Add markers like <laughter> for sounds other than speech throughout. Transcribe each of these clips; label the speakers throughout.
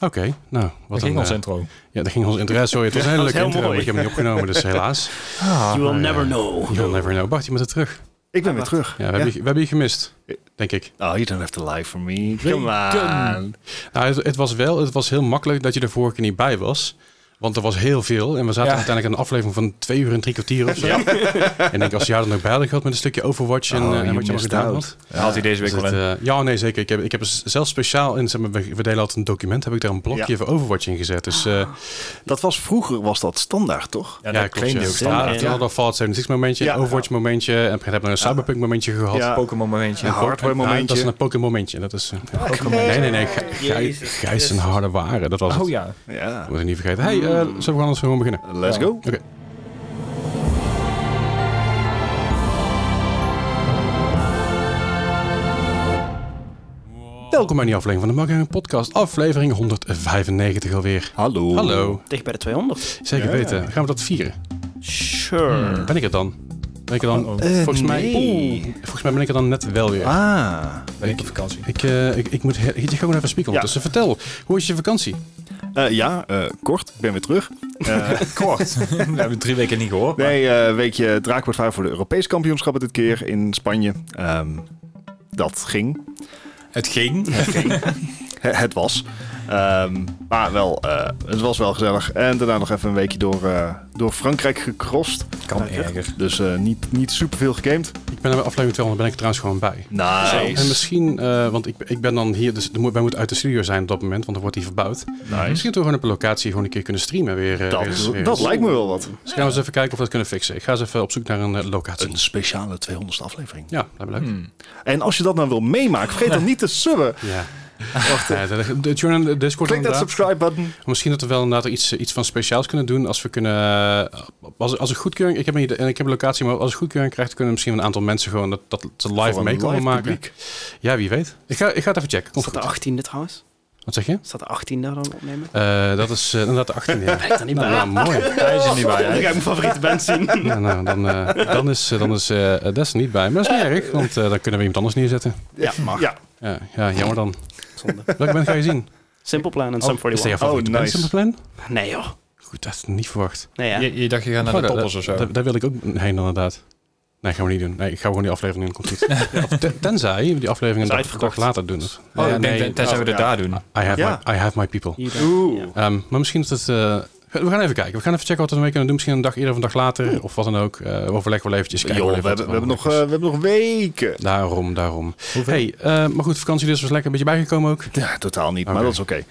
Speaker 1: Oké, nou, wat
Speaker 2: Dat ging
Speaker 1: een,
Speaker 2: ons
Speaker 1: eh,
Speaker 2: intro.
Speaker 1: Ja, dat ging ons intro. Sorry, het was een hele
Speaker 3: was
Speaker 1: leuke
Speaker 3: heel
Speaker 1: intro, maar
Speaker 3: mooi.
Speaker 1: ik heb hem niet opgenomen, dus helaas.
Speaker 3: You will
Speaker 1: Maar,
Speaker 4: Ah,
Speaker 3: never
Speaker 1: eh,
Speaker 3: know.
Speaker 1: You'll never know. Bart, je moet er terug.
Speaker 4: Ik ben weer
Speaker 3: wacht.
Speaker 4: terug.
Speaker 1: Ja, we, Hebben, je, we hebben je gemist, denk ik.
Speaker 4: Oh, you don't have to lie for me. Come
Speaker 2: Weken.
Speaker 4: on.
Speaker 1: Nou, het, het was wel, het was heel makkelijk dat je er vorige keer niet bij was. Want er was heel veel. En we zaten
Speaker 2: Ja.
Speaker 1: uiteindelijk aan een aflevering van twee uur en drie kwartier of zo. En ik als je jou dan ook bij had gehad met een stukje Overwatch en,
Speaker 4: Oh,
Speaker 1: eh, en
Speaker 4: you
Speaker 1: wat je maar
Speaker 4: missed
Speaker 1: gedaan
Speaker 4: out.
Speaker 1: had.
Speaker 2: Haalt hij deze week
Speaker 1: Dus
Speaker 2: wel in.
Speaker 1: het, eh, ja, nee, zeker. Ik heb, ik heb er z- zelfs speciaal in, zeg maar, we, we delen altijd een document, heb ik daar een blokje
Speaker 4: Ja.
Speaker 1: voor Overwatch in gezet. Dus eh,
Speaker 4: Dat was vroeger, was dat standaard, toch?
Speaker 2: ja,
Speaker 1: ja,
Speaker 2: dat
Speaker 1: klopt. ja.
Speaker 2: claimde hij ook
Speaker 1: Ja,
Speaker 2: standaard.
Speaker 1: toen hadden we Fallout 76 momentje,
Speaker 4: Ja.
Speaker 1: een Overwatch momentje. En op een gegeven moment hebben we een Cyberpunk momentje gehad.
Speaker 4: Ja.
Speaker 2: Pokémon momentje.
Speaker 4: Een hardware
Speaker 1: En- nou, dat is
Speaker 4: momentje.
Speaker 1: een Pokémon momentje. Dat is, eh,
Speaker 4: Pokémon.
Speaker 1: nee, nee, nee. Gij- Gij-
Speaker 3: Jezus
Speaker 1: Gijs en
Speaker 3: Christus.
Speaker 1: harde waren. Dat was het.
Speaker 2: Oh ja.
Speaker 4: Ja. Hmm.
Speaker 1: Moet ik niet vergeten. Hey, eh, zullen we anders gewoon beginnen?
Speaker 4: Let's
Speaker 2: Ja.
Speaker 4: go.
Speaker 1: Oké. Welkom bij die aflevering van de Marketing Podcast, aflevering 195 alweer.
Speaker 4: Hallo.
Speaker 1: Hallo,
Speaker 3: Dicht bij de 200.
Speaker 1: zeker
Speaker 4: Ja.
Speaker 1: weten. Gaan we dat vieren?
Speaker 3: Sure.
Speaker 1: Ben ik het dan? Ben ik er dan?
Speaker 2: Uh-oh.
Speaker 4: Eh,
Speaker 1: volgens, mij,
Speaker 4: nee.
Speaker 1: Oeh, volgens mij ben ik er dan net wel weer.
Speaker 4: Ah.
Speaker 2: Ben ik op vakantie.
Speaker 1: Ik, eh, ik, ik moet he- Hietje, ga gewoon even spieken.
Speaker 4: Ja.
Speaker 1: Dus vertel, hoe is je vakantie?
Speaker 4: Eh, ja, eh, kort. Ik ben weer terug. Eh, <laughs>
Speaker 2: Kort. We hebben drie weken niet gehoord.
Speaker 4: nee, eh, weekje draakwoord 5 voor de Europese kampioenschappen dit keer in Spanje. Ehm, dat ging.
Speaker 2: Het ging.
Speaker 4: He- het was. Ehm, maar wel, eh, het was wel gezellig. En daarna nog even een weekje door, eh, door Frankrijk gecrossed.
Speaker 2: Kan erger.
Speaker 4: Dus eh, niet, niet superveel gegamed.
Speaker 1: Ik ben bij aflevering 200, ben ik er trouwens gewoon bij. En
Speaker 4: Nice.
Speaker 1: misschien, eh, want ik, ik ben dan hier, dus er moet- wij moeten uit de studio zijn op dat moment, want dan wordt die verbouwd.
Speaker 4: Nice.
Speaker 1: Misschien dat we gewoon op een locatie gewoon een keer kunnen streamen weer. eh, weer eens-
Speaker 4: Dat,
Speaker 1: weer
Speaker 4: dat
Speaker 1: eens.
Speaker 4: lijkt me wel wat.
Speaker 1: Dus gaan we eens even kijken of we dat kunnen fixen. Ik ga eens even op zoek naar een eh, locatie.
Speaker 4: speciale 200ste aflevering.
Speaker 1: Ja, dat lijkt me leuk.
Speaker 4: En als je dat nou wil meemaken, vergeet dan niet te subben.
Speaker 1: Ja. Wacht, eh, de, de, join de Discord
Speaker 4: Klik dat
Speaker 1: inderdaad.
Speaker 4: subscribe button.
Speaker 1: Misschien dat we wel inderdaad iets, eh, iets van speciaals kunnen doen. Als we kunnen. eh, Als, als een goedkeuring. Ik heb, een, idee- en ik heb een locatie, maar als een goedkeuring krijgt, kunnen we misschien een aantal mensen gewoon dat, dat te live
Speaker 4: Voor
Speaker 1: mee
Speaker 4: een
Speaker 1: komen
Speaker 4: live
Speaker 1: maken.
Speaker 4: publiek.
Speaker 1: Ja, wie weet. Ik ga, ik ga het even checken. Komt
Speaker 3: Is dat
Speaker 1: goed.
Speaker 3: de 18e trouwens?
Speaker 1: Wat zeg je?
Speaker 3: Is dat de 18e dan opnemen?
Speaker 1: Eh, dat is eh, inderdaad de
Speaker 3: <laughs>
Speaker 1: 18e. Ja.
Speaker 3: Kijk dan niet
Speaker 1: Nou, ja,
Speaker 3: bij.
Speaker 1: mooi.
Speaker 2: Hij is er niet bij.
Speaker 3: Ik ga
Speaker 2: hè?
Speaker 3: mijn favoriete band zien.
Speaker 1: Ja, nou, dan, eh, dan is, eh, dan is eh, eh, Des er niet bij. Maar dat is niet erg, want eh, dan kunnen we iemand anders neerzetten.
Speaker 3: Ja, mag.
Speaker 4: Ja.
Speaker 1: Ja, ja jammer dan.
Speaker 3: <laughs> Zonde.
Speaker 1: Welke band ga je zien?
Speaker 3: Simple Plan en Sum
Speaker 1: Oh, is dat jouw
Speaker 3: 41.
Speaker 1: favoriete
Speaker 4: Oh,
Speaker 1: band,
Speaker 4: nice.
Speaker 1: Simple Plan?
Speaker 3: Nee joh.
Speaker 1: Goed, dat had ik niet verwacht.
Speaker 3: Nee ja.
Speaker 2: Je, je dacht je gaat naar
Speaker 1: Oh,
Speaker 2: de
Speaker 1: dat-
Speaker 2: toppers of zo.
Speaker 1: Daar, daar wil ik ook heen inderdaad. Nee, gaan we niet doen. Nee, ik ga gewoon die aflevering doen. Komt goed.
Speaker 2: <laughs>
Speaker 1: Of ten- tenzij we die aflevering een dag,
Speaker 3: Is
Speaker 1: dag
Speaker 3: uitverkocht.
Speaker 1: later doen. Of-
Speaker 2: Oh,
Speaker 1: Ja,
Speaker 2: ik denk, dat- tenzij we dat
Speaker 4: ja.
Speaker 2: daar doen.
Speaker 1: I have,
Speaker 4: Ja.
Speaker 1: my, I have my people.
Speaker 3: Hier dan.
Speaker 4: Oeh.
Speaker 3: Ja.
Speaker 1: Ehm, maar misschien dat het... eh, we gaan even kijken. We gaan even checken wat we ermee kunnen doen. Misschien een dag eerder of een dag later. Of wat dan ook. Eh overleg wel eventjes. Kijken
Speaker 4: Joh,
Speaker 1: wel
Speaker 4: we,
Speaker 1: even
Speaker 4: hebben, we,
Speaker 1: wat er
Speaker 4: hebben nog, eh,
Speaker 1: mogelijk
Speaker 4: we hebben nog weken.
Speaker 1: is. Daarom, daarom. Hey, eh, maar goed, vakantie dus was lekker een beetje bijgekomen ook.
Speaker 4: Ja, totaal niet,
Speaker 1: Oké.
Speaker 4: maar dat is oké.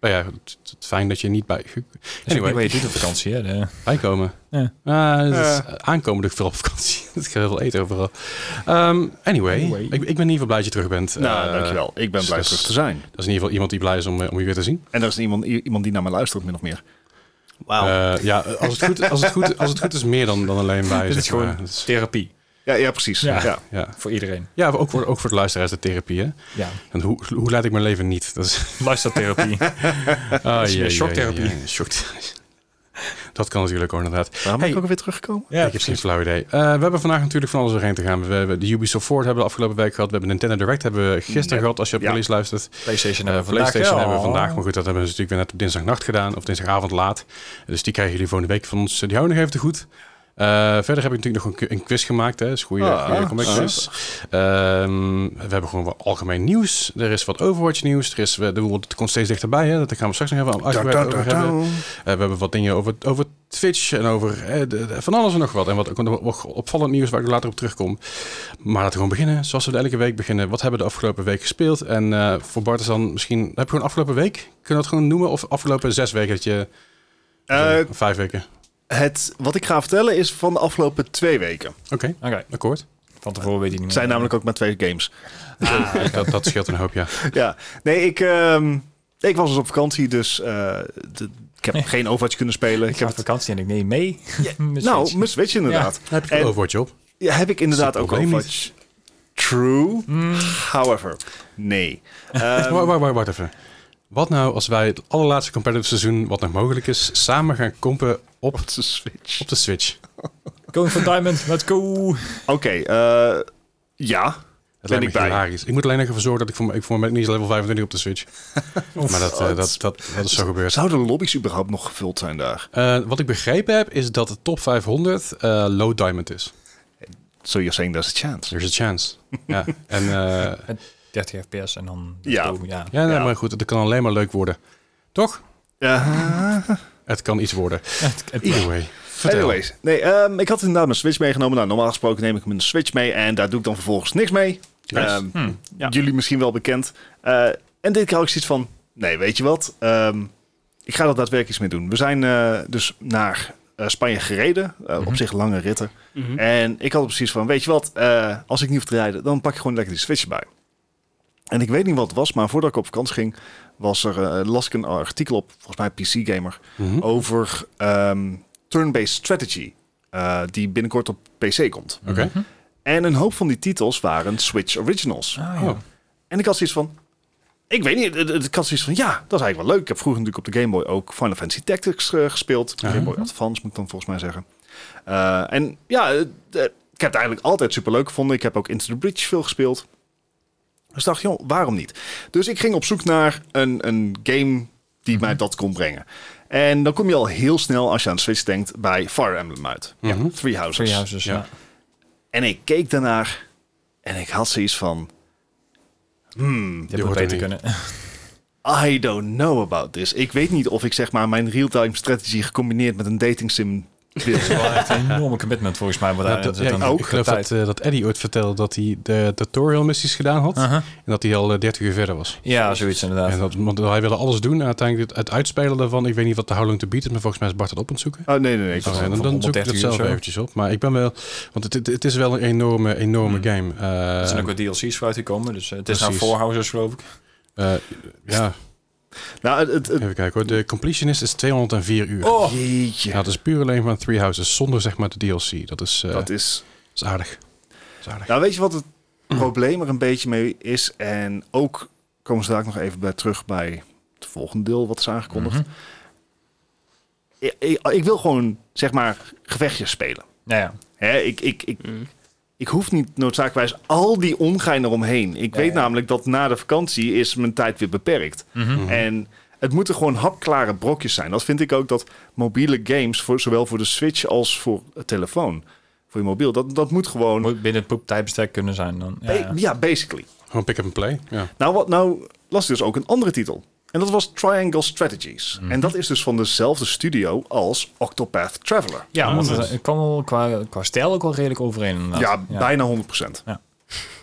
Speaker 1: Nou ja, het, het- fijn dat je niet bij...
Speaker 2: Dat is ook niet
Speaker 1: Anyway,
Speaker 2: wat je doet op vakantie. Hè? De-
Speaker 1: bijkomen.
Speaker 2: Ja.
Speaker 1: Ah, het is
Speaker 4: Eh.
Speaker 1: aankomende veel op vakantie. <laughs> Het gaat wel eten overal. Ehm, anyway,
Speaker 2: Anyway.
Speaker 1: Ik, ik ben in ieder geval blij dat je terug bent.
Speaker 4: nou,
Speaker 1: Eh,
Speaker 4: dankjewel. Ik ben
Speaker 1: dus
Speaker 4: blij
Speaker 1: dat is-
Speaker 4: terug te zijn.
Speaker 1: Dat is in ieder geval iemand die blij is om, eh, om je weer te zien.
Speaker 4: En er is iemand, i- iemand die naar mij luistert, min of meer.
Speaker 2: Oh.
Speaker 3: Wauw.
Speaker 1: Eh, ja, als het, goed, als, het goed, als het goed is meer dan, dan alleen bij.
Speaker 2: <laughs> Dit
Speaker 1: zeg
Speaker 2: is gewoon
Speaker 1: maar. Dat eh, is-
Speaker 2: therapie.
Speaker 4: Ja, ja precies.
Speaker 2: Ja.
Speaker 4: Ja.
Speaker 1: ja.
Speaker 2: Voor iedereen.
Speaker 1: ja, ook voor, ook voor de luisteraars de therapie. Hè?
Speaker 2: Ja.
Speaker 1: En hoe, hoe leid ik mijn leven niet? Dat is,
Speaker 2: <laughs> Luistertherapie.
Speaker 1: Ah,
Speaker 2: is
Speaker 1: jee, jee,
Speaker 2: shocktherapie.
Speaker 1: jee, jee, shock- <laughs> Dat kan natuurlijk ook inderdaad.
Speaker 4: Waarom ben
Speaker 1: Hey.
Speaker 4: ik ook weer teruggekomen?
Speaker 1: ik heb geen flauw idee. Eh, we hebben vandaag natuurlijk van alles doorheen te gaan. We hebben de Ubisoft Forward hebben we de afgelopen week gehad. We hebben Nintendo Direct hebben we gisteren
Speaker 4: Ja.
Speaker 1: gehad als je op
Speaker 4: Ja.
Speaker 1: release luistert.
Speaker 2: PlayStation
Speaker 1: Eh,
Speaker 2: hebben we vandaag.
Speaker 1: PlayStation
Speaker 2: Ja.
Speaker 1: hebben we vandaag. Maar goed, dat hebben ze natuurlijk weer net op dinsdagnacht gedaan. Of dinsdagavond laat. Dus die krijgen jullie volgende week van ons. Die houden we nog even te goed. Eh, verder heb ik natuurlijk nog een, ki- een quiz gemaakt. Hè. Dat is een goede,
Speaker 4: Ah,
Speaker 1: goede comeback
Speaker 4: ah.
Speaker 1: quiz. Ehm, we hebben gewoon wat algemeen nieuws. Er is wat Overwatch nieuws. Er is, we, de- het komt steeds dichterbij. Hè. Daar gaan we straks nog even uitgebreid over hebben. Eh, we hebben wat dingen over, over Twitch en over eh, de- de- van alles en nog wat. En wat, ook nog- nog opvallend nieuws waar ik later op terugkom. Maar laten we gewoon beginnen. Zoals we de elke week beginnen. Wat hebben we de afgelopen week gespeeld? En eh, voor Bart is dan misschien... Heb je gewoon afgelopen week? Kunnen we dat gewoon noemen? Of afgelopen zes weken? Dat je,
Speaker 4: Eh,
Speaker 1: eh, vijf weken?
Speaker 4: het, wat ik ga vertellen is van de afgelopen twee weken.
Speaker 1: Oké,
Speaker 2: Oké,
Speaker 1: akkoord.
Speaker 2: van tevoren weet ik niet
Speaker 4: Het
Speaker 2: meer.
Speaker 4: zijn namelijk ook maar twee games.
Speaker 1: Dat, dat scheelt een hoop, ja.
Speaker 4: Ja, nee, ik, ehm, ik was dus op vakantie, dus eh, de- ik heb geen Overwatch kunnen spelen.
Speaker 2: Ik ga op vakantie en ik neem mee. <laughs> Met
Speaker 4: nou,
Speaker 2: fiets.
Speaker 4: mijn Switch inderdaad.
Speaker 1: Heb je
Speaker 4: En-
Speaker 1: een overwoordje op?
Speaker 4: Ja, heb ik inderdaad
Speaker 1: Dat is het
Speaker 4: ook
Speaker 1: probleem Hmm.
Speaker 4: Overwatch. True. However,
Speaker 1: <laughs>
Speaker 4: nee. Ehm,
Speaker 1: Wacht, wacht, wacht, wacht even. Wat nou als wij het allerlaatste competitive seizoen, wat nog mogelijk is, samen gaan kompen op,
Speaker 4: op de Switch.
Speaker 1: op de Switch?
Speaker 2: Going for Diamond, let's go.
Speaker 4: Oké, eh, ja.
Speaker 1: Het lijkt me
Speaker 4: ik
Speaker 1: echt
Speaker 4: bij.
Speaker 1: hilarisch. Ik moet alleen nog even zorgen dat ik voor, ik voor mijn niet level 25 op de
Speaker 4: <laughs>
Speaker 1: Switch. maar dat, eh, dat, dat, dat is zo gebeurd.
Speaker 4: Zouden lobby's überhaupt nog gevuld zijn daar?
Speaker 1: Eh, wat ik begrepen heb, is dat de top 500 eh, low diamond is.
Speaker 4: So you're saying there's a chance.
Speaker 1: There's a chance.
Speaker 4: <laughs>
Speaker 1: ja, en, eh,
Speaker 2: 30 fps en dan...
Speaker 4: Ja.
Speaker 2: ja.
Speaker 1: ja, nee,
Speaker 4: Ja.
Speaker 1: maar goed, het kan alleen maar leuk worden. Toch?
Speaker 4: Ja.
Speaker 1: Het kan iets worden.
Speaker 2: Het- het-
Speaker 1: Either way. Vertel.
Speaker 4: Anyways, nee, ehm, ik had inderdaad mijn Switch meegenomen. Nou, normaal gesproken neem ik mijn Switch mee en daar doe ik dan vervolgens niks mee.
Speaker 1: Nice.
Speaker 4: Ehm,
Speaker 2: Hm.
Speaker 3: Ja.
Speaker 4: Jullie misschien wel bekend. Eh, en dit keer had ik zoiets van, nee, weet je wat? Ehm, ik ga er daadwerkelijk iets mee doen. We zijn eh, dus naar eh, Spanje gereden, eh, op
Speaker 2: Mhm.
Speaker 4: zich lange ritten.
Speaker 3: Mhm.
Speaker 4: En ik had precies van, weet je wat? eh, als ik niet hoef te rijden, dan pak je gewoon lekker die Switch erbij. En ik weet niet wat het was, maar voordat ik op vakantie ging, was er, eh, las ik een artikel op, volgens mij PC Gamer,
Speaker 1: Mhm.
Speaker 4: over ehm, turn-based strategy. eh, die binnenkort op PC komt.
Speaker 1: Oké.
Speaker 2: Mhm.
Speaker 4: En een hoop van die titels waren Switch Originals.
Speaker 2: Ah,
Speaker 1: Oh.
Speaker 2: ja.
Speaker 4: En ik had zoiets van. Ik weet niet, het- het- ik had zoiets van, ja, dat is eigenlijk wel leuk. Ik heb vroeger natuurlijk op de Game Boy ook Final Fantasy Tactics eh, gespeeld.
Speaker 1: Ja.
Speaker 4: Game Boy Advance moet ik dan volgens mij zeggen. Eh, en ja, eh, eh, ik heb het eigenlijk altijd superleuk gevonden. Ik heb ook Into the Bridge veel gespeeld. Dus ik dacht, joh, waarom niet? Dus ik ging op zoek naar een, een game die mij dat kon brengen. En dan kom je al heel snel, als je aan Switch denkt, bij Fire Emblem uit.
Speaker 1: Mhm.
Speaker 4: Three Houses.
Speaker 2: Three Houses,
Speaker 1: Ja.
Speaker 2: dus, ja.
Speaker 4: En ik keek daarnaar en ik had zoiets van... Hmm,
Speaker 2: Je
Speaker 1: Je
Speaker 2: hebt
Speaker 1: hoort
Speaker 2: het beter
Speaker 1: er
Speaker 2: kunnen.
Speaker 4: I don't know about this. Ik weet niet of ik zeg maar mijn real-time strategy gecombineerd met een dating sim wil.
Speaker 2: wel echt een enorme commitment volgens mij. Wat
Speaker 1: Nou,
Speaker 2: daar
Speaker 1: dat-
Speaker 2: zit
Speaker 1: ja,
Speaker 2: dan
Speaker 1: ik-
Speaker 2: ook
Speaker 1: ik geloof dat, eh, dat Eddie ooit vertelde dat hij de tutorial missies gedaan had.
Speaker 2: Aha.
Speaker 1: En dat hij al eh, 30 uur verder was.
Speaker 2: Ah. Ja, zoiets inderdaad.
Speaker 1: En dat, want hij wilde alles doen. En uiteindelijk het, het uitspelen daarvan. Ik weet niet wat de houding te bieden is. Maar volgens mij is Bart het op aan het zoeken.
Speaker 4: Oh, nee, nee, nee. Ik
Speaker 1: Oh,
Speaker 4: was-
Speaker 1: ja, dan,
Speaker 2: van
Speaker 1: dan zoek ik
Speaker 2: 130
Speaker 1: het
Speaker 2: uur
Speaker 1: zelf
Speaker 2: of zo.
Speaker 1: eventjes op. Maar ik ben wel... Want het, het, het is wel een enorme, enorme game. Eh,
Speaker 2: Er Hmm. zijn ook wat DLC's voor uitgekomen. Dus eh, het is nou
Speaker 1: Precies.
Speaker 2: Four Houses geloof ik.
Speaker 1: eh, ja,
Speaker 4: Nou, het, het, het-
Speaker 1: even kijken hoor. De completionist is 204 uur.
Speaker 2: Oh!
Speaker 4: Jeetje.
Speaker 1: Ja, dat is puur alleen maar Three Houses. Zonder zeg maar de DLC. Dat is, eh,
Speaker 4: dat is...
Speaker 1: dat is aardig. Dat is aardig.
Speaker 4: Nou, weet je wat het probleem er een beetje mee is? En ook komen ze daar ook nog even bij terug bij het volgende deel wat is aangekondigd.
Speaker 2: Mhm.
Speaker 4: ik, ik, ik wil gewoon, zeg maar, gevechtjes spelen.
Speaker 2: Nou ja.
Speaker 4: Hè, ik, ik, ik,
Speaker 3: Mhm.
Speaker 4: ik hoef niet noodzakelijkerwijs al die ongein eromheen. Ik
Speaker 2: Ja,
Speaker 4: weet
Speaker 2: ja.
Speaker 4: namelijk dat na de vakantie is mijn tijd weer beperkt.
Speaker 2: Mhm.
Speaker 4: En het moeten gewoon hapklare brokjes zijn. Dat vind ik ook dat mobiele games, voor, zowel voor de Switch als voor het telefoon, voor je mobiel, dat, dat moet gewoon.
Speaker 2: Moet binnen het poeptijdbestek kunnen zijn dan. Ja,
Speaker 4: Ba-
Speaker 2: ja.
Speaker 4: ja. basically.
Speaker 1: Gewoon pick-up and play.
Speaker 2: <laughs>
Speaker 1: Ja.
Speaker 4: Nou, wat, nou las ik dus ook een andere titel. En dat was Triangle Strategies. En dat is dus van dezelfde studio als Octopath Traveler.
Speaker 2: Ja,
Speaker 3: Ah,
Speaker 2: want
Speaker 3: nice.
Speaker 2: het, het kwam wel qua, qua stijl ook wel redelijk overeen. inderdaad.
Speaker 4: Ja, bijna 100%.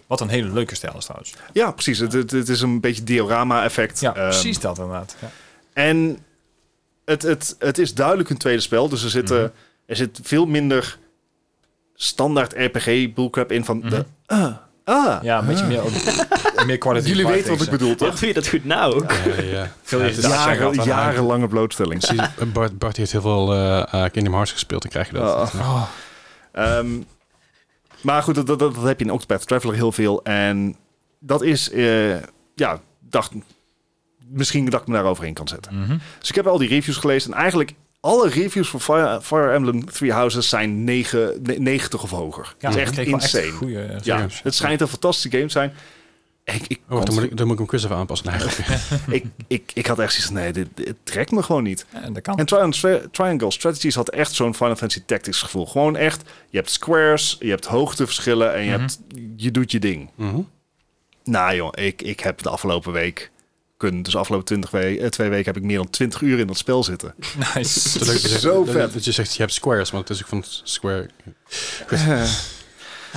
Speaker 2: Wat een hele leuke stijl is trouwens.
Speaker 4: Ja, precies. Het, het, het is een beetje diorama-effect.
Speaker 2: Ja,
Speaker 4: Ehm,
Speaker 2: precies dat inderdaad. Ja.
Speaker 4: En het, het, het is duidelijk een tweede spel. Dus er, zitten,
Speaker 2: Mhm.
Speaker 4: er zit veel minder standaard RPG bullcrap in van de... Ah, ah.
Speaker 2: Mhm. Ja, een beetje meer, ook- <laughs> meer kwaliteit.
Speaker 4: Jullie weten wat ik bedoel,
Speaker 3: Wat
Speaker 4: toch?
Speaker 3: doe je dat goed nou ook?
Speaker 1: Ja, ja.
Speaker 2: Veel
Speaker 1: Ja,
Speaker 2: irritatie
Speaker 1: het is-
Speaker 2: gehad
Speaker 4: Jaren,
Speaker 2: aan
Speaker 4: jarenlange blootstelling.
Speaker 1: <laughs> Precies. Bart, Bart heeft heel veel eh, eh, Kingdom Hearts gespeeld. Dan krijg je dat. Oh,
Speaker 4: Ah.
Speaker 2: Oh.
Speaker 4: Ehm, maar goed, dat, dat, dat heb je in Octopath Traveler heel veel. En dat is... eh, ja, dacht... Misschien dat ik me daar overheen kan zetten.
Speaker 2: Mhm.
Speaker 4: Dus ik heb al die reviews gelezen. En eigenlijk alle reviews voor Fire, Fire Emblem Three Houses zijn negen- ne- 90 of hoger.
Speaker 2: Ja,
Speaker 4: dat is
Speaker 2: ik
Speaker 4: echt
Speaker 2: kreeg wel
Speaker 4: insane.
Speaker 2: goede, eh,
Speaker 4: Ja,
Speaker 1: Serieus.
Speaker 4: het schijnt een fantastische game te zijn. Ik, ik,
Speaker 1: Oh, wacht, dan
Speaker 4: kon-
Speaker 1: moet ik, dan moet ik hem quiz even aanpassen. Nee, grapje. <laughs>
Speaker 4: ik, ik, ik had echt zoiets van, nee, dit, dit trekt me gewoon niet.
Speaker 2: En dat kan.
Speaker 4: En Triangle, Stra- Triangle Strategies had echt zo'n Final Fantasy Tactics gevoel. Gewoon echt, je hebt squares, je hebt hoogteverschillen en je, hebt, je doet je ding.
Speaker 1: Mhm.
Speaker 4: Nou joh, ik, ik heb de afgelopen week, kun, dus de afgelopen 20 we- eh, twee weken heb ik meer dan 20 uur in dat spel zitten.
Speaker 2: <laughs> Nice.
Speaker 1: Het is leuk dat je zegt-
Speaker 4: Zo
Speaker 1: dat-
Speaker 4: vet.
Speaker 1: Dat je zegt, je hebt squares, maar het is ook van square.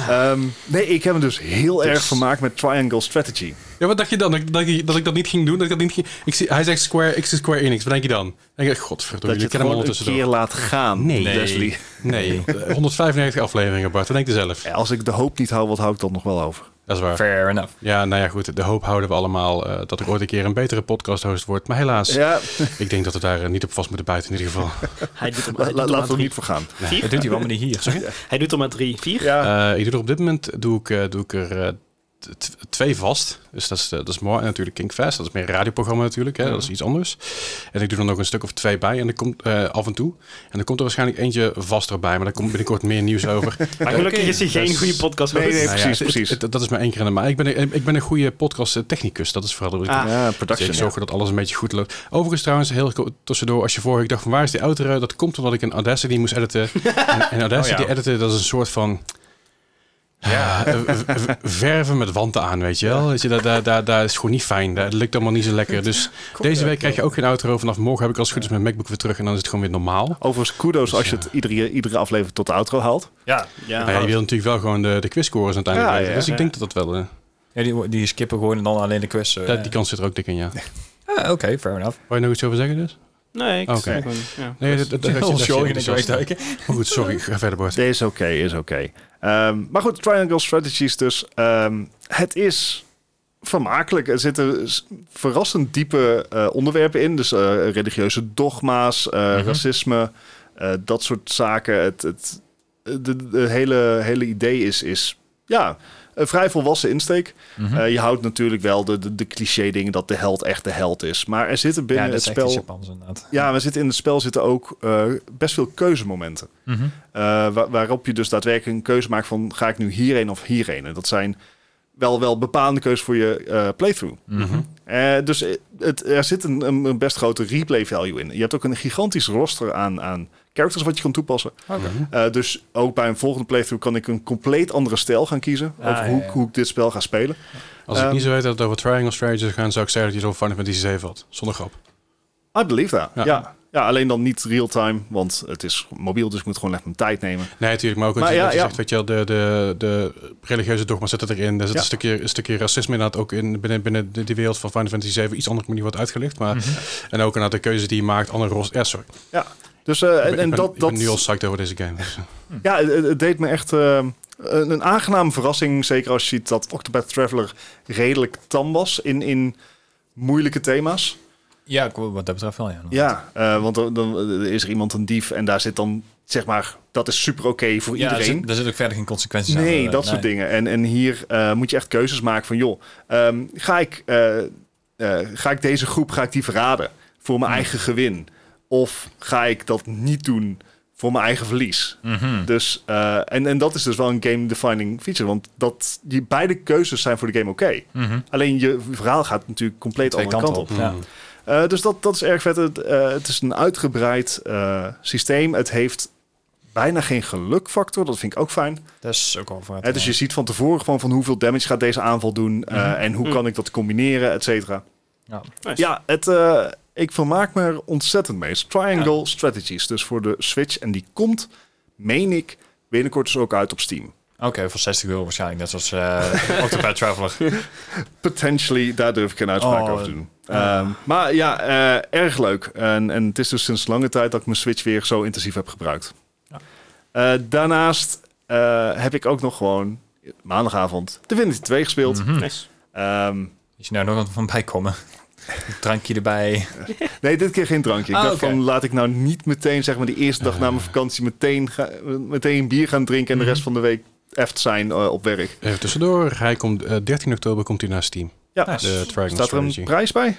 Speaker 4: Ehm, nee, ik heb me dus heel erg vermaakt met Triangle Strategy.
Speaker 1: Ja, wat dacht je dan? Dat, dat, ik- dat ik dat niet ging doen? Dat ik dat niet ging... Ik zie, hij zegt square, ik zeg square Enix. Wat denk je dan? Dan denk ik, godverdomme,
Speaker 4: Dat je
Speaker 1: jullie
Speaker 4: het
Speaker 1: kennen hem
Speaker 4: gewoon een
Speaker 1: ondertussen
Speaker 4: keer laat gaan,
Speaker 1: Nee.
Speaker 4: Leslie.
Speaker 1: door. Nee,
Speaker 4: <laughs>
Speaker 1: 195 afleveringen, Bart. Dat denk je zelf.
Speaker 4: Ja, Als ik de hoop niet hou, wat hou ik dan nog wel over?
Speaker 1: Dat is waar.
Speaker 2: Fair enough.
Speaker 1: Ja, nou ja, goed. De hoop houden we allemaal eh, dat ik ooit een keer een betere podcast-host word. Maar helaas,
Speaker 4: Ja,
Speaker 1: ik denk dat we daar eh, niet op vast moeten bijten in ieder geval.
Speaker 3: Hij doet er
Speaker 4: La-
Speaker 3: maar,
Speaker 4: la-
Speaker 3: hij doet er maar
Speaker 4: laten we er
Speaker 3: drie.
Speaker 4: niet voor gaan.
Speaker 2: Dat
Speaker 3: Vier?
Speaker 2: doet hij wel, maar niet hier.
Speaker 3: Hij doet er maar drie. Vier?
Speaker 4: Ja.
Speaker 1: Eh, ik doe er op dit moment doe ik, eh, doe ik er eh, t- twee vast. Dus dat is, eh, dat is mooi. En natuurlijk Kingfest. Dat is meer een radioprogramma natuurlijk. Hè? Dat is iets anders. En ik doe er nog een stuk of twee bij. En er komt eh, af en toe. En dan komt er waarschijnlijk eentje vast erbij. Maar daar komt binnenkort meer
Speaker 3: <laughs>
Speaker 1: nieuws over.
Speaker 3: Maar gelukkig is hij
Speaker 1: Dat
Speaker 3: geen
Speaker 1: is-
Speaker 3: goede podcast
Speaker 4: Nee, nee,
Speaker 1: Nou ja,
Speaker 4: precies,
Speaker 1: het-
Speaker 4: precies.
Speaker 1: het- dat is maar één keer in de maand. Ik ben, een- ik ben een goede podcast eh, technicus. Dat is vooral wat ik
Speaker 3: Ah.
Speaker 1: doe.
Speaker 4: ja,
Speaker 1: Dus ik
Speaker 4: production.
Speaker 1: zorg dat alles een beetje goed loopt. Overigens trouwens, heel ko- tussendoor, als je vorige week dacht van waar is die outro? Dat komt omdat ik een Audacity moest editen. en, en Audacity
Speaker 2: Oh ja.
Speaker 1: editen, dat is een soort van... Ja, eh, v- v- verven met wanten aan, weet je wel. Weet je, daar, daar, daar, daar is gewoon niet fijn. Dat lukt allemaal niet zo lekker. Dus deze week krijg je ook geen outro. Vanaf morgen heb ik als het goed is mijn MacBook weer terug en dan is het gewoon weer normaal.
Speaker 4: Overigens, kudos als je het iedere, iedere aflevering tot de outro haalt.
Speaker 2: Ja,
Speaker 3: Ja,
Speaker 1: Maar ja, je wil natuurlijk wel gewoon de, de quizscores uiteindelijk
Speaker 4: Ja,
Speaker 1: weten.
Speaker 4: ja,
Speaker 1: Dus ik
Speaker 3: ja.
Speaker 1: denk dat dat wel... eh,
Speaker 2: Ja, die, die skippen gewoon en dan alleen de quiz. eh.
Speaker 1: dat- die kans zit er ook dik in, ja.
Speaker 2: Ah, Oké, fair
Speaker 4: <laughs>
Speaker 2: enough.
Speaker 1: Wou je nog iets over zeggen dus?
Speaker 3: Nee, ik
Speaker 1: Oké.
Speaker 3: zeg gewoon, ja.
Speaker 1: Nee, dat, dat,
Speaker 2: <laughs>
Speaker 1: dat, dat-
Speaker 2: Heel
Speaker 1: dat-
Speaker 2: showing in
Speaker 1: dat-
Speaker 2: de duiken.
Speaker 1: Maar goed, sorry, ik ga verder, Bart.
Speaker 4: Is oké, is oké. Ehm, maar goed, Triangle Strategies dus. Ehm, het is vermakelijk. Er zitten s- verrassend diepe eh, onderwerpen in. Dus eh, religieuze dogma's, eh,
Speaker 1: Mhm.
Speaker 4: racisme, eh, dat soort zaken. Het, het de, de hele, hele idee is, is ja, een vrij volwassen insteek.
Speaker 2: Mhm.
Speaker 4: Eh, je houdt natuurlijk wel de, de, de cliché dingen dat de held echt de held is. Maar er zitten binnen
Speaker 2: ja, dat
Speaker 4: het
Speaker 2: is echt iets
Speaker 4: spel...
Speaker 2: Japans inderdaad.
Speaker 4: Ja, we zitten in het spel zitten ook eh, best veel keuzemomenten.
Speaker 2: Mhm.
Speaker 4: Eh, wa- waarop je dus daadwerkelijk een keuze maakt van ga ik nu hierheen of hierheen. En dat zijn wel, wel bepaalde keuzes voor je eh, playthrough.
Speaker 2: Mhm.
Speaker 4: Eh, dus eh, het, er zit een, een een best grote replay value in. Je hebt ook een gigantisch roster aan, aan characters wat je kan toepassen.
Speaker 2: Oké.
Speaker 1: Mhm.
Speaker 4: Eh, dus ook bij een volgende playthrough kan ik een compleet andere stijl gaan kiezen.
Speaker 2: Ah,
Speaker 4: over
Speaker 2: ja,
Speaker 4: hoe,
Speaker 2: ja.
Speaker 4: hoe ik dit spel ga spelen.
Speaker 1: Als ik
Speaker 4: Ehm,
Speaker 1: niet zou weten dat het over Triangle Strategy gaat, zou ik zeggen dat je het over Final Fantasy 7 had. Zonder grap.
Speaker 4: I believe that.
Speaker 1: Ja.
Speaker 4: Ja. Ja. alleen dan niet real-time, want het is mobiel, dus ik moet gewoon echt mijn tijd nemen.
Speaker 1: Nee, natuurlijk. Maar ook dat
Speaker 4: Maar
Speaker 1: je,
Speaker 4: ja,
Speaker 1: dat je
Speaker 4: ja.
Speaker 1: zegt, weet je wel, de, de, de religieuze dogma zit erin. Er zit
Speaker 4: Ja.
Speaker 1: een, stukje, een stukje racisme inderdaad ook in, binnen, binnen de, die wereld van Final Fantasy 7. Iets anders manier wordt uitgelegd. Maar,
Speaker 4: Mhm.
Speaker 1: En ook inderdaad de keuze die je maakt, andere rost. Ja, sorry.
Speaker 4: Dus, eh, en,
Speaker 1: ik ben,
Speaker 4: en
Speaker 1: ik ben-
Speaker 4: dat,
Speaker 1: ik
Speaker 4: dat...
Speaker 1: ben nu al psyched over deze game. Dus, eh,
Speaker 4: Ja, het, het- het deed me echt eh, een, een aangename verrassing. Zeker als je ziet dat Octopath Traveler redelijk tam was in, in moeilijke thema's.
Speaker 2: Ja, ik- wat dat betreft wel, ja.
Speaker 4: Ja, eh, want dan, dan is er iemand een dief en daar zit dan, zeg maar, dat is super oké voor
Speaker 2: Ja,
Speaker 4: iedereen.
Speaker 2: Er zit, er zit ook verder geen consequenties aan.
Speaker 4: Nee,
Speaker 2: eh,
Speaker 4: dat soort dingen. En, en hier eh, moet je echt keuzes maken van, joh, ehm, ga, ik, eh, eh, ga ik deze groep, ga ik die verraden voor mijn eigen gewin? Of ga ik dat niet doen voor mijn eigen verlies?
Speaker 2: Mhm.
Speaker 4: Dus, eh, en, en dat is dus wel een game-defining feature. Want dat, die, beide keuzes zijn voor de game oké.
Speaker 2: Mhm.
Speaker 4: Alleen je verhaal gaat natuurlijk compleet
Speaker 2: Twee
Speaker 4: andere kant
Speaker 2: kanten
Speaker 4: op.
Speaker 2: op. Ja.
Speaker 1: mm.
Speaker 4: Eh, dus dat, dat is erg vet. Het, eh, het is een uitgebreid eh, systeem. Het heeft bijna geen gelukfactor. Dat vind ik ook fijn.
Speaker 2: Dat is ook al voor
Speaker 4: Eh, dus je ziet van tevoren gewoon van hoeveel damage gaat deze aanval doen. eh,
Speaker 2: Mhm.
Speaker 4: En hoe kan ik dat combineren, et cetera.
Speaker 2: Ja.
Speaker 3: Nice.
Speaker 4: Ja, het, eh, ik vermaak me er ontzettend mee. Het is Triangle Strategies. Dus voor de Switch. En die komt, meen ik, binnenkort dus ook uit op Steam.
Speaker 2: Oké, voor 60 euro waarschijnlijk. Net zoals
Speaker 4: <laughs>
Speaker 2: eh Octopath Traveler.
Speaker 4: Potentially, daar durf ik geen uitspraak
Speaker 2: Oh,
Speaker 4: over te doen.
Speaker 2: eh.
Speaker 4: Ehm, maar ja, eh, erg leuk. En, en het is dus sinds lange tijd dat ik mijn Switch weer zo intensief heb gebruikt.
Speaker 2: Ja.
Speaker 4: Eh, daarnaast eh, heb ik ook nog gewoon maandagavond Divinity 2 gespeeld.
Speaker 1: Hm.
Speaker 2: Mhm.
Speaker 3: Nice.
Speaker 4: Ehm,
Speaker 2: Is je nou nog wat van bijkomen?
Speaker 4: <laughs>
Speaker 2: Een drankje erbij.
Speaker 4: nee, dit keer geen drankje. Ik
Speaker 2: Ah,
Speaker 4: dacht
Speaker 2: oké.
Speaker 4: van, laat ik nou niet meteen, zeg maar, die eerste dag na mijn vakantie meteen, ga- meteen bier gaan drinken
Speaker 2: Mhm.
Speaker 4: en de rest van de week eft zijn eh, op werk.
Speaker 1: Even tussendoor. Hij komt, eh, 13 oktober komt hij naar Steam.
Speaker 4: Ja,
Speaker 2: Nice.
Speaker 1: De Triangle
Speaker 4: staat er
Speaker 1: Strategy.
Speaker 4: een prijs bij?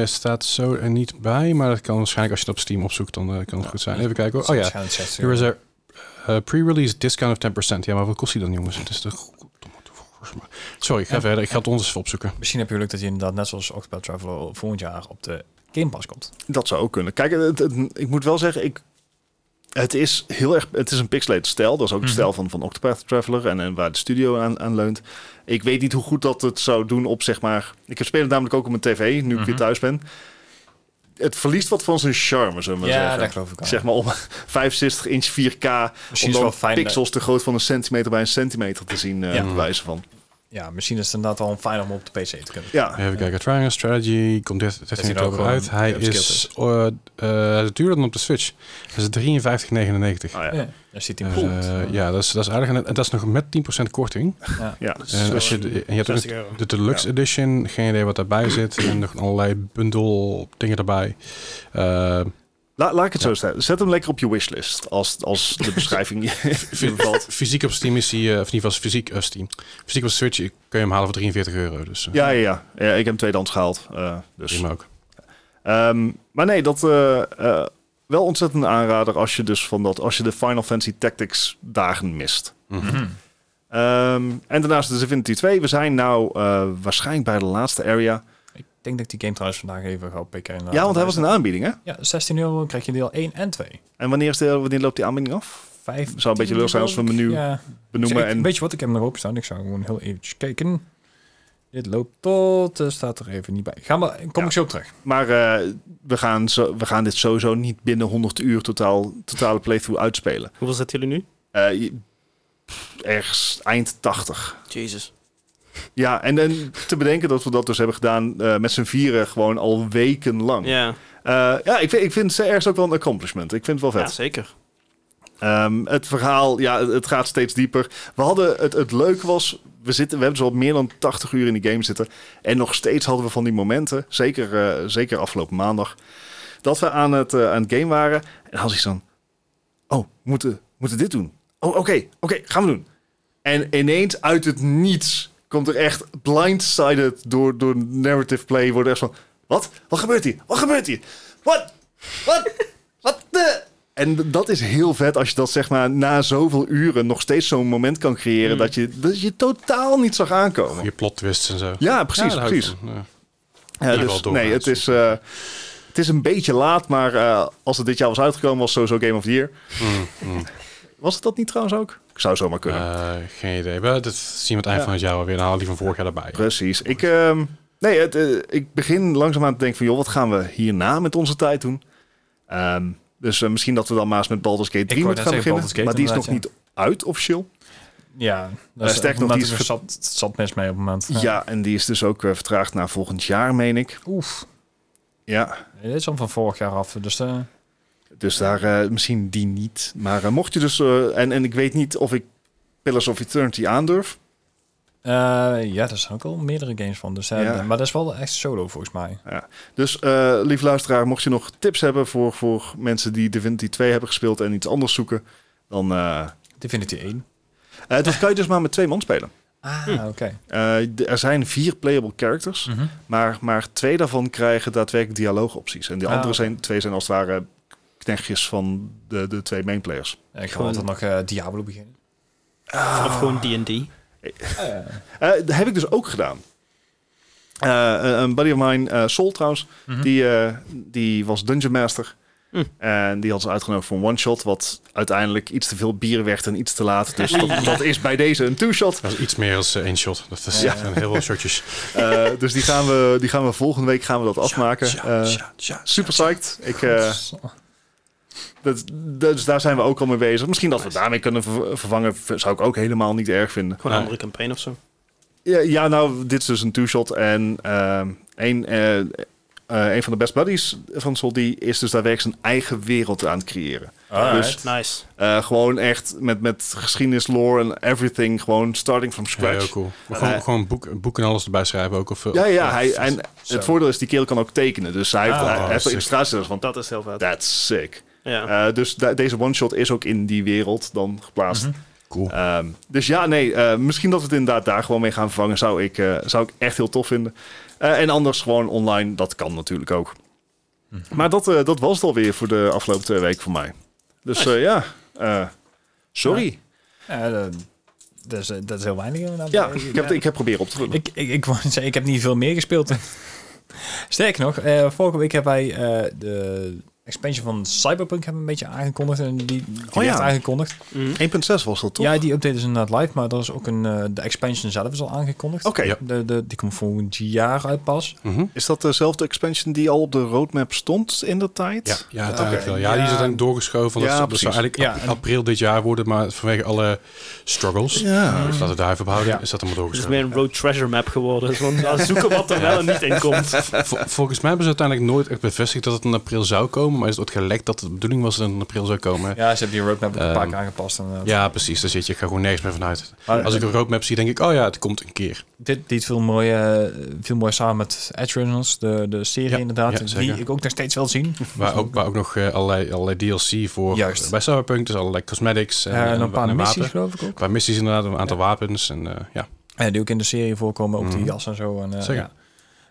Speaker 1: Eh, staat zo er niet bij, maar dat kan waarschijnlijk als je het op Steam opzoekt, dan eh, kan het goed zijn. Even kijken hoor. Oh ja,
Speaker 2: Waarschijnlijk 60
Speaker 1: Hier
Speaker 2: euro.
Speaker 1: is er eh, pre-release discount of 10%. Ja, maar wat kost die dan, jongens? Het is toch... Sorry, ik ga
Speaker 2: Ja.
Speaker 1: verder. Ik ga het ons even opzoeken.
Speaker 2: Misschien heb je geluk dat hij inderdaad net zoals Octopath Traveler volgend jaar op de Game Pass komt.
Speaker 4: Dat zou ook kunnen. Kijk, het- het- ik moet wel zeggen, ik, het is heel erg. Het is een pixelated stijl. Dat is ook de
Speaker 2: Mhm.
Speaker 4: stijl van, van Octopath Traveler en, en waar de studio aan, aan leunt. Ik weet niet hoe goed dat het zou doen op zeg maar. Ik heb spelen namelijk ook op mijn tv, nu ik
Speaker 2: Mhm.
Speaker 4: weer thuis ben. Het verliest wat van zijn charme, zullen we maar
Speaker 2: ja,
Speaker 4: zeggen.
Speaker 2: dat geloof ik al.
Speaker 4: Zeg maar om <laughs> 65 inch 4K,
Speaker 2: misschien
Speaker 4: om
Speaker 2: is het
Speaker 4: dan
Speaker 2: wel fijn. dat-
Speaker 4: pixels te groot van een centimeter bij een centimeter te zien eh
Speaker 2: Ja.
Speaker 4: bij wijze van.
Speaker 2: ja, misschien is het inderdaad wel fijn om op de PC te kunnen.
Speaker 4: Ja,
Speaker 1: Even kijken. Triangle Strategy komt 13 13
Speaker 2: hij nou
Speaker 1: oktober
Speaker 2: gewoon
Speaker 1: uit. Hij
Speaker 2: upskilled
Speaker 1: is eh eh, duurder dan op de Switch. Dat is 53,99.
Speaker 4: Ah, ja.
Speaker 2: Ja. Daar zit hij
Speaker 1: Dus,
Speaker 2: goed.
Speaker 1: eh, ja, dat is, dat is aardig. En dat is nog met 10% korting.
Speaker 4: ja.
Speaker 1: En, als je, de- en je hebt ook
Speaker 3: 60
Speaker 1: nog
Speaker 3: euro.
Speaker 1: de Deluxe Edition. Geen idee wat daarbij zit. En nog allerlei bundel dingen erbij. Eh,
Speaker 4: La- laat ik het zo stellen. Zet hem lekker op je wishlist. Als, als de
Speaker 2: <laughs>
Speaker 4: beschrijving je
Speaker 1: Fy-
Speaker 4: bevalt.
Speaker 1: Fysiek op Steam is hij, eh, of in ieder geval fysiek eh, Steam. Fysiek op Switch kun je hem halen voor 43 euro. Dus eh,
Speaker 4: Ja, ja, ja. ja ik heb hem tweedehands gehaald. eh, dus.
Speaker 1: prima ook.
Speaker 4: Ehm, maar nee, dat eh, eh, wel ontzettend een aanrader als je dus van dat als je de Final Fantasy Tactics dagen mist.
Speaker 1: Mhm.
Speaker 4: Ehm, en daarnaast de Divinity 2. We zijn nou eh, waarschijnlijk bij de laatste area.
Speaker 2: Ik denk dat ik die game trouwens vandaag even ga pikken. en
Speaker 4: ja,
Speaker 2: laten
Speaker 4: want hij was een
Speaker 2: luisteren.
Speaker 4: aanbieding, hè?
Speaker 2: Ja, 16 euro krijg je deel 1 en 2.
Speaker 4: En wanneer, is de, wanneer loopt die aanbieding af?
Speaker 2: Vijf.
Speaker 4: Zou een beetje leuk zijn als we hem nu
Speaker 2: ja.
Speaker 4: benoemen.
Speaker 2: Dus ik-
Speaker 4: en,
Speaker 2: Weet je wat, ik heb hem nog opstaan. Ik zou gewoon heel eventjes kijken. Dit loopt tot... eh, staat er even niet bij. Ga maar, kom
Speaker 4: Ja.
Speaker 2: ik zo op terug.
Speaker 4: maar eh, we, gaan zo, we gaan dit sowieso niet binnen 100 uur totaal, totale playthrough uitspelen.
Speaker 3: Hoeveel zitten jullie nu?
Speaker 4: Eh, je- pff, ergens eind 80.
Speaker 3: Jezus.
Speaker 4: Ja, en, en te bedenken dat we dat dus hebben gedaan eh, met z'n vieren gewoon al weken lang.
Speaker 3: Ja,
Speaker 4: Eh, ja, ik vind, ik vind ze ergens ook wel een accomplishment. Ik vind het wel
Speaker 3: ja
Speaker 4: vet.
Speaker 3: zeker.
Speaker 4: Ehm, het verhaal, ja, het- het gaat steeds dieper. We hadden, het, het leuke was, we, zitten, we hebben zo al meer dan 80 uur in die game zitten. En nog steeds hadden we van die momenten, zeker, eh, zeker afgelopen maandag, dat we aan het, eh, aan het game waren. En als ik dan, oh, we moeten, we moeten dit doen. Oh, oké, oké, gaan we doen. En ineens uit het niets komt er echt blindsided door, door narrative play, worden echt van, wat? Wat gebeurt hier? Wat gebeurt hier? Wat? Wat? Wat de? En dat is heel vet als je dat zeg maar na zoveel uren nog steeds zo'n moment kan creëren
Speaker 3: Mm.
Speaker 4: dat, je, dat je totaal niet zag aankomen.
Speaker 1: Je plot twists en zo.
Speaker 4: Ja, precies,
Speaker 1: Ja, daar hou ik
Speaker 4: precies.
Speaker 1: van. Ja.
Speaker 4: Ja,
Speaker 1: Die
Speaker 4: dus,
Speaker 1: wel door
Speaker 4: nee,
Speaker 1: gaan
Speaker 4: het is, eh, het is een beetje laat, maar eh, als het dit jaar was uitgekomen, was het sowieso Game of the Year.
Speaker 1: Mm, mm.
Speaker 4: Was het dat niet trouwens ook? Zou zomaar kunnen.
Speaker 1: Eh, geen idee. Maar dat zien we het eind
Speaker 4: Ja.
Speaker 1: van het jaar wel weer. Dan halen die van vorig jaar erbij.
Speaker 4: Precies. Ik, ehm, nee, het, eh, ik begin langzaamaan te denken van, joh, wat gaan we hierna met onze tijd doen? Ehm, dus eh, misschien dat we dan maar eens met Baldur's Gate 3
Speaker 2: wou
Speaker 4: moeten
Speaker 2: net
Speaker 4: gaan
Speaker 2: zeggen,
Speaker 4: beginnen.
Speaker 2: Baldur's Gate
Speaker 4: maar die is nog
Speaker 2: inderdaad,
Speaker 4: niet uit officieel.
Speaker 2: Ja.
Speaker 4: Eh,
Speaker 2: Dus
Speaker 4: sterk
Speaker 2: op het
Speaker 4: nog,
Speaker 2: moment
Speaker 4: die is
Speaker 2: er zat, zat mis mee op het moment.
Speaker 4: Ja. en die is dus ook eh, vertraagd naar volgend jaar, meen ik.
Speaker 2: Oef.
Speaker 4: Ja,
Speaker 2: Nee, Dit is al van vorig jaar af. Dus eh,
Speaker 4: dus daar eh, misschien die niet. Maar eh, mocht je dus... eh, en, en ik weet niet of ik Pillars of Eternity aandurf.
Speaker 2: eh, ja, er zijn ook al meerdere games van. Dus, eh,
Speaker 4: Ja.
Speaker 2: Maar dat is wel echt solo volgens mij.
Speaker 4: Dus eh lieve luisteraar, mocht je nog tips hebben voor, voor mensen die Divinity 2 hebben gespeeld en iets anders zoeken, dan... eh,
Speaker 2: Divinity 1.
Speaker 4: eh, dat kan je dus maar met twee man spelen.
Speaker 2: Ah, oké.
Speaker 4: Eh, d- er zijn vier playable characters,
Speaker 2: Mhm.
Speaker 4: maar, maar twee daarvan krijgen daadwerkelijk dialoogopties. En de
Speaker 2: Ah,
Speaker 4: andere
Speaker 2: oké.
Speaker 4: zijn, twee zijn als het ware knechtjes van de, de twee mainplayers.
Speaker 2: Ik ga
Speaker 3: Gewoon-
Speaker 2: altijd nog eh, Diablo
Speaker 4: <laughs>
Speaker 2: beginnen.
Speaker 3: Ah. Of gewoon D&D.
Speaker 4: Eh, dat heb ik dus ook gedaan. Eh, een- een buddy of mine, eh Sol trouwens,
Speaker 2: Mhm.
Speaker 4: die, eh, die was Dungeon Master.
Speaker 3: Hm.
Speaker 4: En die had ze uitgenodigd voor een one-shot, wat uiteindelijk iets te veel bier werd en iets te laat. Dus dat, dat is bij deze een two-shot.
Speaker 1: Dat is iets meer dan één shot. Dat is
Speaker 2: Ja.
Speaker 1: echt een heel veel
Speaker 4: <laughs>
Speaker 1: shotjes.
Speaker 4: Eh, dus die gaan, we, die gaan we volgende week gaan we dat afmaken. Eh, super psyched. Ik, eh, dat, dat- dus daar zijn we ook al mee bezig. Misschien dat we daarmee kunnen ver- vervangen, v- zou ik ook helemaal niet erg vinden.
Speaker 3: Gewoon
Speaker 1: Nee.
Speaker 3: een andere campaign of zo.
Speaker 4: Ja, ja, nou, dit is dus een two-shot. En ehm een, eh, eh, een van de best buddies van Sol, die is dus daadwerkelijk zijn eigen wereld aan het creëren.
Speaker 3: Ah,
Speaker 2: Alright.
Speaker 4: Dus-
Speaker 3: Nice.
Speaker 4: Eh, gewoon echt met, met geschiedenis, lore en everything. Gewoon starting from
Speaker 1: Ja, heel
Speaker 4: scratch.
Speaker 1: cool. Maar gewoon,
Speaker 4: Eh.
Speaker 1: gewoon boek, boek en alles erbij schrijven ook. Of, eh,
Speaker 4: Ja, ja. Hij, en
Speaker 2: Zo.
Speaker 4: het voordeel is, die kerel kan ook tekenen. Dus hij heeft,
Speaker 2: Ah,
Speaker 4: hij heeft
Speaker 1: sick.
Speaker 4: er illustraties ervan.
Speaker 3: Dat is heel vet.
Speaker 4: That's sick.
Speaker 3: Ja.
Speaker 4: Eh, dus da- deze one-shot is ook in die wereld dan geplaatst.
Speaker 1: Mhm. Cool.
Speaker 4: Ehm, dus ja, nee, eh, misschien dat we het inderdaad daar gewoon mee gaan vervangen. Zou ik, eh, zou ik echt heel tof vinden. Eh, en anders gewoon online, dat kan natuurlijk ook.
Speaker 1: Mhm.
Speaker 4: Maar dat, eh, dat was het alweer voor de afgelopen twee weken voor mij. Dus eh, ja, eh, sorry.
Speaker 2: Ja, eh, dat, dat is, eh, dat is heel weinig inderdaad.
Speaker 4: Ja, ik, heb, ik heb proberen op te vullen.
Speaker 2: Ik, ik, ik, wou zeggen, ik heb niet veel meer gespeeld. <laughs> Sterker nog, eh, vorige week hebben wij eh, de expansion van Cyberpunk hebben we een beetje aangekondigd. En die, die werd
Speaker 4: Oh ja.
Speaker 2: aangekondigd.
Speaker 4: 1.6 was dat toch?
Speaker 2: Ja, die update is inderdaad live, maar er is ook een, eh, de expansion zelf is al aangekondigd.
Speaker 4: Oké,
Speaker 1: Ja.
Speaker 2: De, de, die komt volgend jaar uit pas.
Speaker 1: Mhm.
Speaker 4: is dat dezelfde expansion die al op de roadmap stond in de tijd?
Speaker 1: Ja, ja, dat denk ik
Speaker 4: Oké.
Speaker 1: wel. Ja, die is
Speaker 2: Ja.
Speaker 1: uiteindelijk doorgeschoven. want dat,
Speaker 4: Ja,
Speaker 1: zou- dat
Speaker 4: precies.
Speaker 1: zou eigenlijk
Speaker 2: Ja,
Speaker 1: ap-
Speaker 2: en-
Speaker 1: april dit jaar worden, maar vanwege alle struggles.
Speaker 4: Ja. Dus
Speaker 1: Dus dat het daar even behouden,
Speaker 2: Ja.
Speaker 1: is dat allemaal
Speaker 3: Het is
Speaker 1: doorgeschoven.
Speaker 3: meer een road treasure map geworden. Zo van, nou, zoeken wat er wel en niet in komt.
Speaker 1: Vol- volgens mij hebben ze uiteindelijk nooit echt bevestigd dat het in april zou komen. komen. Maar is het ook gelekt dat het de bedoeling was dat het in april zou komen?
Speaker 2: Ja, ze hebben die roadmap een paar
Speaker 1: Ehm,
Speaker 2: keer aangepast. En, eh,
Speaker 1: Ja, precies. Daar zit je. Ik ga gewoon nergens meer vanuit.
Speaker 2: maar
Speaker 1: Als ik een roadmap zie, denk ik, oh ja, het komt een keer.
Speaker 2: dit, dit viel, mooi, eh, viel mooi samen met Edge Runners, de, de serie
Speaker 1: Ja,
Speaker 2: inderdaad.
Speaker 1: ja,
Speaker 2: die
Speaker 1: zeker.
Speaker 2: ik ook nog steeds wil zien.
Speaker 1: Waar ook, waar ook nog eh, allerlei, allerlei DLC voor.
Speaker 2: Juist.
Speaker 1: Bij Cyberpunk, dus allerlei cosmetics. En,
Speaker 2: Eh, en
Speaker 1: en
Speaker 2: een
Speaker 1: wa-
Speaker 2: paar
Speaker 1: en
Speaker 2: missies
Speaker 1: wapen.
Speaker 2: geloof ik ook.
Speaker 1: Een paar missies inderdaad, een aantal wapens. En eh, ja,
Speaker 2: Eh, die ook in de serie voorkomen, ook die
Speaker 1: Mhm.
Speaker 2: jas en zo. En, eh,
Speaker 1: Zeker.
Speaker 2: ja.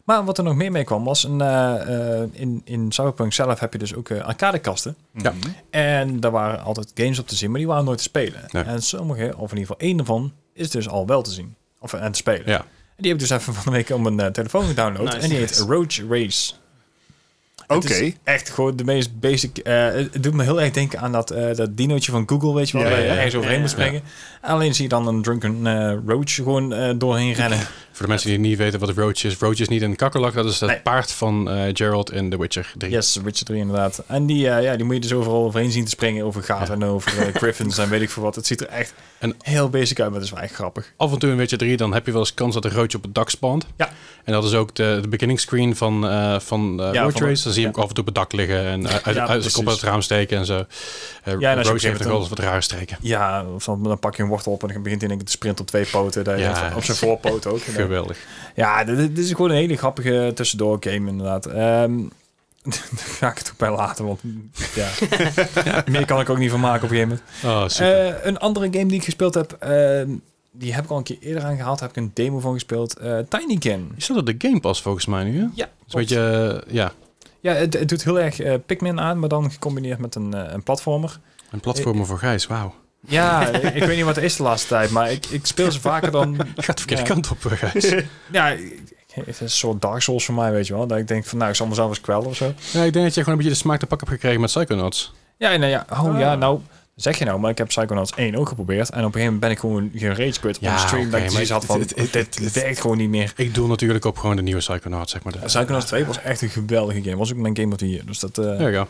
Speaker 2: Maar wat er nog meer mee kwam was, een, eh, eh, in, in Cyberpunk zelf heb je dus ook eh, arcadekasten.
Speaker 1: Ja.
Speaker 4: Mhm.
Speaker 2: En daar waren altijd games op te zien, maar die waren nooit te spelen.
Speaker 1: Nee.
Speaker 2: En sommige, of in ieder geval één ervan, is dus al wel te zien. Of en te spelen.
Speaker 1: Ja.
Speaker 2: En die heb ik dus even <laughs> van de week op mijn eh, telefoon gedownload.
Speaker 3: Nice.
Speaker 2: en die heet Roach Race.
Speaker 4: Oké.
Speaker 2: Het is echt gewoon de meest basic. eh, het doet me heel erg denken aan dat, eh dat dinootje van Google, weet je wel.
Speaker 4: Ja,
Speaker 2: waar
Speaker 1: ja,
Speaker 2: je
Speaker 1: ja.
Speaker 2: ergens overheen
Speaker 3: Ja,
Speaker 2: moet
Speaker 3: ja.
Speaker 2: springen. Alleen zie je dan een drunken eh roach gewoon eh, doorheen rennen.
Speaker 1: voor de mensen die niet weten wat een roach is. Roach is niet een kakkerlak, dat is het
Speaker 2: Nee.
Speaker 1: paard van eh, Gerald in The Witcher 3.
Speaker 2: Yes, Witcher 3 inderdaad. En die, eh, ja, die moet je dus overal overheen zien te springen. Over gaten en over eh, griffins en weet ik veel wat. Het ziet er echt
Speaker 1: En-
Speaker 2: heel basic uit, maar dat is wel echt grappig.
Speaker 1: Af en toe in Witcher 3, dan heb je wel eens kans dat een roach op het dak spant.
Speaker 2: Ja.
Speaker 1: En dat is ook de, de beginning screen van, eh van eh,
Speaker 2: Ja,
Speaker 1: Roach
Speaker 2: van de-
Speaker 1: Race. Dan zie je hem ook
Speaker 2: ja.
Speaker 1: af en toe op het dak liggen en eh, uit, uit
Speaker 2: Ja,
Speaker 1: zijn kop uit
Speaker 2: precies.
Speaker 1: het raam steken en zo. Eh,
Speaker 2: gegeven
Speaker 1: roach heeft
Speaker 2: moment
Speaker 1: toch wel eens wat rare streken.
Speaker 2: Ja, of dan, dan pak je een wortel op en dan begint hij in één keer te sprinten op twee poten. Daar
Speaker 1: Ja.
Speaker 2: op- op zijn voorpoot ook. En dan-
Speaker 1: Geweldig.
Speaker 2: Ja, dit, dit is gewoon een hele grappige tussendoor game inderdaad. Ehm <laughs> daar ga ik het ook bij laten, want <laughs> ja. meer kan ik ook niet van maken op een gegeven moment.
Speaker 1: Oh, super.
Speaker 2: Eh, een andere game die ik gespeeld heb, ehm, die heb ik al een keer eerder aangehaald. Daar heb ik een demo van gespeeld. Eh Tinykin.
Speaker 1: is dat op de Game Pass volgens mij nu, hè?
Speaker 2: Ja,
Speaker 1: Zo'n beetje, eh, ja,
Speaker 2: Ja, het, het doet heel erg eh, Pikmin aan, maar dan gecombineerd met een, eh, een platformer.
Speaker 1: een
Speaker 2: Eh,
Speaker 1: platformer voor Gijs, wauw.
Speaker 2: <laughs> Ja, ik, ik weet niet wat het is de laatste tijd, maar ik, ik speel ze vaker <laughs> dan...
Speaker 1: Gaat de verkeerde
Speaker 2: Ja.
Speaker 1: kant op, eh,
Speaker 2: <laughs>
Speaker 1: Gijs.
Speaker 2: Ja, ik- het is een soort Dark Souls voor mij, weet je wel. Dat ik denk van, nou, ik zal mezelf eens kwellen of zo.
Speaker 1: ja, ik denk dat jij gewoon een beetje de smaak te pak hebt gekregen met Psychonauts.
Speaker 2: Ja, nou ja, oh ja, nou... Zeg je nou, maar ik heb Psychonauts 1 ook geprobeerd. En op een gegeven moment ben ik gewoon gerage quit op
Speaker 1: Ja,
Speaker 2: een stream.
Speaker 1: oké,
Speaker 2: dat ik
Speaker 1: maar
Speaker 2: zoiets had van,
Speaker 1: het-
Speaker 2: dit,
Speaker 1: het- het- het-
Speaker 2: werkt gewoon niet meer.
Speaker 1: Ik doe natuurlijk op gewoon de nieuwe Psychonauts, zeg maar. De-
Speaker 2: Psychonauts 2 was echt een geweldige game. Was ook mijn game of the year. Dus dat, eh,
Speaker 1: There you go.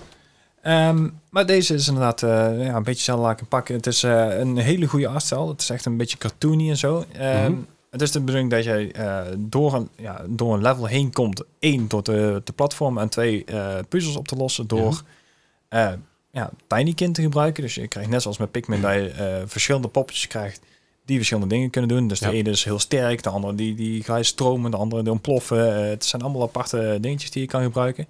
Speaker 2: Ehm, maar deze is inderdaad eh, ja, een beetje zelf laken pakken. Het is eh, een hele goede artstijl. Het is echt een beetje cartoony en zo. Ehm,
Speaker 1: Mhm.
Speaker 2: Het is de bedoeling dat jij eh, door, een, ja, door een level heen komt. Eén, door de, de platform. En twee, eh, puzzels op te lossen door eh ja, Tinykin te gebruiken. Dus je krijgt net zoals met Pikmin dat je eh, verschillende poppetjes krijgt die verschillende dingen kunnen doen. Dus de
Speaker 1: Ja.
Speaker 2: ene is heel sterk, de andere die, die gaat stromen, de andere die ontploffen. Eh, het zijn allemaal aparte dingetjes die je kan gebruiken.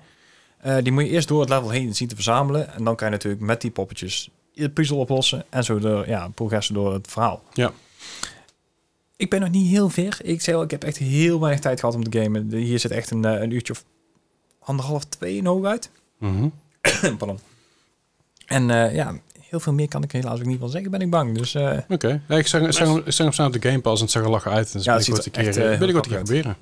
Speaker 2: Eh, die moet je eerst door het level heen zien te verzamelen. En dan kan je natuurlijk met die poppetjes je puzzel oplossen. En zo door, ja, progressen door het verhaal.
Speaker 1: Ja.
Speaker 2: Ik ben nog niet heel ver. Ik zei al, ik heb echt heel weinig tijd gehad om te gamen. De- Hier zit echt een, eh, een uurtje of anderhalf, twee in hooguit.
Speaker 1: Mhm.
Speaker 2: <clears throat> Pardon. En eh, ja, heel veel meer kan ik helaas ook niet van zeggen, ben ik bang. Dus eh,
Speaker 1: Oké. Ja, ik zag ik zag hem ik zag hem staan op de Game Pass en het zag er lachen uit. Dus
Speaker 2: Ja,
Speaker 1: ja,
Speaker 2: het
Speaker 1: ik wat een
Speaker 2: ziet er
Speaker 1: keer,
Speaker 2: echt,
Speaker 1: eh,
Speaker 2: eh,
Speaker 1: wil ik
Speaker 2: heel
Speaker 1: wat een keer proberen.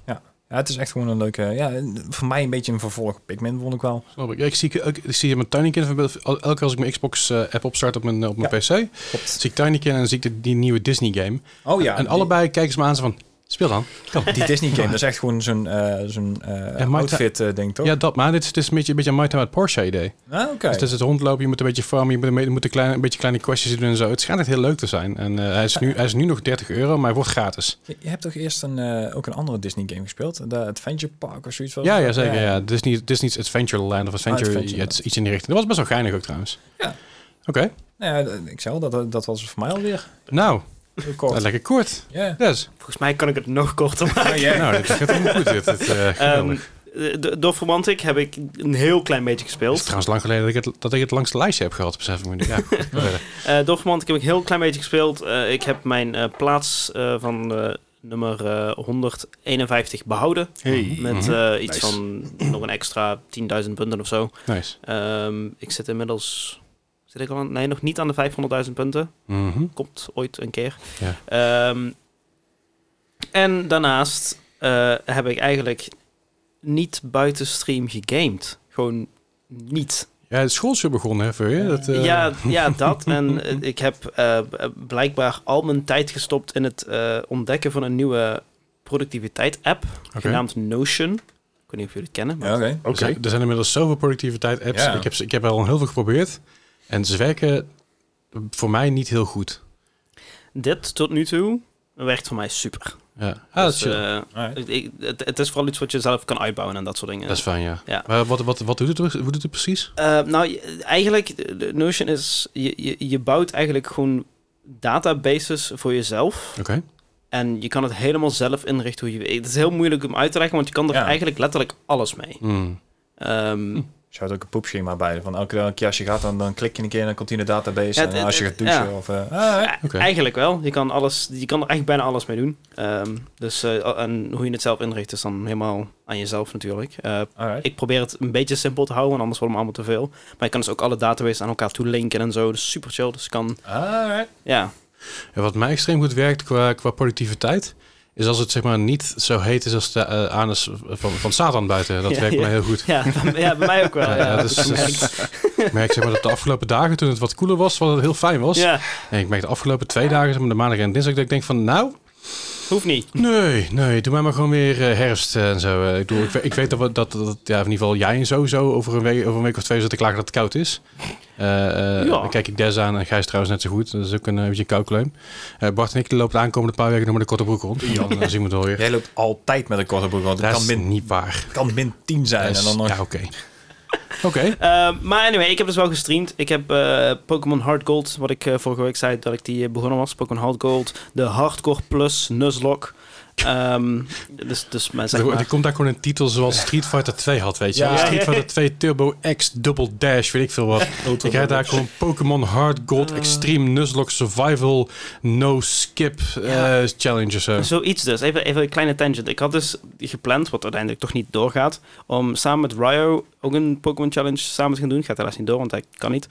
Speaker 2: Ja, het is echt gewoon een leuke... Ja, een- voor mij een beetje een vervolg op Pikmin, vond ik wel.
Speaker 1: Snap ik. Ja, ik zie, ik, ik zie mijn Tinykin, voorbeeld- elke keer als ik mijn Xbox-app opstart op mijn, eh, op mijn PC,
Speaker 2: Klopt.
Speaker 1: zie ik Tinykin en zie ik de- die nieuwe Disney-game.
Speaker 2: Oh ja.
Speaker 1: en allebei kijken ze me aan zo van, speel dan.
Speaker 2: Die, die Disney
Speaker 1: <laughs>
Speaker 2: game, dat is echt gewoon zo'n eh zo'n eh,
Speaker 1: Ja, Marta-
Speaker 2: outfit eh, ding, toch?
Speaker 1: Ja, dat, maar dit is, dit is een beetje, een beetje een My Time at Porsche idee.
Speaker 2: Ah, oké.
Speaker 1: Dus het is het rondlopen, je moet een beetje farmen, je moet een, beetje- moet een, klein, een beetje kleine questjes doen en zo. Het schijnt echt heel leuk te zijn. En eh, hij, is nu, hij is nu nog 30 euro, maar hij wordt gratis.
Speaker 2: Je, je hebt toch eerst een, eh, ook een andere Disney game gespeeld? De Adventure Park of zoiets? was
Speaker 1: Ja,
Speaker 2: het?
Speaker 1: ja zeker. Ja. Disney, Disney's Adventureland of Adventure,
Speaker 2: Adventure,
Speaker 1: ja, het is iets in die richting. Dat was best wel geinig ook trouwens.
Speaker 2: Ja.
Speaker 1: Oké,
Speaker 2: Nou ja, d- ik zei al, dat, dat was het voor mij
Speaker 1: <laughs>
Speaker 2: alweer.
Speaker 1: nou,
Speaker 2: Heel kort.
Speaker 1: eh, lekker kort.
Speaker 2: Ja.
Speaker 1: Yes.
Speaker 3: <laughs> Volgens mij kan ik het nog korter maken.
Speaker 2: Maar jij-
Speaker 1: Nou, dit gaat helemaal goed. Dit, dit, eh,
Speaker 3: Ehm
Speaker 1: geweldig.
Speaker 3: d- door Romantic heb ik een heel klein beetje
Speaker 1: Het
Speaker 3: gespeeld.
Speaker 1: is trouwens lang geleden dat ik het, dat ik het langs de lijstje heb gehad, besef ik me nu. Ja, goed, verder.
Speaker 3: Eh Dorfmand, ik heb een heel klein beetje gespeeld. Eh, ik heb mijn eh, plaats eh, van eh, nummer eh, 151 behouden.
Speaker 4: Hey.
Speaker 3: Met
Speaker 1: Mhm.
Speaker 3: eh, iets
Speaker 4: Nice.
Speaker 3: van nog een extra 10.000 punten of zo.
Speaker 1: nice.
Speaker 3: Ehm, ik zit inmiddels... Zit ik al aan, nee, nog niet aan de 500.000 punten.
Speaker 1: Mhm.
Speaker 3: Komt ooit een keer.
Speaker 1: Ja.
Speaker 3: Ehm, en daarnaast eh, heb ik eigenlijk niet buiten stream gegamed. Gewoon niet.
Speaker 1: Ja, het school is weer begonnen, hè, voor je? Dat, eh,
Speaker 3: Ja, ja, dat. En eh, ik heb eh, b- blijkbaar al mijn tijd gestopt in het eh, ontdekken van een nieuwe productiviteit-app,
Speaker 1: oké.
Speaker 3: genaamd Notion. Ik weet niet of jullie het kennen, maar
Speaker 2: Ja, oké.
Speaker 4: Oké.
Speaker 1: Er, zijn, er zijn inmiddels zoveel productiviteit apps.
Speaker 2: Ja.
Speaker 1: Ik, heb, ze- ik heb er al heel veel geprobeerd. En ze werken voor mij niet heel goed.
Speaker 3: dit tot nu toe werkt voor mij super.
Speaker 1: Ja. Ah, dat is
Speaker 3: Dus,
Speaker 1: chill.
Speaker 3: eh,
Speaker 2: Alright.
Speaker 3: ik- ik- het, het is vooral iets wat je zelf kan uitbouwen en dat soort dingen.
Speaker 1: dat is fijn, ja.
Speaker 3: ja.
Speaker 1: Maar wat, wat, wat doet het, hoe doet het precies?
Speaker 3: Eh, nou, je- eigenlijk, de- de Notion is, je, je, je bouwt eigenlijk gewoon databases voor jezelf.
Speaker 1: Oké.
Speaker 3: En je kan het helemaal zelf inrichten hoe je... Het is heel moeilijk om uit te leggen, want je kan er
Speaker 2: Ja.
Speaker 3: eigenlijk letterlijk alles mee.
Speaker 1: Hmm.
Speaker 3: Ehm,
Speaker 2: Dus je houdt ook een poepschema bij. Van elke, elke keer als je gaat, dan, dan klik je een keer en dan komt hij in de database.
Speaker 3: Ja, het-
Speaker 2: en als je
Speaker 3: het-
Speaker 2: gaat douchen
Speaker 3: ja.
Speaker 2: of... eh, ah,
Speaker 3: eh,
Speaker 1: Oké.
Speaker 3: Eigenlijk wel. Je kan, alles, je kan er echt bijna alles mee doen. Ehm, dus, eh, en hoe je het zelf inricht is dan helemaal aan jezelf natuurlijk. Eh,
Speaker 2: alright.
Speaker 3: ik probeer het een beetje simpel te houden, want anders wordt het allemaal te veel. Maar je kan dus ook alle databases aan elkaar toe linken en zo. Dus super chill. Dus je kan,
Speaker 2: Alright.
Speaker 3: ja,
Speaker 1: En wat mij extreem goed werkt qua, qua productiviteit, is als het zeg maar niet zo heet is als de eh, anus van, van Satan buiten. Dat
Speaker 3: Ja,
Speaker 1: werkt
Speaker 3: ja.
Speaker 1: mij heel goed.
Speaker 3: ja, ja, bij mij ook wel.
Speaker 1: Ja,
Speaker 3: <laughs> Ja,
Speaker 1: ja, dus-
Speaker 3: dat merk ik.
Speaker 1: Ik merk zeg maar, dat de afgelopen dagen, toen het wat koeler was, wat het heel fijn was.
Speaker 3: ja,
Speaker 1: En ik merk de afgelopen twee dagen, zeg maar, de maandag en dinsdag, dat ik denk van nou,
Speaker 3: hoeft niet.
Speaker 1: Nee, nee, doe mij maar gewoon weer eh, herfst eh, en zo. Eh, ik, bedoel, ik, we- ik weet dat, we, dat, dat ja, in ieder geval jij en sowieso over een week, over een week of twee zitten klagen dat het koud is. Eh, eh,
Speaker 3: Ja.
Speaker 1: Dan kijk ik Des aan en Gijs trouwens net zo goed. Dat is ook een eh, beetje een koukleum. Eh, Bart en ik lopen de aankomende paar weken nog met een korte broek rond. Dan eh, zien we het wel weer.
Speaker 2: Jij loopt altijd met een korte broek, want
Speaker 1: dat
Speaker 2: het kan
Speaker 1: is
Speaker 2: min,
Speaker 1: niet waar.
Speaker 2: kan min 10 zijn.
Speaker 1: Dat is-
Speaker 2: en dan nog...
Speaker 1: Ja, oké. Oké.
Speaker 3: Eh, maar anyway, ik heb dus wel gestreamd. Ik heb eh, Pokémon Hard Gold, wat ik eh, vorige week zei dat ik die eh, begonnen was. Pokémon Hard Gold, de Hardcore Plus Nuzlocke. Ehm, dus, dus maar zeg
Speaker 1: Er-
Speaker 3: maar.
Speaker 1: Er komt daar gewoon een titel zoals Street Fighter 2 had, weet je.
Speaker 2: Ja.
Speaker 1: wel. Street Fighter 2 Turbo X Double Dash, weet ik veel wat. ik heb daar gewoon Pokémon Hard Gold Extreme Nuzlocke Survival No Skip eh,
Speaker 3: Ja.
Speaker 1: Challenge of zo.
Speaker 3: Zoiets dus. Even, even een kleine tangent. Ik had dus gepland, wat uiteindelijk toch niet doorgaat, om samen met Ryo ook een Pokémon Challenge samen te gaan doen. Gaat helaas niet door, want hij kan niet.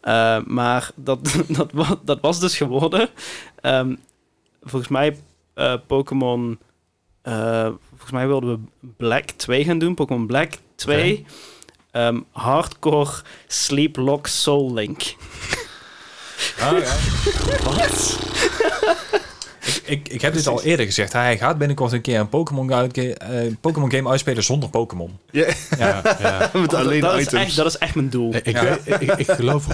Speaker 3: Eh, maar dat, <laughs> dat, wa- dat was dus geworden. ehm, volgens mij eh, Pokémon... eh, volgens mij wilden we Black 2 gaan doen. Pokémon Black 2. ehm, hardcore Sleep Lock Soul Link.
Speaker 2: Ah, Alright. ik, ik, ik heb dit al eerder gezegd. Hij gaat binnenkort een keer een Pokémon uitge- eh, Pokémon game uitspelen zonder Pokémon.
Speaker 4: Ja,
Speaker 1: Ja, ja.
Speaker 4: <laughs> met
Speaker 3: Dat-
Speaker 4: alleen
Speaker 3: dat,
Speaker 4: items.
Speaker 3: Is echt, dat is echt mijn doel.
Speaker 1: Ik,
Speaker 2: Ja.
Speaker 1: weet- ik, ik geloof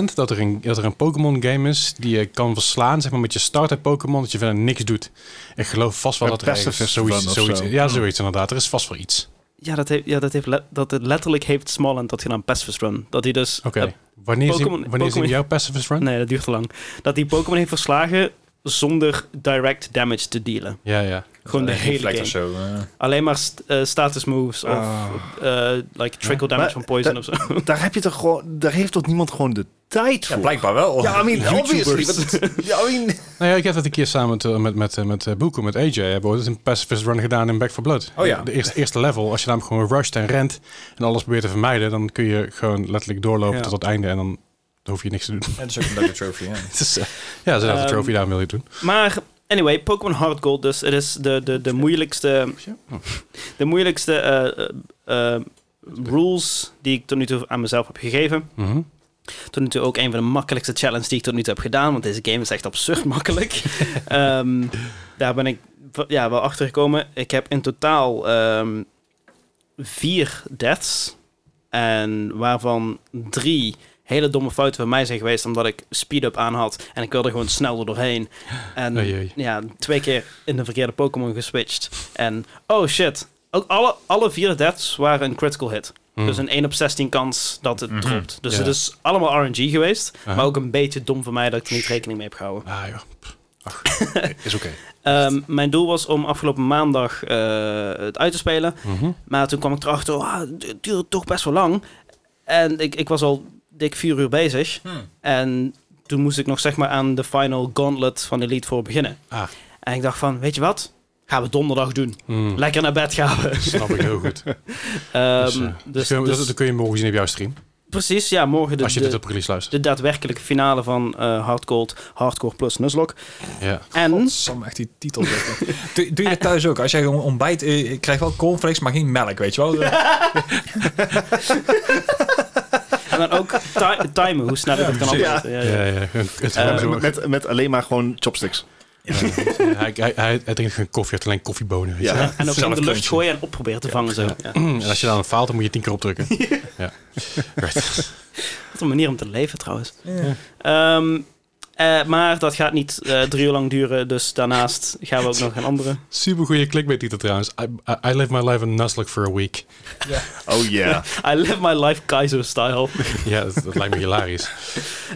Speaker 1: 100% dat er een, dat er een Pokémon game is die je kan verslaan zeg maar, met je starter Pokémon, dat je verder niks doet. Ik geloof vast wel
Speaker 4: Een
Speaker 1: dat er ergens
Speaker 4: pacifist
Speaker 1: zoiets,
Speaker 4: van of
Speaker 1: zoiets
Speaker 4: zo.
Speaker 1: Ja, zoiets inderdaad. Er is vast wel iets.
Speaker 3: Ja, dat heeft, ja, dat heeft le- dat het letterlijk heeft Smallland dat gedaan, Pacifist Run. Dat hij dus...
Speaker 1: Oké.
Speaker 3: eh,
Speaker 1: wanneer zien
Speaker 3: Pokémon-
Speaker 1: wanneer zien
Speaker 3: Pokémon-
Speaker 1: we jouw Pacifist Run?
Speaker 3: nee, dat duurt te lang. Dat hij Pokémon heeft verslagen zonder direct damage te dealen.
Speaker 1: Ja, ja.
Speaker 3: Gewoon de
Speaker 2: Eh,
Speaker 3: hele
Speaker 2: reflect
Speaker 3: game.
Speaker 2: of zo. eh.
Speaker 3: Alleen maar st- eh, status moves of
Speaker 4: Ah.
Speaker 3: eh, like trickle
Speaker 4: Ja,
Speaker 3: damage
Speaker 4: maar
Speaker 3: van poison
Speaker 4: dat-
Speaker 3: of zo. <laughs>
Speaker 4: Daar, heb je toch gewoon, daar heeft toch niemand gewoon de tijd
Speaker 2: Ja,
Speaker 4: voor?
Speaker 2: blijkbaar wel.
Speaker 4: Ja, I mean, <laughs>
Speaker 2: YouTubers.
Speaker 4: obviously. but- <laughs> Ja, I mean,
Speaker 1: Nou ja, ik heb dat een keer samen met, eh, met, met, eh, met eh, Boeko, met AJ, hebben we ooit een pacifist run gedaan in Back for Blood.
Speaker 2: Oh ja.
Speaker 1: De eerste, eerste level, als je namelijk gewoon rusht en rent en alles probeert te vermijden, dan kun je gewoon letterlijk doorlopen
Speaker 3: Ja.
Speaker 1: tot het einde en dan hoef je niks te doen. <laughs>
Speaker 2: En dat is ook een leuke trophy. Ja.
Speaker 1: Het is, eh, ja, ze hadden de
Speaker 3: Ehm,
Speaker 1: trophy daar wil je doen.
Speaker 3: Maar anyway, Pokémon Hard Gold dus. Het is de, de, de moeilijkste...
Speaker 4: Oh.
Speaker 3: De moeilijkste eh, eh, eh, rules die ik tot nu toe aan mezelf heb gegeven.
Speaker 1: Mhm.
Speaker 3: tot nu toe ook een van de makkelijkste challenges die ik tot nu toe heb gedaan. Want deze game is echt absurd
Speaker 1: <laughs>
Speaker 3: makkelijk. Ehm, daar ben ik v- ja, wel achter gekomen. Ik heb in totaal ehm, vier deaths. En waarvan drie hele domme fouten van mij zijn geweest. Omdat ik speed-up aan had. En ik wilde gewoon snel er doorheen. En
Speaker 1: Oei, oei.
Speaker 3: ja, twee keer in de verkeerde Pokémon geswitcht. En oh shit. Ook alle, alle vier deaths waren een critical hit.
Speaker 1: Mhm.
Speaker 3: Dus een 1 op 16 kans dat het
Speaker 2: Mhm.
Speaker 3: dropt. Dus
Speaker 1: Ja.
Speaker 3: het is allemaal RNG geweest.
Speaker 1: Aha.
Speaker 3: Maar ook een beetje dom van mij dat ik er niet rekening mee heb gehouden.
Speaker 1: Ah joh.
Speaker 3: <laughs>
Speaker 4: is oké.
Speaker 3: Ehm, mijn doel was om afgelopen maandag eh, het uit te spelen.
Speaker 1: Mhm.
Speaker 3: Maar toen kwam ik erachter, ah, het duurde toch best wel lang. En ik, ik was al dik vier uur bezig.
Speaker 1: Hmm.
Speaker 3: En toen moest ik nog zeg maar aan de final gauntlet van Elite voor beginnen.
Speaker 1: Ah.
Speaker 3: En ik dacht van, weet je wat? Gaan we donderdag doen.
Speaker 1: Mhm.
Speaker 3: Lekker naar bed gaan we.
Speaker 1: Snap ik heel
Speaker 3: <laughs>
Speaker 1: goed.
Speaker 3: Ehm,
Speaker 1: <laughs> dus, eh,
Speaker 3: dus-
Speaker 1: dat kun je-
Speaker 3: dus-
Speaker 1: dat, dat kun je morgen zien op jouw stream.
Speaker 3: precies, ja, morgen de,
Speaker 1: als je
Speaker 3: de-
Speaker 1: dit op release luistert.
Speaker 3: de daadwerkelijke finale van eh Hard Gold, Hardcore plus Nuzlocke.
Speaker 1: Ja.
Speaker 3: En
Speaker 2: Sam, echt die titel. <laughs> doe, doe je dat thuis ook? Als jij gewoon ontbijt, eh, ik krijg wel cornflakes, maar geen melk, weet <laughs> je wel?
Speaker 3: En dan ook ti- timen, hoe snel ik het kan
Speaker 2: precies.
Speaker 3: opzetten. Ja,
Speaker 1: Ja,
Speaker 3: ja.
Speaker 1: ja. Het-
Speaker 3: Eh,
Speaker 1: het-
Speaker 4: Met, met, met alleen maar gewoon chopsticks.
Speaker 1: hij, hij, hij, hij drinkt geen koffie, hij heeft alleen koffiebonen. weet je.
Speaker 4: Ja.
Speaker 3: En ook in de lucht
Speaker 2: Zelfkantje.
Speaker 3: gooien en op proberen te vangen zo. Ja.
Speaker 1: Mm, En als je dan faalt, dan moet je tien keer
Speaker 4: <laughs>
Speaker 1: opdrukken. ja. Right. <laughs>
Speaker 3: Wat een manier om te leven trouwens.
Speaker 2: Ja.
Speaker 3: Ehm, Eh, maar dat gaat niet eh, drie uur lang duren, dus daarnaast gaan we ook nog een andere.
Speaker 1: Super goede clickbait titel trouwens. I, I- I live my life in Nasdaq for a week.
Speaker 4: Oh yeah.
Speaker 3: I live my life Kaiser-style.
Speaker 1: <laughs> Ja, dat, dat lijkt me hilarisch.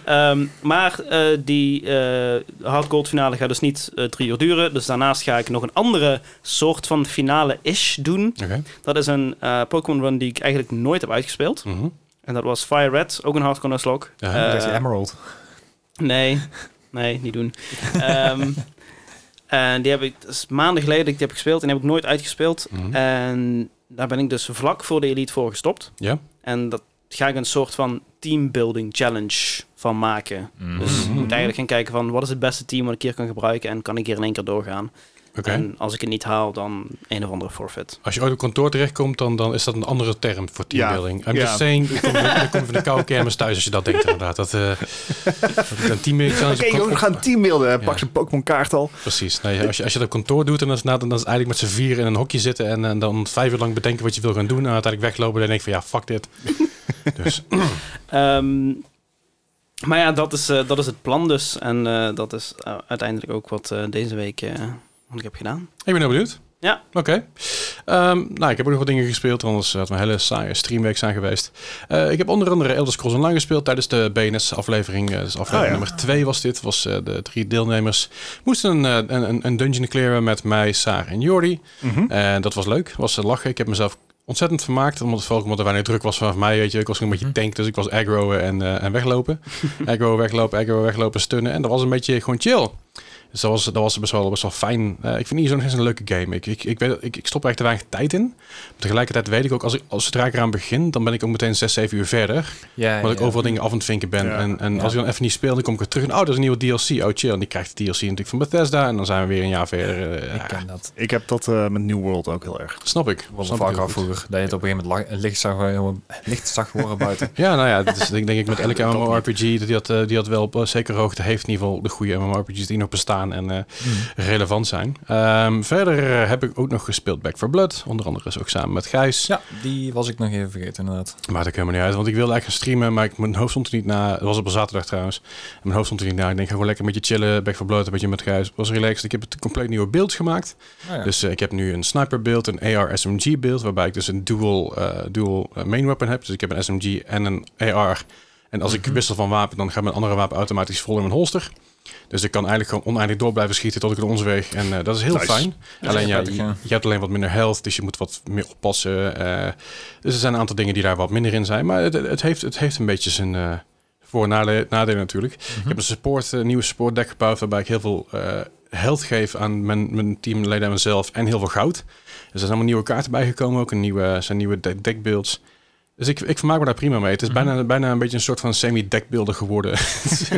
Speaker 3: Ehm, maar eh, die eh, hard gold finale gaat dus niet eh, drie uur duren. Dus daarnaast ga ik nog een andere soort van finale-ish doen.
Speaker 1: <laughs> Oké.
Speaker 3: Dat is een eh, Pokémon run die ik eigenlijk nooit heb uitgespeeld.
Speaker 1: Mhm.
Speaker 3: En dat was Fire Red, ook een hardcore Nuzlocke.
Speaker 1: Ja,
Speaker 2: Dat
Speaker 3: Eh,
Speaker 2: is Emerald.
Speaker 3: nee, nee, niet doen. Ehm, en die heb ik dat is maanden geleden dat ik die heb gespeeld en die heb ik nooit uitgespeeld.
Speaker 1: Mhm.
Speaker 3: En daar ben ik dus vlak voor de Elite voor gestopt.
Speaker 1: Ja?
Speaker 3: En dat ga ik een soort van teambuilding challenge van maken. Dus je
Speaker 1: Mhm.
Speaker 3: moet eigenlijk gaan kijken van wat is het beste team wat ik hier kan gebruiken en kan ik hier in één keer doorgaan.
Speaker 1: Oké.
Speaker 3: En als ik het niet haal, dan een of andere forfeit.
Speaker 1: Als je ooit op kantoor terechtkomt, dan, dan is dat een andere term voor teambuilding. I'm
Speaker 4: Ja.
Speaker 1: just saying, dan kom je- dan kom je van de koude kermis thuis als je dat denkt inderdaad. Dat,
Speaker 4: <laughs>
Speaker 1: eh dat ik een teambuilding challenge
Speaker 4: Oké,
Speaker 1: op
Speaker 4: joh, we
Speaker 1: kantoor-
Speaker 4: gaan teambeelden. hè.
Speaker 1: Ja.
Speaker 4: Pak zijn Pokémon kaart al.
Speaker 1: Precies. Nee, als, je, als je dat op kantoor doet, en dan is, na, dan is het eigenlijk met z'n vier in een hokje zitten en, en dan vijf uur lang bedenken wat je wil gaan doen en uiteindelijk weglopen en denk ik van ja, fuck
Speaker 4: <laughs>
Speaker 1: dit. dus
Speaker 3: Ehm, maar ja, dat is, eh, dat is het plan dus. En eh, dat is eh, uiteindelijk ook wat eh, deze week eh, wat ik heb gedaan.
Speaker 1: ik ben heel benieuwd.
Speaker 3: Ja.
Speaker 1: Oké. Ehm, nou, ik heb ook nog wat dingen gespeeld, anders had mijn hele saaie streamweek zijn geweest. Eh, ik heb onder andere Elder Scrolls Online gespeeld tijdens de BNS-aflevering. dus aflevering
Speaker 4: Ah, ja.
Speaker 1: nummer 2 was dit. Was, eh, de drie deelnemers moesten een, eh, een, een- een dungeon clearen met mij, Saar en Jordi.
Speaker 4: Eh,
Speaker 1: En dat was leuk. was eh, lachen. Ik heb mezelf ontzettend vermaakt. Omdat het vooral omdat er weinig druk was vanaf mij. Weet je. Ik was een
Speaker 2: Mhm.
Speaker 1: beetje tank, dus ik was aggroen en, eh, en
Speaker 2: <laughs>
Speaker 1: weglopen. aggro, weglopen, aggro, weglopen, stunnen. En dat was een beetje gewoon chill. Dus dat was, dat was best, wel, best wel fijn. Eh, ik vind niet zo'n een leuke game. Ik, ik, ik, weet, ik, ik stop er echt te weinig tijd in. Maar tegelijkertijd weet ik ook, als ik, als zodra ik eraan begin, dan ben ik ook meteen 6, 7 uur verder.
Speaker 2: Ja,
Speaker 1: Omdat ik overal dingen af aan het vinken ben.
Speaker 4: Ja.
Speaker 1: En, en
Speaker 2: Ja.
Speaker 1: als ik dan even niet speel, dan kom ik er terug. En, oh, dat is een nieuwe DLC. Oh, chill. En die krijgt de DLC natuurlijk van Bethesda. En dan zijn we weer een jaar verder. Eh,
Speaker 2: Ik ken dat.
Speaker 4: Ik heb dat eh, met New World ook heel erg.
Speaker 1: Snap ik.
Speaker 2: Was een
Speaker 1: Snap ik heel
Speaker 2: vark
Speaker 1: goed.
Speaker 2: vroeger. Dat je het op een gegeven moment la- licht zag, horen- licht zag horen buiten.
Speaker 1: Ja, nou ja, dat is denk, denk ik met elke
Speaker 4: Dat
Speaker 1: MMORPG die dat, eh, die dat wel op eh, zekere hoogte heeft. In ieder geval de goede MMORPG's die nog bestaan en eh, relevant zijn. Ehm, verder eh, heb ik ook nog gespeeld Back for Blood. Onder andere is ook samen met Gijs.
Speaker 2: <laughs> Ja, die was ik nog even vergeten inderdaad.
Speaker 1: Maakt ook helemaal niet uit, want ik wilde eigenlijk gaan streamen, maar ik, mijn hoofd stond er niet na. Het was op een zaterdag trouwens. En mijn hoofd stond er niet na. Ik denk, ga gewoon lekker met je chillen, Back for Blood, een beetje met Gijs. was relaxed. Ik heb het compleet nieuwe beeld gemaakt.
Speaker 2: Nou ja.
Speaker 1: Dus eh, ik heb nu een sniperbeeld, een AR SMG beeld, waarbij ik dus een dual, eh, dual eh, main weapon heb. Dus ik heb een SMG en een AR. En als
Speaker 2: Mhm.
Speaker 1: ik wissel van wapen, dan gaat mijn andere wapen automatisch vol in mijn holster. Dus ik kan eigenlijk gewoon oneindig door blijven schieten tot ik de ons weg. En eh, dat is heel
Speaker 4: Nice.
Speaker 1: fijn. alleen
Speaker 2: heel
Speaker 1: ja,
Speaker 2: prettig,
Speaker 1: je,
Speaker 2: ja.
Speaker 1: je hebt alleen wat minder health, dus je moet wat meer oppassen. eh. dus er zijn een aantal dingen die daar wat minder in zijn. Maar het, het, heeft, het heeft een beetje zijn eh, voor- en nale- nadelen natuurlijk.
Speaker 2: Mhm.
Speaker 1: Ik heb een support, een nieuwe support deck gebouwd waarbij ik heel veel eh health geef aan mijn, mijn teamleden en mezelf en heel veel goud. Dus er zijn allemaal nieuwe kaarten bijgekomen, ook een nieuwe, zijn nieuwe de- deckbuilds. Dus ik, ik vermaak me daar prima mee. Het is
Speaker 2: Mhm.
Speaker 1: bijna, bijna een beetje een soort van semi-deckbuilder geworden. <laughs>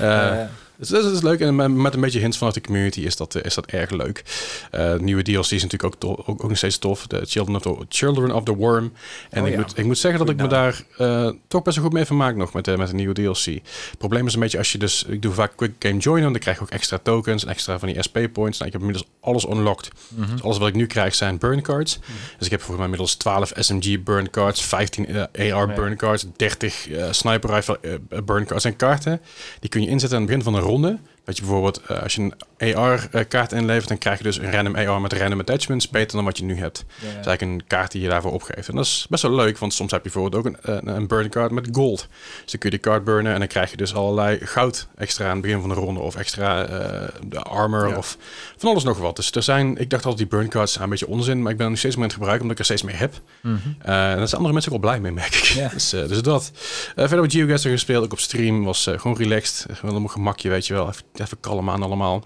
Speaker 1: Eh,
Speaker 2: Eh,
Speaker 1: dus dat is, dat is leuk. En met- met een beetje hints vanuit de community is dat, eh, is dat erg leuk. Eh, nieuwe DLC is natuurlijk ook, to- ook, ook nog steeds tof. De Children of the, Children of the Worm. En
Speaker 2: Oh
Speaker 1: ik,
Speaker 2: ja.
Speaker 1: moet, ik moet zeggen dat ik
Speaker 2: Goed
Speaker 1: me daar eh, toch best wel goed mee vermaak nog met, de met de nieuwe DLC. Het probleem is een beetje als je dus... Ik doe vaak Quick Game Join en dan krijg ik ook extra tokens en extra van die SP points. Nou, ik heb inmiddels alles unlocked.
Speaker 2: mhm.
Speaker 1: Dus alles wat ik nu krijg zijn burn cards. Dus ik heb volgens mij inmiddels 12 SMG burn cards, 15 eh, AR
Speaker 2: Ja.
Speaker 1: burn cards, 30 eh, sniper rifle eh, burn cards en kaarten. Die kun je inzetten aan het begin van een ronde. Dat je bijvoorbeeld, eh, als je een AR eh, kaart inlevert, dan krijg je dus een random AR met random attachments, beter dan wat je nu hebt.
Speaker 2: Ja, ja.
Speaker 1: Dat is eigenlijk een kaart die je daarvoor opgeeft. En dat is best wel leuk, want soms heb je bijvoorbeeld ook een, eh, een, een burn card met gold. Dus dan kun je die card burnen en dan krijg je dus allerlei goud extra aan het begin van de ronde. Of extra eh, de armor
Speaker 4: Ja.
Speaker 1: of van alles nog wat. Dus er zijn, ik dacht altijd die burn cards zijn een beetje onzin, maar ik ben er nog steeds meer aan het gebruiken omdat ik er steeds meer heb.
Speaker 2: <laughs> Mhm.
Speaker 1: Eh, en daar zijn andere mensen ook wel blij mee, merk ik.
Speaker 2: Ja.
Speaker 1: <laughs> Dus, eh, dus dat. Eh, verder met GeoGuessr gespeeld, ook op stream. Was eh, gewoon relaxed. Eh, Gewoon op mijn gemakje, weet je wel. Even, even kalm aan allemaal.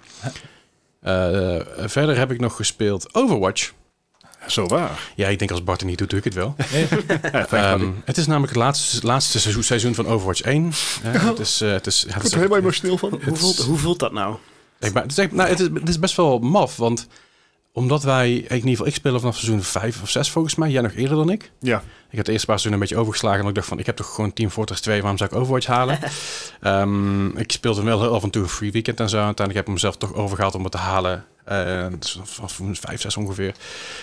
Speaker 1: Eh, eh, verder heb ik nog gespeeld Overwatch.
Speaker 4: Zo waar.
Speaker 1: Ja, ik denk als Bart het niet doet, doe ik het wel.
Speaker 2: oh.
Speaker 4: Ja,
Speaker 1: Ehm, het is namelijk het laatste, laatste seizoen, seizoen van Overwatch 1. Eh,
Speaker 4: <laughs>
Speaker 1: het is, eh, het is, ja, het is,
Speaker 4: helemaal emotioneel van.
Speaker 3: Hoe voelt, hoe voelt dat nou?
Speaker 1: ik ben- het is echt- nou, het, is, het is best wel maf, want omdat wij, ik in ieder geval, ik speel vanaf seizoen 5 of 6 volgens mij, jij nog eerder dan ik.
Speaker 4: Ja.
Speaker 1: Ik had de eerste paar seizoenen een beetje overgeslagen. En ik dacht van, ik heb toch gewoon Team Fortress 2. Waarom zou ik Overwatch halen? Ehm, ik speelde hem wel heel af en toe een free weekend en zo. Uiteindelijk heb ik mezelf toch overgehaald om het te halen. Eh, dus vanaf vijf, zes ongeveer.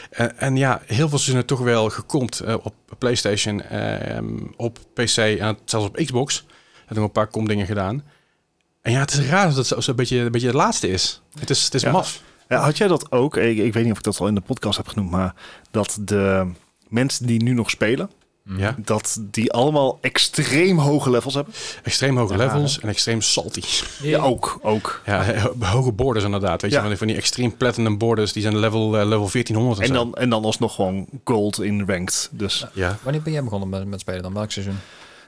Speaker 1: En, en ja, heel veel seizoenen toch wel gekomt eh, op PlayStation, ehm, op PC en zelfs op Xbox. Heb ik een paar komdingen gedaan. En ja, het is raar dat het zo- zo'n beetje, een beetje de laatste is. Het is, het is
Speaker 4: Ja.
Speaker 1: maf.
Speaker 4: Eh, Had jij dat ook? Ik, ik weet niet of ik dat al in de podcast heb genoemd, maar dat de mensen die nu nog spelen,
Speaker 1: Ja.
Speaker 4: dat die allemaal extreem hoge levels hebben.
Speaker 1: Extreem hoge
Speaker 2: Ja,
Speaker 1: levels en extreem salty.
Speaker 4: Ja,
Speaker 2: oh.
Speaker 4: ook, ook.
Speaker 1: Ja, <laughs> he- hoge borders inderdaad. Weet
Speaker 4: Ja.
Speaker 1: je, van die, van die extreem platinum borders, die zijn level, eh, level 1400 en,
Speaker 4: En
Speaker 1: zo.
Speaker 4: dan, en dan alsnog gewoon gold in ranked. Dus
Speaker 1: Ja.
Speaker 2: Wanneer ben jij begonnen met, met spelen dan? Welk seizoen?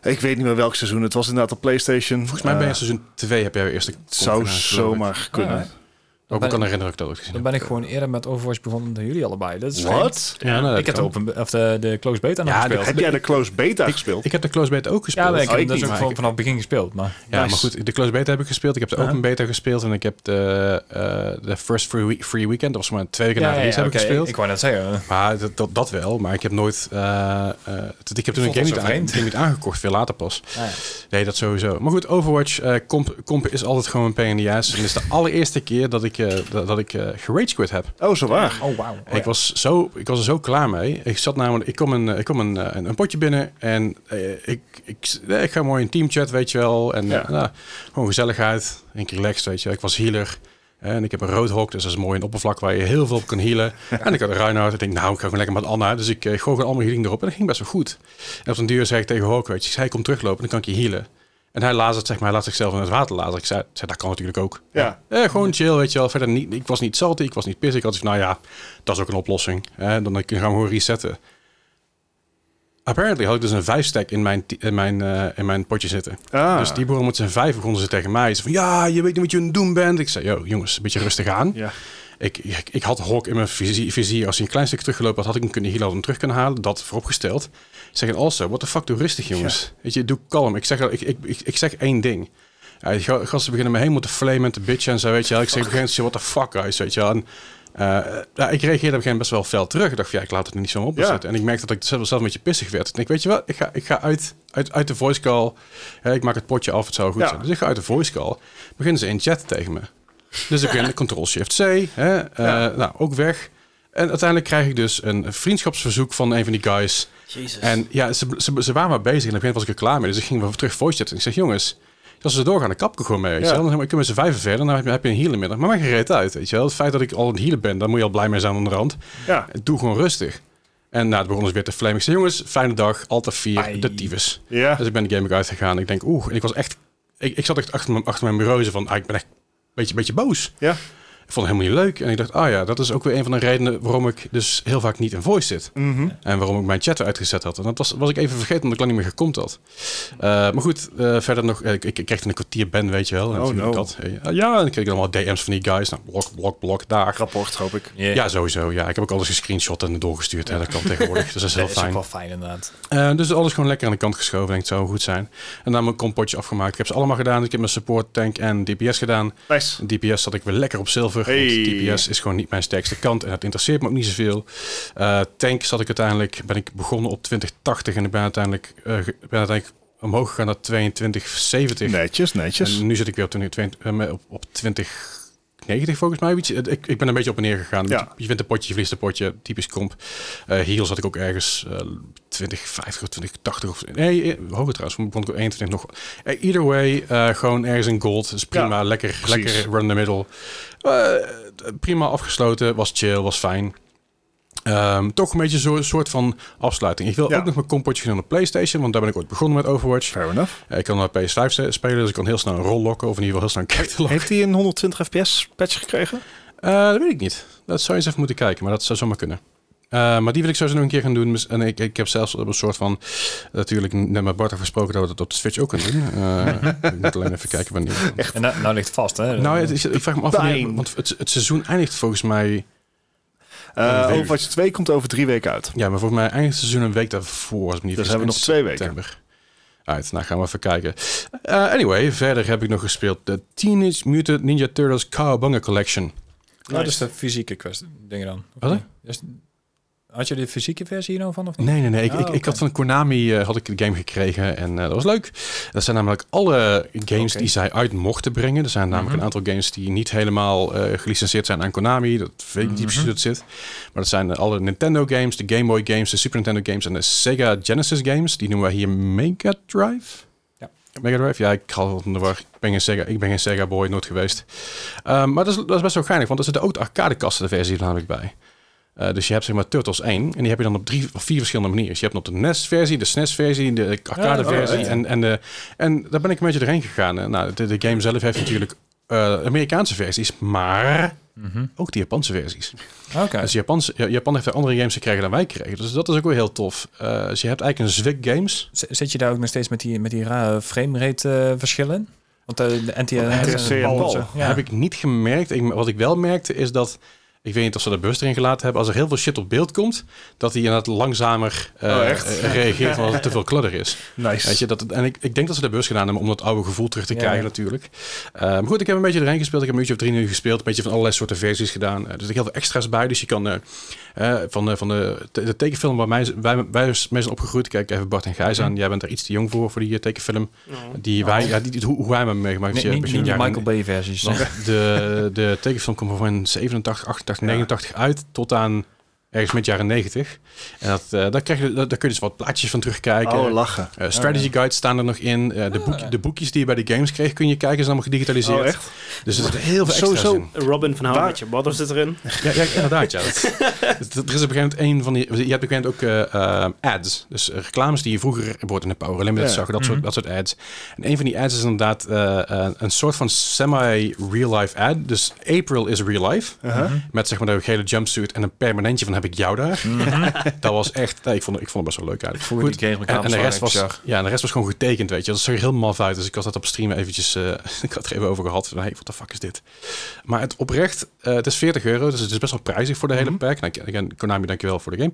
Speaker 4: ik weet niet meer welk seizoen. Het was inderdaad op PlayStation.
Speaker 1: Volgens mij
Speaker 4: Eh,
Speaker 1: bij seizoen 2 heb jij je eerste...
Speaker 4: Het zou
Speaker 1: content gedaan, geloof ik.
Speaker 4: zomaar kunnen.
Speaker 2: Alright. Dan
Speaker 1: Ook
Speaker 2: ben
Speaker 1: me kan
Speaker 2: ik-
Speaker 1: herinneren dat ik dat ook gezien
Speaker 2: Ah, Dan
Speaker 1: heb.
Speaker 2: ben ik gewoon eerder met Overwatch begonnen dan jullie allebei. Dat is vreemd.
Speaker 4: Wat?
Speaker 1: Ja, nou, dat
Speaker 2: Ik heb de,
Speaker 1: kan.
Speaker 2: open, of de, de close beta nog
Speaker 1: Ja,
Speaker 2: gespeeld.
Speaker 4: Heb jij de close beta
Speaker 1: Ik-
Speaker 4: gespeeld?
Speaker 1: Ik heb de close beta ook gespeeld.
Speaker 2: Ja, maar ik
Speaker 4: Oh,
Speaker 2: heb
Speaker 4: ik
Speaker 2: dus
Speaker 4: niet,
Speaker 2: ook
Speaker 1: maar
Speaker 2: gewoon
Speaker 1: ik-
Speaker 2: vanaf het begin gespeeld. Maar
Speaker 1: Ja, maar
Speaker 4: Nice.
Speaker 1: goed, de close beta heb ik gespeeld. Ik heb de open beta gespeeld en ik heb de, eh, de first free, week- free weekend, dat was maar twee weken na release, heb
Speaker 2: oké,
Speaker 1: ik gespeeld.
Speaker 2: Ik wou net zeggen.
Speaker 1: Maar dat, dat, dat wel, maar ik heb nooit... eh, eh, t- ik heb toen een game
Speaker 2: vond dat
Speaker 1: niet,
Speaker 2: zo
Speaker 1: aan-
Speaker 2: vreemd.
Speaker 1: game niet aangekocht, veel later pas.
Speaker 2: Ah, ja.
Speaker 1: Nee, dat sowieso. Maar goed, Overwatch, eh comp, comp is altijd gewoon een pain in the ass. En dit is de allereerste keer dat ik, eh dat, dat ik eh gerage quit heb.
Speaker 4: Oh, zo waar.
Speaker 2: Oh, wauw.
Speaker 1: Ik, was zo, ik was er zo klaar mee. Ik zat namelijk, ik kom een, eh, ik kom een, eh, een, een potje binnen en eh, ik, ik, eh, ik ga mooi in teamchat, weet je wel. En
Speaker 4: Ja.
Speaker 1: eh, nou, gewoon gezelligheid, een keer relaxed, weet je wel. Ik was healer en ik heb een roodhok, dus dat is mooi een oppervlak waar je heel veel op kan healen. En ik had een Reinhardt, ik denk nou, ik ga gewoon lekker met Anna. Dus ik eh, gooi gewoon allemaal healing erop en dat ging best wel goed. En op een duur zei ik tegen Hawk, weet je, ik zei kom teruglopen, dan kan ik je healen. En hij lazert, zeg maar, hij laat zichzelf in het water lazeren. Ik zei, ik zei, dat kan natuurlijk ook.
Speaker 4: Ja.
Speaker 1: Eh, gewoon chill, weet je wel. Verder niet, ik was niet salty, ik was niet pissig. Ik had zoiets van, nou ja, dat is ook een oplossing. Eh, dan gaan we gewoon resetten. Apparently had ik dus een vijfstek in mijn, ti- in mijn, eh, in mijn potje zitten.
Speaker 4: Ah.
Speaker 1: Dus die begon met zijn vijf, begonnen ze tegen mij. Ze van, ja, je weet niet wat je aan het doen bent. Ik zei, yo, jongens, een beetje rustig aan.
Speaker 4: Ja.
Speaker 1: Ik, ik, ik had Hawk in mijn visie, vizier. Als hij een klein stuk teruggelopen had, had ik hem kunnen healen, had hem terug kunnen halen. Dat vooropgesteld. Zeggen also, what the fuck, doe rustig jongens. Weet je, doe kalm. Ik zeg, ik, ik, ik, ik zeg één ding. Ja, die ga- gasten beginnen me helemaal te flamen en te bitchen en zo, weet je wel. Ik zeg op een gegeven moment, what the fuck, guys, weet je wel. En, eh, ja, ik reageerde op een gegeven moment best wel fel terug. Ik dacht van, ja, ik laat het niet zo op
Speaker 4: Ja.
Speaker 1: zitten. En ik merkte dat ik zelf, zelf een beetje pissig werd. Ik denk, weet je wat, ik ga, ik ga uit, uit, uit de voice call. Hè, ik maak het potje af, het zou goed
Speaker 4: Ja.
Speaker 1: zijn. Dus ik ga uit de voice call. Beginnen ze in chat tegen me. Dus ik ben Ctrl-Shift-C. Hè, eh, Nou, ook weg. En uiteindelijk krijg ik dus een vriendschapsverzoek van een van die guys.
Speaker 3: Jezus.
Speaker 1: En ja, ze, ze, ze waren maar bezig. En op een gegeven moment was ik er klaar mee. Dus ik ging weer terug voice chatten. En ik zeg, jongens, als ze doorgaan, dan kap ik er gewoon mee. Weet je
Speaker 4: Ja.
Speaker 1: wel. Dan zeg maar, kunnen ze vijven verder. Dan heb je, heb je een healer middag. Maar maak je reet uit, weet je wel. Het feit dat ik al een healer ben, daar moet je al blij mee zijn onderhand.
Speaker 4: Ja.
Speaker 1: Doe gewoon rustig. En nou, het begon dus weer te flamen. Ik zei, jongens, fijne dag. Altijd vier,
Speaker 2: Ai.
Speaker 1: de tyfus.
Speaker 4: Ja.
Speaker 1: Dus ik ben de game ook uitgegaan. Ik denk, oeh, en ik was echt... Ik, ik zat echt achter mijn, achter mijn bureau zo van, ah, ik ben echt een beetje, beetje boos.
Speaker 4: Ja.
Speaker 1: Ik vond het helemaal niet leuk. En ik dacht, ah ja, dat is ook weer een van de redenen waarom ik dus heel vaak niet in voice zit.
Speaker 4: Mhm.
Speaker 1: En waarom ik mijn chat weer uitgezet had. En dat was, was ik even vergeten omdat ik lang niet meer gecompt had. Eh, maar goed, eh, verder nog. eh, ik, ik kreeg toen een kwartier ben, weet je wel. En
Speaker 4: Oh,
Speaker 1: toen
Speaker 4: no.
Speaker 1: dat, eh, ja, en dan kreeg ik allemaal DM's van die guys. Nou, blok, blok, blok,
Speaker 2: Oh,
Speaker 1: daar.
Speaker 4: Rapport, hoop ik.
Speaker 1: Ja, sowieso. Ja, ik heb ook alles gescreenshot en doorgestuurd. Hè, dat kan tegenwoordig.
Speaker 4: <laughs>
Speaker 1: Dus dat is heel
Speaker 2: dat is ook
Speaker 1: fijn.
Speaker 2: wel fijn inderdaad.
Speaker 1: Eh, dus alles gewoon lekker aan de kant geschoven. Denk, het zou goed zijn. En dan mijn kompotje afgemaakt. Ik heb ze allemaal gedaan. Ik heb mijn support tank en DPS gedaan.
Speaker 4: Nice.
Speaker 1: DPS zat ik weer lekker op zilver.
Speaker 4: Hey.
Speaker 1: Want DPS is gewoon niet mijn sterkste kant. En dat interesseert me ook niet zoveel. Eh, tank zat ik uiteindelijk... Ben ik begonnen op 2080. En ik ben uiteindelijk, eh, ge- ben uiteindelijk omhoog gegaan naar 2270.
Speaker 4: Netjes, netjes.
Speaker 1: En nu zit ik weer op 20, 20 eh, op, op 2090 volgens mij. Weet je, het- Ik, ik ben een beetje op en neer gegaan.
Speaker 4: Ja.
Speaker 1: Je wint een potje, je verliest een potje. Typisch comp. Eh heel zat ik ook ergens eh 2050 of 2080. Of, nee, eh, hoger trouwens. want ik begon ik op 21 nog. Eh, Either way, eh, gewoon ergens in gold. is prima.
Speaker 4: Ja,
Speaker 1: lekker,
Speaker 4: precies.
Speaker 1: lekker run in the middle. Eh, prima afgesloten. Was chill, was fijn. Ehm, toch een beetje zo'n soort van afsluiting. Ik wil
Speaker 4: Ja.
Speaker 1: ook nog mijn compotje gaan doen op PlayStation, want daar ben ik ooit begonnen met Overwatch.
Speaker 4: Fair enough.
Speaker 1: Ja, Eh, Ik kan naar PS5 se- spelen, dus ik kan heel snel een rol lokken. Of in ieder geval heel snel een character lokken.
Speaker 4: Heeft hij een 120 fps patch gekregen?
Speaker 1: Eh, dat weet ik niet. Dat zou je eens even moeten kijken, maar dat zou zomaar kunnen. Eh, maar die wil ik sowieso nog een keer gaan doen. Mis- En ik, ik heb zelfs op een soort van... Natuurlijk net met Bart over gesproken dat we dat op de Switch ook kunnen doen. Eh, ik moet alleen even kijken
Speaker 4: <laughs>
Speaker 1: wanneer.
Speaker 2: En nou, nou ligt het vast, hè?
Speaker 1: Nou, het is- ik vraag me af wanneer...
Speaker 4: Fijn.
Speaker 1: Want het, het seizoen eindigt volgens mij...
Speaker 4: Eh
Speaker 1: Een week.
Speaker 4: Overwatch 2 komt over drie weken uit.
Speaker 1: Ja, maar volgens mij eindigt het seizoen een week daarvoor. Als ik me niet
Speaker 4: Dus
Speaker 1: vergis,
Speaker 4: hebben we nog
Speaker 1: in
Speaker 4: twee weken.
Speaker 1: september. Uit, nou gaan we even kijken. Eh, anyway, verder heb ik nog gespeeld de Teenage Mutant Ninja Turtles Cowabunga Collection.
Speaker 2: dat is Nou, dus de fysieke kwestie, dingen dan. Of
Speaker 1: Wat?
Speaker 2: niet? Dus- had je de fysieke versie hier nou van? Of niet?
Speaker 1: Nee, nee, nee. Ik,
Speaker 2: Oh,
Speaker 1: ik, ik
Speaker 2: oké.
Speaker 1: had van Konami eh, had ik de game gekregen en eh, dat was leuk. Dat zijn namelijk alle games
Speaker 2: Oké.
Speaker 1: die zij uit mochten brengen. Er zijn namelijk
Speaker 2: Mhm.
Speaker 1: een aantal games die niet helemaal eh, gelicenseerd zijn aan Konami. Dat weet ik
Speaker 2: Mhm.
Speaker 1: niet precies hoe dat zit. Maar dat zijn eh, alle Nintendo games, de Game Boy games, de Super Nintendo games en de Sega Genesis games. Die noemen wij hier Mega Drive.
Speaker 2: Ja.
Speaker 1: Mega Drive? Ja, ik ga altijd in de war. Ik ben geen Sega, ik ben geen Sega boy, nooit geweest. Ehm, maar dat is, dat is best wel geinig, want er zitten ook de arcadekasten versie er namelijk bij. Eh, dus je hebt zeg maar Turtles 1 en die heb je dan op drie of vier verschillende manieren. Dus je hebt hem op de NES-versie, de SNES-versie, de arcade-versie
Speaker 2: ja, ja.
Speaker 1: en, en, de, en daar ben ik een beetje doorheen gegaan. Eh, Nou, de, de game zelf heeft natuurlijk eh, Amerikaanse versies, maar ook de Japanse versies.
Speaker 2: Mhm. Oké.
Speaker 1: Dus Japan, Japan heeft er andere games gekregen dan wij kregen. Dus dat is ook wel heel tof. Eh, dus je hebt eigenlijk een zwik games.
Speaker 2: Z- Zit je daar ook nog steeds met die, met die rare framerate eh, verschillen? Want eh, de NTR
Speaker 4: NTSC en bal.
Speaker 2: Ja.
Speaker 1: Heb ik niet gemerkt. Ik, wat ik wel merkte is dat... Ik weet niet of ze dat bewust erin gelaten hebben. Als er heel veel shit op beeld komt, dat hij inderdaad langzamer eh,
Speaker 4: Oh, echt?
Speaker 1: eh,
Speaker 2: <laughs>
Speaker 1: reageert omdat er te veel klodder is.
Speaker 4: Nice.
Speaker 1: Weet je, dat, het- en ik, ik denk dat ze dat bewust gedaan hebben om dat oude gevoel terug te
Speaker 2: Ja.
Speaker 1: krijgen natuurlijk. Eh, maar goed, ik heb een beetje erheen gespeeld. Ik heb een uurtje of drie uur gespeeld. Een beetje van allerlei soorten versies gedaan. Eh, er zitten heel veel extra's bij. Dus je kan eh, eh, van, eh, van de, te- de tekenfilm waar mij, wij, wij mee zijn opgegroeid. Kijk even Bart en Gijs aan. Jij bent er iets te jong voor, voor die eh, tekenfilm.
Speaker 3: Oh.
Speaker 1: Die wij, ja, die, die- hoe, hoe wij hem hebben meegemaakt.
Speaker 2: Nee,
Speaker 1: Dus, eh,
Speaker 2: niet,
Speaker 1: begin
Speaker 2: niet die
Speaker 1: jaren-
Speaker 2: Michael Bay versies. zeg.
Speaker 1: want de, de tekenfilm kwam van in 87, 88, 89 uit tot aan ergens mid jaren 90. En dat, eh, daar, krijg je, daar daar kun je dus wat plaatjes van terugkijken.
Speaker 4: Oh, lachen.
Speaker 1: Eh, strategy guides staan er nog in. Eh, de, boek- de boekjes die je bij de games kreeg, kun je kijken. Is allemaal gedigitaliseerd.
Speaker 4: Ah. Oh, echt?
Speaker 1: Dus er zit heel veel extra's
Speaker 4: Sowieso.
Speaker 1: in.
Speaker 3: Robin van
Speaker 4: Waar-
Speaker 3: How je Mother zit erin.
Speaker 1: Ja, ja, inderdaad. Ja. Dat, dat- er is op een gegeven moment een van die... Je hebt op een gegeven moment ook eh, eh, ads. Dus eh, reclames die je vroeger bijvoorbeeld in de Power Limit
Speaker 4: Ja.
Speaker 1: zag. Dat, soort, dat soort ads. En een van die ads is inderdaad eh, een- een soort van semi-real-life ad. Dus April is real-life.
Speaker 4: Uh-huh.
Speaker 1: Met zeg maar de gele jumpsuit en een permanentje van heb ik jou daar. <laughs> dat was echt... nee, ik, vond, het- ik vond het best wel leuk eigenlijk.
Speaker 2: Vroeger die game
Speaker 1: en, en de
Speaker 2: reclames
Speaker 1: rest
Speaker 2: waren
Speaker 1: was,
Speaker 2: bizar.
Speaker 1: ja, en de rest was gewoon getekend, weet je. Dat zag er heel maf uit. Dus ik had dat op stream eventjes... eh, <laughs> ik had het er even over gehad. Van, hey, wat de fuck is dit? Maar het oprecht, eh, het is 40 euro, dus het is best wel prijzig voor de hele pack. Nou, again, Konami, dankjewel voor de game.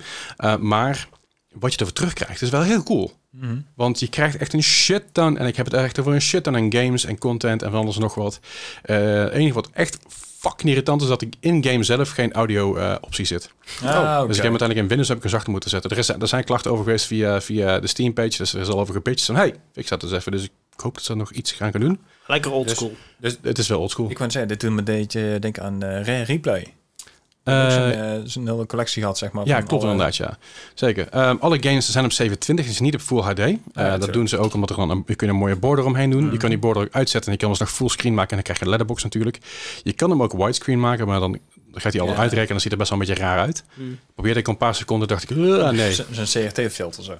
Speaker 1: Eh, maar wat je ervoor terugkrijgt is wel heel cool.
Speaker 2: Mhm.
Speaker 1: Want je krijgt echt een shit ton, en ik heb het echt over een shit ton aan games en content en van alles en nog wat. Eh, Het enige wat echt fucking irritant is, dat ik in-game zelf geen audio-optie zit.
Speaker 2: Ah, oké.
Speaker 1: Dus ik heb uiteindelijk in Windows heb ik een zachter moeten zetten. Er, is, er zijn klachten over geweest via, via de Steam-page, dus er is al over gepitcht. En hey, ik zat dus even, dus ik hoop dat ze er nog iets gaan gaan doen.
Speaker 3: Lekker old school.
Speaker 1: Dus het is wel oldschool.
Speaker 2: Ik wou zeggen, dit doet me deed denken aan eh, Rare Replay.
Speaker 1: Eh,
Speaker 2: Zo'n, eh, Zo'n hele collectie had, zeg maar.
Speaker 1: Ja,
Speaker 2: van
Speaker 1: klopt
Speaker 2: alle-
Speaker 1: inderdaad, ja. Zeker. Ehm, alle games zijn op 720, dus niet op Full HD. Eh, dat
Speaker 2: natuurlijk. Mhm.
Speaker 1: doen ze ook omdat er dan een, je kunt een mooie border omheen doen. Je kan die border ook uitzetten en je kan hem nog full screen maken en dan krijg je een letterbox natuurlijk. Je kan hem ook widescreen maken, maar dan gaat hij al
Speaker 2: Ja. Mhm.
Speaker 1: uitrekenen en dan ziet het best wel een beetje raar uit. Probeerde ik een paar seconden, dacht ik, "Ah, nee.
Speaker 2: Zo- Zo'n CRT-filter zo.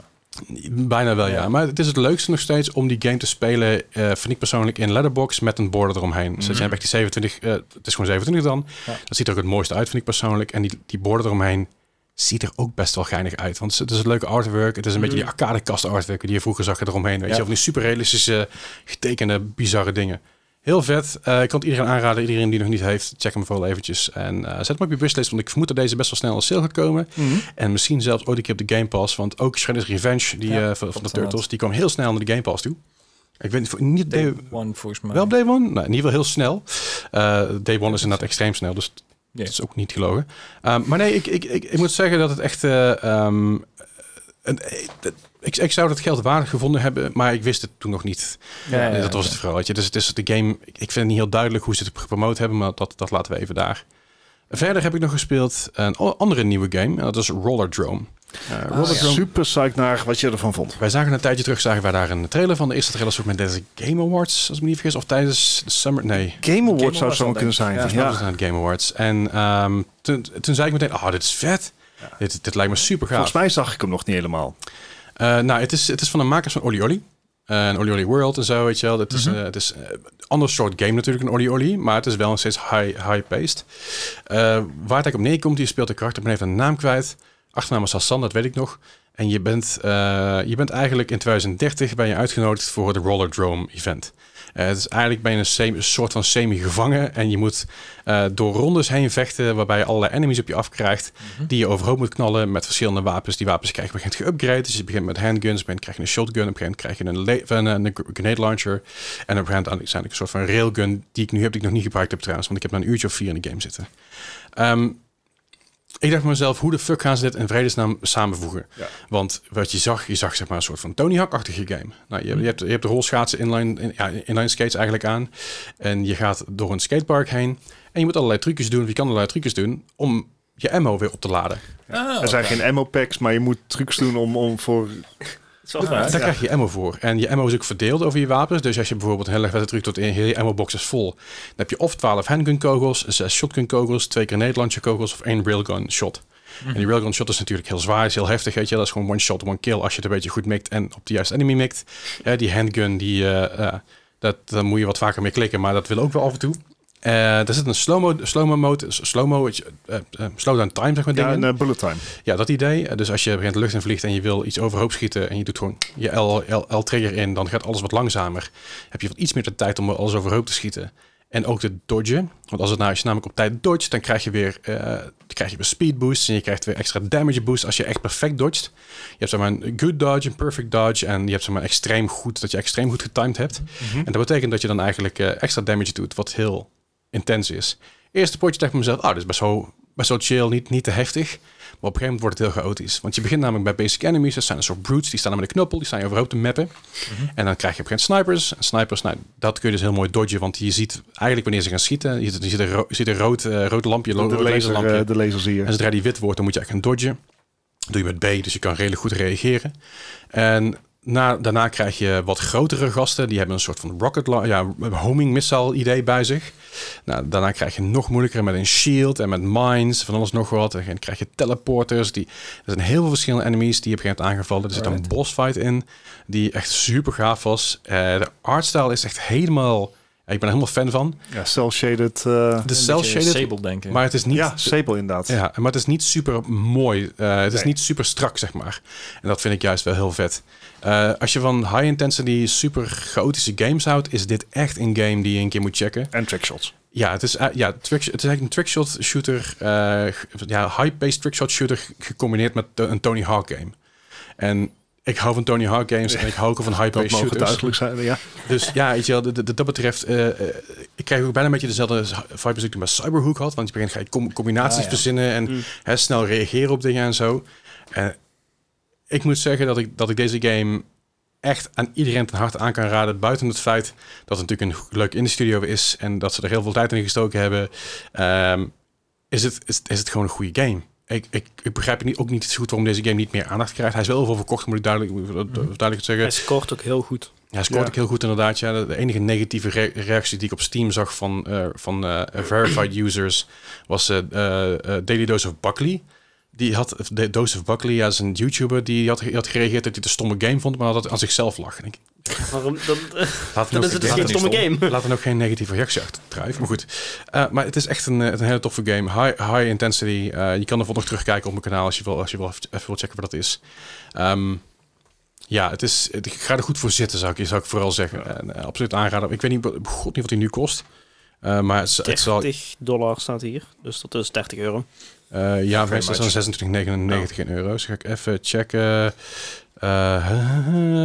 Speaker 1: Bijna wel, ja.
Speaker 2: Ja.
Speaker 1: Maar het is het leukste nog steeds om die game te spelen, eh vind ik persoonlijk, in letterbox met een border eromheen. Dus dat je hebt echt die 27, eh, het is gewoon 27 dan.
Speaker 2: Mhm. Ja.
Speaker 1: Dat ziet er ook het mooiste uit, vind ik persoonlijk. En die, die border eromheen ziet er ook best wel geinig uit. Want het is het leuke artwork. Het is een beetje die arcadekast artwork die je vroeger zag eromheen. Weet
Speaker 2: Mhm. Ja.
Speaker 1: je, of die superrealistische, getekende, bizarre dingen. Heel vet. Eh, ik kan het iedereen aanraden. Iedereen die nog niet heeft, check hem vooral eventjes. En eh, zet hem op je wishlist, want ik vermoed dat deze best wel snel als sale gaat komen.
Speaker 2: Mhm.
Speaker 1: En misschien zelfs ooit een keer op de Game Pass. Want ook Shredder's Revenge, die
Speaker 2: Ja,
Speaker 1: eh, van, van de
Speaker 2: klopt,
Speaker 1: Turtles, die kwam heel snel naar de Game Pass toe. Ik weet niet, voor- niet day,
Speaker 2: Day One, volgens mij.
Speaker 1: wel Day One? Nou, in ieder geval heel snel. Eh, day One is inderdaad extreem snel, dus
Speaker 2: Ja.
Speaker 1: dat is ook niet gelogen. Ehm, maar nee, ik, ik, ik, ik moet zeggen dat het echt... eh, ehm, een- eh, dat- ik, ik zou dat geld waardig gevonden hebben, maar ik wist het toen nog niet.
Speaker 2: Ja, ja,
Speaker 1: Nee,
Speaker 2: ja,
Speaker 1: dat was
Speaker 2: ja.
Speaker 1: het vooral. Weet je. Dus het is de game. Ik ik vind het niet heel duidelijk hoe ze het gepromoot hebben, maar dat, dat laten we even daar. Verder heb ik nog gespeeld een o- andere nieuwe game. En dat is Roller Drome. Eh, Roller Drome.
Speaker 4: Ah, Super psyched naar wat je ervan vond.
Speaker 1: Wij zagen een tijdje terug, zagen wij daar een trailer van. De eerste trailer was ook met deze Game Awards, als ik me niet vergis. Of tijdens de Summer... Nee,
Speaker 4: Game Awards
Speaker 2: Awards
Speaker 4: zou
Speaker 2: wel,
Speaker 4: zo
Speaker 2: denk
Speaker 4: kunnen
Speaker 2: ik.
Speaker 4: zijn.
Speaker 2: Ja,
Speaker 4: Ja,
Speaker 1: dat was aan het Game Awards. En ehm, toen, toen zei ik meteen, oh, dit is vet. Dit, dit lijkt me super gaaf.
Speaker 4: Volgens mij zag ik hem nog niet helemaal.
Speaker 1: Eh, nou, het is, het is van de makers van Oli Oli. Eh, En Oli Oli World en zo, weet je wel. Het is, eh, het is eh, een ander soort game natuurlijk dan Oli Oli. Maar het is wel nog steeds high- high-paced. Eh, waar het eigenlijk op neerkomt, je speelt een karakter, maar heeft een naam kwijt. Achternaam is Hassan, dat weet ik nog. En je bent, eh, je bent eigenlijk in 2030 ben je uitgenodigd voor het Rollerdrome event. Eh het is eigenlijk ben je een, semi- een soort van semi-gevangen. En je moet eh, door rondes heen vechten waarbij je allerlei enemies op je afkrijgt. Die je overhoop moet knallen met verschillende wapens. Die wapens krijg je op een gegeven moment geüpgrade. Dus je begint met handguns, op een gegeven moment krijg je een shotgun. Op een gegeven moment krijg je een, le- van, eh, een grenade launcher. En op een gegeven moment uiteindelijk een soort van railgun die ik nu heb, die ik nog niet gebruikt heb trouwens. Want ik heb maar een uurtje of vier in de game zitten. Ehm, ik dacht bij mezelf, hoe de fuck gaan ze dit in vredesnaam samenvoegen?
Speaker 4: Ja.
Speaker 1: Want wat je zag, je zag zeg maar een soort van Tony Hawk-achtige game. Nou, je, je, hebt, je hebt de rolschaatsen, inline, in, ja, inline skates eigenlijk aan. En je gaat door een skatepark heen. En je moet allerlei trucjes doen, of je kan allerlei trucjes doen, om je ammo weer op te laden.
Speaker 2: Ah,
Speaker 4: Er zijn
Speaker 1: Oh,
Speaker 2: oké.
Speaker 4: geen ammo packs, maar je moet trucs doen om, om voor...
Speaker 3: is wel vet.
Speaker 1: Daar krijg je ammo voor. En je ammo is ook verdeeld over je wapens. Dus als je bijvoorbeeld een hele wedstrijd terug tot in je hele ammo-box is vol. Dan heb je of 12 handgun kogels, 6 shotgun kogels, 2 grenade kogels of één railgun shot. En die railgun shot is natuurlijk heel zwaar, is heel heftig. Weet je? Dat is gewoon one shot, one kill als je het een beetje goed mikt en op de juiste enemy mikt. Eh, die handgun, die, eh, eh, dat, daar moet je wat vaker mee klikken, maar dat wil ook wel af en toe. Eh er zit een slow-mo slow mode, slow-mo, eh, eh, slowdown time zeg maar
Speaker 4: Ja,
Speaker 1: dingen.
Speaker 4: een eh, bullet time.
Speaker 1: Ja, dat idee. Eh, Dus als je begint de lucht in vliegt en je wil iets overhoop schieten en je doet gewoon je L, L, L-trigger in, dan gaat alles wat langzamer. Heb je wat iets meer de tijd om alles overhoop te schieten. En ook te dodgen. Want als, het nou, als je namelijk op tijd dodgt, dan krijg je weer, eh, dan krijg je weer speed boost en je krijgt weer extra damage boost als je echt perfect dodgt. Je hebt zeg maar een good dodge, een perfect dodge en je hebt zeg maar extreem goed, dat je extreem goed getimed hebt.
Speaker 4: Mhm.
Speaker 1: En dat betekent dat je dan eigenlijk eh, extra damage doet, wat heel intens is. Eerste potje dacht ik bij mezelf, ah, dit is best wel, best wel chill, niet, niet te heftig. Maar op een gegeven moment wordt het heel chaotisch. Want je begint namelijk bij basic enemies. Dat zijn een soort brutes. Die staan er met een knuppel. Die staan je overhoop te mappen.
Speaker 4: Mhm.
Speaker 1: En dan krijg je op een gegeven moment snipers. En snipers, nou, dat kun je dus heel mooi dodgen. Want je ziet eigenlijk wanneer ze gaan schieten. Je ziet, je ziet een, ro- je ziet een rood, eh, rood lampje. lo-
Speaker 4: De
Speaker 1: rood
Speaker 4: laser,
Speaker 1: laserlampje.
Speaker 4: eh, de laser zie je.
Speaker 1: En zodra die wit wordt, dan moet je echt gaan dodgen. Dat doe je met B, dus je kan redelijk goed reageren. En na, daarna krijg je wat grotere gasten. Die hebben een soort van rocket, la- ja, homing missile idee bij zich. Nou, daarna krijg je nog moeilijker met een shield en met mines, van alles nog wat. En dan krijg je teleporters. Die, er zijn heel veel verschillende enemies die je op een gegeven moment aangevallen. Er zit een boss fight in, die echt super gaaf was. Eh, de artstyle is echt helemaal... ja, ik ben er helemaal fan van.
Speaker 4: Ja, cel-shaded. eh,
Speaker 1: De
Speaker 2: Een beetje
Speaker 1: cel-shaded,
Speaker 2: Sable, denk ik.
Speaker 1: maar het is niet...
Speaker 4: ja, sepel inderdaad.
Speaker 1: Ja, maar het is niet super mooi. Eh, het is
Speaker 4: Nee.
Speaker 1: niet super strak, zeg maar. En dat vind ik juist wel heel vet. Eh, als je van high intensity, super chaotische games houdt, is dit echt een game die je een keer moet checken.
Speaker 4: En trickshots.
Speaker 1: Ja, het is, eh, ja, trick, het is eigenlijk een trickshot shooter, eh, g- ja, high-paced trickshot shooter ge- gecombineerd met eh, een Tony Hawk game. En ik hou van Tony Hawk games en ik hou ook van
Speaker 4: Dat
Speaker 1: high-paced
Speaker 4: mogen
Speaker 1: shooters.
Speaker 4: duidelijk zijn. Ja.
Speaker 1: Dus ja, weet je wel, dat, dat- dat betreft, eh, eh, ik krijg ook bijna een beetje dezelfde vibe als ik toen bij Cyberhook had. Want je begint ga je com- combinaties
Speaker 2: Ah, ja.
Speaker 1: verzinnen en hè, snel reageren op dingen en zo. En ik moet zeggen dat ik, dat ik deze game echt aan iedereen ten harte aan kan raden. Buiten het feit dat het natuurlijk een go- leuk indie studio is en dat ze er heel veel tijd in gestoken hebben, ehm, is, het, is, is het gewoon een goede game. Ik, ik, ik begrijp niet, ook niet zo goed waarom deze game niet meer aandacht krijgt. Hij is wel heel veel verkocht, moet ik duidelijk, moet ik dat- duidelijk zeggen.
Speaker 3: Hij scoort ook heel goed.
Speaker 1: Ja, scoort
Speaker 4: Ja.
Speaker 1: ook heel goed inderdaad. Ja. De- De enige negatieve re- reactie die ik op Steam zag van, eh, van eh, verified users was eh eh, eh, Daily Dose of Buckley. Die had, de Dose of Buckley, ja, is een YouTuber, die had, die had gereageerd dat hij het een stomme game vond, maar dat het aan zichzelf lag. En ik,
Speaker 3: Waarom? Dan, <laughs>
Speaker 1: laat
Speaker 3: dan
Speaker 1: ook-
Speaker 3: is het dus
Speaker 1: laat
Speaker 3: geen
Speaker 1: ook-
Speaker 3: stomme
Speaker 1: <laughs>
Speaker 3: game.
Speaker 1: Laat er ook geen negatieve reactie achter drijven. Maar goed. Eh, maar het is echt een, eh, een hele toffe game. High, high intensity. Eh, je kan ervoor nog terugkijken op mijn kanaal als je wil, als je wil even even wilt checken wat dat is. Ehm, ja, het is, het- ik ga er goed voor zitten, zou ik, zou ik vooral zeggen. En, eh, absoluut aanraden. Ik weet niet, god niet wat hij nu kost. Eh, maar het, het zal...
Speaker 3: 30 dollar staat hier, dus dat is 30 euro.
Speaker 1: eh ja,
Speaker 2: Very
Speaker 1: meestal zijn
Speaker 2: much.
Speaker 1: 26,99 in euro's. Ga ik even checken. Eh,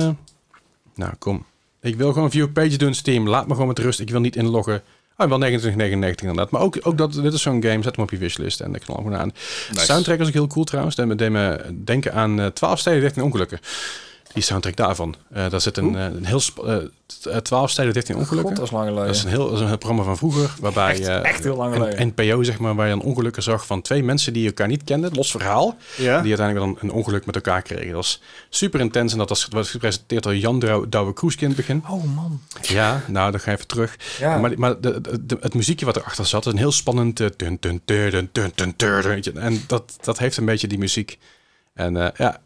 Speaker 1: <laughs> nou, kom. Ik wil gewoon view page doen, Steam. Laat me gewoon met rust. Ik wil niet inloggen. Ah, wel 29,99 inderdaad. Maar ook, ook dat, dit is zo'n game. Zet hem op je wishlist en ik knal hem gewoon aan. Soundtrack was ook heel cool trouwens. Dat deed me denken aan eh, 12 steden, 13 ongelukken. Die soundtrack daarvan. Eh daar zit een, eh, een heel... sp- eh, t- eh, 12 steden, 13 ongelukken.
Speaker 2: God, dat is lang geleden.
Speaker 1: Dat is een heel dat is een heel programma van vroeger, waarbij
Speaker 2: Echt-
Speaker 1: eh,
Speaker 2: echt heel lang
Speaker 1: een
Speaker 2: geleden.
Speaker 1: NPO, zeg maar, waar je een ongelukken zag van twee mensen die elkaar niet kenden, los verhaal,
Speaker 4: Ja?
Speaker 1: die uiteindelijk dan een ongeluk met elkaar kregen. Dat was super intens en dat was, was gepresenteerd door Jan Drou- Douwe Kroeske in het begin.
Speaker 2: Oh man.
Speaker 1: Ja, nou, dan ga je even terug.
Speaker 2: Ja.
Speaker 1: Maar, maar de, de- de- het muziekje wat erachter zat, is een heel spannend... eh, dun, dun, dun, dun, dun, dun, dun, dun, weet je. En dat, dat heeft een beetje die muziek. En eh, ja,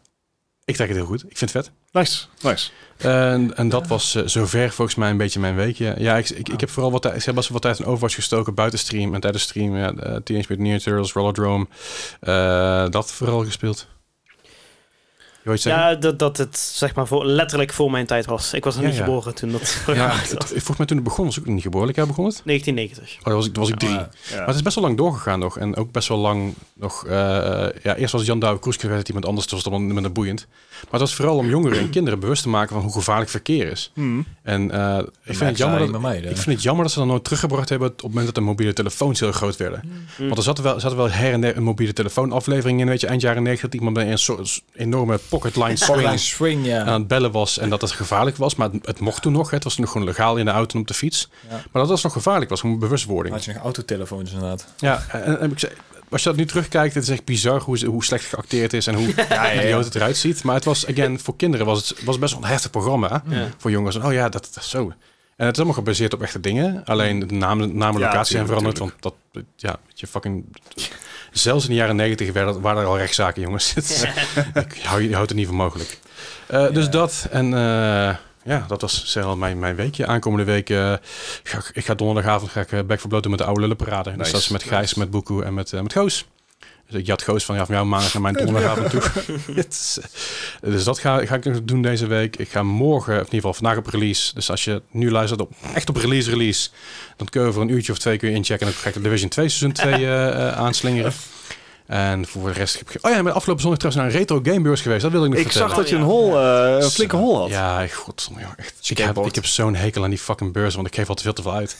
Speaker 1: ik trek het heel goed. Ik vind het vet.
Speaker 4: Nice, nice.
Speaker 1: En, en dat was eh, zover volgens mij een beetje mijn weekje. Ja, ik, ik, ik heb vooral wat, tijd- ik heb best wel wat tijd in Overwatch gestoken buiten stream en tijdens stream. Ja, eh, Teenage Mutant Ninja Turtles, Rollerdrome, eh dat vooral gespeeld. Je wil iets zeggen?
Speaker 3: Ja, dat, dat het zeg maar voor, letterlijk voor mijn tijd was. Ik was nog
Speaker 1: Ja,
Speaker 3: niet
Speaker 1: ja.
Speaker 3: geboren toen dat
Speaker 1: Ja,
Speaker 3: gemaakt
Speaker 1: het-
Speaker 3: was.
Speaker 1: volgens mij toen het begon was ik nog niet geboren. Ik jaar begon het?
Speaker 3: 1990.
Speaker 1: Oh, dat was ik, dat was ik drie.
Speaker 4: Ja.
Speaker 1: Maar het is best wel lang doorgegaan nog. En ook best wel lang nog... eh, ja, eerst was Jan Douwe Kroeske, werd het iemand anders, dus dat was dan minder boeiend. Maar het was vooral om jongeren en kinderen bewust te maken van hoe gevaarlijk verkeer is.
Speaker 4: Hmm.
Speaker 1: En eh, ik, vind het jammer dat, ik vind het jammer dat ze dat nooit teruggebracht hebben op het moment dat de mobiele telefoons heel groot werden.
Speaker 2: Hmm.
Speaker 1: Want er zat wel, zat wel her en der een mobiele telefoonaflevering in, weet je, eind jaren 90, dat iemand met een soort enorme pocketline
Speaker 2: <laughs> Pocketline
Speaker 1: swing
Speaker 2: swing, ja.
Speaker 1: aan het bellen was en dat het gevaarlijk was. Maar het, het mocht toen nog. hè. Het was toen nog gewoon legaal in de auto en op de fiets.
Speaker 2: Ja.
Speaker 1: Maar dat was nog gevaarlijk, was gewoon bewustwording.
Speaker 2: Had je nog autotelefoons inderdaad.
Speaker 1: Ja, en, en heb ik ze- als je dat nu terugkijkt, het is echt bizar hoe, ze- hoe slecht geacteerd is en
Speaker 2: <laughs>
Speaker 1: hoe idioot het eruit ziet. Maar het was, again, voor kinderen was het was best wel een heftig programma.
Speaker 3: Ja.
Speaker 1: Voor jongens, oh ja, dat, dat is zo. En het is allemaal gebaseerd op echte dingen. Alleen de namen, namen
Speaker 4: Ja,
Speaker 1: locatie zijn
Speaker 4: tuurlijk,
Speaker 1: veranderd. Want dat, ja, weet je, fucking... Zelfs in de jaren negentig waren er al rechtszaken, jongens. <laughs> Het is- ik hou, je houdt het niet voor mogelijk. Eh, Dus dat en... eh, ja, dat was zeg, al mijn, mijn weekje. Aankomende week eh, ga ik, ik ga donderdagavond ga ik eh, back for blood doen met de oude lullenparade. Dus
Speaker 4: Nice.
Speaker 1: dat is met Gijs,
Speaker 4: Nice.
Speaker 1: met Boekoe en met, eh, met Goos. Dus ik jat Goos van, ja, van jou maandag naar mijn donderdagavond toe.
Speaker 4: <laughs>
Speaker 1: <laughs> Het is, eh, dus dat ga, ga ik nog doen deze week. Ik ga morgen, of in ieder geval vandaag op release. Dus als je nu luistert op echt op release release, dan kun je voor een uurtje of twee kun je inchecken. En dan krijg je de Division 2 seizoen
Speaker 4: <laughs>
Speaker 1: 2 eh, eh, aanslingeren. En voor de rest heb ik... Oh ja, met afgelopen zondag trouwens naar een retro gamebeurs geweest. Dat wilde ik nog
Speaker 4: Ik
Speaker 1: vertellen.
Speaker 4: zag dat je
Speaker 3: Oh,
Speaker 4: een
Speaker 3: ja.
Speaker 4: hol, eh, een flinke hol had.
Speaker 1: Ja, godverdomme, joh, echt. Ik heb,
Speaker 2: Skateboard.
Speaker 1: ik heb zo'n hekel aan die fucking beurs, want ik geef altijd veel te veel uit.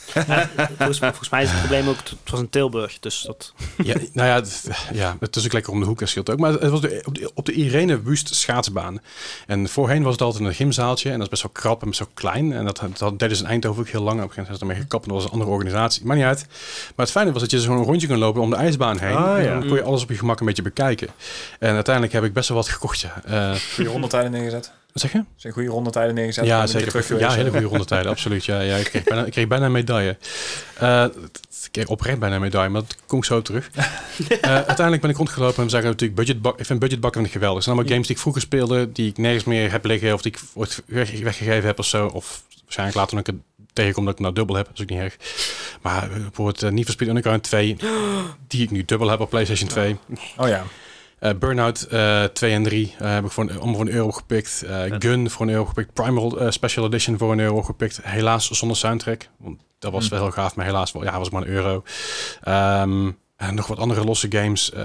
Speaker 3: Volgens, volgens mij is het probleem ook, het was in Tilburg, dus dat...
Speaker 1: ja, nou ja, het, ja, het is ook lekker om de hoek, dat scheelt ook. Maar het was de- op de, op de Irene Wust schaatsbaan. En voorheen was het altijd een gymzaaltje en dat is best wel krap en best wel klein. En dat, dat deden ze in Eindhoven ook heel lang. Op een gegeven moment zijn ze ermee gekapt, en dat was een andere organisatie. Maar niet uit. Maar het fijne was dat je dus gewoon een rondje kon lopen om de ijsbaan heen.
Speaker 4: Ah,
Speaker 1: en
Speaker 4: ja.
Speaker 1: dan kon je alles op je gemak een beetje bekijken. En uiteindelijk heb ik best wel wat gekocht, ja. Eh,
Speaker 2: Goede rondetijden neergezet.
Speaker 1: wat zeg je?
Speaker 2: Zijn goede rondetijden neergezet.
Speaker 1: Ja,
Speaker 2: Ben ik
Speaker 1: zeker.
Speaker 2: terug geweest.
Speaker 1: ja, hele goede rondetijden, absoluut. Ja, ja, ik, kreeg bijna, ik kreeg bijna een medaille. Eh, ik kreeg oprecht bijna een medaille, maar dat kom ik zo
Speaker 2: <laughs>
Speaker 1: terug. Eh, uiteindelijk ben ik rondgelopen en we zagen natuurlijk budgetbak. Ik vind budgetbakken vind ik geweldig. Het zijn allemaal games die ik vroeger speelde, die ik nergens meer heb liggen of die ik ooit weg- weggegeven heb of zo. Of waarschijnlijk later nog een keer tegenkom dat ik nou dubbel heb, dat is ook niet erg. Maar eh, bijvoorbeeld niet Need for Speed Underground 2, die ik nu dubbel heb op PlayStation 2.
Speaker 2: Oh ja.
Speaker 1: Eh, Burnout eh 2 en 3 eh, heb ik voor een, allemaal voor een euro gepikt. Eh, Gun voor een euro gepikt. Primal eh, Special Edition voor een euro gepikt. Helaas zonder soundtrack. Want dat was
Speaker 2: Hm.
Speaker 1: wel heel gaaf, maar helaas wel, ja, was maar een euro. Ehm, en nog wat andere losse games eh,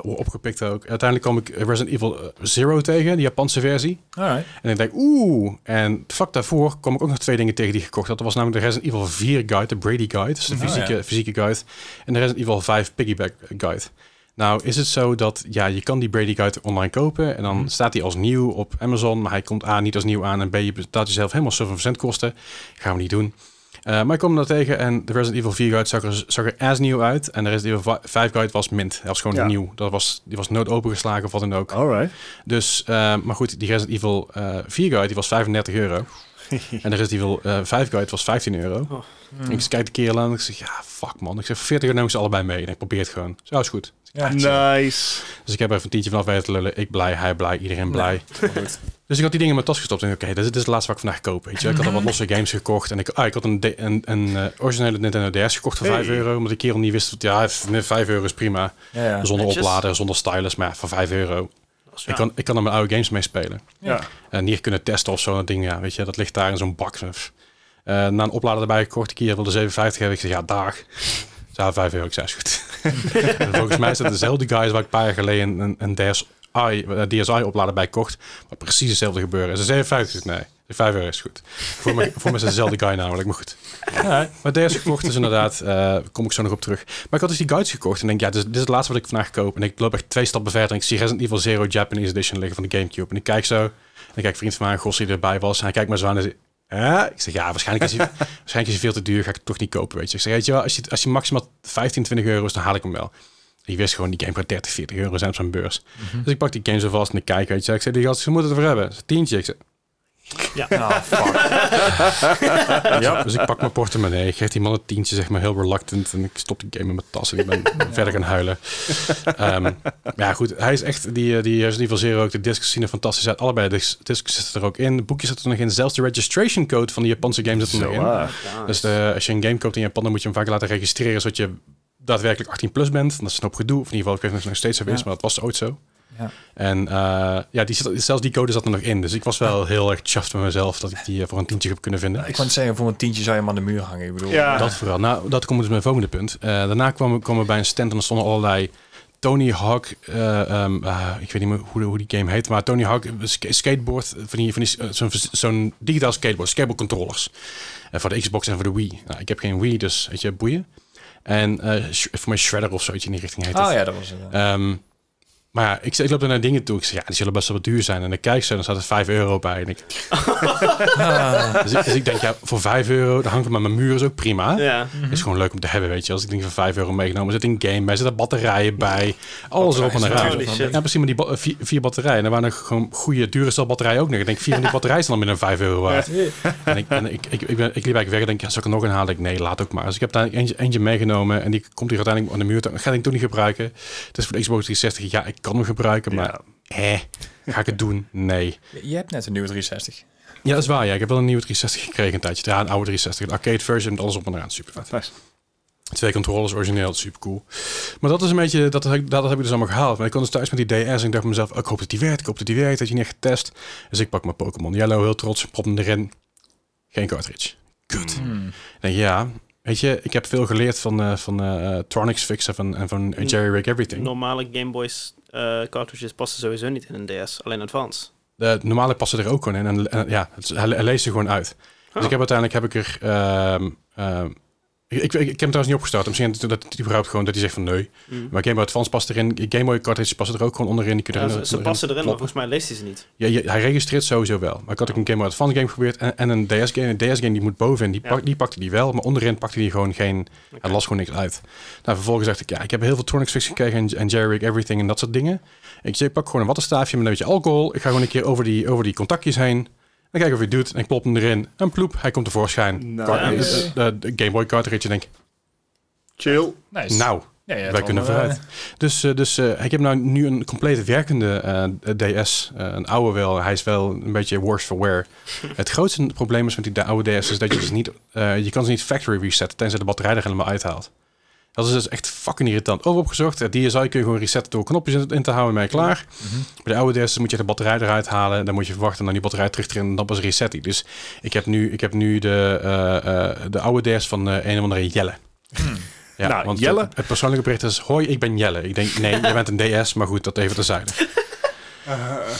Speaker 1: opgepikt ook. Uiteindelijk kwam ik Resident Evil eh, Zero tegen, die Japanse versie.
Speaker 2: Alright.
Speaker 1: En ik denk, oeh. En vlak daarvoor kwam ik ook nog twee dingen tegen die ik gekocht had. Dat was namelijk de Resident Evil 4 guide, de Brady guide. Dus de
Speaker 2: Oh,
Speaker 1: fysieke,
Speaker 2: ja.
Speaker 1: fysieke guide. En de Resident Evil 5 piggyback guide. Nou is het zo dat, ja, je kan die Brady guide online kopen. En dan
Speaker 2: Mhm.
Speaker 1: staat die als nieuw op Amazon. Maar hij komt A, niet als nieuw aan. En B, je betaalt jezelf helemaal 7% kosten. Gaan we niet doen. Eh, maar ik kwam daar tegen en de Resident Evil 4 guide zag er, zag er as nieuw uit. En de Resident Evil 5 guide was mint. Hij was gewoon
Speaker 4: Ja.
Speaker 1: nieuw. Dat was, die was nooit opengeslagen of wat dan ook.
Speaker 4: Alright.
Speaker 1: Dus, eh, maar goed, die Resident Evil eh 4 guide die was 35 euro. en de Resident Evil eh 5 guide was 15 euro. Ik kijk de kerel aan en ik zeg, ja, fuck man. Ik zeg, 40 euro neem ik ze allebei mee. En ik probeer het gewoon. Zo is goed.
Speaker 2: Ja,
Speaker 4: Nice.
Speaker 1: Dus ik heb er even een tientje vanaf weten te lullen. Ik blij, hij blij, iedereen blij.
Speaker 2: goed.
Speaker 1: Dus ik had die dingen in mijn tas gestopt. En ik dacht, oké, dit, is- dit is het laatste wat ik vandaag koop. Weet je. Ik had al wat losse games gekocht. En ik, ah, ik had een, de- een, een eh, originele Nintendo DS gekocht voor
Speaker 4: Hey.
Speaker 1: 5 euro. Omdat de kerel niet wist, dat ja, 5 euro is prima.
Speaker 2: Ja, ja.
Speaker 1: Zonder
Speaker 3: netjes.
Speaker 1: oplader, zonder stylus, maar voor 5 euro.
Speaker 3: Als,
Speaker 1: Ik, kan, ik kan er mijn oude games mee spelen.
Speaker 4: Ja.
Speaker 1: En hier eh, kunnen testen of zo. Dat ding, ja, weet je, dat ligt daar in zo'n bak. Eh, na een oplader erbij gekocht, ik hier wilde 57 hebben. Ik zei, ja, dag. Zou 5 euro, ik zei, is goed. En volgens mij is dat dezelfde guys waar ik een paar jaar geleden een, een DSi, eh, DSi oplader bij kocht. Maar precies hetzelfde gebeuren. En ze 57 is nee. 5 euro is goed. Voor me, voor me is het dezelfde guy namelijk, maar goed. Maar DS gekocht is inderdaad, eh kom ik zo nog op terug. Maar ik had dus die guides gekocht en denk, ja, dit is, dit is het laatste wat ik vandaag koop. En ik loop echt twee stappen verder en ik zie Resident Evil Zero Japanese Edition liggen van de Gamecube. En ik kijk zo, en ik kijk vriend van mij, Gos die erbij was. En hij kijkt me zo aan en zegt, hè? Ik zeg, ja, waarschijnlijk is, hij, waarschijnlijk is hij veel te duur, ga ik het toch niet kopen, weet je. Ik zeg, weet je wel, als je, als je maximaal 15, 20 euro is, dan haal ik hem wel. Ik wist gewoon, die game gaat 30, 40 euro zijn op zijn beurs. Dus ik pak die game zo vast en ik kijk, weet je. Ik zeg, die gast, ze moeten het ervoor hebben. Ze tientje. Ik zeg,
Speaker 2: Nou, fuck.
Speaker 1: <laughs> ja. Dus ik pak mijn portemonnee, ik geef die man een tientje, zeg maar, heel reluctant. En ik stop die game in mijn tas en ik ben verder gaan huilen. Ehm, maar ja, goed, hij is echt, die, eh, die Resident Evil Zero, ook de discs zien er fantastisch uit. Allebei de dis- discs zitten er ook in, de boekjes zitten er nog in. Zelfs de registration code van die Japanse game zit er
Speaker 4: Zo
Speaker 1: nog in.
Speaker 2: ah,
Speaker 4: waar.
Speaker 1: Dus de- als je een game koopt in Japan, dan moet je hem vaak laten registreren, zodat je daadwerkelijk 18 plus bent. Dat is een hoop gedoe, of in ieder geval, ik weet niet of het nog steeds zo is,
Speaker 2: Ja.
Speaker 1: maar dat was ooit zo.
Speaker 2: Ja.
Speaker 1: En eh, ja, die zit, zelfs die code zat er nog in. Dus ik was wel heel erg chuffed met mezelf dat ik die eh, voor een tientje heb kunnen vinden.
Speaker 2: Ik kan het zeggen, voor een tientje zou je hem aan de muur hangen. Ik bedoel,
Speaker 4: Ja.
Speaker 1: Dat vooral. Nou, dat komt dus mijn volgende punt. Eh, daarna kwamen kwamen we bij een stand en er stonden allerlei Tony Hawk, eh, ehm, ah, ik weet niet meer hoe, de- hoe die game heet, maar Tony Hawk eh, sk- skateboard, eh, van die, van die, eh, zo'n zo'n digitaal skateboard, skateboard controllers. Eh, voor de Xbox en voor de Wii. Nou, ik heb geen Wii, dus weet je, boeien. En eh, sh- voor mij Shredder of zoiets in die richting heet het.
Speaker 2: Ah Oh, ja, dat was het. ja.
Speaker 1: Ehm, Maar ja, ik, ik loop daar naar dingen toe. Ik zeg, ja, die zullen best wel wat duur zijn. En dan kijk ze en dan staat er 5 euro bij. En ik, dus, ik, dus ik denk, ja, voor 5 euro, dat hangt het maar mijn muur, is ook prima.
Speaker 3: Ja.
Speaker 1: Is gewoon leuk om te hebben, weet je. Als ik denk van 5 euro meegenomen, zit een game bij, zitten batterijen bij. Alles erop en eraan.
Speaker 3: Holy shit.
Speaker 1: Ja, precies, maar die ba- eh, vier, vier batterijen. En er waren nog gewoon goede, dure celbatterijen ook nog. Ik denk, vier van die batterijen zijn al minder dan 5 euro waard. En, ik, en ik, ik, ik, ben, ik liep eigenlijk weg en denk, ja, zal ik er nog een halen? Ik, nee, laat ook maar. Dus ik heb daar eentje, eentje meegenomen en die komt hier uiteindelijk aan de muur. te- Ga ik toen niet gebruiken. Dus voor de Xbox 360, ja, ik kan hem gebruiken, maar hè, ga ik het doen? Nee.
Speaker 2: Je je hebt net een nieuwe 360.
Speaker 1: Ja, dat is waar. Ja. Ik heb wel een nieuwe 360 gekregen een tijdje. Ja, een oude 360. Een arcade version met alles op en eraan. Super vet.
Speaker 4: Nice.
Speaker 1: Twee controllers origineel, super cool. Maar dat is een beetje, dat, heb ik- dat heb ik dus allemaal gehaald. Maar ik kwam dus thuis met die DS en ik dacht mezelf, oh, ik hoop dat die werkt, ik hoop dat die werkt, dat je niet echt getest. Dus ik pak mijn Pokémon Yellow heel trots, prop hem erin. Geen cartridge.
Speaker 2: Hmm.
Speaker 1: Kut. Ik denk, ja, weet je, ik heb veel geleerd van, eh, van eh, Tronics fixen en van, en van
Speaker 3: Mm.
Speaker 1: Jerry Rig Everything.
Speaker 3: Normale Game Boys eh, cartridges passen sowieso niet in een DS, alleen Advance.
Speaker 1: De normale passen er ook gewoon in. En, en- ja, het, is- hij, hij leest er gewoon uit. Dus
Speaker 3: Oh.
Speaker 1: ik heb uiteindelijk heb ik er. ehm, ehm, ik, ik, ik heb hem trouwens niet opgestart. Misschien dat dat hij überhaupt gewoon dat hij zegt van nee.
Speaker 3: Mm.
Speaker 1: Maar Game Boy Advance past erin. Game Boy cartridges passen er ook gewoon onderin. Die kun je
Speaker 3: Ja,
Speaker 1: erin-
Speaker 3: ze, ze passen erin, maar
Speaker 1: ploppen.
Speaker 3: volgens mij leest hij ze niet.
Speaker 1: Ja, je- hij registreert sowieso wel. Maar ik had ook een Game Boy Advance game geprobeerd en, en een DS game. Een DS game die moet bovenin, die,
Speaker 3: Ja.
Speaker 1: pak- die pakte die wel. Maar onderin pakte die gewoon geen... Hij las gewoon niks uit. Nou, vervolgens dacht ik, ja, ik heb heel veel Tronics Fix gekregen en, en Jerry Rig Everything en dat soort dingen. Ik zei, ik pak gewoon een wattenstaafje met een beetje alcohol. Ik ga gewoon een keer over die, over die contactjes heen. En kijk of hij het doet. En ik plop hem erin. En ploep, hij komt tevoorschijn.
Speaker 4: Nice.
Speaker 1: Kar- eh, eh, eh, de Game Boy cartridge. En ik
Speaker 4: Chill.
Speaker 2: Nice.
Speaker 1: denk, nou,
Speaker 2: Ja, je hebt
Speaker 1: wij
Speaker 2: al,
Speaker 1: kunnen
Speaker 2: eh,
Speaker 1: vooruit. Dus, eh, dus eh, ik heb nou nu een compleet werkende eh, DS. Eh, een oude wel. Hij is wel een beetje worse for wear. het grootste probleem is met die de oude DS is dat je ze niet... eh, je kan ze niet factory resetten tenzij de batterij er helemaal uithaalt. Dat is dus echt fucking irritant. eh, Over opgezocht. Het DSi kun je gewoon resetten door knopjes in- in te houden en ben je klaar. Bij de oude DS moet je de batterij eruit halen. Dan moet je verwachten dat die batterij terug erin. En dan pas reset die. Dus ik heb nu, ik heb nu de, eh, eh, de oude DS van eh een of andere Jelle. Ja,
Speaker 4: Nou,
Speaker 1: want
Speaker 4: Jelle?
Speaker 1: Het, het persoonlijke bericht is... Hoi, ik ben Jelle. Ik denk, nee, je bent een DS. Maar goed, dat even
Speaker 4: <laughs>
Speaker 1: terzijde.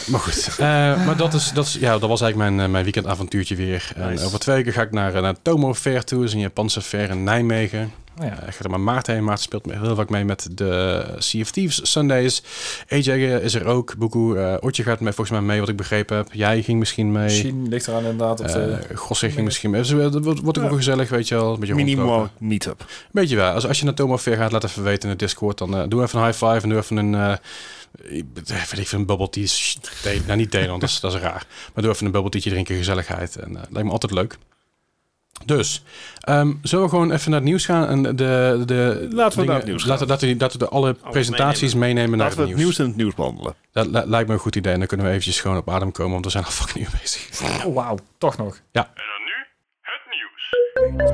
Speaker 1: Maar goed. Eh, maar dat, is, dat, is, ja, dat was eigenlijk mijn, eh, mijn weekendavontuurtje weer. En
Speaker 3: Nice.
Speaker 1: over twee weken ga ik naar, eh, naar Tomo Fair toe. Dat is een Japanse fair in Nijmegen.
Speaker 2: oh ja.
Speaker 1: Eh, ik ga er maar Maarten heen. Maarten speelt me heel vaak mee met de Sea of Thieves Sundays. AJ is er ook. Boekoe, eh Otje gaat mee, volgens mij mee, wat ik begrepen heb. Jij ging misschien mee.
Speaker 2: Misschien ligt eraan inderdaad op
Speaker 1: Eh
Speaker 2: de...
Speaker 1: Gosse ging misschien mee. Dus, eh, Dat wordt wordt ook
Speaker 4: Ja.
Speaker 1: wel gezellig, weet je wel. Een beetje
Speaker 4: Minimal
Speaker 1: rondlopen.
Speaker 4: meetup.
Speaker 1: Weet je wel. Als, als je naar Tomo Fair gaat, laat even weten in de Discord. Dan eh, doe even een high five en doe even een... eh, ik weet niet, even een bubble tea. sh- thee. nou, niet thee, want dat is, dat is raar. Maar doe even een bubble tea'tje drinken, gezelligheid. En eh, lijkt me altijd leuk. Dus, ehm, zullen we gewoon even naar het nieuws gaan? En de, de
Speaker 4: naar het
Speaker 1: dingen-
Speaker 4: nieuws gaan.
Speaker 1: Laten, laten, we die- laten we de alle presentaties meenemen, naar
Speaker 4: Laten we het nieuws in het nieuws behandelen.
Speaker 1: Dat li- lijkt me een goed idee. En dan kunnen we eventjes gewoon op adem komen, want we zijn al fucking uur bezig.
Speaker 2: Oh, wauw, toch nog.
Speaker 5: En dan nu het nieuws.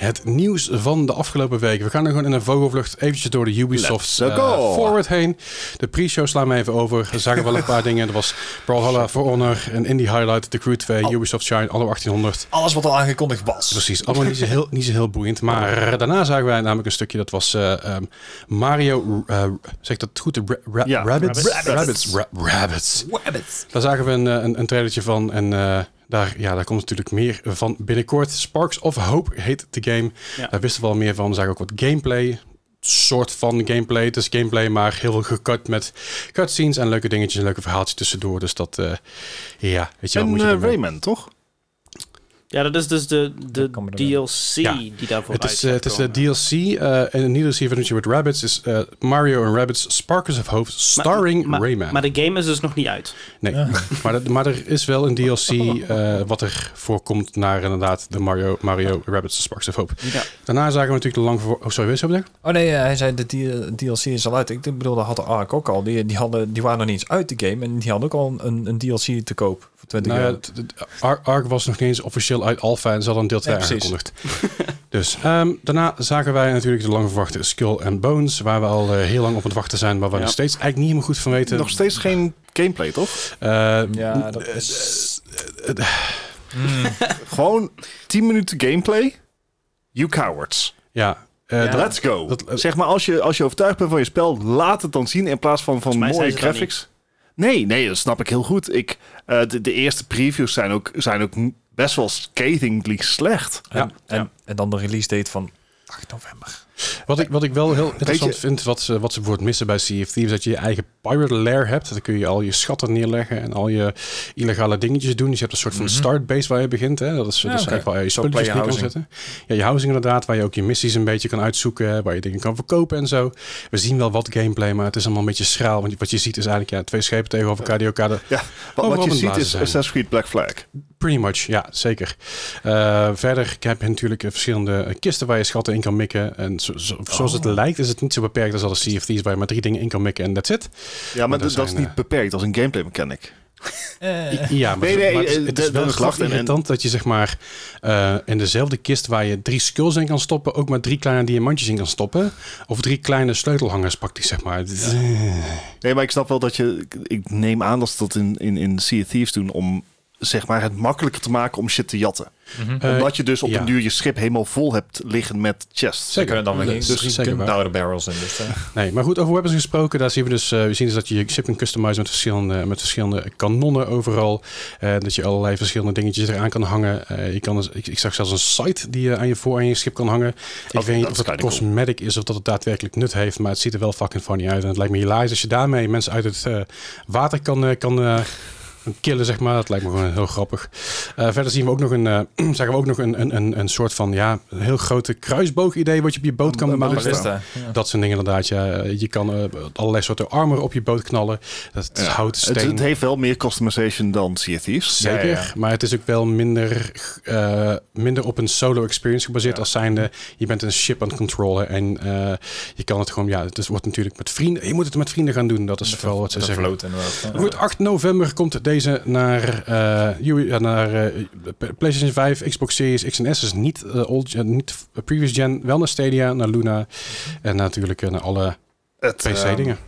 Speaker 1: Het nieuws van de afgelopen weken. We gaan er gewoon in een vogelvlucht eventjes door de Ubisoft
Speaker 4: Let's
Speaker 1: eh,
Speaker 4: go.
Speaker 1: Forward heen. De pre-show slaan we even over. We zagen wel een
Speaker 4: <laughs>
Speaker 1: paar dingen. Er was Brawlhalla, For Honor, een Indie Highlight, The Crew 2,
Speaker 4: Oh.
Speaker 1: Ubisoft Shine, Anno 1800.
Speaker 2: Alles wat al aangekondigd was.
Speaker 1: Precies, allemaal niet zo heel, niet zo heel boeiend. Maar daarna zagen wij namelijk een stukje, dat was eh, ehm, Mario, eh, zeg ik dat goed? De Ra- Ra-
Speaker 4: Ja,
Speaker 1: Rabbits?
Speaker 4: Rabbits.
Speaker 1: Rabbits. Ra- Rabbits.
Speaker 2: Wabbit.
Speaker 1: Daar zagen we een, eh, een, een trailertje van. En eh, daar, ja, daar komt natuurlijk meer van binnenkort. Sparks of Hope heet de game.
Speaker 3: Ja.
Speaker 1: Daar wisten we al meer van. We zagen ook wat gameplay. Soort van gameplay. Het is gameplay, maar heel veel gekut met cutscenes en leuke dingetjes en leuke verhaaltjes tussendoor. Dus dat, eh, ja, weet je wel,
Speaker 4: En
Speaker 1: moet je
Speaker 4: eh,
Speaker 1: ermee-
Speaker 4: Rayman, toch?
Speaker 3: Ja, dat is dus de, de
Speaker 2: Dat kan me erin.
Speaker 3: DLC
Speaker 1: Ja.
Speaker 3: die daarvoor
Speaker 1: Het is,
Speaker 3: uit
Speaker 1: eh,
Speaker 3: gaat
Speaker 1: het is de
Speaker 3: komen.
Speaker 1: DLC eh, en een nieuwe DLC adventure met Rabbits is eh, Mario en Rabbits Sparkers of Hope
Speaker 3: Maar-
Speaker 1: starring
Speaker 3: maar-
Speaker 1: Rayman.
Speaker 3: Maar de game is dus nog niet uit.
Speaker 1: Nee, <laughs> maar, dat, maar er is wel een DLC eh, wat er voorkomt naar inderdaad de Mario, Mario Rabbits Sparks of Hope.
Speaker 3: Ja.
Speaker 1: Daarna zagen we natuurlijk de lang voor... Oh, sorry, wil je zo bedenken?
Speaker 2: Oh nee, eh, hij zei de D- DLC is al uit. Ik bedoel, dat had de Ark ook al. Die, die, hadden, die waren nog niet eens uit de game. En die hadden ook al een, een DLC te koop voor 20
Speaker 1: Nou ja,
Speaker 2: euro.
Speaker 1: het- het- Ark- Ark was nog niet eens officieel uit Alpha en ze hadden een deel 2
Speaker 2: Ja, precies.
Speaker 1: aangekondigd. dus ehm, daarna zagen wij natuurlijk de lang verwachte Skull and Bones, waar we al eh, heel lang op aan het wachten zijn, maar waar we
Speaker 3: Ja.
Speaker 1: nog steeds eigenlijk niet helemaal goed van weten.
Speaker 4: Nog steeds geen gameplay, toch?
Speaker 1: Eh,
Speaker 2: Ja, dat is...
Speaker 4: Gewoon 10 minuten gameplay. You cowards.
Speaker 1: ja, eh,
Speaker 2: Ja.
Speaker 1: dat-
Speaker 4: Let's go.
Speaker 1: Dat- eh,
Speaker 4: zeg maar, als je, als je overtuigd bent van je spel, laat het dan zien in plaats van, van
Speaker 3: Volgens mij
Speaker 4: mooie
Speaker 3: zijn ze dat
Speaker 4: graphics. Nee, nee, dat snap ik heel goed. Ik, eh, de, de eerste previews zijn ook, zijn ook n- best wel scathingly slecht.
Speaker 1: Ja.
Speaker 2: En, en dan de release date van 8 november.
Speaker 1: Wat ik, wat ik wel heel interessant vind, wat ze, wat ze bijvoorbeeld missen bij Sea of Thieves, dat je je eigen pirate lair hebt. Dan kun je al je schatten neerleggen en al je illegale dingetjes doen. Dus je hebt een soort van startbase waar je begint. Hè? Dat is,
Speaker 2: Ja,
Speaker 1: dat is
Speaker 2: Mhm. Ah,
Speaker 1: eigenlijk
Speaker 2: oké.
Speaker 1: waar je
Speaker 2: Zo
Speaker 1: spulletjes
Speaker 2: play
Speaker 1: neer kan
Speaker 2: housing.
Speaker 1: zetten. Ja, je housing inderdaad, waar je ook je missies een beetje kan uitzoeken, waar je dingen kan verkopen en zo. We zien wel wat gameplay, maar het is allemaal een beetje schraal. Want wat je ziet is eigenlijk ja, twee schepen tegenover elkaar die elkaar... de-
Speaker 4: Ja, wat, wat
Speaker 1: Overal
Speaker 4: je
Speaker 1: met
Speaker 4: ziet
Speaker 1: blazen
Speaker 4: is
Speaker 1: zijn.
Speaker 4: Assassin's Creed Black Flag.
Speaker 1: Pretty much, ja, zeker. Eh, verder heb je natuurlijk eh, verschillende eh, kisten waar je schatten in kan mikken. En zo, zo- zoals
Speaker 4: Oh.
Speaker 1: het lijkt is het niet zo beperkt als alle CFT's waar je maar drie dingen in kan mikken en that's it.
Speaker 4: Ja, maar
Speaker 1: er
Speaker 4: dat, dat is
Speaker 1: zijn,
Speaker 4: niet
Speaker 1: eh,
Speaker 4: beperkt als een gameplay mechanic.
Speaker 2: Eh,
Speaker 1: Ja, maar,
Speaker 4: <laughs> Nee, nee,
Speaker 1: maar het,
Speaker 4: eh,
Speaker 1: het is
Speaker 4: dat-
Speaker 1: wel
Speaker 4: dat
Speaker 1: grappig
Speaker 4: lacht en- en-
Speaker 1: irritant dat je zeg maar eh, in dezelfde kist waar je drie skulls in kan stoppen, ook maar drie kleine diamantjes in kan stoppen. Of drie kleine sleutelhangers praktisch, zeg maar. Het is-
Speaker 4: Nee, maar ik snap wel dat je... ik- Ik neem aan dat ze dat in, in, in Sea of Thieves doen om zeg maar, het makkelijker te maken om shit te jatten.
Speaker 1: eh,
Speaker 4: Omdat je dus op
Speaker 1: ja.
Speaker 4: een duur je schip helemaal vol hebt liggen met chests.
Speaker 2: we
Speaker 1: Zeker.
Speaker 2: kunnen dan weer geen
Speaker 1: Dus zeker waar.
Speaker 2: de barrels in. Dus, eh,
Speaker 1: Nee, maar goed, over weapons gesproken. Daar zien we dus, eh, we zien dus dat je je ship kan customizen met verschillende, eh, met verschillende kanonnen overal. Eh, dat je allerlei verschillende dingetjes eraan kan hangen. Eh, je kan dus, ik, ik zag zelfs een site die je aan je voor aan je schip kan hangen. ik weet niet
Speaker 4: Oh, dat
Speaker 1: of
Speaker 4: is
Speaker 1: dat
Speaker 4: kinda cool.
Speaker 1: cosmetic is of dat het daadwerkelijk nut heeft, maar het ziet er wel fucking funny uit. En het lijkt me hilarisch als je daarmee mensen uit het eh, water kan, eh, kan eh, killen, zeg maar. Dat lijkt me gewoon heel grappig. Eh, verder zien we ook nog een, eh, <clears throat> zagen we ook nog een, een, een, een soort van, ja, een heel grote kruisboog-idee wat je op je boot kan
Speaker 4: een
Speaker 1: maken.
Speaker 4: ballista.
Speaker 2: ballista, ja.
Speaker 1: Dat zijn dingen inderdaad. Ja. Je kan eh, allerlei soorten armor op je boot knallen. Dat is
Speaker 4: Ja.
Speaker 1: hout, steen.
Speaker 4: Het, het heeft wel meer customization dan Sea of Thieves.
Speaker 1: Zeker,
Speaker 2: Ja, ja.
Speaker 1: maar het is ook wel minder, eh, minder op een solo experience gebaseerd als zijnde je bent een ship aan het controlen en eh, je kan het gewoon, ja, het is- wordt natuurlijk met vrienden, je moet het met vrienden gaan doen, dat is vooral wat ze
Speaker 2: Met een
Speaker 1: zeggen.
Speaker 2: float eh. inderdaad. Ja.
Speaker 1: Goed, 8 november komt deze naar, eh, U- ja, naar eh, PlayStation 5, Xbox Series X en S. Dus niet, eh, old, eh, niet previous gen, wel naar Stadia, naar Luna en natuurlijk eh, naar alle
Speaker 4: Het, ehm,
Speaker 1: PC-dingen.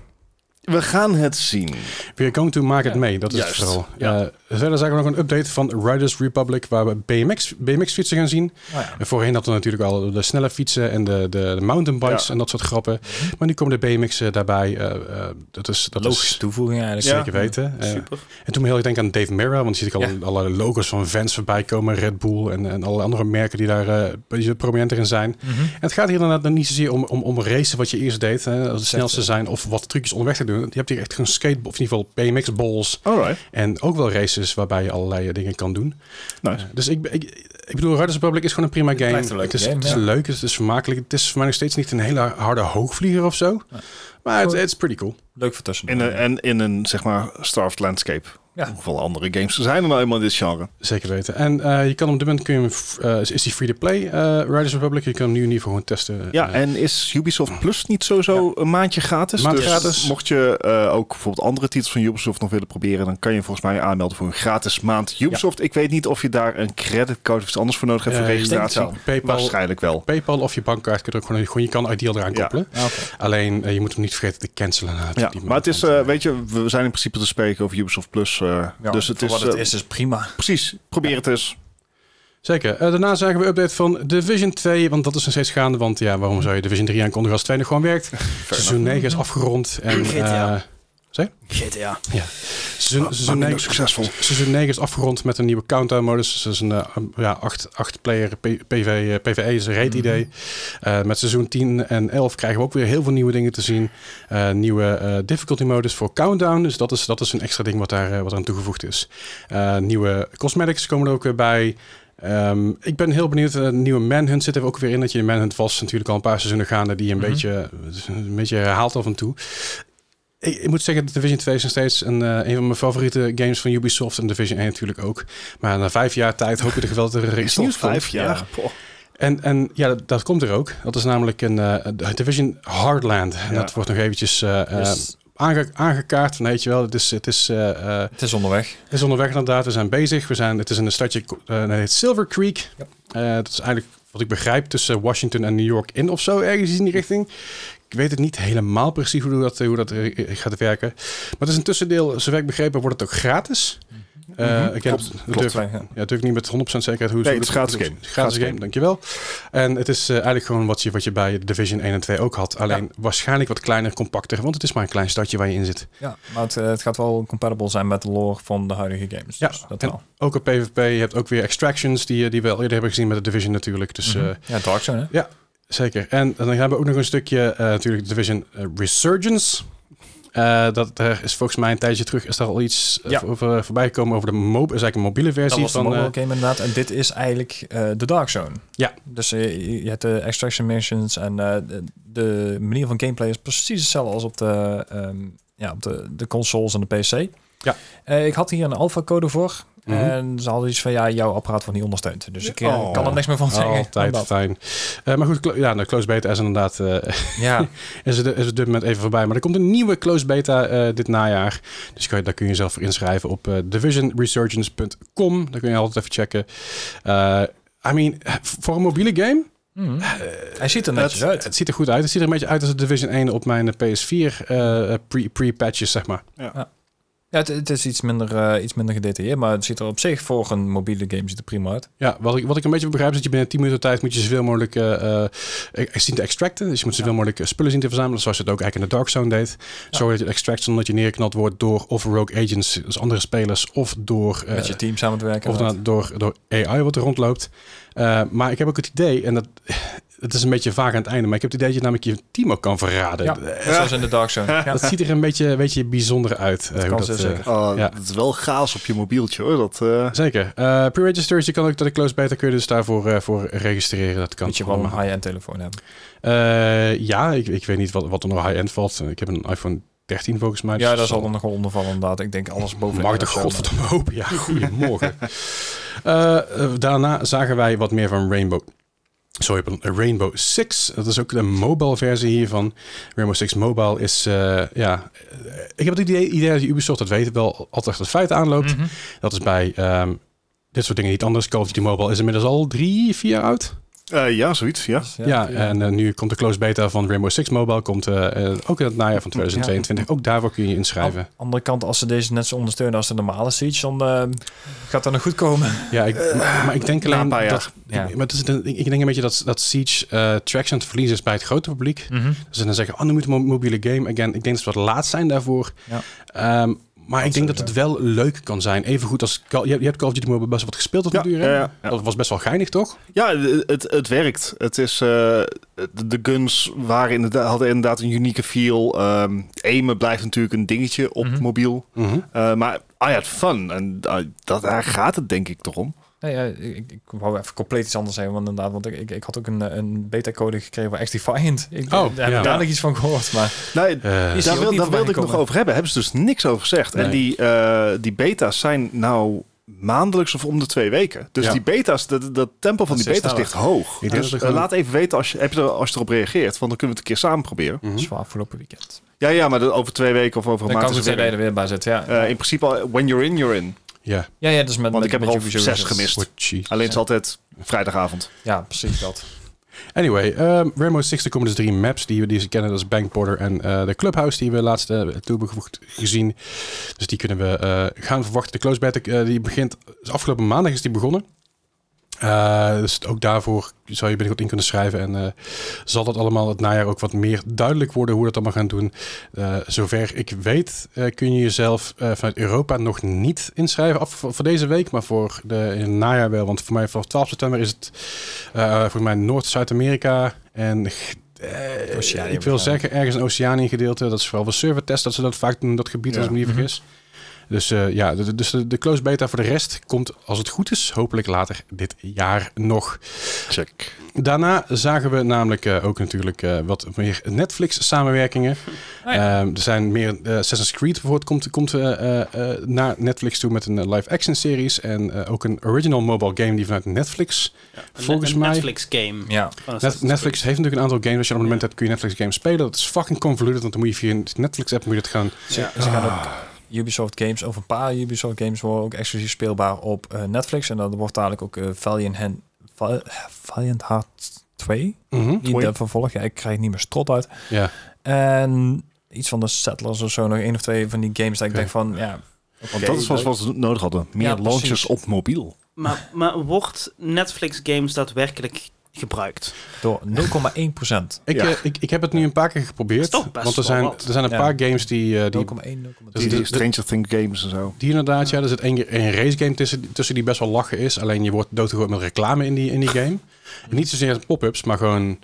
Speaker 4: We gaan het zien.
Speaker 1: We are going to market
Speaker 2: Ja,
Speaker 1: mee, dat is
Speaker 4: juist.
Speaker 1: het vooral.
Speaker 4: Ja.
Speaker 1: Eh, verder zagen we nog een update van Riders Republic, waar we BMX, BMX-fietsen gaan zien.
Speaker 2: Oh, ja.
Speaker 1: En voorheen hadden we natuurlijk al de snelle fietsen en de, de, de mountainbikes
Speaker 4: Ja.
Speaker 1: en dat soort grappen. Maar nu komen de BMX'en daarbij. eh, eh, dat is, dat
Speaker 2: Logische
Speaker 1: is
Speaker 2: toevoeging eigenlijk.
Speaker 4: Ja.
Speaker 1: zeker weten. Eh,
Speaker 3: Super.
Speaker 1: en toen me heel erg denken aan Dave Mera, want dan zie ik al
Speaker 2: Ja.
Speaker 1: alle logos van Vans voorbij komen, Red Bull en, en alle andere merken die daar eh, die prominenter in zijn.
Speaker 2: Mhm.
Speaker 1: En het gaat hier inderdaad dan niet zozeer om, om, om racen wat je eerst deed, hè, als de snelste zijn of wat trucjes onderweg te doen. Je hebt hier echt een skateboard, of in ieder geval BMX-balls
Speaker 4: Alright,
Speaker 1: en ook wel races waarbij je allerlei eh, dingen kan doen.
Speaker 4: nice.
Speaker 1: Dus ik, ik, ik bedoel, Riders Republic is gewoon een prima game.
Speaker 2: blijft een leuke
Speaker 1: het is,
Speaker 2: game,
Speaker 1: het is
Speaker 2: ja.
Speaker 1: leuk, het is vermakelijk. Het is voor mij nog steeds niet een hele harde hoogvlieger of zo. Maar het het is pretty cool.
Speaker 2: Leuk voor
Speaker 4: Eh, In
Speaker 2: tussendoor.
Speaker 4: een, en in een, zeg maar, starved landscape.
Speaker 2: Ja.
Speaker 4: Hoeveel andere games er zijn er nou eenmaal in dit genre?
Speaker 1: Zeker weten. En eh, je kan op dit moment, kun je hem, f- eh, is- is die free-to-play eh, Riders Republic. Je kan hem nu in ieder geval gewoon testen.
Speaker 4: Ja,
Speaker 1: Eh,
Speaker 4: en is Ubisoft Plus niet sowieso een maandje gratis?
Speaker 1: Een maand
Speaker 4: dus
Speaker 1: gratis.
Speaker 4: mocht je eh, ook bijvoorbeeld andere titels van Ubisoft nog willen proberen, dan kan je volgens mij aanmelden voor een gratis maand Ubisoft. Ik weet niet of je daar een creditcode of iets anders voor nodig hebt voor
Speaker 1: Eh, ik denk
Speaker 4: registratie.
Speaker 1: het wel. PayPal.
Speaker 4: Waarschijnlijk wel.
Speaker 1: Paypal of je bankkaart kun je er ook gewoon, gewoon je kan ideal eraan
Speaker 4: Ja.
Speaker 1: koppelen.
Speaker 2: Ah, oké.
Speaker 1: Alleen eh, je moet hem niet vergeten te cancelen. na
Speaker 4: Ja,
Speaker 1: 10
Speaker 4: maar het is,
Speaker 1: minuten.
Speaker 4: eh, weet je, we zijn in principe te spreken over Ubisoft Plus. eh,
Speaker 2: Ja,
Speaker 4: dus het
Speaker 2: voor
Speaker 4: is,
Speaker 2: wat het
Speaker 4: eh,
Speaker 2: is, is prima.
Speaker 4: Precies, probeer het eens.
Speaker 1: Zeker. Eh, daarna zagen we een update van Division 2, want dat is nog steeds gaande. Want ja, waarom zou je Division 3 aankondigen als 2 nog gewoon werkt? Seizoen 9 is afgerond. En,
Speaker 3: GTA.
Speaker 1: eh,
Speaker 3: GTA.
Speaker 1: seizoen, seizoen,
Speaker 4: minder
Speaker 1: 9,
Speaker 4: succesvol.
Speaker 1: seizoen 9 is afgerond met een nieuwe countdown modus. Dus dat is een eh, ja, 8-player PV, eh, PvE, is een raid idee. Eh, met seizoen 10 en 11 krijgen we ook weer heel veel nieuwe dingen te zien. Eh, nieuwe eh, difficulty modus voor countdown. Dus dat is, dat is een extra ding wat, daar, eh, wat aan toegevoegd is. Eh, nieuwe cosmetics komen er ook weer bij. Ehm, ik ben heel benieuwd. eh, nieuwe Manhunt zit er ook weer in. Dat je in Manhunt was natuurlijk al een paar seizoenen gaande. Die een,
Speaker 2: Mhm.
Speaker 1: beetje, eh, een beetje herhaalt af en toe. Ik, ik moet zeggen, Division 2 is nog steeds een, eh, een van mijn favoriete games van Ubisoft. En Division 1 natuurlijk ook. Maar na vijf jaar tijd hoop je toch wel dat er iets nieuws komt.
Speaker 2: jaar?
Speaker 1: En, en ja, dat, dat komt er ook. Dat is namelijk een eh, de Division Hardland. En
Speaker 4: Ja.
Speaker 1: dat wordt nog eventjes eh, eh,
Speaker 2: Dus
Speaker 1: aange- aangekaart. Van, weet je wel, het is, het, is, eh, eh,
Speaker 2: het is onderweg.
Speaker 1: het is onderweg inderdaad. We zijn bezig. We zijn, het is in een stadje, eh, dat heet Silver Creek.
Speaker 2: Ja.
Speaker 1: Eh, dat is eigenlijk, wat ik begrijp, tussen Washington en New York in of zo. Ergens in die richting. Ik weet het niet helemaal precies hoe dat, hoe dat eh, gaat werken. Maar het is een tussendeel, zover ik begrepen, wordt het ook gratis. Eh, ik heb-
Speaker 4: Mhm. Klopt,
Speaker 1: durf-
Speaker 4: klopt.
Speaker 2: Ja, ja.
Speaker 1: ja, natuurlijk niet met 100% zekerheid hoe
Speaker 4: Nee,
Speaker 1: hoe
Speaker 4: het is gratis
Speaker 1: hoe-
Speaker 4: game.
Speaker 1: Gratis,
Speaker 4: Gratis
Speaker 1: game,
Speaker 4: game.
Speaker 1: dankjewel. En het is eh, eigenlijk gewoon wat je, wat je bij Division 1 en 2 ook had. Alleen waarschijnlijk wat kleiner, compacter, want het is maar een klein stadje waar je in zit.
Speaker 2: Ja, maar het, eh, het gaat wel compatible zijn met de lore van de huidige games.
Speaker 1: Ja,
Speaker 2: dus dat
Speaker 1: en-
Speaker 2: wel.
Speaker 1: Ook op PvP, je hebt ook weer extractions die, eh, die we al eerder hebben gezien met de Division natuurlijk. Dus eh,
Speaker 2: Mhm. Ja, Dark Zone, hè?
Speaker 1: ja, Zeker. En dan hebben we ook nog een stukje, eh, natuurlijk, Division eh, Resurgence. Eh, dat er is volgens mij een tijdje terug is daar al iets eh,
Speaker 2: Ja.
Speaker 1: over, voorbij gekomen over de mo- is eigenlijk een mobiele
Speaker 2: Dat
Speaker 1: versie
Speaker 2: was de
Speaker 1: van.
Speaker 2: mobile
Speaker 1: eh,
Speaker 2: game inderdaad. En dit is eigenlijk eh, de Dark Zone.
Speaker 1: Ja.
Speaker 2: Dus eh, je, je hebt de extraction missions en eh, de, de manier van gameplay is precies hetzelfde als op de, ehm, ja, op de, de consoles en de PC.
Speaker 1: Ja.
Speaker 2: Eh, ik had hier een alpha code voor.
Speaker 1: Mhm.
Speaker 2: En ze hadden iets van, ja, jouw apparaat wordt niet ondersteund. Dus ik eh,
Speaker 4: Oh.
Speaker 2: kan er niks meer van zeggen.
Speaker 1: <laughs> altijd
Speaker 2: Omdat-
Speaker 1: fijn. Eh, maar goed, clo- ja, de close beta is inderdaad eh, <laughs>
Speaker 2: Ja,
Speaker 1: is het, is het dit moment even voorbij. Maar er komt een nieuwe close beta eh, dit najaar. Dus kan je, daar kun je jezelf voor inschrijven op eh, divisionresurgence.com. Daar kun je altijd even checken. Eh, I mean, voor een mobiele game,
Speaker 2: Mhm. hij ziet er
Speaker 1: het,
Speaker 2: netjes uit.
Speaker 1: het ziet er goed uit. Het ziet er een beetje uit als de Division 1 op mijn eh, PS4 eh, pre- pre-patches, zeg maar.
Speaker 2: Ja, het, het is iets minder, eh, iets minder gedetailleerd, maar het ziet er op zich voor een mobiele game ziet er prima uit.
Speaker 1: Ja, wat ik, wat ik een beetje begrijp is dat je binnen 10 minuten tijd moet je zoveel mogelijk eh, eh, eh, zien te extracten. Dus je moet zoveel mogelijk eh, spullen zien te verzamelen, zoals je het ook eigenlijk in de Dark Zone deed. Zorg dat je het extract zonder dat je neerknald wordt door of rogue agents, dus andere spelers, of door... eh,
Speaker 2: Met je team samen te werken.
Speaker 1: Of dan door, door AI wat er rondloopt. Eh, maar ik heb ook het idee, en dat het is een beetje vaag aan het einde, maar ik heb het idee dat je namelijk je team ook kan verraden.
Speaker 2: Ja.
Speaker 1: Eh,
Speaker 2: Zoals in de Dark Zone. Ja.
Speaker 1: Dat ziet er een beetje, een beetje bijzonder uit. eh, hoe
Speaker 2: kan
Speaker 1: dat,
Speaker 2: zo
Speaker 1: eh,
Speaker 2: zeker.
Speaker 4: Oh,
Speaker 1: Ja.
Speaker 4: Dat is wel gaas op je mobieltje hoor. Dat, eh,
Speaker 1: Zeker. Eh Pre-registers, je kan ook dat de close beta kun je dus daarvoor eh, voor registreren. Dat kan
Speaker 2: Moet je wel een
Speaker 1: allemaal.
Speaker 2: high-end telefoon hebben.
Speaker 1: Eh, ja, ik, ik weet niet wat, wat er nog high-end valt. Ik heb een iPhone 13 volgens mij. dus
Speaker 2: Ja, daar zal er nog wel onder vallen inderdaad. Ik denk alles boven.
Speaker 1: Mag ik de godverdomme hopen? Ja, goedemorgen. <laughs> Eh, eh, daarna zagen wij wat meer van Rainbow. Sorry, pardon, eh, Rainbow Six. Dat is ook de mobile versie hiervan. Rainbow Six Mobile is, eh, ja... eh, Ik heb het idee, idee dat Ubisoft, dat weet wel, altijd het feit aanloopt.
Speaker 2: Mhm.
Speaker 1: Dat is bij ehm, dit soort dingen niet anders. Call of Duty Mobile is inmiddels al drie, vier jaar oud.
Speaker 4: eh, ja, zoiets. Ja.
Speaker 2: Dus,
Speaker 1: Ja, en eh, nu komt de close beta van Rainbow Six Mobile. Komt eh, eh, ook in het najaar van 2022. Ook daarvoor kun je je inschrijven.
Speaker 2: Aan de andere kant, als ze deze net zo ondersteunen als de normale Siege, dan eh, gaat dat nog goed komen.
Speaker 1: Ja, ik, maar ik denk
Speaker 4: na een
Speaker 1: alleen
Speaker 4: paar jaar.
Speaker 1: dat...
Speaker 2: Ja.
Speaker 1: Maar het is een- ik, ik denk een beetje dat, dat Siege eh, traction te verliezen is bij het grote publiek.
Speaker 4: Hm.
Speaker 1: Dus dan zeggen, oh, nu moet een mo- mobiele game. Again, ik denk dat ze wat laat zijn daarvoor.
Speaker 2: Ja.
Speaker 1: Ehm, maar ik denk dat
Speaker 2: sowieso.
Speaker 1: het wel leuk kan zijn. Even goed als... Call- Je, hebt- je hebt Call of Duty Mobile best wat gespeeld op de
Speaker 4: Ja,
Speaker 1: duur. hè?
Speaker 4: ja, ja, ja.
Speaker 1: Dat was best wel geinig, toch?
Speaker 4: Ja, het, het- het werkt. Het is, eh, de, de guns waren inderdaad, hadden inderdaad een unieke feel. Ehm aimen blijft natuurlijk een dingetje op
Speaker 2: Mhm.
Speaker 4: mobiel.
Speaker 1: Mhm.
Speaker 4: Eh, maar I had fun. En eh, dat, daar gaat het denk ik toch om.
Speaker 2: Nee, ja, ik, ik wou even compleet iets anders zeggen, want inderdaad, want ik, ik, ik had ook een, eh, een beta-code gekregen voor echt Defiant. Ik,
Speaker 1: Oh,
Speaker 2: daar heb
Speaker 1: ja.
Speaker 2: ik daar nog iets van gehoord, maar
Speaker 4: Nee,
Speaker 1: Eh,
Speaker 2: Is die
Speaker 4: daar
Speaker 2: ook
Speaker 4: wil,
Speaker 2: niet
Speaker 4: daar
Speaker 2: voorbij
Speaker 4: wilde ik nog
Speaker 2: gekomen?
Speaker 4: over hebben. Hebben ze dus niks over gezegd. En
Speaker 1: Nee.
Speaker 4: die, eh, die beta's zijn nou maandelijks of om de twee weken. Dus
Speaker 1: Ja.
Speaker 4: die beta's, dat, dat tempo van
Speaker 2: Dat
Speaker 4: die
Speaker 2: is
Speaker 4: beta's
Speaker 2: sneller.
Speaker 4: ligt hoog.
Speaker 1: denk
Speaker 4: dus
Speaker 1: dat het
Speaker 4: eh,
Speaker 1: gewoon-
Speaker 4: laat even weten als je, heb je er, als je erop reageert. Want dan kunnen we het een keer samen proberen.
Speaker 1: mhm.
Speaker 2: zwaar afgelopen weekend.
Speaker 4: Ja, ja, maar dat over twee weken of over een
Speaker 2: Dan kan
Speaker 4: maand
Speaker 2: ik het
Speaker 4: is het weer
Speaker 2: tweede er weer bij zitten, ja.
Speaker 4: in. Eh, in principe, al- when you're in, you're in.
Speaker 1: Ja,
Speaker 2: ja, ja, dus met,
Speaker 4: Want
Speaker 2: met,
Speaker 4: ik heb er
Speaker 2: met
Speaker 4: al
Speaker 2: Ubisoft
Speaker 4: zes
Speaker 2: is het-
Speaker 4: gemist.
Speaker 1: what she-
Speaker 4: Alleen het is altijd vrijdagavond.
Speaker 2: Ja, precies dat.
Speaker 1: Anyway, ehm Rainbow Six, er komen dus drie maps die we, die ze kennen. Dat is Bank Border en eh, de Clubhouse die we laatst eh, toe hebben gevoegd- gezien. Dus die kunnen we eh, gaan verwachten. De close beta eh, die begint, dus afgelopen maandag is die begonnen. Eh, dus ook daarvoor zou je binnenkort in kunnen schrijven. En eh, zal dat allemaal het najaar ook wat meer duidelijk worden hoe we dat allemaal gaan doen. Eh, zover ik weet eh, kun je jezelf eh, vanuit Europa nog niet inschrijven. Af voor, voor deze week, maar voor de, in het najaar wel. Want voor mij vanaf 12 september is het eh, volgens mij Noord-Zuid-Amerika. En eh,
Speaker 2: Oceanië
Speaker 1: ik wil
Speaker 2: waarschijnlijk.
Speaker 1: zeggen ergens een Oceanië gedeelte. Dat is vooral voor servertest dat ze dat vaak doen. Dat gebied
Speaker 4: Ja.
Speaker 1: als ik me
Speaker 2: Mhm.
Speaker 1: niet vergis. Dus eh, ja, de- de- dus de, de close beta voor de rest komt, als het goed is, hopelijk later dit jaar nog.
Speaker 4: Check.
Speaker 1: Daarna zagen we namelijk eh, ook natuurlijk eh, wat meer Netflix-samenwerkingen.
Speaker 2: Oh ja.
Speaker 1: Ehm, er zijn meer eh, Assassin's Creed bijvoorbeeld komt, komt eh, eh, eh, naar Netflix toe met een eh, live-action series. En eh, ook een original mobile game die vanuit Netflix.
Speaker 3: Een-
Speaker 1: Volgens
Speaker 3: een
Speaker 1: mij-
Speaker 3: Netflix game.
Speaker 2: Ja,
Speaker 3: van
Speaker 1: Net-
Speaker 3: Assassin's
Speaker 1: Netflix
Speaker 3: Creed.
Speaker 1: heeft natuurlijk een aantal games. Als je een abonnement hebt, kun je Netflix games spelen. Dat is fucking convoluted, want dan moet je via een Netflix-app moet je dat gaan.
Speaker 3: Ja.
Speaker 2: Ze gaan ook Ubisoft games, of een paar Ubisoft games worden ook exclusief speelbaar op eh, Netflix. En dat wordt dadelijk ook eh, Valiant, Hand, Va- eh, Valiant Heart 2.
Speaker 1: Mhm.
Speaker 2: Die
Speaker 4: Twee.
Speaker 2: de vervolg. Ja, ik krijg het niet meer strot uit.
Speaker 1: Ja.
Speaker 2: En iets van de Settlers of zo. Nog één of twee van die games dat ik
Speaker 1: Oké.
Speaker 2: denk van, ja... oké,
Speaker 4: Want dat is wat
Speaker 2: leuk.
Speaker 4: wat ze nodig hadden. Meer
Speaker 2: Ja,
Speaker 4: launches
Speaker 2: precies.
Speaker 4: op mobiel.
Speaker 3: Maar, maar wordt Netflix games daadwerkelijk gebruikt?
Speaker 2: Door 0,1 procent.
Speaker 1: Ik,
Speaker 4: Ja.
Speaker 1: eh, ik, ik heb het nu een paar keer geprobeerd.
Speaker 3: Dat is toch best
Speaker 1: want er
Speaker 3: wel
Speaker 1: zijn,
Speaker 3: wat.
Speaker 1: er zijn een
Speaker 2: Ja.
Speaker 1: paar games die, eh, die
Speaker 2: 0,1, 0,2.
Speaker 1: Dus
Speaker 4: Die,
Speaker 1: de-
Speaker 4: die Stranger Things games en zo.
Speaker 1: Die inderdaad, ja. Er zit één keer een race game tussen, tussen die best wel lachen is. Alleen je wordt doodgegooid met reclame in die, in die game. En niet zozeer pop-ups, maar gewoon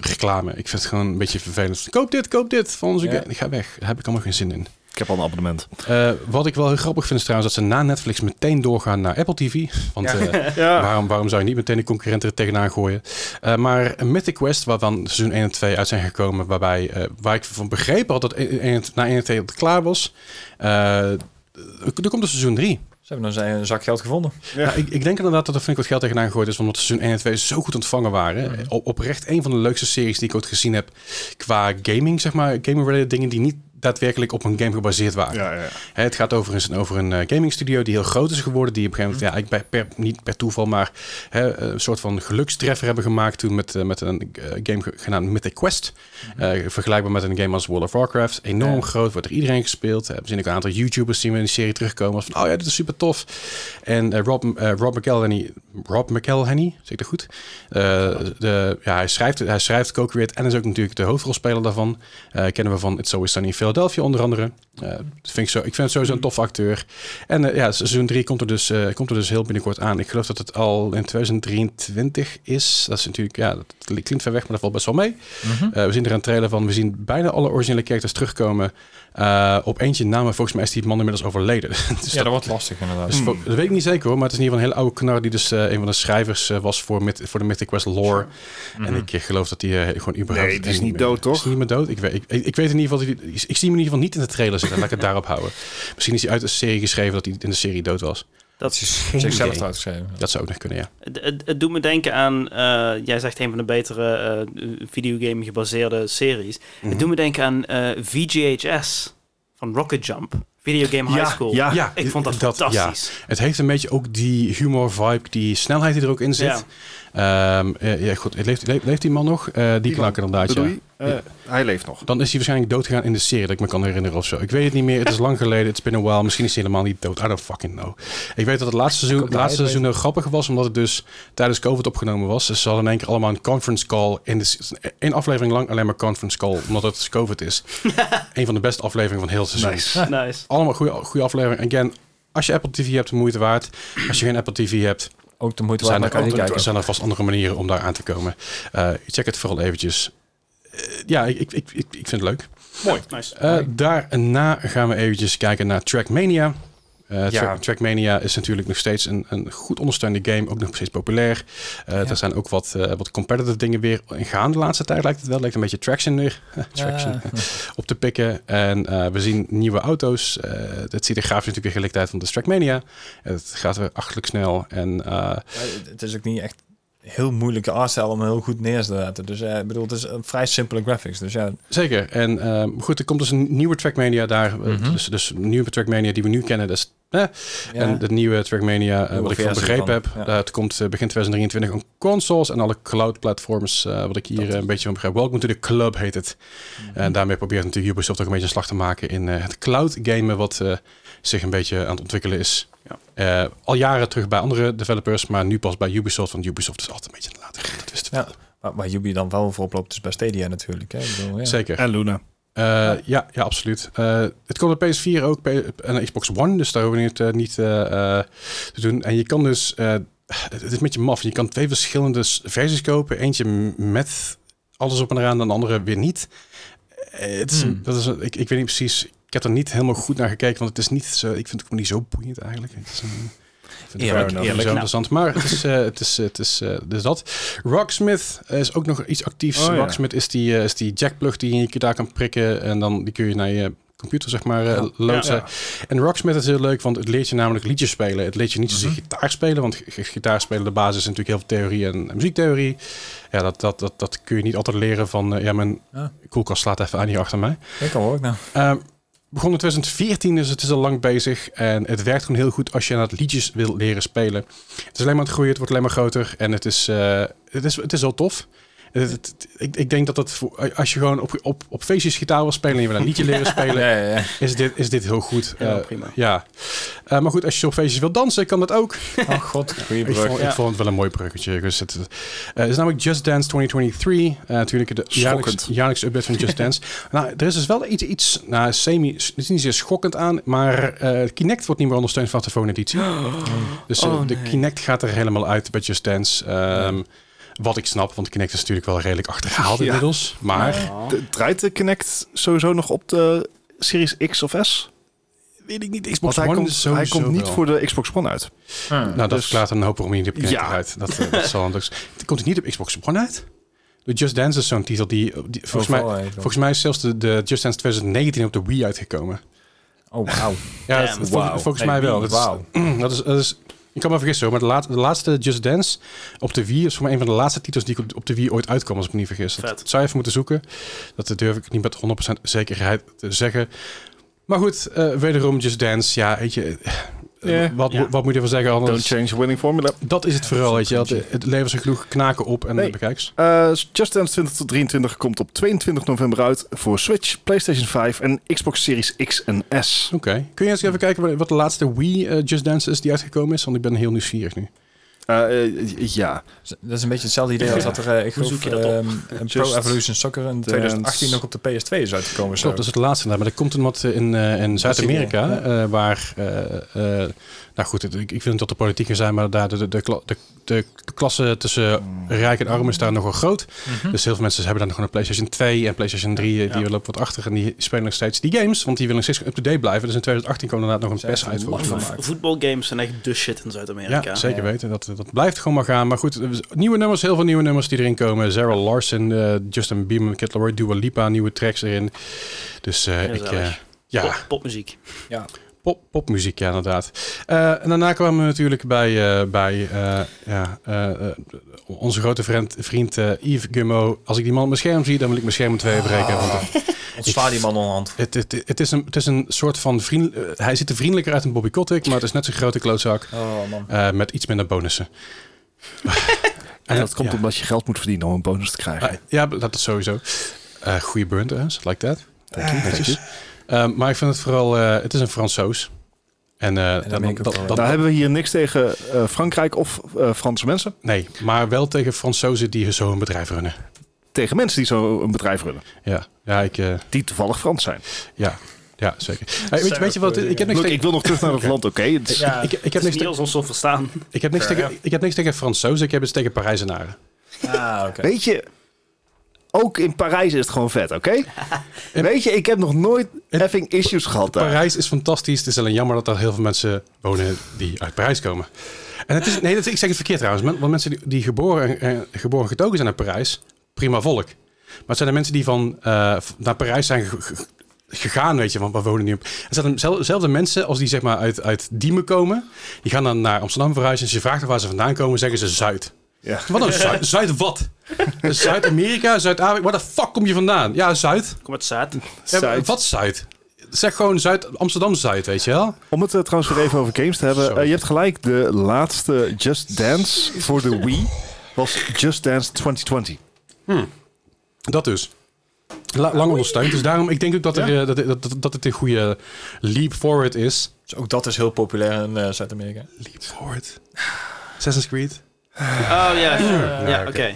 Speaker 1: reclame. Ik vind het gewoon een beetje vervelend. Koop dit, koop dit van onze
Speaker 2: Ja.
Speaker 1: game. Ik ga weg. Daar heb ik allemaal geen zin in.
Speaker 4: Ik heb al een abonnement.
Speaker 1: Eh, wat ik wel heel grappig vind is trouwens dat ze na Netflix meteen doorgaan naar Apple TV. Want eh, waarom, waarom zou je niet meteen de concurrenten er tegenaan gooien? Eh, maar Mythic Quest, waarvan seizoen 1 en 2 uit zijn gekomen, waarbij, eh, waar ik van begrepen had dat 1 en- na 1 en 2 dat het klaar was. eh, er komt een seizoen 3.
Speaker 2: Ze hebben dan zijn een zak geld gevonden.
Speaker 1: Ja. ik, ik denk inderdaad dat er flink wat geld tegenaan gegooid is, omdat seizoen 1 en 2 zo goed ontvangen waren. Op, oprecht een van de leukste series die ik ooit gezien heb qua gaming, zeg maar. Gaming-related dingen die niet daadwerkelijk op een game gebaseerd waren.
Speaker 4: Ah, Ja, ja, ja.
Speaker 1: Hè, het gaat over een, over een eh, gaming studio die heel groot is geworden. Die op een gegeven moment, ja, ik ben per, niet per toeval, maar hè, een soort van gelukstreffer hebben gemaakt toen met, eh, met een eh, game ge- genaamd Mythic Quest. Eh, vergelijkbaar met een game als World of Warcraft. Enorm
Speaker 2: Ja.
Speaker 1: groot, wordt er iedereen gespeeld. Eh, we zien ook een aantal YouTubers die we in die serie terugkomen. Als van, oh ja, dit is super tof. En eh, Rob, eh, Rob McElhenney, Rob McElhenney, zeg ik dat goed? Eh, de, ja, hij schrijft, hij schrijft co-create en is ook natuurlijk de hoofdrolspeler daarvan. Eh, kennen we van It's Always Sunny in Philadelphia onder andere. Eh, dat vind ik, zo, ik vind het sowieso een toffe acteur. En eh, ja, seizoen 3 komt, er dus, eh, komt er dus heel binnenkort aan. Ik geloof dat het al in 2023 is. Dat is natuurlijk, ja, dat klinkt ver weg, maar dat valt best wel mee.
Speaker 2: Mhm.
Speaker 1: Eh, we zien er een trailer van. We zien bijna alle originele characters terugkomen. Eh, op eentje namen, volgens mij is die man inmiddels overleden. <laughs> dus
Speaker 2: ja, dat wordt lastig inderdaad.
Speaker 1: dus voor- dat weet ik niet zeker hoor, maar het is in ieder geval een hele oude knar die dus eh, een van de schrijvers eh, was voor, Myth- voor de Mythic Quest lore.
Speaker 2: Mhm.
Speaker 1: En ik eh, geloof dat die eh, gewoon überhaupt...
Speaker 4: Nee, die is
Speaker 1: en-
Speaker 4: niet dood, toch?
Speaker 1: Is die niet meer dood? Ik weet, ik, ik- ik weet in ieder geval, dat die- ik, ik zie hem in ieder geval niet in de trailer zitten, laat ik het daarop houden. Misschien is hij uit de serie geschreven dat hij in de serie dood was.
Speaker 3: Dat
Speaker 2: is zichzelf
Speaker 1: idee.
Speaker 2: uitgeschreven.
Speaker 1: Dat zou ook nog kunnen, ja.
Speaker 3: Het, het, het doet me denken aan, eh, jij zegt een van de betere eh, videogame gebaseerde series.
Speaker 1: Mhm.
Speaker 3: Het doet me denken aan eh, VGHS van Rocket Jump, videogame
Speaker 4: Ja,
Speaker 3: high school.
Speaker 4: ja.
Speaker 1: ja,
Speaker 3: Ik vond dat,
Speaker 1: dat-
Speaker 3: fantastisch.
Speaker 1: Het heeft een beetje ook die humor vibe, die snelheid die er ook in zit. Ehm, eh, ja, goed, leeft, leeft, leeft die man nog? Eh, die,
Speaker 4: man.
Speaker 1: klank inderdaad,
Speaker 4: Bedoel
Speaker 1: ja.
Speaker 4: je? Eh, Hij leeft nog.
Speaker 1: Dan is hij waarschijnlijk doodgegaan in de serie, dat ik me kan herinneren of zo. Ik weet het niet meer, het is lang geleden, it's been a while. Misschien is hij helemaal niet dood, I don't fucking know. Ik weet dat het laatste seizoen,
Speaker 2: ook
Speaker 1: het
Speaker 2: niet
Speaker 1: laatste
Speaker 2: weten.
Speaker 1: seizoen heel grappig was, omdat het dus tijdens COVID opgenomen was. Dus ze hadden in één keer allemaal een conference call, in de, se- één aflevering lang alleen maar conference call, omdat het dus COVID is.
Speaker 2: <laughs>
Speaker 1: Eén van de beste afleveringen van heel het seizoen. <laughs>
Speaker 3: Nice.
Speaker 1: Allemaal goede, goede afleveringen. Again, als je Apple TV hebt, de moeite waard. Als je geen Apple TV hebt,
Speaker 2: Ook de moeite
Speaker 1: zijn
Speaker 2: waard, maar
Speaker 1: er,
Speaker 2: kan je niet
Speaker 1: andere-
Speaker 2: kijken.
Speaker 1: zijn er vast andere manieren om daar aan te komen. Eh, check het vooral eventjes. Eh, ja, ik, ik, ik, ik ik vind het leuk.
Speaker 3: Mooi. Nice.
Speaker 1: Eh, daarna gaan we eventjes kijken naar Trackmania. Eh, Track-
Speaker 2: Ja.
Speaker 1: Trackmania is natuurlijk nog steeds een, een goed ondersteunde game, ook nog steeds populair. Eh, Er zijn ook wat, eh, wat competitive dingen weer in gaande de laatste tijd, lijkt het wel. Lijkt een beetje Traction weer traction,
Speaker 2: Ja.
Speaker 1: op te pikken. En eh, we zien nieuwe auto's. Eh het ziet er grafisch natuurlijk weer gelikt uit, want het is Trackmania. Het gaat weer achterlijk snel. En eh,
Speaker 2: Ja, het is ook niet echt een heel moeilijke artstijl om heel goed neer te zetten. Dus eh, ik bedoel, het is een vrij simpele graphics. Dus ja,
Speaker 1: Zeker. En ehm, goed, er komt dus een nieuwe Trackmania daar. Eh, dus, dus een nieuwe Trackmania die we nu kennen. Dus, eh. En de nieuwe Trackmania, eh,
Speaker 2: Nieuwe
Speaker 1: wat ik van
Speaker 2: versie
Speaker 1: begrepen
Speaker 2: van,
Speaker 1: heb,
Speaker 2: ja.
Speaker 1: dat komt eh, begin 2023 op consoles en alle cloud platforms. eh, wat ik hier eh, een beetje van begrijp. Welcome to the club heet het.
Speaker 2: Mhm.
Speaker 1: En daarmee probeert natuurlijk Ubisoft ook een beetje een slag te maken in eh, het cloud gamen, wat eh, zich een beetje aan het ontwikkelen is.
Speaker 3: Ja.
Speaker 1: Eh, al jaren terug bij andere developers, maar nu pas bij Ubisoft. Want Ubisoft is altijd een beetje later. Dat wisten we.
Speaker 2: Ja. Waar, waar Yubi dan wel voorop loopt is bij Stadia natuurlijk. Hè? Ik bedoel, ja.
Speaker 1: Zeker.
Speaker 4: En Luna.
Speaker 1: Eh, ja, ja, absoluut. Eh, het komt op PS4 ook P- en Xbox One, dus daar hoeven we het eh, niet eh, eh, te doen. En je kan dus, eh, het is met je maf, je kan twee verschillende s- versies kopen. Eentje m- met alles op en eraan, en de andere weer niet. Eh, het is,
Speaker 2: Hmm.
Speaker 1: dat is, een- ik, ik weet niet precies, ik heb er niet helemaal goed naar gekeken, want het is niet zo, ik vind het ook niet zo boeiend eigenlijk. Het is een, ik vind het
Speaker 2: Eerlijk,
Speaker 1: wel
Speaker 2: eerlijk. nou,
Speaker 1: zo interessant, maar het is, eh, het is, het is eh, dus dat. Rocksmith is ook nog iets actiefs.
Speaker 4: Oh, ja.
Speaker 1: Rocksmith is die, eh, is die jackplug die je daar kan prikken. En dan die kun je naar je computer, zeg maar, eh, loodsen.
Speaker 4: Ja.
Speaker 1: En Rocksmith is heel leuk, want het leert je namelijk liedjes spelen. Het leert je niet zozeer
Speaker 4: Mhm.
Speaker 1: gitaar spelen, want g- g- gitaar spelen, de basis is natuurlijk heel veel theorie en, en muziektheorie. Ja, dat, dat, dat, dat kun je niet altijd leren van... eh, ja, mijn
Speaker 2: Ja.
Speaker 1: koelkast slaat even aan hier achter mij.
Speaker 2: Ik kan hoor ik nou.
Speaker 1: Ehm, begon in 2014, dus het is al lang bezig. En het werkt gewoon heel goed als je aan het liedjes wil leren spelen. Het is alleen maar aan het groeien, het wordt alleen maar groter. En het is, eh, het is, het is wel tof. Het- het- ik, ik denk dat dat voor, als je gewoon op, op, op feestjes gitaar wil spelen en je wil een liedje
Speaker 3: <laughs>
Speaker 1: leren spelen,
Speaker 2: Ja, ja, ja.
Speaker 1: is, dit, is dit heel goed.
Speaker 3: Ja,
Speaker 1: Eh,
Speaker 3: prima.
Speaker 1: ja. Eh, maar goed, als je op feestjes wil dansen, kan dat ook.
Speaker 2: Oh god, goeie
Speaker 1: Ik
Speaker 2: brug.
Speaker 1: vond,
Speaker 3: ja.
Speaker 1: ik vond het wel een mooi bruggetje. Dus het, eh, het is namelijk Just Dance 2023. eh, natuurlijk de jaarlijks,
Speaker 4: Schokkend.
Speaker 1: jaarlijkse update van
Speaker 4: <laughs>
Speaker 1: Just Dance. nou, er is dus wel iets, iets nou, semi, het is niet zeer schokkend aan, maar eh, Kinect wordt niet meer ondersteund
Speaker 4: <gasps>
Speaker 1: vanaf de volgende editie. Dus eh,
Speaker 3: Oh,
Speaker 1: de
Speaker 3: nee.
Speaker 1: Kinect gaat er helemaal uit bij Just Dance. Ehm, Wat ik snap, want Kinect is natuurlijk wel redelijk achterhaald
Speaker 4: Ja.
Speaker 1: inmiddels. Maar
Speaker 4: D- Draait de Kinect sowieso nog op de Series X of S?
Speaker 1: weet ik niet,
Speaker 4: Want
Speaker 1: Xbox
Speaker 4: hij
Speaker 1: One
Speaker 4: komt,
Speaker 1: is
Speaker 4: hij
Speaker 1: sowieso
Speaker 4: komt niet
Speaker 1: wel.
Speaker 4: voor de Xbox One uit.
Speaker 1: Nou, dat
Speaker 4: dus-
Speaker 1: verklaart dan een hoop waarom hij niet op Kinect
Speaker 4: Ja.
Speaker 1: uit. Dat, eh, dat zal dan dus... Het komt niet op Xbox One uit. De Just Dance is zo'n titel die, die volgens, mij,
Speaker 2: Overal, eh,
Speaker 1: volgens mij is zelfs de, de Just Dance 2019 op de Wii uitgekomen.
Speaker 2: Oh, wauw.
Speaker 1: Ja,
Speaker 3: Damn.
Speaker 1: dat- dat-
Speaker 2: Wauw.
Speaker 1: volgens
Speaker 2: Nee,
Speaker 1: mij wel.
Speaker 2: wie?
Speaker 1: Dat is- mm,
Speaker 2: Wauw.
Speaker 1: Dat is, dat is, ik kan me vergissen hoor, maar de, laat- de laatste Just Dance op de Wii is voor mij een van de laatste titels die ik op, op de Wii ooit uitkwam, als ik me niet vergis. Dat,
Speaker 3: Vet.
Speaker 1: dat zou je even moeten zoeken. Dat durf ik niet met 100% zekerheid te zeggen. Maar goed, eh, wederom Just Dance, ja, weet je, eh,
Speaker 4: Ja.
Speaker 1: wat,
Speaker 3: Ja.
Speaker 1: wat moet je ervan zeggen
Speaker 4: Don't
Speaker 1: anders?
Speaker 4: change the winning formula.
Speaker 1: Dat is het vooral, weet je. wel. Het, het levert ze genoeg knaken op en
Speaker 4: Nee.
Speaker 1: de bekijks.
Speaker 4: Eh, Just Dance 2023 komt op 22 november uit voor Switch, PlayStation 5 en Xbox Series X en S.
Speaker 1: Oké. Kun je eens even kijken wat- wat de laatste Wii eh, Just Dance is die uitgekomen is? Want ik ben heel nieuwsgierig nu.
Speaker 4: Eh, eh, ja,
Speaker 2: Dus, Dat is een beetje hetzelfde idee als dat er, eh, ik
Speaker 3: Hoe
Speaker 2: geloof,
Speaker 3: zoek je dat op?
Speaker 2: ehm, een Pro
Speaker 4: Just
Speaker 2: Evolution Soccer in 2018
Speaker 4: Dance.
Speaker 2: nog op de PS2 is uitgekomen. Zo.
Speaker 1: Klopt, dat is het laatste inderdaad. Maar er komt een wat in, eh, in Zuid-Amerika, eh, waar, eh, eh, nou goed, het- ik, ik vind het dat de politieken zijn, maar daar de, de, de, kla- de, de klasse tussen rijk en arm is daar nogal groot. Dus heel veel mensen hebben dan gewoon een PlayStation 2 en PlayStation 3, eh, die
Speaker 3: Ja.
Speaker 1: lopen wat achter en die spelen nog steeds die games, want die willen nog steeds up-to-date blijven. Dus in 2018 kwam inderdaad nog een
Speaker 2: Zijn
Speaker 1: pers
Speaker 2: echt
Speaker 1: uit volgens mij.
Speaker 2: lang van.
Speaker 3: Vo-
Speaker 2: gemaakt.
Speaker 3: Voetbalgames zijn echt de shit in Zuid-Amerika.
Speaker 1: Ja, zeker
Speaker 2: Ja.
Speaker 1: weten. Dat, dat blijft gewoon maar gaan. Maar goed, er is- nieuwe nummers, heel veel nieuwe nummers die erin komen. Zara Larson, eh, Justin Bieber, Kid Laroi, Dua Lipa, nieuwe tracks erin. Dus eh, ik...
Speaker 3: Gezellig.
Speaker 1: eh, ja,
Speaker 3: Pop- popmuziek.
Speaker 2: Ja.
Speaker 1: Pop, popmuziek, ja, inderdaad. Eh, en daarna kwamen we natuurlijk bij, eh, bij eh, ja, eh, eh, onze grote vriend, vriend eh, Yves Gummo. Als ik die man op mijn scherm zie, dan wil ik mijn scherm in tweeën breken. Want het,
Speaker 2: Ontsla die man onderhand.
Speaker 1: het, het, het is een, het is een soort van vriend. eh, hij ziet er vriendelijker uit dan Bobby Kotick, maar het is net zo'n grote klootzak
Speaker 2: Oh man.
Speaker 1: eh, met iets minder
Speaker 4: <laughs>
Speaker 1: bonussen.
Speaker 4: en dat komt
Speaker 1: ja.
Speaker 4: omdat je geld moet verdienen om een bonus te krijgen.
Speaker 1: Ah, ja, dat is sowieso. Eh goede burn trouwens, like that. Netjes. Ehm, maar ik vind het vooral, eh, het is een Fransoos. En, eh,
Speaker 2: ben ik ook
Speaker 1: dat,
Speaker 2: wel.
Speaker 1: dat,
Speaker 4: Daar hebben we hier niks tegen eh, Frankrijk of eh, Franse mensen.
Speaker 1: Nee, maar wel tegen Fransozen die zo een bedrijf runnen.
Speaker 4: Tegen mensen die zo een bedrijf runnen.
Speaker 1: Ja, ja, ik, eh,
Speaker 4: Die toevallig Frans zijn.
Speaker 1: ja, ja zeker. Hey, weet, je- weet je wat, ik heb niks
Speaker 4: Look, ik
Speaker 1: tegen...
Speaker 4: wil nog terug naar
Speaker 1: <laughs>
Speaker 4: het land, oké? Het is-
Speaker 2: Ja,
Speaker 1: Ik, ik,
Speaker 3: Ik
Speaker 1: heb
Speaker 3: heb
Speaker 1: niks
Speaker 3: niet
Speaker 1: te-
Speaker 3: als ons zo verstaan. <laughs>
Speaker 1: ik heb niks
Speaker 2: Fair
Speaker 1: tegen ik heb niks tegen Fransozen, ik heb iets tegen Parijzenaren.
Speaker 2: ah, oké.
Speaker 4: Weet je, ook in Parijs is het gewoon vet, oké? <laughs> Weet je, ik heb nog nooit effing issues gehad daar.
Speaker 1: Parijs is fantastisch, het is alleen jammer dat er heel veel mensen wonen die uit Parijs komen. En het is, nee, dat, ik zeg het verkeerd trouwens, men- want mensen die, die geboren en geboren getogen zijn uit Parijs, prima volk. Maar het zijn de mensen die van eh, v- naar Parijs zijn ge- ge- gegaan, weet je, want we wonen nu op. Het zijn dezelfde mensen als die zeg maar uit, uit Diemen komen. Die gaan dan naar Amsterdam verhuizen. En als je vraagt waar ze vandaan komen, zeggen ze Zuid.
Speaker 4: Ja.
Speaker 1: Wat dan? Zuid, Zuid wat? Dus Zuid-Amerika, Zuid-Afrika, waar de fuck kom je vandaan? Ja, Zuid.
Speaker 3: Kom uit Zuid.
Speaker 1: Ja,
Speaker 4: Zuid.
Speaker 1: Wat Zuid? Zeg gewoon Zuid, Amsterdam-Zuid, weet je wel?
Speaker 4: Om het eh, trouwens weer even over games te hebben.
Speaker 1: Sorry.
Speaker 4: eh, je hebt gelijk, de laatste Just Dance voor de Wii was Just Dance 2020.
Speaker 1: Dat dus. La- lang ondersteund. Dus daarom, ik denk ook dat, er, eh, dat, dat, dat, dat het een goede leap forward is.
Speaker 2: Dus ook dat is heel populair in eh, Zuid-Amerika.
Speaker 1: Leap forward. Assassin's Creed.
Speaker 3: Oh ja, sure. ja, oké.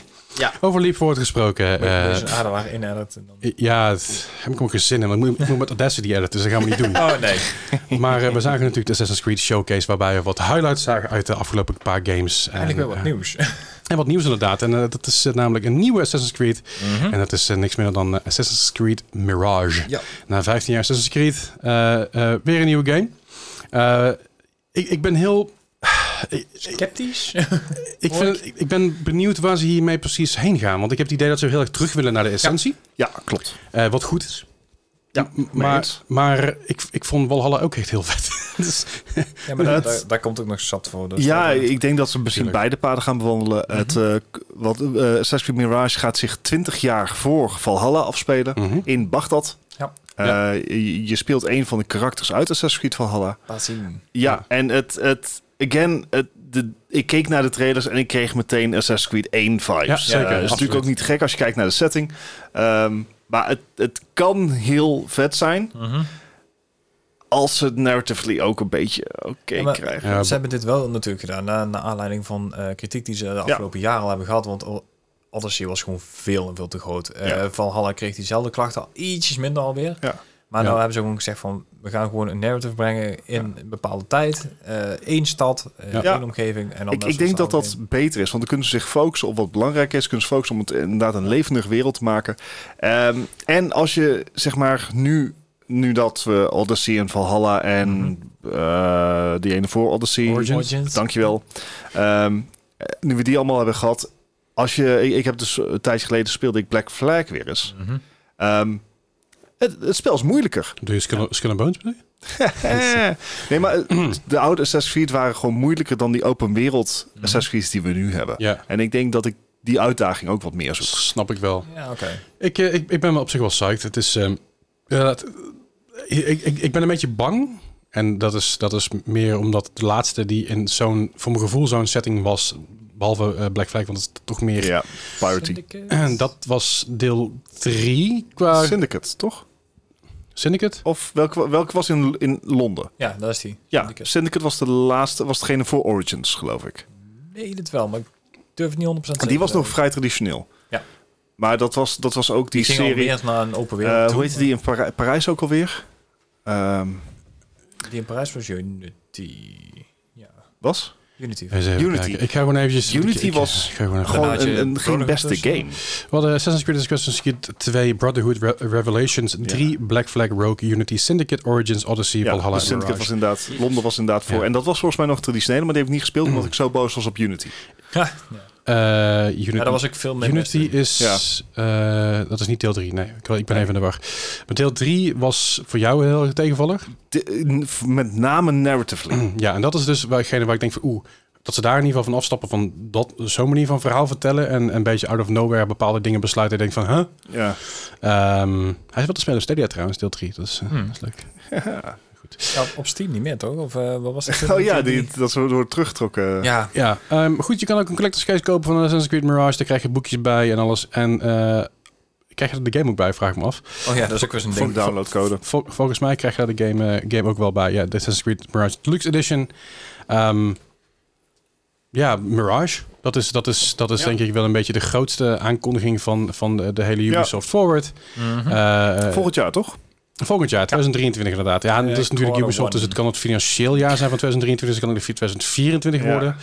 Speaker 1: Over leap forward gesproken. eh,
Speaker 2: Uh, dus aardelaar inedit. en dan-
Speaker 1: ja, het, heb ik gewoon geen zin in. Want ik moet, ik moet met Audacity editen, dus dat gaan we niet doen.
Speaker 2: Oh nee.
Speaker 1: Maar eh, we zagen natuurlijk de Assassin's Creed Showcase... waarbij we wat highlights zagen uit de afgelopen paar games. En,
Speaker 2: Eigenlijk wel
Speaker 1: eh,
Speaker 2: wat nieuws. <laughs>
Speaker 1: En wat nieuws inderdaad. En eh, dat is eh, namelijk een nieuwe Assassin's Creed. En dat is eh, niks minder dan eh, Assassin's Creed Mirage.
Speaker 2: Ja.
Speaker 1: Na 15 jaar Assassin's Creed, eh, eh, weer een nieuwe game. Eh, ik, ik ben heel...
Speaker 2: Sceptisch?
Speaker 1: Ik,
Speaker 2: Hoor
Speaker 1: vind, ik, ik ben benieuwd waar ze hiermee precies heen gaan. Want ik heb het idee dat ze heel erg terug willen naar de essentie.
Speaker 4: Ja, klopt.
Speaker 1: Eh, wat goed is.
Speaker 4: Ja,
Speaker 1: M-
Speaker 4: mee
Speaker 1: maar
Speaker 4: eens.
Speaker 1: maar ik, ik vond Walhalla ook echt heel vet. dus,
Speaker 2: <laughs> Ja, maar daar,
Speaker 4: Het-
Speaker 2: daar, daar komt ook nog zat voor. Dus
Speaker 4: Ja,
Speaker 2: dat-
Speaker 4: ik denk dat ze misschien
Speaker 1: Tuurlijk.
Speaker 4: beide paden gaan bewandelen. Het, eh, k- wat, eh, Assassin's Creed Mirage gaat zich 20 jaar voor Valhalla afspelen
Speaker 1: Mhm.
Speaker 4: in Bagdad.
Speaker 2: Ja.
Speaker 4: Eh, je, je speelt een van de karakters uit Assassin's Creed Valhalla.
Speaker 2: Laat zien.
Speaker 4: Ja,
Speaker 1: Ja.
Speaker 4: en het, het again, het, de, ik keek naar de trailers en ik kreeg meteen Assassin's Creed 1 vibes.
Speaker 1: Ja, zeker,
Speaker 4: Eh, is
Speaker 1: absoluut.
Speaker 4: natuurlijk ook niet gek als je kijkt naar de setting. Ehm, maar het, het kan heel vet zijn als ze het narratively ook een beetje oké
Speaker 2: Ja, maar-
Speaker 4: krijgen.
Speaker 1: Ja,
Speaker 2: ze hebben dit wel natuurlijk gedaan, na, naar aanleiding van eh, kritiek die ze de afgelopen jaren al hebben gehad. Want O- Odyssey was gewoon veel en veel te groot. Eh
Speaker 4: Ja.
Speaker 2: Valhalla kreeg diezelfde klachten, al ietsjes minder alweer.
Speaker 4: Ja.
Speaker 2: Maar
Speaker 1: Ja.
Speaker 2: nou hebben ze gewoon gezegd van, we We gaan gewoon een narrative brengen in een bepaalde tijd. eh één stad, eh,
Speaker 1: Ja.
Speaker 2: één omgeving. En dan
Speaker 4: Ik,
Speaker 2: daar
Speaker 4: ik denk dat dat
Speaker 2: samenheen.
Speaker 4: beter is, want dan kunnen ze zich focussen op wat belangrijk is. Kunnen ze focussen om het inderdaad een levendig wereld te maken. Ehm, en als je zeg maar nu, nu dat we Odyssey en Valhalla en eh, die ene voor Odyssey,
Speaker 1: Origins.
Speaker 4: dankjewel. Ehm nu we die allemaal hebben gehad, als je, ik, ik heb dus een tijdje geleden speelde ik Black Flag weer eens.
Speaker 2: Mhm.
Speaker 4: Ehm, het, het spel is moeilijker.
Speaker 1: Doe je Skull, Skull and Bones bedoel je?
Speaker 4: Eh, nee, maar eh, de oude Assassin's Creed waren gewoon moeilijker dan die open wereld
Speaker 2: Mhm.
Speaker 4: Assassin's Creed die we nu hebben.
Speaker 1: Ja,
Speaker 4: En ik denk dat ik die uitdaging ook wat meer zoek.
Speaker 1: snap ik wel.
Speaker 2: Ja, oké.
Speaker 1: Ik, eh, ik, ik ben wel op zich wel psyched. Het is, ehm, inderdaad, eh, ik, ik, ik ben een beetje bang. En dat is, dat is meer omdat de laatste die in zo'n, voor mijn gevoel zo'n setting was, behalve eh, Black Flag, want het is toch meer...
Speaker 4: Ja, Piracy.
Speaker 1: En <clears throat> dat was deel 3 qua
Speaker 4: Syndicate, toch?
Speaker 1: Syndicate.
Speaker 4: Of welke, welke was in, in Londen?
Speaker 2: Ja, dat is die.
Speaker 4: Ja,
Speaker 2: Syndicate.
Speaker 4: Syndicate. was de laatste, was degene voor Origins, geloof ik.
Speaker 2: Nee, dat wel, maar ik durf het niet 100%
Speaker 4: En
Speaker 2: zeker
Speaker 4: die was
Speaker 2: te
Speaker 4: nog
Speaker 2: weten.
Speaker 4: vrij traditioneel.
Speaker 2: Ja.
Speaker 4: Maar dat was, dat was ook
Speaker 2: Die
Speaker 4: die,
Speaker 2: ging
Speaker 4: serie.
Speaker 2: alweer naar een open wereld.
Speaker 4: eh
Speaker 2: toe,
Speaker 4: hoe heette die in Parij- Parijs ook alweer? Ehm,
Speaker 2: maar Die in Parijs was Unity. Ja,
Speaker 4: was?
Speaker 2: Unity.
Speaker 1: Eens even
Speaker 4: Unity.
Speaker 1: kijken. Ik ga gewoon eventjes...
Speaker 4: Unity
Speaker 1: ik- ik-
Speaker 4: was
Speaker 1: ik ga gewoon even-
Speaker 4: Gewoon
Speaker 2: had je
Speaker 4: een, een, geen
Speaker 2: Brotherhood
Speaker 4: beste
Speaker 2: tussen.
Speaker 4: game.
Speaker 1: We hadden eh, Assassin's Creed, Assassin's Creed 2, Brotherhood, Re- Revelations 3, Black Flag, Rogue, Unity, Syndicate, Origins, Odyssey,
Speaker 4: Ja,
Speaker 1: Valhalla
Speaker 4: dus
Speaker 1: en
Speaker 4: Syndicate was
Speaker 1: Mirage.
Speaker 4: inderdaad, Londen was inderdaad voor.
Speaker 1: Ja.
Speaker 4: En dat was volgens mij nog traditioneel, maar die heb ik niet gespeeld omdat ik zo boos was op Unity.
Speaker 2: Ja,
Speaker 1: Eh, Unity,
Speaker 2: ja, daar was ik veel mee.
Speaker 1: Unity
Speaker 2: bezig.
Speaker 1: is... eh, dat is niet deel 3, nee. Ik, ik ben even in de war. Maar deel 3 was voor jou een heel erg tegenvaller.
Speaker 4: De- eh, met name narratively.
Speaker 1: Ja, en dat is dus waargene waar ik denk van... Oeh, dat ze daar in ieder geval van afstappen van dat zo'n manier van verhaal vertellen... en een beetje out of nowhere bepaalde dingen besluiten. En denk van, huh?
Speaker 4: <laughs> Ja.
Speaker 1: Ehm, hij is wel te spelen op Stadia trouwens, deel 3. Dat is, eh,
Speaker 2: Hmm.
Speaker 1: dat is leuk.
Speaker 2: Ja, op Steam niet meer, toch? Of eh, wat was het?
Speaker 4: <laughs> Oh ja, die, dat ze wordt teruggetrokken.
Speaker 2: Ja,
Speaker 1: Ja, ehm, goed, je kan ook een collector's case kopen van Assassin's Creed Mirage. Daar krijg je boekjes bij en alles. En eh, krijg je er de game ook bij, vraag ik me af.
Speaker 2: oh ja, dat is ook weer een
Speaker 4: Voor de
Speaker 2: ding.
Speaker 4: downloadcode.
Speaker 1: Vol- volgens mij krijg je daar de game, eh, game ook wel bij. Ja, de Assassin's Creed Mirage Deluxe Edition. Ehm, ja, Mirage. Dat is, dat is, dat is
Speaker 4: Ja.
Speaker 1: denk ik wel een beetje de grootste aankondiging van, van de, de hele
Speaker 4: Ja. Hm.
Speaker 1: Ubisoft Forward.
Speaker 2: Mhm.
Speaker 1: Eh,
Speaker 4: Volgend jaar toch?
Speaker 1: Volgend jaar, 2023 inderdaad. Ja, en
Speaker 2: Eh,
Speaker 1: dat is natuurlijk
Speaker 2: quarter
Speaker 1: Ubisoft, dus
Speaker 2: one.
Speaker 1: het kan het financieel jaar zijn van 2023, dus het kan ook de 2024
Speaker 4: Ja.
Speaker 1: worden.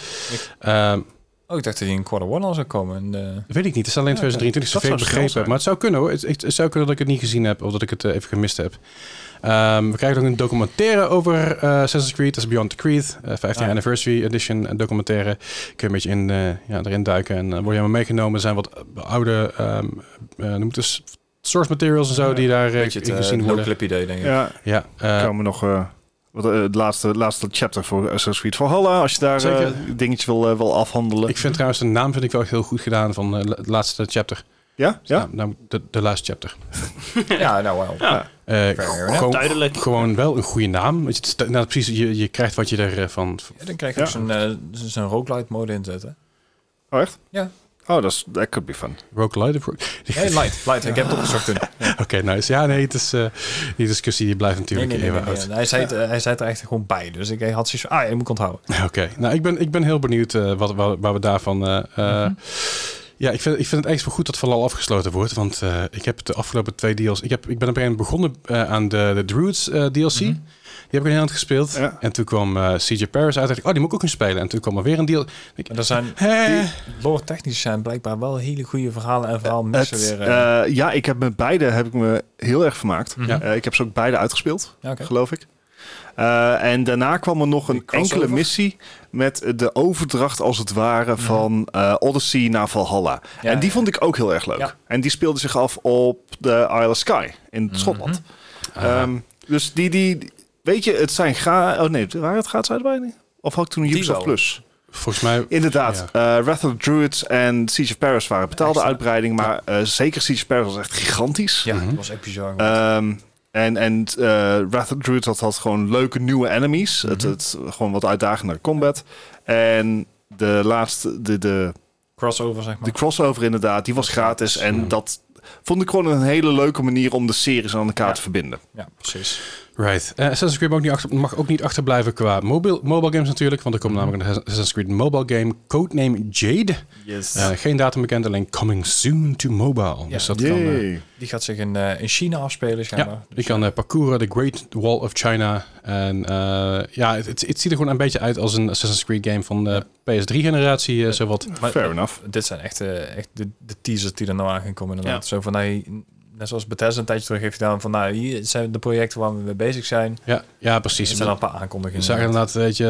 Speaker 1: Ehm,
Speaker 2: Oh, ik dacht dat die in quarter one al zou komen. En, eh,
Speaker 1: dat weet ik niet, het is alleen
Speaker 2: Ja, oké.
Speaker 1: 2023,
Speaker 4: Dat
Speaker 1: zover ik
Speaker 4: zou snel
Speaker 1: begrepen heb.
Speaker 4: zijn.
Speaker 1: Maar het zou kunnen hoor, het, het- het zou kunnen dat ik het niet gezien heb of dat ik het eh, even gemist heb. Ehm, we krijgen ook een documentaire over eh Assassin's Creed, dat is Beyond the Creed, eh 15
Speaker 2: Ah.
Speaker 1: Anniversary Edition eh, documentaire. Kun je een beetje in, eh, ja, erin duiken en eh, word je helemaal meegenomen. Er zijn wat eh, oude, ehm eh, noem het eens, source materials en zo
Speaker 2: Ja,
Speaker 1: die daar eh,
Speaker 2: weet je,
Speaker 1: in
Speaker 2: het eh,
Speaker 1: gezien worden.
Speaker 2: no-clip idee, denk ik.
Speaker 4: Ja,
Speaker 1: Ja, eh,
Speaker 4: komen nog. eh, wat, eh, het laatste, laatste chapter voor Assassin's Creed Valhalla. Als je daar eh,
Speaker 1: Zeker.
Speaker 4: dingetje wil, eh, wil afhandelen.
Speaker 1: Ik vind trouwens de naam vind ik wel echt heel goed gedaan van eh, la- het laatste chapter.
Speaker 4: ja? Ja?
Speaker 1: Nou, nou, de, de laatste chapter.
Speaker 2: Ja, nou wel.
Speaker 3: Ja.
Speaker 1: Eh,
Speaker 2: enough.
Speaker 1: gewoon,
Speaker 3: Duidelijk.
Speaker 1: Gewoon wel een goede naam. Want je- het is- Nou, precies, je, je krijgt wat je eh, ervan...
Speaker 2: Ja, dan krijg je ook
Speaker 4: Ja.
Speaker 2: zo'n eh, zo'n roguelite mode inzetten.
Speaker 4: Oh, echt?
Speaker 2: Ja.
Speaker 4: Oh, dat is- that could be fun.
Speaker 1: Rogue Light of Rogue...
Speaker 2: Nee, light, light. Ik heb het opgezocht <laughs> toen.
Speaker 1: <laughs> Oké, nice. Ja, nee, het is, eh, die discussie die blijft
Speaker 2: Nee,
Speaker 1: natuurlijk
Speaker 2: nee, nee, nee,
Speaker 1: even uit.
Speaker 2: nee. Hij, zei het, eh, hij zei het er echt gewoon bij. Dus ik had zoiets van, ah, je moet ik onthouden.
Speaker 1: <laughs> Oké, nou, ik ben, ik ben heel benieuwd eh, wat, waar, waar we daarvan... eh, eh, Ja, ik vind, ik vind het echt wel goed dat Valhalla afgesloten wordt. Want eh, ik heb de afgelopen twee deals... Ik, heb, ik ben op een gegeven moment begonnen eh, aan de, de Druids eh, DLC. Die heb ik een heel eind gespeeld.
Speaker 4: Ja.
Speaker 1: En toen kwam eh, CJ Paris uit. Dacht ik, oh, die moet ik ook eens spelen. En toen kwam er weer een deal. Ik,
Speaker 2: Maar er zijn,
Speaker 1: hè?
Speaker 2: lore technisch zijn blijkbaar wel hele goede verhalen en verhaal
Speaker 4: Het,
Speaker 2: missen weer. eh,
Speaker 4: eh, ja, ik heb met beide heb ik me heel erg vermaakt.
Speaker 2: Mhm.
Speaker 1: ja.
Speaker 4: Eh, ik heb ze ook beide uitgespeeld.
Speaker 2: Ja, oké.
Speaker 4: geloof ik. Eh, en daarna kwam er nog
Speaker 2: Die
Speaker 4: een
Speaker 2: crossover?
Speaker 4: enkele missie met de overdracht als het ware van eh, Odyssey naar Valhalla.
Speaker 2: Ja,
Speaker 4: en die
Speaker 2: ja.
Speaker 4: vond ik ook heel erg leuk.
Speaker 2: Ja. Mhm.
Speaker 4: En die speelde zich af op de Isle of Skye in Schotland.
Speaker 1: Ah.
Speaker 4: Ehm, dus die, die, weet je, het zijn ga... Oh nee, waren het gaat erbij? niet? Of had ik toen
Speaker 2: Die
Speaker 4: Ubisoft
Speaker 2: wel.
Speaker 4: Plus?
Speaker 1: Volgens mij...
Speaker 4: Inderdaad, eh, Wrath of the Druids en Siege of Paris waren betaalde
Speaker 2: Extra.
Speaker 4: uitbreiding. Maar eh, zeker Siege of Paris was echt gigantisch.
Speaker 2: Ja,
Speaker 1: Mhm.
Speaker 2: dat was echt bizar. gewoon.
Speaker 4: Ehm, en en eh Wrath of the Druids had, had gewoon leuke nieuwe enemies. het,
Speaker 2: Mhm.
Speaker 4: het, gewoon wat uitdagender combat. En de laatste, de, de,
Speaker 2: Crossover, zeg maar.
Speaker 4: de crossover inderdaad, die was gratis. En
Speaker 1: Ja.
Speaker 4: dat vond ik gewoon een hele leuke manier om de series aan elkaar
Speaker 2: Ja.
Speaker 4: te verbinden.
Speaker 2: Ja, precies.
Speaker 1: Right. Eh, Assassin's Creed mag ook, niet achter, mag ook niet achterblijven qua mobile, mobile games natuurlijk. Want er komt namelijk een Assassin's Creed mobile game, codename Jade.
Speaker 2: Yes.
Speaker 1: Eh, geen datum bekend, alleen coming soon to mobile. Dus dat kan... eh,
Speaker 4: Yay.
Speaker 2: Die gaat zich in, eh, in China afspelen,
Speaker 1: ja,
Speaker 2: schijnbaar.
Speaker 1: je kan eh, parcouren, de Great Wall of China. En eh, ja, het, het- het ziet er gewoon een beetje uit als een Assassin's Creed game van de PS3-generatie, eh zowat.
Speaker 2: Maar-
Speaker 4: Fair enough.
Speaker 2: Dit zijn echt, eh, echt de, de teasers die er nou aan gaan komen inderdaad. Zo van, nou, net zoals Bethesda een tijdje terug heeft gedaan, van nou, hier zijn de projecten waar we mee bezig zijn.
Speaker 1: Ja, ja,
Speaker 2: Er
Speaker 1: precies.
Speaker 2: zijn al een paar aankondigingen.
Speaker 1: We zagen inderdaad, weet je,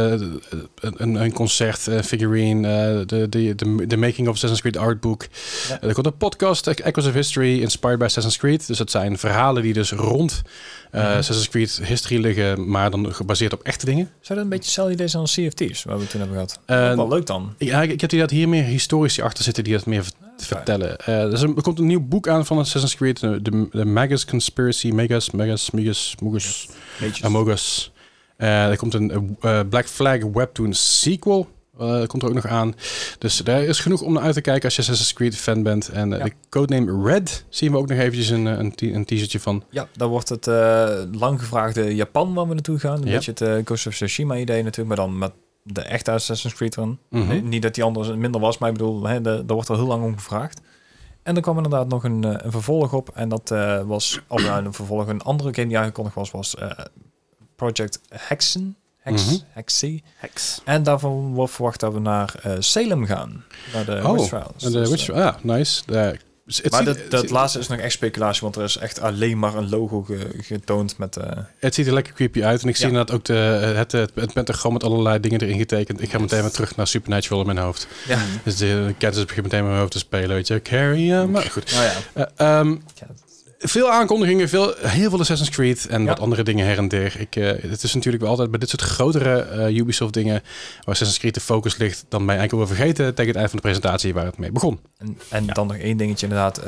Speaker 1: een- een, een concert, eh, figurine, eh, de, de, de, de making of Assassin's Creed artbook.
Speaker 2: Ja.
Speaker 1: Eh, er komt een podcast, eh, Echoes of History, inspired by Assassin's Creed. Dus dat zijn verhalen die dus rond eh,
Speaker 2: Mhm.
Speaker 1: Assassin's Creed history liggen, maar dan gebaseerd op echte dingen.
Speaker 2: Zou dat een beetje hetzelfde idee zijn als CFT's, waar we toen hebben gehad?
Speaker 4: Eh,
Speaker 1: En-
Speaker 2: wel leuk dan.
Speaker 1: Ja, ik, ik heb die dat hier meer historici achter zitten die dat meer vert- vertellen. Eh, er, is een- er komt een nieuw boek aan van Assassin's Creed, eh, de, de Magus Conspiracy, Megas, Megas, Megas, Mogus,
Speaker 2: Beetje.
Speaker 1: Amogus. Eh, er komt een eh, Black Flag Webtoon sequel. eh, komt er ook nog aan. Dus daar is genoeg om naar uit te kijken als je Assassin's Creed fan bent. En eh,
Speaker 2: Ja.
Speaker 1: de codename Red zien we ook nog eventjes een, eh, een, te- een teasertje van.
Speaker 2: Ja, dan wordt het eh, lang gevraagde Japan waar we naartoe gaan. Een
Speaker 1: Ja.
Speaker 2: beetje het eh, Ghost of Tsushima idee natuurlijk, maar dan met de echte Assassin's Creed run.
Speaker 1: Mhm.
Speaker 2: Nee, Niet dat die anders minder was, maar ik bedoel, hè, de- daar wordt al heel lang om gevraagd. En er kwam inderdaad nog een, eh, een vervolg op. En dat eh, was, of nou, een vervolg, een andere game die aangekondigd was, was eh, Project Hexen. Hex,
Speaker 1: Mhm.
Speaker 2: Hexie.
Speaker 3: Hex.
Speaker 2: En daarvan wordt verwacht dat we naar eh, Salem gaan. Naar de
Speaker 1: Oh,
Speaker 2: Witch Trials.
Speaker 1: En de
Speaker 2: Dus,
Speaker 1: Witch-
Speaker 2: eh,
Speaker 1: ah, nice. De, het
Speaker 2: maar
Speaker 1: ziet-
Speaker 2: dat, dat laatste is nog echt speculatie, want er is echt alleen maar een logo ge- getoond met... eh,
Speaker 1: Het ziet er lekker creepy uit. En ik zie
Speaker 2: Ja.
Speaker 1: inderdaad ook de, het, het, het pentagram met allerlei dingen erin getekend. Ik ga meteen weer terug naar Supernatural in mijn hoofd.
Speaker 2: ja,
Speaker 1: Dus de kennis begint meteen in mijn hoofd te spelen, weet je. Carry, eh, maar goed.
Speaker 2: nou ja.
Speaker 1: Eh, ehm,
Speaker 2: ja.
Speaker 1: veel aankondigingen, veel, heel veel Assassin's Creed en
Speaker 2: Ja.
Speaker 1: wat andere dingen her en der. Ik, eh, het is natuurlijk wel altijd bij dit soort grotere eh, Ubisoft dingen waar Assassin's Creed de focus ligt, dan ben je eigenlijk wel vergeten tegen het eind van de presentatie waar het mee begon.
Speaker 2: En, en dan nog één dingetje inderdaad, eh,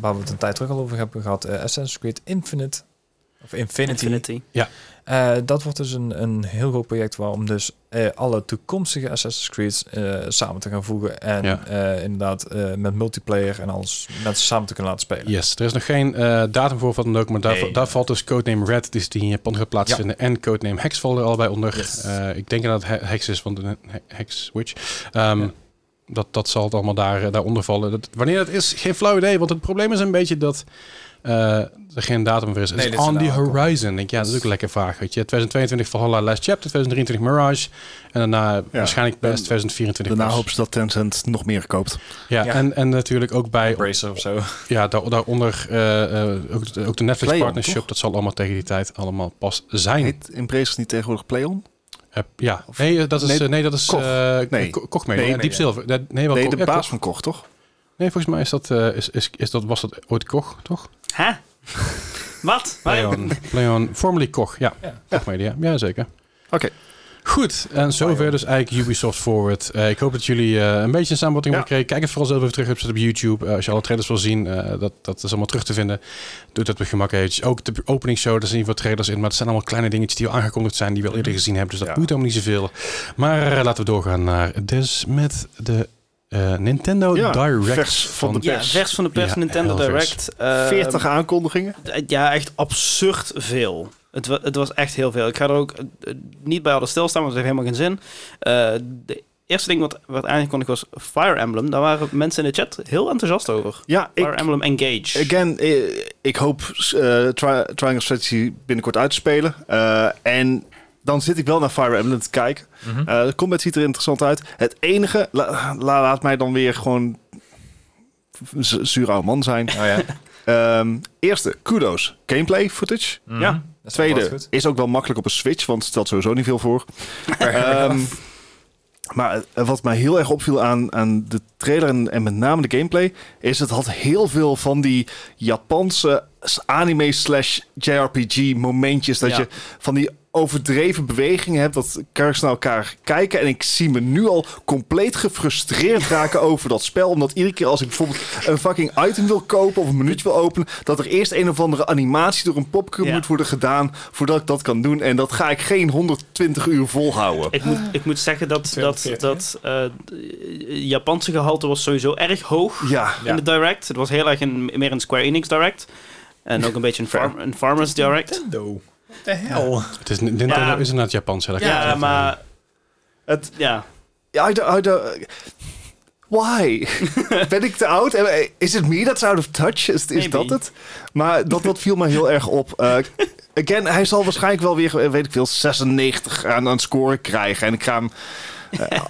Speaker 2: waar we het een tijd terug al over hebben gehad. eh, Assassin's Creed Infinite. Of Infinity.
Speaker 3: Infinity.
Speaker 2: Eh, dat wordt dus een, een heel groot project waarom dus eh, alle toekomstige Assassin's Creeds eh, samen te gaan voegen. En
Speaker 1: Ja.
Speaker 2: eh, inderdaad eh, met multiplayer en alles mensen samen te kunnen laten spelen.
Speaker 1: Yes, er is nog geen eh, datum voor van dan ook, maar daar,
Speaker 2: Nee.
Speaker 1: daar valt dus codename Red, die, is die in Japan gaat plaatsvinden, en codename Hex vallen er allebei onder.
Speaker 2: Yes.
Speaker 1: Eh, ik denk dat het Hex is, want een he- Hex Witch. Ehm,
Speaker 2: Ja.
Speaker 1: dat, dat zal het allemaal daar, eh, daaronder vallen. Dat, wanneer dat is, geen flauw idee, want het probleem is een beetje dat eh, er geen datum voor is. Het
Speaker 2: Nee,
Speaker 1: is
Speaker 2: dit is
Speaker 1: on
Speaker 2: een
Speaker 1: the
Speaker 2: aankoop.
Speaker 1: horizon. Ik Denk, ja, dat is ook lekker vaag. Weet je. 2022 Valhalla Last Chapter, 2023 Mirage, en daarna waarschijnlijk best 2024
Speaker 4: Daarna
Speaker 1: pas.
Speaker 4: hopen ze dat Tencent nog meer koopt.
Speaker 1: Ja,
Speaker 2: Ja.
Speaker 1: En, en natuurlijk ook bij
Speaker 2: Bracer of zo.
Speaker 1: ja, daar, daaronder eh, eh, ook, de- ook de Netflix
Speaker 4: Play-on,
Speaker 1: partnership,
Speaker 4: toch?
Speaker 1: dat zal allemaal tegen die tijd allemaal pas zijn.
Speaker 4: Heet Embrace niet tegenwoordig PlayOn?
Speaker 1: Eh, ja, nee, eh, dat is,
Speaker 4: Nee,
Speaker 1: eh, nee, dat is
Speaker 4: Koch.
Speaker 1: eh,
Speaker 4: Nee.
Speaker 1: Ko- Kochmeer,
Speaker 4: Nee,
Speaker 1: eh,
Speaker 2: nee,
Speaker 1: Diep
Speaker 2: ja.
Speaker 1: Zilver. Nee, nee, wel
Speaker 4: Nee,
Speaker 1: Koch-
Speaker 4: de
Speaker 1: ja,
Speaker 4: baas
Speaker 1: Koch.
Speaker 4: van Koch, toch?
Speaker 1: Nee, volgens mij is dat, eh, is, is, is dat, was dat ooit Koch, toch? <laughs>
Speaker 3: Hè? Wat?
Speaker 4: <laughs>
Speaker 1: Leon, Leon formerly Koch, ja.
Speaker 2: Ja.
Speaker 1: Koch Media, ja zeker.
Speaker 4: Oké.
Speaker 1: Goed, en zover dus eigenlijk Ubisoft Forward. Eh, ik hoop dat jullie eh, een beetje een samenvatting hebben
Speaker 4: Ja.
Speaker 1: gekregen. Kijk het vooral zelf even terug op, op YouTube. Eh, als je alle trailers wil zien, eh, dat, dat is allemaal terug te vinden. Doe dat met gemak eventjes. Ook de openingsshow, daar zien wat trailers in. Maar het zijn allemaal kleine dingetjes die al aangekondigd zijn, die we al eerder gezien hebben. Dus dat
Speaker 4: Mhm. Ja.
Speaker 1: moet helemaal niet zoveel. Maar eh, laten we doorgaan naar Des met de eh, Nintendo
Speaker 4: Ja,
Speaker 1: Direct.
Speaker 4: vers van de
Speaker 3: Ja,
Speaker 4: Pers.
Speaker 3: vers van de pers
Speaker 1: Ja,
Speaker 3: Nintendo
Speaker 1: heel vers.
Speaker 3: Direct. eh,
Speaker 4: 40
Speaker 1: Ehm,
Speaker 4: aankondigingen.
Speaker 3: d- Eh, Ja, echt absurd veel. Het, wa- het was echt heel veel. Ik ga er ook eh, eh, niet bij alles stilstaan, want het heeft helemaal geen zin. Eh, de eerste ding wat, wat aangekondigd was Fire Emblem. Daar waren mensen in de chat heel enthousiast over.
Speaker 4: Ja,
Speaker 3: Fire
Speaker 4: ik,
Speaker 3: Emblem Engage.
Speaker 4: again, eh, ik hoop eh, tri Triangle Strategy binnenkort uit te spelen. Eh, en dan zit ik wel naar Fire Emblem te kijken. Eh, de combat ziet er interessant uit. Het enige, la- la- laat mij dan weer gewoon z- zuur oude man zijn.
Speaker 2: Oh, ja.
Speaker 4: Ehm, eerste, kudos. Gameplay footage.
Speaker 2: Mhm.
Speaker 3: Ja.
Speaker 2: Dat is wel
Speaker 4: Tweede,
Speaker 2: goed.
Speaker 4: is ook wel makkelijk op een Switch, want het stelt sowieso niet veel
Speaker 2: <laughs>
Speaker 4: voor. Ehm, maar eh, wat mij heel erg opviel aan, aan de trailer en, en met name de gameplay... is het had heel veel van die Japanse anime slash JRPG momentjes... dat
Speaker 2: Ja.
Speaker 4: je van die overdreven bewegingen hebt... dat karakters naar elkaar kijken. En ik zie me nu al compleet gefrustreerd
Speaker 2: <laughs>
Speaker 4: raken over dat spel. Omdat iedere keer als ik bijvoorbeeld een fucking item wil kopen... of een minuutje wil openen... dat er eerst een of andere animatie door een popcube
Speaker 3: Ja.
Speaker 4: moet worden gedaan... voordat ik dat kan doen. En dat ga ik geen 120 uur volhouden.
Speaker 3: Ik moet, ik moet zeggen dat, dat,
Speaker 2: 42,
Speaker 3: dat eh, d- eh, Japanse gehalte was sowieso erg hoog
Speaker 4: Ja.
Speaker 2: Ja.
Speaker 3: in de direct. Het was heel erg een, meer een Square Enix direct. En ook een beetje een, farm, een Farmers direct.
Speaker 2: Nintendo. De hel.
Speaker 1: Het is, Nintendo
Speaker 3: Ja.
Speaker 1: is inderdaad Japans. hè, dat kan
Speaker 3: Ja,
Speaker 1: ik
Speaker 3: maar...
Speaker 4: Het-
Speaker 3: Ja,
Speaker 4: Ja, I don't- I don't-
Speaker 3: <laughs>
Speaker 4: Why? ben ik te oud? En, eh, Is het me that's out of touch? Is, is
Speaker 3: Maybe.
Speaker 4: dat het? Maar dat, dat viel mij heel erg op. Eh, again, hij zal waarschijnlijk wel weer, eh, weet ik veel, 96 aan een score krijgen. En ik ga hem... eh,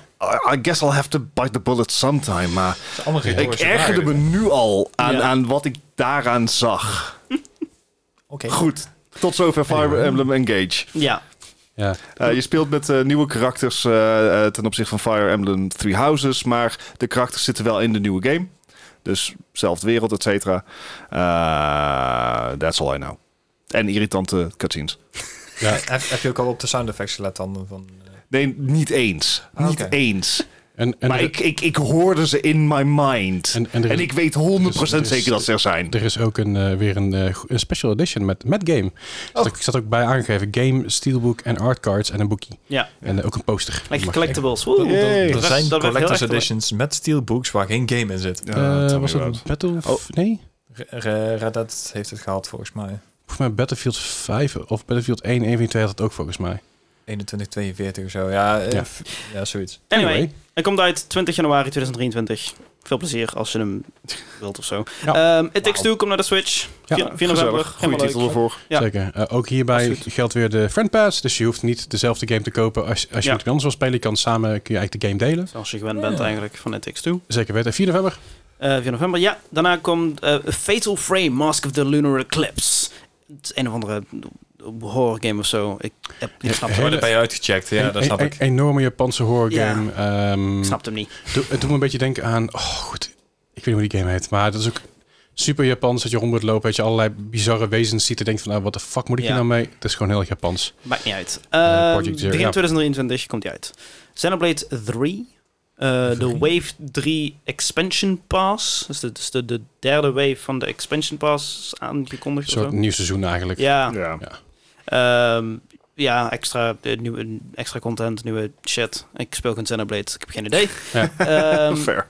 Speaker 4: I guess I'll have to bite the bullet sometime. Maar
Speaker 2: Dat is allemaal geen
Speaker 4: ik
Speaker 2: logische
Speaker 4: ergerde me
Speaker 2: vragen.
Speaker 4: nu al aan,
Speaker 3: Ja.
Speaker 4: aan wat ik daaraan zag.
Speaker 2: Oké.
Speaker 4: Goed, tot zover Fire Emblem Engage.
Speaker 3: ja.
Speaker 1: Ja.
Speaker 4: Eh, je speelt met eh, nieuwe karakters eh, eh, ten opzichte van Fire Emblem Three Houses, maar de karakters zitten wel in de nieuwe game. Dus zelfde wereld, et cetera. Eh, that's all I know. En irritante cutscenes.
Speaker 1: Ja.
Speaker 2: Heb, heb je ook al op de sound effects gelet dan? Van, eh,
Speaker 4: Nee, niet eens.
Speaker 2: Ah,
Speaker 4: niet
Speaker 2: oké.
Speaker 4: eens.
Speaker 1: En, en
Speaker 4: maar
Speaker 1: er,
Speaker 4: ik, ik, ik hoorde ze in my mind. En,
Speaker 1: en, en er, is,
Speaker 4: ik weet 100%
Speaker 1: dus-
Speaker 4: zeker dat ze er zijn.
Speaker 1: er is ook een, eh, weer een, eh, go- een special edition met, met game.
Speaker 4: Oh.
Speaker 1: Dus ik zat ook bij aangegeven. Game, steelbook en art cards en een boekje.
Speaker 3: Ja.
Speaker 1: En eh, ook een poster.
Speaker 3: Lekker
Speaker 1: Maar-
Speaker 3: collectibles. Woe.
Speaker 4: Yay.
Speaker 2: Er
Speaker 3: Dat werd-
Speaker 2: zijn
Speaker 3: dat werd heel
Speaker 2: collector's
Speaker 3: erg leuk.
Speaker 2: editions met steelbooks waar geen game in zit.
Speaker 4: Ja,
Speaker 1: Eh,
Speaker 4: tell me
Speaker 1: was
Speaker 4: about it.
Speaker 1: dat Battle...
Speaker 4: Oh.
Speaker 1: Nee?
Speaker 2: R- R- Red Dead heeft het gehaald volgens mij.
Speaker 1: Volgens mij Battlefield 5 of Battlefield 1, 1 van die twee had het ook volgens mij.
Speaker 2: 21, 42 of zo. Ja, eh,
Speaker 1: Ja.
Speaker 2: f- ja zoiets.
Speaker 3: Anyway, hij komt uit 20 januari 2023. Veel plezier als je hem <laughs> wilt of zo.
Speaker 1: Ja.
Speaker 3: Ehm It Takes Two komt naar de Switch.
Speaker 1: Ja,
Speaker 3: 4 november.
Speaker 4: Gezellig. Goede
Speaker 3: Helemaal leuk.
Speaker 4: titel ervoor.
Speaker 3: Ja.
Speaker 1: Zeker. Eh, ook hierbij
Speaker 3: Absoluut.
Speaker 1: geldt weer de friend pass. Dus je hoeft niet dezelfde game te kopen als, als je met
Speaker 3: Ja.
Speaker 1: iemand anders wil spelen. Je kan samen kun je eigenlijk de game delen.
Speaker 3: Zoals je gewend bent
Speaker 2: Ja.
Speaker 3: eigenlijk van It Takes Two.
Speaker 1: Zeker weten. 4 november.
Speaker 3: Eh, 4 november. Ja, daarna komt eh, Fatal Frame, Mask of the Lunar Eclipse. Het is een of andere horror game of zo. Ik, heb, ik snap het
Speaker 1: Hele-
Speaker 3: wel.
Speaker 1: Maar dat ben
Speaker 2: je uitgecheckt.
Speaker 1: Een- een- een- enorme Japanse horror
Speaker 3: Ja.
Speaker 1: game. Ehm,
Speaker 3: Ik snap hem niet.
Speaker 1: doe- Het doet me een beetje denken aan... Oh, goed. Ik weet niet hoe die game heet. Maar dat is ook super Japans. Dat je rond moet lopen. Dat je allerlei bizarre wezens ziet. En denkt van, nou, wat de fuck moet ik
Speaker 3: Ja.
Speaker 1: hier nou mee? Het is gewoon heel erg Japans.
Speaker 3: Maakt niet uit.
Speaker 1: Eh,
Speaker 3: Ehm
Speaker 1: Project Zero,
Speaker 3: 3
Speaker 1: ja.
Speaker 3: 2023 komt hij uit. Xenoblade 3. eh, de
Speaker 1: Drie?
Speaker 3: Wave 3 Expansion Pass. Dus de, dus de, de derde wave van de Expansion Pass is aangekondigd.
Speaker 1: Een
Speaker 3: of
Speaker 1: soort
Speaker 3: zo.
Speaker 1: nieuw seizoen eigenlijk.
Speaker 3: Ja,
Speaker 4: Ja.
Speaker 3: ehm, ja extra, eh, nieuwe, extra content, nieuwe shit. Ik speel geen Xenoblade, ik heb geen idee.
Speaker 1: Ja.
Speaker 3: Ehm,
Speaker 4: <laughs> Fair.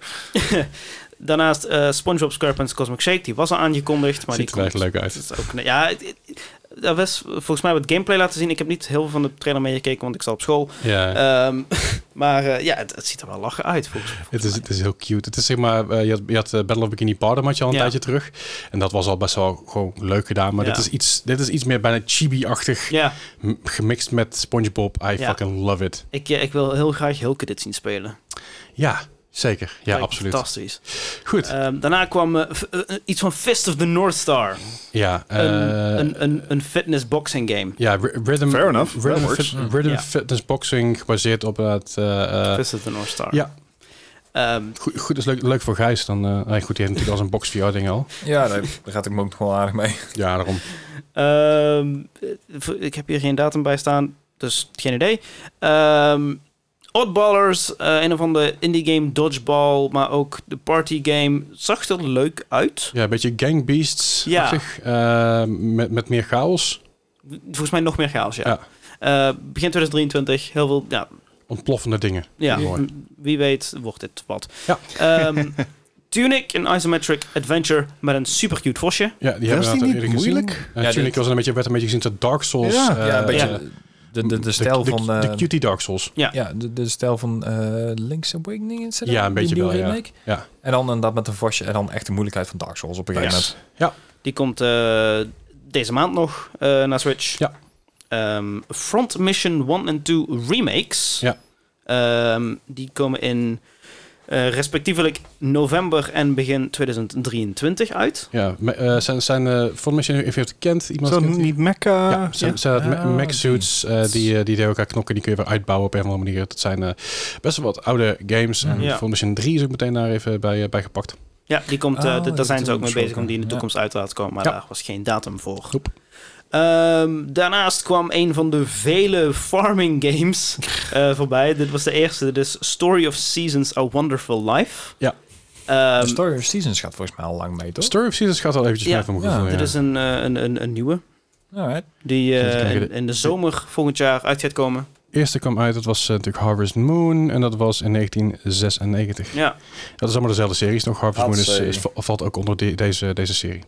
Speaker 3: daarnaast eh, SpongeBob SquarePants Cosmic Shake. Die was al aangekondigd, maar
Speaker 1: Ziet er
Speaker 3: die komt
Speaker 1: eigenlijk leuk uit.
Speaker 3: dat is ook, ja, het- het- daar was volgens mij wat gameplay laten zien. Ik heb niet heel veel van de trailer meegekeken, want ik zat op school.
Speaker 1: Ja.
Speaker 3: Ehm, <laughs> maar eh, ja, het, het ziet er wel lachen uit volgens mij.
Speaker 1: Het is, het is heel cute. Het is zeg maar, eh, je had, je had eh, Battle of Bikini Bottom had je al een
Speaker 3: Ja.
Speaker 1: tijdje terug. En dat was al best wel gewoon leuk gedaan. Maar
Speaker 3: Ja.
Speaker 1: dit, is iets, dit is iets meer bijna chibi-achtig.
Speaker 3: Ja,
Speaker 1: m- Gemixt met Spongebob. I
Speaker 3: Ja.
Speaker 1: fucking love it.
Speaker 3: ik, eh, ik wil heel graag Hilke dit zien spelen.
Speaker 1: Ja, zeker. Ja,
Speaker 3: Lijkt me
Speaker 1: absoluut.
Speaker 3: Fantastisch.
Speaker 1: Goed.
Speaker 3: Ehm, daarna kwam eh, f- eh, eh, iets van Fist of the North Star.
Speaker 1: ja, eh,
Speaker 3: een, een, een, een fitness boxing game.
Speaker 1: ja ry- rhythm,
Speaker 4: Fair enough. That
Speaker 1: rhythm,
Speaker 4: works.
Speaker 1: fit- rhythm
Speaker 3: Ja.
Speaker 1: fitness boxing gebaseerd op het... eh, eh,
Speaker 3: Fist of the North Star.
Speaker 1: ja.
Speaker 3: Ehm,
Speaker 1: goed, goed, dat is leuk, leuk voor Gijs. Dan, eh, nee, goed, die heeft natuurlijk al zijn box VR ding al.
Speaker 2: Ja, daar, daar gaat ik me ook nog wel aardig mee.
Speaker 1: Ja, daarom.
Speaker 3: Ehm, eh, ik heb hier geen datum bij staan, dus geen idee. Ehm Oddballers, eh, een of andere indie game, dodgeball, maar ook de party game. Zag er leuk uit.
Speaker 1: Ja, een beetje gangbeasts-achtig. eh, met, met meer chaos.
Speaker 3: Volgens mij nog meer chaos, ja.
Speaker 1: Ja.
Speaker 3: Eh, begin 2023, heel veel, ja,
Speaker 1: Ontploffende dingen.
Speaker 3: ja
Speaker 1: Mooi.
Speaker 3: m- wie weet wordt dit wat.
Speaker 1: Ja. <laughs>
Speaker 3: Ehm, Tunic, een isometric adventure met een super cute vosje.
Speaker 1: Ja, die hebben
Speaker 4: Was
Speaker 1: we
Speaker 4: die
Speaker 1: inderdaad
Speaker 4: niet
Speaker 1: al eerder
Speaker 4: moeilijk?
Speaker 1: gezien. Eh,
Speaker 2: Ja,
Speaker 1: Tunic
Speaker 2: dit-
Speaker 1: was een beetje, werd een beetje gezien tot Dark Souls.
Speaker 4: Ja,
Speaker 1: eh,
Speaker 2: ja, een beetje
Speaker 3: ja.
Speaker 2: de, de, de stijl
Speaker 1: de-
Speaker 2: van...
Speaker 1: De,
Speaker 2: eh,
Speaker 1: cutie Dark Souls.
Speaker 2: ja, de, de stijl van eh, Link's Awakening is het
Speaker 1: Ja,
Speaker 2: dan?
Speaker 1: een
Speaker 2: Die
Speaker 1: beetje
Speaker 2: nieuwe
Speaker 1: wel, ja.
Speaker 2: remake?
Speaker 1: Ja.
Speaker 2: En dan inderdaad met een vosje en dan echt de moeilijkheid van Dark Souls op een gegeven
Speaker 4: Nice.
Speaker 2: moment.
Speaker 3: Die komt eh, deze maand nog eh, naar Switch.
Speaker 1: Ja.
Speaker 3: Ehm, Front Mission 1 en 2 remakes.
Speaker 1: Ja.
Speaker 3: Ehm, die komen in eh, respectievelijk november en begin 2023 uit.
Speaker 1: Ja, me- eh, zijn, zijn eh, Front Mission heeft gekend. Iemand
Speaker 4: Zo
Speaker 1: kent die?
Speaker 4: niet mecca.
Speaker 1: Ja, zijn, zijn dat
Speaker 2: Ah,
Speaker 1: ma- mech suits eh, die, eh, die tegen elkaar knokken. Die kun je weer uitbouwen op een of andere manier. Dat zijn eh, best wel wat oude games. En
Speaker 3: Ja.
Speaker 1: Front Mission 3 is ook meteen daar even bij, eh, bij gepakt.
Speaker 3: Ja, die komt, eh,
Speaker 2: Oh,
Speaker 3: d-
Speaker 2: die
Speaker 3: daar zijn ze
Speaker 2: doen
Speaker 3: ook mee
Speaker 2: we
Speaker 3: bezig
Speaker 2: ook,
Speaker 3: om die in de
Speaker 2: ja.
Speaker 3: toekomst uit te laten komen. Maar
Speaker 1: Ja.
Speaker 3: daar was geen datum voor.
Speaker 1: Nope.
Speaker 3: Ehm, daarnaast kwam een van de vele farming games eh, voorbij. Dit was de eerste. Dit is Story of Seasons, A Wonderful Life.
Speaker 1: Ja.
Speaker 3: Ehm,
Speaker 2: de Story of Seasons gaat volgens mij al lang mee, toch?
Speaker 1: Story of Seasons gaat al eventjes
Speaker 3: Ja.
Speaker 1: mee van mijn
Speaker 2: Ja,
Speaker 1: gevoel. Ja,
Speaker 3: Dit is een, eh, een, een, een nieuwe.
Speaker 2: Alright.
Speaker 3: Die eh,
Speaker 1: Even kijken,
Speaker 3: in, in de zomer volgend jaar uit gaat komen.
Speaker 1: Eerste kwam uit, dat was eh, natuurlijk Harvest Moon. En dat was in 1996.
Speaker 3: Ja,
Speaker 1: Dat is allemaal dezelfde series nog. Harvest
Speaker 2: Had
Speaker 1: Moon is,
Speaker 2: ze-
Speaker 1: is- valt ook onder de- deze, deze serie.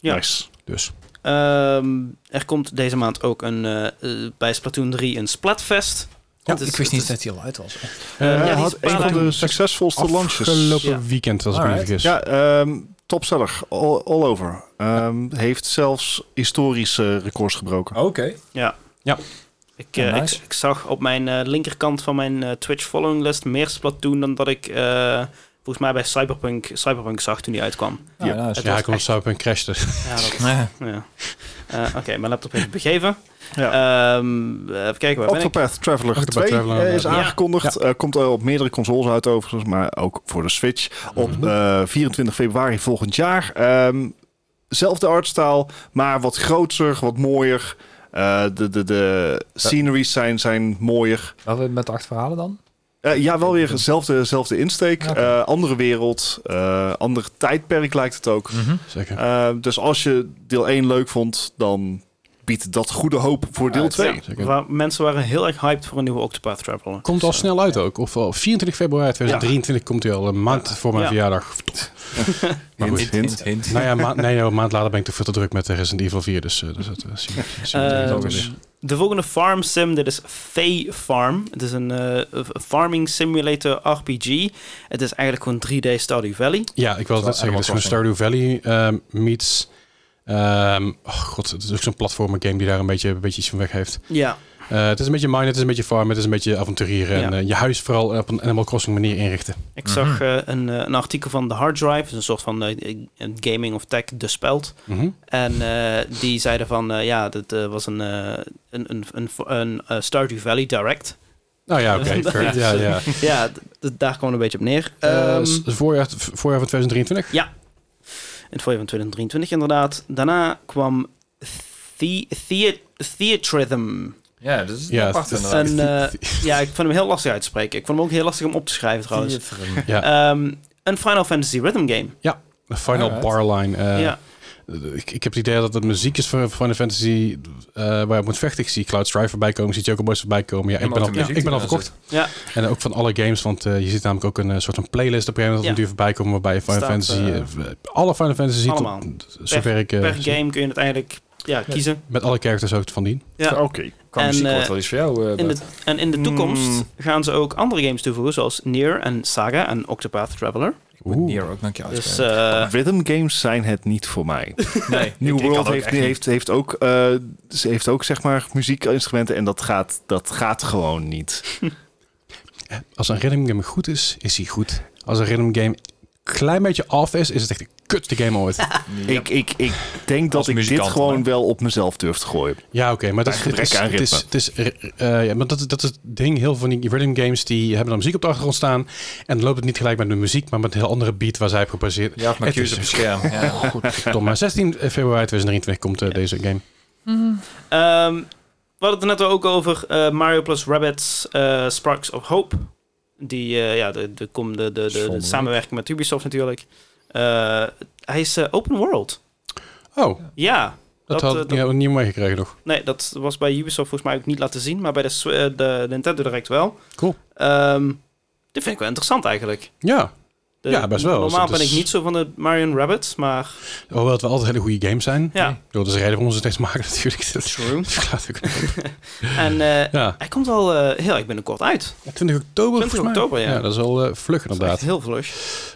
Speaker 3: ja.
Speaker 4: Nice.
Speaker 1: Dus.
Speaker 3: Ehm, Ehm, er komt deze maand ook een, eh, eh, bij Splatoon 3 een Splatfest. Het is-
Speaker 2: ik wist
Speaker 3: het
Speaker 2: niet
Speaker 3: is-
Speaker 2: dat hij al uit was.
Speaker 1: Eh,
Speaker 3: ja, die
Speaker 4: Hij
Speaker 3: is
Speaker 4: had
Speaker 3: een paar
Speaker 4: een van
Speaker 3: dagen-
Speaker 4: de succesvolste launches.
Speaker 1: Afgelopen
Speaker 3: Ja.
Speaker 1: weekend, als ik me niet
Speaker 2: Alright.
Speaker 1: vergis.
Speaker 4: Ja, ehm topseller. All, all over. Ehm, Heeft zelfs historische records gebroken.
Speaker 3: Oh,
Speaker 2: Oké.
Speaker 3: Ik, eh,
Speaker 2: Oh, nice.
Speaker 3: ik, ik zag op mijn eh, linkerkant van mijn eh, Twitch following list meer Splatoon dan dat ik eh, volgens mij bij Cyberpunk, Cyberpunk zag toen die uitkwam.
Speaker 2: Nou,
Speaker 4: Ja.
Speaker 2: nou, is-
Speaker 3: Het
Speaker 1: Ja,
Speaker 3: was
Speaker 1: ik was
Speaker 3: echt-
Speaker 1: op en crashte. <laughs>
Speaker 3: Ja, dat,
Speaker 2: Ja.
Speaker 3: ja. Eh, Oké, mijn laptop heeft het begeven.
Speaker 4: Ja.
Speaker 3: Ehm, even kijken, waar ben ik?
Speaker 4: Eh, Octopath Traveler
Speaker 1: Octopath
Speaker 4: 2
Speaker 1: Traveler,
Speaker 4: eh, is
Speaker 1: ja.
Speaker 4: aangekondigd. Eh, komt eh, op meerdere consoles uit overigens, maar ook voor de Switch. Op
Speaker 1: Mhm.
Speaker 4: eh, 24 februari volgend jaar. Ehm, zelfde artstyle, maar wat groter, wat mooier. Eh, de, de, de sceneries zijn, zijn mooier.
Speaker 2: Waar we met acht verhalen dan?
Speaker 4: Eh, ja, wel weer dezelfde, dezelfde insteek.
Speaker 2: Oké.
Speaker 4: Eh, andere wereld, eh ander tijdperk lijkt het ook.
Speaker 2: Mhm.
Speaker 1: Zeker.
Speaker 4: Eh, dus als je deel 1 leuk vond, dan biedt dat goede hoop voor deel 2.
Speaker 3: Ja,
Speaker 1: Zeker.
Speaker 3: waar- mensen waren heel erg hyped voor een nieuwe Octopath Traveler.
Speaker 1: Komt al snel uit ook. Of al 24 februari 2023 komt hij al een maand voor mijn
Speaker 3: Ja.
Speaker 1: verjaardag. <laughs> Top. Maar goed.
Speaker 4: hint.
Speaker 2: hint.
Speaker 1: Nou ja, ma- nee, joh, een maand later ben ik toch veel te druk met eh, Resident Evil 4. Dus, eh, dus dat eh, zien we- zien we
Speaker 3: Ehm,
Speaker 1: dat weer.
Speaker 3: de volgende farm sim, dit is Fay Farm. Het is een eh, farming simulator RPG. Het is eigenlijk gewoon 3D Stardew Valley.
Speaker 1: Ja, ik wil
Speaker 2: wel
Speaker 1: dat zeggen. Het is gewoon Stardew Valley
Speaker 2: Animal
Speaker 1: ehm, meets... ehm, oh god, het is ook zo'n platformer game die daar een beetje, een beetje iets van weg heeft.
Speaker 3: Ja,
Speaker 1: Eh, het is een beetje mine, het is een beetje farm, het is een beetje avonturieren. En
Speaker 3: Ja.
Speaker 1: eh, je huis vooral op een Animal Crossing manier inrichten.
Speaker 3: ik zag eh, een, eh, een artikel van The Hard Drive. Dat is een soort van eh, een gaming of tech de speld.
Speaker 1: Mhm.
Speaker 3: En eh, die zeiden van, eh, ja, dat eh, was een, eh, een, een, een, een eh, Stardew Valley Direct.
Speaker 1: Nou ja,
Speaker 3: <laughs>
Speaker 1: oké.
Speaker 3: Ja.
Speaker 1: fair. ja, ja.
Speaker 3: ja, d- d- daar kwam het een beetje op neer.
Speaker 1: Eh,
Speaker 3: Ehm,
Speaker 1: s- voorjaar, v- voorjaar van 2023.
Speaker 3: In het voorjaar van 2023 inderdaad. Daarna kwam The, the, Theatrism.
Speaker 2: Ja, dat is
Speaker 1: Ja,
Speaker 2: apart
Speaker 1: het is-
Speaker 2: inderdaad.
Speaker 3: En, eh,
Speaker 1: <laughs>
Speaker 3: ja, ik vond hem heel lastig uit te spreken. Ik vond hem ook heel lastig om op te schrijven trouwens. Ehm, een Final Fantasy Rhythm game.
Speaker 1: Final
Speaker 2: Alright.
Speaker 1: Barline. eh,
Speaker 3: ja.
Speaker 1: ik, ik heb het idee dat het muziek is voor Final Fantasy eh, waar je op moet vechten. Ik zie Cloud Strife voorbij komen, ik zie Joker Boys voorbij komen. Ja, ik ben, al, ja, ik ben al verkocht.
Speaker 3: Ja.
Speaker 1: En ook van alle games, want eh, je ziet namelijk ook een eh, soort van playlist op een gegeven moment op
Speaker 3: Ja.
Speaker 1: een duur voorbij komen waarbij je Final
Speaker 3: Staat,
Speaker 1: Fantasy,
Speaker 3: eh,
Speaker 1: eh, alle Final Fantasy,
Speaker 3: allemaal.
Speaker 1: tot, zover ik, eh,
Speaker 3: Per
Speaker 1: zie,
Speaker 3: game kun je uiteindelijk ja, kiezen.
Speaker 1: met alle characters ook van dien.
Speaker 3: Ja.
Speaker 4: Oké.
Speaker 2: Qua
Speaker 3: en,
Speaker 2: muziek
Speaker 3: eh,
Speaker 2: wordt wel iets voor jou. eh,
Speaker 3: In de,
Speaker 2: Bert.
Speaker 3: en in de
Speaker 4: Mm.
Speaker 3: toekomst
Speaker 1: Hmm.
Speaker 3: gaan ze ook andere games toevoegen, zoals Nier en Saga en Octopath Traveler.
Speaker 1: Oh,
Speaker 2: Moet Nier ook nog een keer
Speaker 3: Dus
Speaker 2: uitspreken.
Speaker 3: eh,
Speaker 4: Rhythm games zijn het niet voor <laughs> mij.
Speaker 2: nee,
Speaker 4: New
Speaker 2: ik- ik kan
Speaker 4: World
Speaker 2: ook
Speaker 4: heeft,
Speaker 2: echt niet.
Speaker 4: heeft, heeft ook, eh, ze heeft ook zeg maar muziekinstrumenten en dat gaat, dat gaat gewoon niet.
Speaker 1: Als een rhythm game goed is, is hij goed. Als een rhythm game klein beetje af is, is het echt de kutste game ooit.
Speaker 4: Ik, ik, ik denk
Speaker 2: Als
Speaker 4: dat ik dit
Speaker 2: muzikant,
Speaker 4: gewoon
Speaker 2: hè?
Speaker 4: wel op mezelf durf te gooien.
Speaker 1: Ja, oké, maar dat is,
Speaker 4: Bij
Speaker 1: het is,
Speaker 4: gebrek aan
Speaker 1: het is, het is, eh, eh, ja, maar dat, is- dat is het ding. Heel veel van die rhythm games die hebben dan muziek op de achtergrond staan. En dan loopt het niet gelijk met de muziek, maar met een heel andere beat waar zij op gebaseerd.
Speaker 2: Ja, of mijn
Speaker 1: Het is
Speaker 2: cues op het scherm.
Speaker 1: <laughs>
Speaker 2: Ja.
Speaker 1: Dom, maar 16 februari 2023 komt eh, deze game.
Speaker 3: ehm, we hadden het er net ook over eh, Mario plus Rabbits eh, Sparks of Hope. Die, eh, ja, de, de, kom- de, de, de- de,
Speaker 2: Zonderling.
Speaker 3: samenwerking met Ubisoft natuurlijk. Eh, hij is eh, open world.
Speaker 1: Oh,
Speaker 3: Ja,
Speaker 1: dat,
Speaker 3: Dat,
Speaker 1: had
Speaker 3: eh,
Speaker 1: ik
Speaker 3: dat-
Speaker 1: niet- niet meegekregen nog.
Speaker 3: Nee, dat was bij Ubisoft volgens mij ook niet laten zien, maar bij de, Sw- eh, de Nintendo Direct wel.
Speaker 1: Cool.
Speaker 3: Ehm, dit vind ik wel interessant eigenlijk.
Speaker 1: Ja,
Speaker 3: De-
Speaker 1: Ja, best wel.
Speaker 3: Normaal
Speaker 1: Het dus- is-
Speaker 3: ben ik niet zo van de Marion Rabbits, maar
Speaker 1: hoewel het wel altijd hele goede games zijn.
Speaker 3: ja.
Speaker 1: Ik bedoel, Dat is de reden waarom ze het steeds maken <laughs> natuurlijk. Dat
Speaker 3: True.
Speaker 1: verklaart ook.
Speaker 3: En eh,
Speaker 1: Ja,
Speaker 3: hij komt al eh, heel erg binnenkort uit.
Speaker 1: 20 oktober
Speaker 3: 20
Speaker 1: volgens mij.
Speaker 3: oktober, ja.
Speaker 1: dat is wel eh, vlug
Speaker 3: Dat is echt
Speaker 1: inderdaad.
Speaker 3: heel vlug.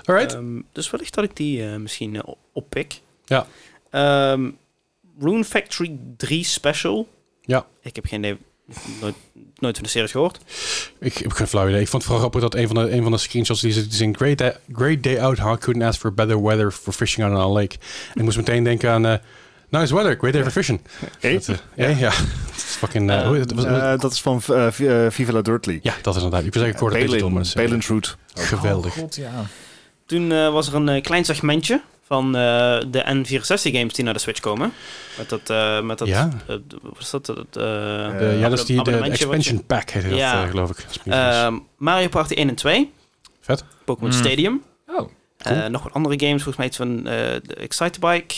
Speaker 1: Alright.
Speaker 3: Ehm, dus wellicht dat ik die eh, misschien eh, op oppik.
Speaker 1: Ja.
Speaker 3: Ehm, Rune Factory 3 Special.
Speaker 1: Ja.
Speaker 3: Ik heb geen idee, nooit, nooit van de series gehoord.
Speaker 1: Ik heb geen flauw idee. Ik vond het vooral grappig dat een van de, een van de screenshots die zit is in great day, great day out, how I couldn't ask for better weather for fishing on a lake. En ik moest meteen denken aan eh, nice weather, great day for fishing.
Speaker 4: Eh?
Speaker 1: Dat, eh, ja, ja. Dat is fucking... eh,
Speaker 3: Eh,
Speaker 1: hoe- dat was-
Speaker 4: Eh, dat is van eh, Vi- eh, Viva La Dirtly.
Speaker 1: ja, dat is inderdaad. Ik wil zeggen, ik hoorde het
Speaker 4: Palin,
Speaker 1: beetje dom.
Speaker 4: Palin's Route.
Speaker 1: eh, Geweldig.
Speaker 2: Oh, God, ja.
Speaker 3: Toen eh, was er een eh, klein segmentje van eh, de N64 games die naar de Switch komen. Met dat, eh, met dat,
Speaker 1: Ja.
Speaker 3: eh, wat is dat? dat eh,
Speaker 1: De- ja, dat is die de, de
Speaker 3: abonnementje wat je-
Speaker 1: expansion pack heet dat,
Speaker 3: Ja.
Speaker 1: eh, geloof ik. Als ik me niet vergis.
Speaker 3: Ehm, Mario Party 1 en 2.
Speaker 1: Vet.
Speaker 3: Pokémon
Speaker 2: Mm.
Speaker 3: Stadium.
Speaker 2: Oh,
Speaker 3: Eh, nog wat andere games, volgens mij iets van eh de Excitebike.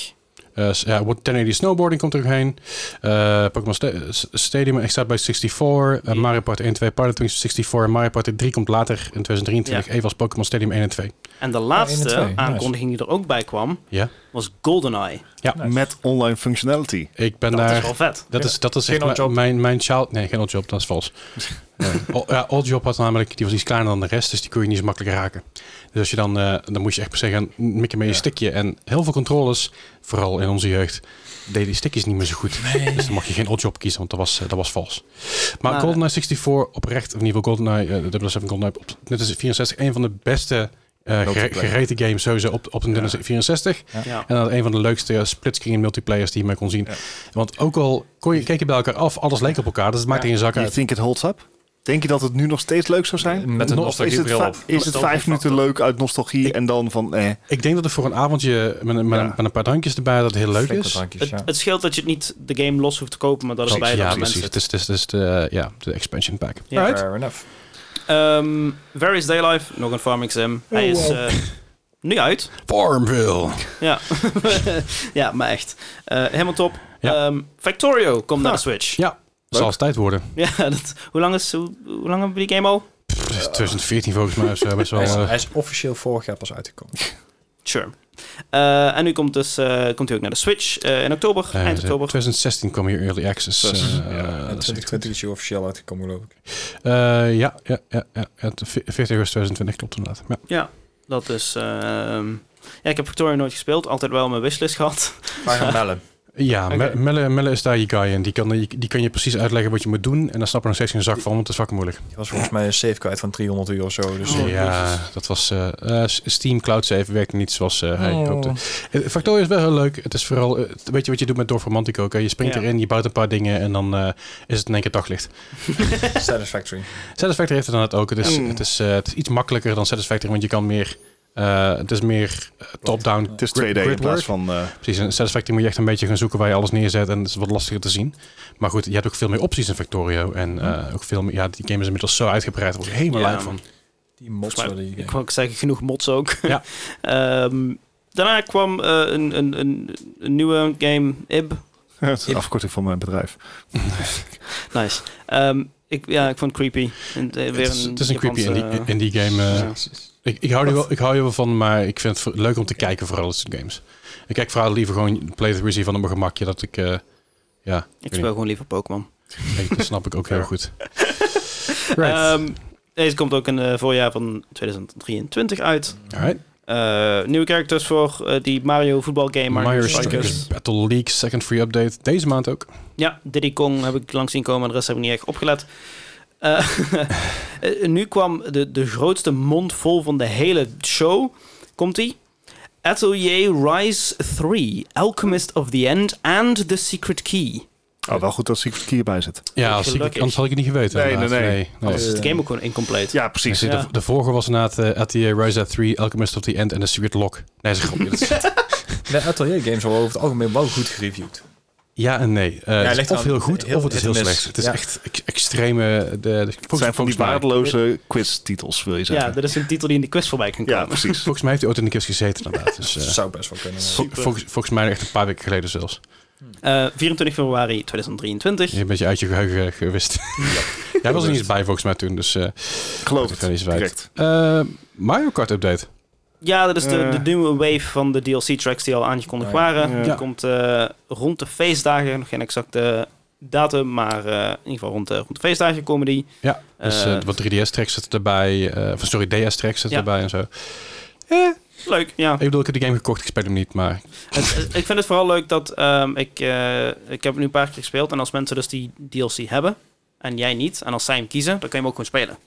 Speaker 1: Eh, s- ja, wat 1080 Snowboarding komt er ook heen. Eh, Pokémon Sta- S- Stadium, Extra by 64. eh,
Speaker 3: Ja.
Speaker 1: Mario Party 1 2, Pilot Wings 64. Mario Party 3 komt later in 2023.
Speaker 3: Ja.
Speaker 1: Even als Pokémon Stadium 1 en 2.
Speaker 3: En de laatste
Speaker 2: twee, nice.
Speaker 3: aankondiging die er ook bij kwam,
Speaker 1: Ja.
Speaker 3: was GoldenEye.
Speaker 4: Met online functionality.
Speaker 1: Ik ben
Speaker 3: Dat
Speaker 1: daar...
Speaker 3: is wel vet.
Speaker 1: Dat is, dat is
Speaker 2: Geen
Speaker 1: echt mijn-
Speaker 2: oddjob.
Speaker 1: mijn, mijn child... Nee, geen oddjob, dat is vals. Nee. O- ja, oddjob had namelijk... Die was iets kleiner dan de rest, dus die kon je niet zo makkelijk raken. Dus als je dan... eh, dan moest je echt per se gaan mikken met je stickje. En heel veel controllers, vooral in onze jeugd, deden die stickjes niet meer zo goed. Dus dan mag je geen oddjob kiezen, want dat was, eh, dat was vals. Maar,
Speaker 3: Maar-
Speaker 1: GoldenEye 64 oprecht, of in ieder geval GoldenEye, eh, 007 GoldenEye, op net als 64, een van de beste... eh, gere-
Speaker 4: Multiplayer.
Speaker 1: gereten games sowieso op, op een Nintendo 64.
Speaker 3: Ja.
Speaker 1: En dat een van de leukste eh, splitscreen multiplayers die je maar kon zien. Want ook al kon je, keek je bij elkaar af, alles leek op elkaar. Dus het maakte geen zak
Speaker 4: You
Speaker 1: uit.
Speaker 4: think it holds up? Denk je dat het nu nog steeds leuk zou zijn?
Speaker 2: Met een
Speaker 1: Nog-
Speaker 4: Is het,
Speaker 2: nostalgiebril
Speaker 4: va-
Speaker 2: op.
Speaker 4: is het vijf minuten leuk uit nostalgie en dan van... Eh,
Speaker 1: Ik denk dat het voor een avondje met, een- met,
Speaker 4: Ja.
Speaker 1: een, met een paar drankjes erbij dat het heel leuk
Speaker 2: Flinke
Speaker 1: is.
Speaker 2: drankjes,
Speaker 3: Het,
Speaker 2: ja.
Speaker 3: het scheelt dat je het niet de game los hoeft te kopen, maar dat het
Speaker 1: Precies,
Speaker 3: bij de
Speaker 1: ja,
Speaker 3: abonnement
Speaker 1: precies.
Speaker 3: zit.
Speaker 1: Het is, het is, het is de, eh, ja, de expansion pack.
Speaker 3: Ja.
Speaker 2: Fair enough.
Speaker 3: Ehm, Various Daylife, nog een farming sim. Hij is eh, nu uit.
Speaker 1: Farmville.
Speaker 3: Ja, <laughs> ja maar echt. Eh, helemaal top.
Speaker 1: Ja.
Speaker 3: Ehm, Factorio komt naar de Switch.
Speaker 1: Ja, dat zal eens tijd worden.
Speaker 3: Ja, <laughs> dat, hoe, lang is, hoe, hoe lang hebben we die game al?
Speaker 1: Pff, 2014 volgens mij of zo. Best wel,
Speaker 2: Hij is,
Speaker 1: eh,
Speaker 2: hij is officieel vorig jaar pas uitgekomen.
Speaker 3: Sure. Eh, en nu komt, dus, eh, komt hij ook naar de Switch eh, in oktober,
Speaker 1: eh,
Speaker 3: eind oktober.
Speaker 1: 2016 kwam hier Early Access. eh,
Speaker 4: Zes.
Speaker 1: eh,
Speaker 2: Ja,
Speaker 1: dat is echt
Speaker 2: 2020 is hij officieel uitgekomen, geloof ik.
Speaker 1: goed. Eh, ja, ja, ja, ja, Het 40 augustus 2020 klopt inderdaad. Ja.
Speaker 3: Dat is... ehm, ja, ik heb Factorio nooit gespeeld. Altijd wel mijn wishlist gehad.
Speaker 2: Maar <laughs> gaan bellen.
Speaker 1: Ja,
Speaker 3: Oké.
Speaker 1: Me- Melle, Melle is daar je guy in. Die kan, die kan je precies uitleggen wat je moet doen. En dan snap er nog steeds geen zak van, want het is fucking moeilijk.
Speaker 2: Die was volgens mij een save kwijt van 300 euro of zo. Dus
Speaker 1: ja, dat was... eh, eh, Steam Cloud Save werkte niet zoals eh, hij
Speaker 2: Oh.
Speaker 1: hoopte. Eh, Factorio is wel heel leuk. Het is vooral... eh, het- weet je wat je doet met Dorf Romantico? Oké, Je springt
Speaker 3: Ja.
Speaker 1: erin, je bouwt een paar dingen en dan eh, is het in één keer daglicht.
Speaker 2: Satisfactory.
Speaker 1: Satisfactory heeft het dan het ook. Het is,
Speaker 4: Mm.
Speaker 1: het, is, eh, het is iets makkelijker dan Satisfactory, want je kan meer... eh, het is meer eh, top-down.
Speaker 4: het is
Speaker 1: grid-
Speaker 4: 2D in
Speaker 1: grid work.
Speaker 4: plaats van... eh,
Speaker 1: Precies, in Satisfactory moet je echt een beetje gaan zoeken waar je alles neerzet. En het is wat lastiger te zien. Maar goed, je hebt ook veel meer opties in Factorio. En eh, ook veel meer, ja, die game is inmiddels zo uitgebreid. Daar word ik helemaal
Speaker 3: Ja.
Speaker 1: lui van.
Speaker 2: Die mods wel
Speaker 3: Volgens mij-
Speaker 2: die
Speaker 3: Ik wou ook zeggen, genoeg mods ook.
Speaker 1: Ja.
Speaker 3: <laughs> Ehm, daarna kwam eh, een, een, een, een nieuwe game, Ib.
Speaker 4: het is een afkorting van mijn bedrijf.
Speaker 3: Nice. Ehm, ik, ja, ik vond het creepy. En, eh, weer
Speaker 1: Het is, het is een creepy
Speaker 3: Japanse-
Speaker 1: indie, indie game. eh. ik, ik, hou er wel, ik hou er wel van, maar ik vind het voor- leuk om te kijken vooral dat soort games. Ik kijk vooral liever gewoon playthroughs hiervan op mijn gemakje. Dat ik, eh, ja,
Speaker 3: Ik speel gewoon liever Pokémon.
Speaker 1: ik- dat snap ik ook heel goed. Right.
Speaker 3: Ehm, deze komt ook in eh, het voorjaar van 2023 uit.
Speaker 1: Alright.
Speaker 3: Eh, nieuwe characters voor eh, die Mario voetbalgame.
Speaker 1: Mario
Speaker 3: Strikers.
Speaker 1: Strikers Battle League Second Free Update. Deze maand ook.
Speaker 3: Ja, Diddy Kong heb ik langs zien komen. De rest heb ik niet echt opgelet. Eh, <laughs> eh, nu kwam de, de grootste mond vol van de hele show. Komt-ie? Atelier Rise 3, Alchemist of the End and the Secret Key.
Speaker 4: Oh, wel goed dat Secret Key erbij zit.
Speaker 1: Ja, als ik,
Speaker 3: Gelukkig.
Speaker 1: anders had ik het niet geweten.
Speaker 4: Nee,
Speaker 1: inderdaad.
Speaker 4: nee, nee.
Speaker 1: nee.
Speaker 3: Anders Dus is het game ook gewoon incomplete.
Speaker 4: Eh. Ja, precies.
Speaker 1: Dus
Speaker 3: Ja.
Speaker 1: De, de vorige was inderdaad eh, ATA Rise at 3, Alchemist of the End en The Secret Lock. Nee, zeg grapje. Dat is-
Speaker 2: De Atelier Games worden over het algemeen wel goed gereviewd.
Speaker 1: ja en nee. Eh, het is
Speaker 2: ligt
Speaker 1: of
Speaker 2: aan-
Speaker 1: heel goed,
Speaker 2: heel
Speaker 1: of het is
Speaker 2: hit
Speaker 1: heel
Speaker 2: and miss.
Speaker 1: slecht. Het is
Speaker 2: Ja.
Speaker 1: echt ex- extreme... De, de-
Speaker 4: Het
Speaker 1: volgens,
Speaker 4: zijn van die
Speaker 1: volgens mij,
Speaker 4: waardeloze quiz-titels, wil je
Speaker 3: Ja,
Speaker 4: zeggen.
Speaker 3: dat is een titel die in de quiz voorbij kan
Speaker 4: Ja,
Speaker 3: komen.
Speaker 4: precies.
Speaker 1: volgens mij heeft hij ooit in de kist gezeten inderdaad. Dus, eh,
Speaker 2: Dat zou best wel kunnen. ja.
Speaker 1: vol- volgens, volgens mij echt een paar weken geleden zelfs.
Speaker 3: Eh, 24 februari
Speaker 1: Je
Speaker 3: 2023.
Speaker 1: bent een beetje uit je geheugen eh, gewist. <laughs> Jij was er niet eens bij volgens mij toen, dus... eh,
Speaker 4: Geloof
Speaker 1: maakt het wel
Speaker 4: het.
Speaker 1: eens uit.
Speaker 4: Direct.
Speaker 1: eh, Mario Kart update.
Speaker 3: Ja, dat is de,
Speaker 4: Eh.
Speaker 3: de nieuwe wave van de DLC-tracks die al aangekondigd
Speaker 2: Ah, ja.
Speaker 3: waren.
Speaker 4: Ja.
Speaker 3: Die komt eh, rond de feestdagen, nog geen exacte datum, maar eh, in ieder geval rond de, rond de feestdagen komen die.
Speaker 1: Ja, dus
Speaker 3: Eh,
Speaker 1: eh, wat 3DS-tracks zitten erbij. eh, of sorry, DS-tracks zitten
Speaker 3: Ja.
Speaker 1: erbij en zo. Ik
Speaker 3: Leuk, ja.
Speaker 1: bedoel, ik heb de game gekocht, ik speel hem niet, maar...
Speaker 3: Het- het- ik vind het vooral leuk dat ehm, ik, eh, ik heb het nu een paar keer gespeeld. En als mensen dus die DLC hebben en jij niet, en als zij hem kiezen, dan kan je hem ook gewoon spelen.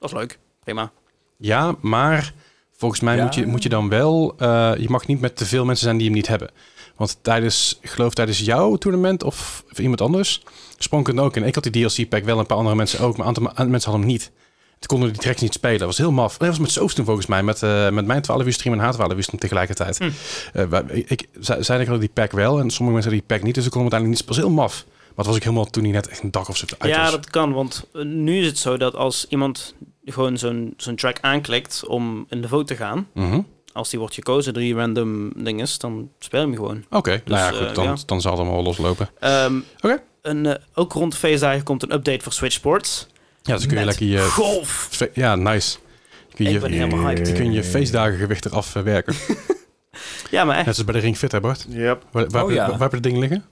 Speaker 3: Dat is leuk. Prima.
Speaker 1: Ja, maar volgens mij
Speaker 2: Ja.
Speaker 1: moet, je, moet je dan wel... eh, je mag niet met te veel mensen zijn die hem niet hebben. Want tijdens, ik geloof tijdens jouw toernooi of, of iemand anders... sprong ik het ook in. Ik had die DLC-pack wel, een paar andere mensen ook. Maar een aantal ma- mensen hadden hem niet. Toen konden die tracks niet spelen. Dat was heel maf. Dat was met Soos toen volgens mij. Met, eh, met mijn 12 uur stream en haar 12 uur stream tegelijkertijd.
Speaker 3: Hm.
Speaker 1: Eh, wij- ik, zij, zij hadden die pack wel en sommige mensen hadden die pack niet. Dus ik kon hem uiteindelijk niet spelen. Dat was heel maf. Maar het was ik helemaal toen hij net echt een dag of zo uit
Speaker 3: ja,
Speaker 1: was.
Speaker 3: dat kan, want eh, nu is het zo dat als iemand gewoon zo'n zo'n track aanklikt om in de vote te gaan,
Speaker 1: Mhm.
Speaker 3: als die wordt gekozen door die random dinges, dan speel je hem gewoon.
Speaker 1: Oké, nou ja,
Speaker 3: Dus,
Speaker 1: goed.
Speaker 3: eh,
Speaker 1: dan,
Speaker 3: ja.
Speaker 1: dan zal het allemaal wel loslopen.
Speaker 3: Ehm,
Speaker 1: Oké.
Speaker 3: een, eh, ook rond de feestdagen komt een update voor Switch Sports.
Speaker 1: Ja, dus kun je
Speaker 3: Met
Speaker 1: lekker je
Speaker 3: golf.
Speaker 1: Fe- Ja, nice. Je kunt Kun je,
Speaker 3: Ik ben helemaal hyped.
Speaker 1: je kun je feestdagen gewicht eraf eh, <laughs> werken.
Speaker 3: Ja, maar echt.
Speaker 1: Net als bij de Ring Fit, hè Bart?
Speaker 4: Yep.
Speaker 1: Waar, waar,
Speaker 2: Oh, ja.
Speaker 1: waar, waar hebben de dingen liggen?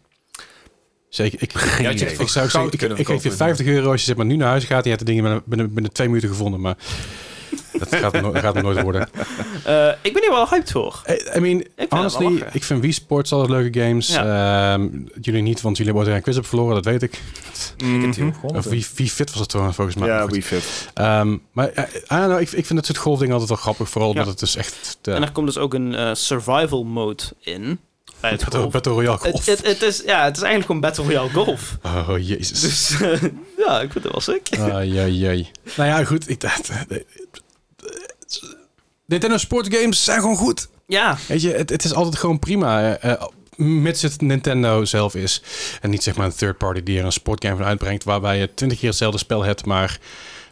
Speaker 1: Zeker. Ik, ik,
Speaker 4: Geen
Speaker 1: ik-
Speaker 4: idee.
Speaker 1: ik zou ook zeggen,
Speaker 2: Goud
Speaker 1: ik,
Speaker 2: kunnen
Speaker 1: ik geef je
Speaker 2: verkopen.
Speaker 1: 50 euro als je zeg maar, nu naar huis gaat. En je hebt de dingen binnen, binnen, binnen twee minuten gevonden. Maar dat gaat, hem no- gaat hem nooit <laughs> worden.
Speaker 3: Eh, ik ben hier wel hyped voor.
Speaker 1: I, I mean,
Speaker 3: vind het wel
Speaker 1: honestly,
Speaker 3: lachen.
Speaker 1: ik vind Wii Sports altijd leuke games. Ehm, jullie niet, want jullie hebben ooit een quiz op verloren. Dat weet ik.
Speaker 4: Mhm.
Speaker 1: Of Wii, Wii Fit was het toen, volgens mij.
Speaker 4: Mm-hmm. Ja,
Speaker 1: Goed.
Speaker 4: we fit.
Speaker 1: Ehm, maar eh, I don't know, ik, ik vind dat soort golfdingen altijd wel grappig. Vooral omdat
Speaker 3: Ja.
Speaker 1: het dus echt... eh,
Speaker 3: En er komt dus ook een eh, survival mode in. Bij het
Speaker 1: Battle,
Speaker 3: golf.
Speaker 1: Battle Royale
Speaker 3: Het,
Speaker 1: golf.
Speaker 3: het, het is, ja, het is eigenlijk gewoon Battle Royale golf.
Speaker 1: <laughs> Oh, jezus.
Speaker 3: Dus eh, ja, ik vind het wel sick.
Speaker 1: Ai, ai, ai. Nou ja, goed. Ik dacht, eh, Nintendo sportgames zijn gewoon goed.
Speaker 3: Ja,
Speaker 1: Weet je, het, het is altijd gewoon prima. eh, eh, mits het Nintendo zelf is. En niet zeg maar een third party die er een sportgame van uitbrengt. Waarbij je twintig keer hetzelfde spel hebt, maar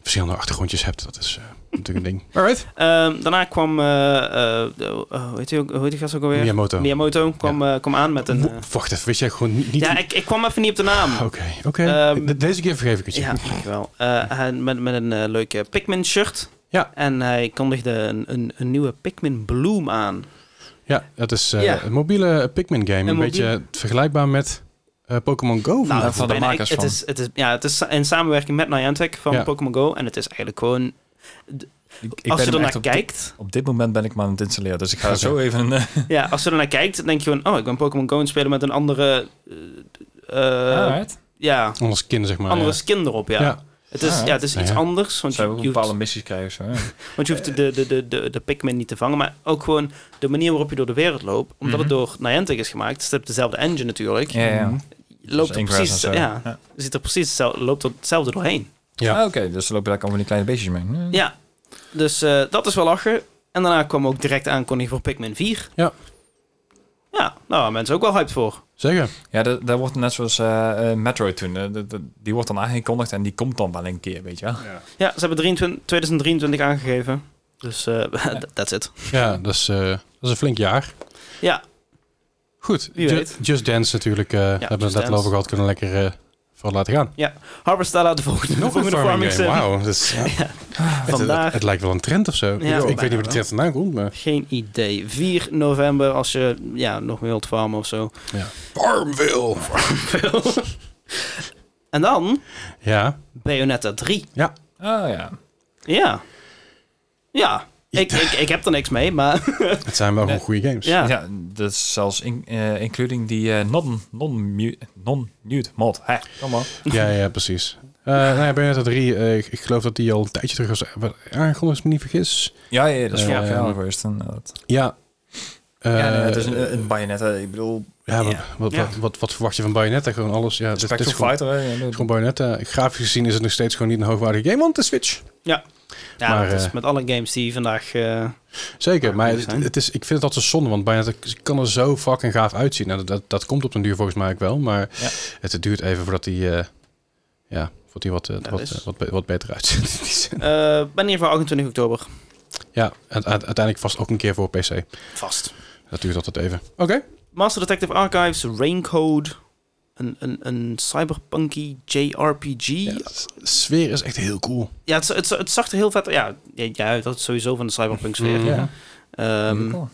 Speaker 1: verschillende achtergrondjes hebt. Dat is eh, natuurlijk een ding. Alright.
Speaker 3: Ehm, daarna kwam, eh, eh, de- oh, hoe heet die ook- hoe heet die gast ook alweer?
Speaker 1: Miyamoto.
Speaker 3: Miyamoto kwam, eh, kwam aan met een... eh,
Speaker 1: Wo- Wacht even, wist jij gewoon niet... niet-
Speaker 3: ja, ik, ik kwam even niet op de naam.
Speaker 1: Oké, oké.
Speaker 3: Ehm,
Speaker 1: De- Deze keer vergeef ik het je.
Speaker 3: Ja, dankjewel. Eh, en met, met een eh, leuke Pikmin shirt.
Speaker 1: Ja.
Speaker 3: En hij kondigde een, een, een nieuwe Pikmin Bloom aan.
Speaker 2: Nou,
Speaker 1: Ja, dat is eh,
Speaker 3: Ja.
Speaker 1: een mobiele Pikmin game. Een,
Speaker 3: Een
Speaker 1: beetje vergelijkbaar met eh, Pokémon Go.
Speaker 3: Nou,
Speaker 2: dat van de
Speaker 3: bijna-
Speaker 2: makers
Speaker 3: het
Speaker 2: van.
Speaker 3: Is, het is, ja, het is sa- in samenwerking met Niantic van
Speaker 1: Ja.
Speaker 3: Pokémon Go. En het is eigenlijk gewoon...
Speaker 2: Ik, ik
Speaker 3: als
Speaker 2: ben
Speaker 3: je
Speaker 2: hem echt
Speaker 3: ernaar
Speaker 2: op
Speaker 3: kijkt...
Speaker 2: Op dit moment ben ik maar aan het installeren, dus ik ga
Speaker 1: Oké.
Speaker 2: zo even een... eh,
Speaker 3: ja, als je ernaar kijkt, dan denk je van... Oh, ik ben Pokémon Go aan het spelen met een andere... eh, eh,
Speaker 2: alright.
Speaker 3: Ja,
Speaker 1: Anders kind, zeg maar.
Speaker 3: andere
Speaker 1: ja.
Speaker 3: skin erop, ja.
Speaker 1: Ja.
Speaker 3: Het is,
Speaker 2: Ah,
Speaker 3: ja, het is
Speaker 1: Ja,
Speaker 2: nou
Speaker 3: iets
Speaker 1: ja.
Speaker 3: anders, want
Speaker 2: Zou
Speaker 3: je,
Speaker 2: we ook
Speaker 3: je hoeft,
Speaker 2: bepaalde missies krijgen of zo? ja.
Speaker 3: want je hoeft de, de, de, de, de Pikmin niet te vangen, maar ook gewoon de manier waarop je door de wereld loopt. Omdat
Speaker 1: Mhm.
Speaker 3: het door Niantic is gemaakt, het heeft dezelfde engine natuurlijk.
Speaker 2: Ja, ja.
Speaker 4: Mhm.
Speaker 3: Loopt
Speaker 2: Dus
Speaker 3: er
Speaker 2: Ingress
Speaker 3: precies,
Speaker 2: en zo.
Speaker 3: ja,
Speaker 2: Ja.
Speaker 3: zit er precies hetzelfde, loopt er hetzelfde doorheen.
Speaker 1: Ja.
Speaker 2: Ah, Oké, dus er lopen daar allemaal die kleine beestjes mee. Hm.
Speaker 1: Mhm.
Speaker 3: Ja, dus eh, dat is wel lachen. En daarna kwam ook direct de aankondiging voor Pikmin 4.
Speaker 1: Ja.
Speaker 3: Ja, nou, daar mensen ook wel hyped voor.
Speaker 1: Zeker.
Speaker 2: Ja, dat, dat wordt net zoals eh, eh, Metroid toen. eh, dat- dat- die wordt dan aangekondigd en die komt dan wel een keer, weet je wel.
Speaker 3: Ja, ze hebben 23, 2023 aangegeven. Dus eh <laughs> that's it.
Speaker 1: Ja, dat is, eh, dat is een flink jaar.
Speaker 3: Ja,
Speaker 1: Goed.
Speaker 3: Wie
Speaker 1: Ju-
Speaker 3: weet.
Speaker 1: Just Dance natuurlijk. eh we hebben
Speaker 3: Just
Speaker 1: we het net al
Speaker 3: Dance.
Speaker 1: over gehad. Kunnen we lekker eh, vooral laten gaan.
Speaker 3: Harvestella de volgende,
Speaker 1: Nog een
Speaker 3: volgende
Speaker 1: farming game.
Speaker 3: sim.
Speaker 1: Wauw. dat
Speaker 3: <laughs>
Speaker 1: is- het- het, het,
Speaker 3: Vandaag.
Speaker 1: lijkt wel een trend of zo.
Speaker 3: Ja,
Speaker 1: ik weet niet
Speaker 3: bijna
Speaker 1: waar de trend vandaan komt. Maar...
Speaker 3: Geen idee. 4 november als je ja, nog meer wilt farmen of zo.
Speaker 1: Farmville.
Speaker 3: En dan
Speaker 1: Ja.
Speaker 3: Bayonetta 3.
Speaker 2: Ah ja.
Speaker 3: Ja. Ja. Ik, ik, ik heb er niks mee, maar <laughs>
Speaker 1: Het zijn wel gewoon goede games.
Speaker 3: ja.
Speaker 2: Ja, dat is zelfs in, eh, including die eh, non- non-mu- non-nude mod. Hè, kom maar.
Speaker 1: Ja, ja, precies. Eh nou ja, Bayonetta 3, eh, ik, ik geloof dat die al een tijdje terug was eh, aangekondigd, als ik me niet vergis.
Speaker 2: Ja, ja, dat is
Speaker 1: Eh,
Speaker 2: vorig jaar geweest. inderdaad.
Speaker 1: Ja. Eh,
Speaker 2: ja, nee, het is een, een bajonetta. Ik bedoel,
Speaker 1: ja, wat,
Speaker 2: ja.
Speaker 1: Wat,
Speaker 3: Ja.
Speaker 1: wat, wat, wat verwacht je van Bayonetta? Gewoon alles. Ja, dit- dit is
Speaker 2: Spectral
Speaker 1: gewoon-
Speaker 2: Fighter. hè, ja,
Speaker 1: Het is gewoon Bayonetta. Grafisch gezien is het nog steeds gewoon niet een hoogwaardige game, want de Switch.
Speaker 3: ja
Speaker 1: maar,
Speaker 3: dat is
Speaker 1: eh,
Speaker 3: met alle games die vandaag... eh,
Speaker 1: Zeker, maar
Speaker 3: goed
Speaker 1: het,
Speaker 3: zijn.
Speaker 1: het is, ik vind het altijd zonde, want Bayonetta kan er zo fucking gaaf uitzien. Nou, dat, dat, dat komt op den duur volgens mij ook wel, maar
Speaker 2: Ja.
Speaker 1: het duurt even voordat die, eh, ja, voordat die wat, eh,
Speaker 3: Dat
Speaker 1: wat,
Speaker 3: is-
Speaker 1: eh, wat, be- wat beter <laughs> uitziet. in die zin.
Speaker 3: eh, ben hier voor 28 oktober.
Speaker 1: ja, uite- uite- uiteindelijk vast ook een keer voor PC.
Speaker 3: Vast.
Speaker 1: Dat duurt altijd even. Oké.
Speaker 3: Master Detective Archives, Raincode. Een, een, een cyberpunky JRPG.
Speaker 1: Ja,
Speaker 3: Ja,
Speaker 1: de sfeer is echt heel cool.
Speaker 3: het, het, het zag er heel vet... Ja, ja, ja, dat is sowieso van de cyberpunk sfeer.
Speaker 1: Mhm.
Speaker 2: Ja.
Speaker 3: Ehm,
Speaker 2: cool.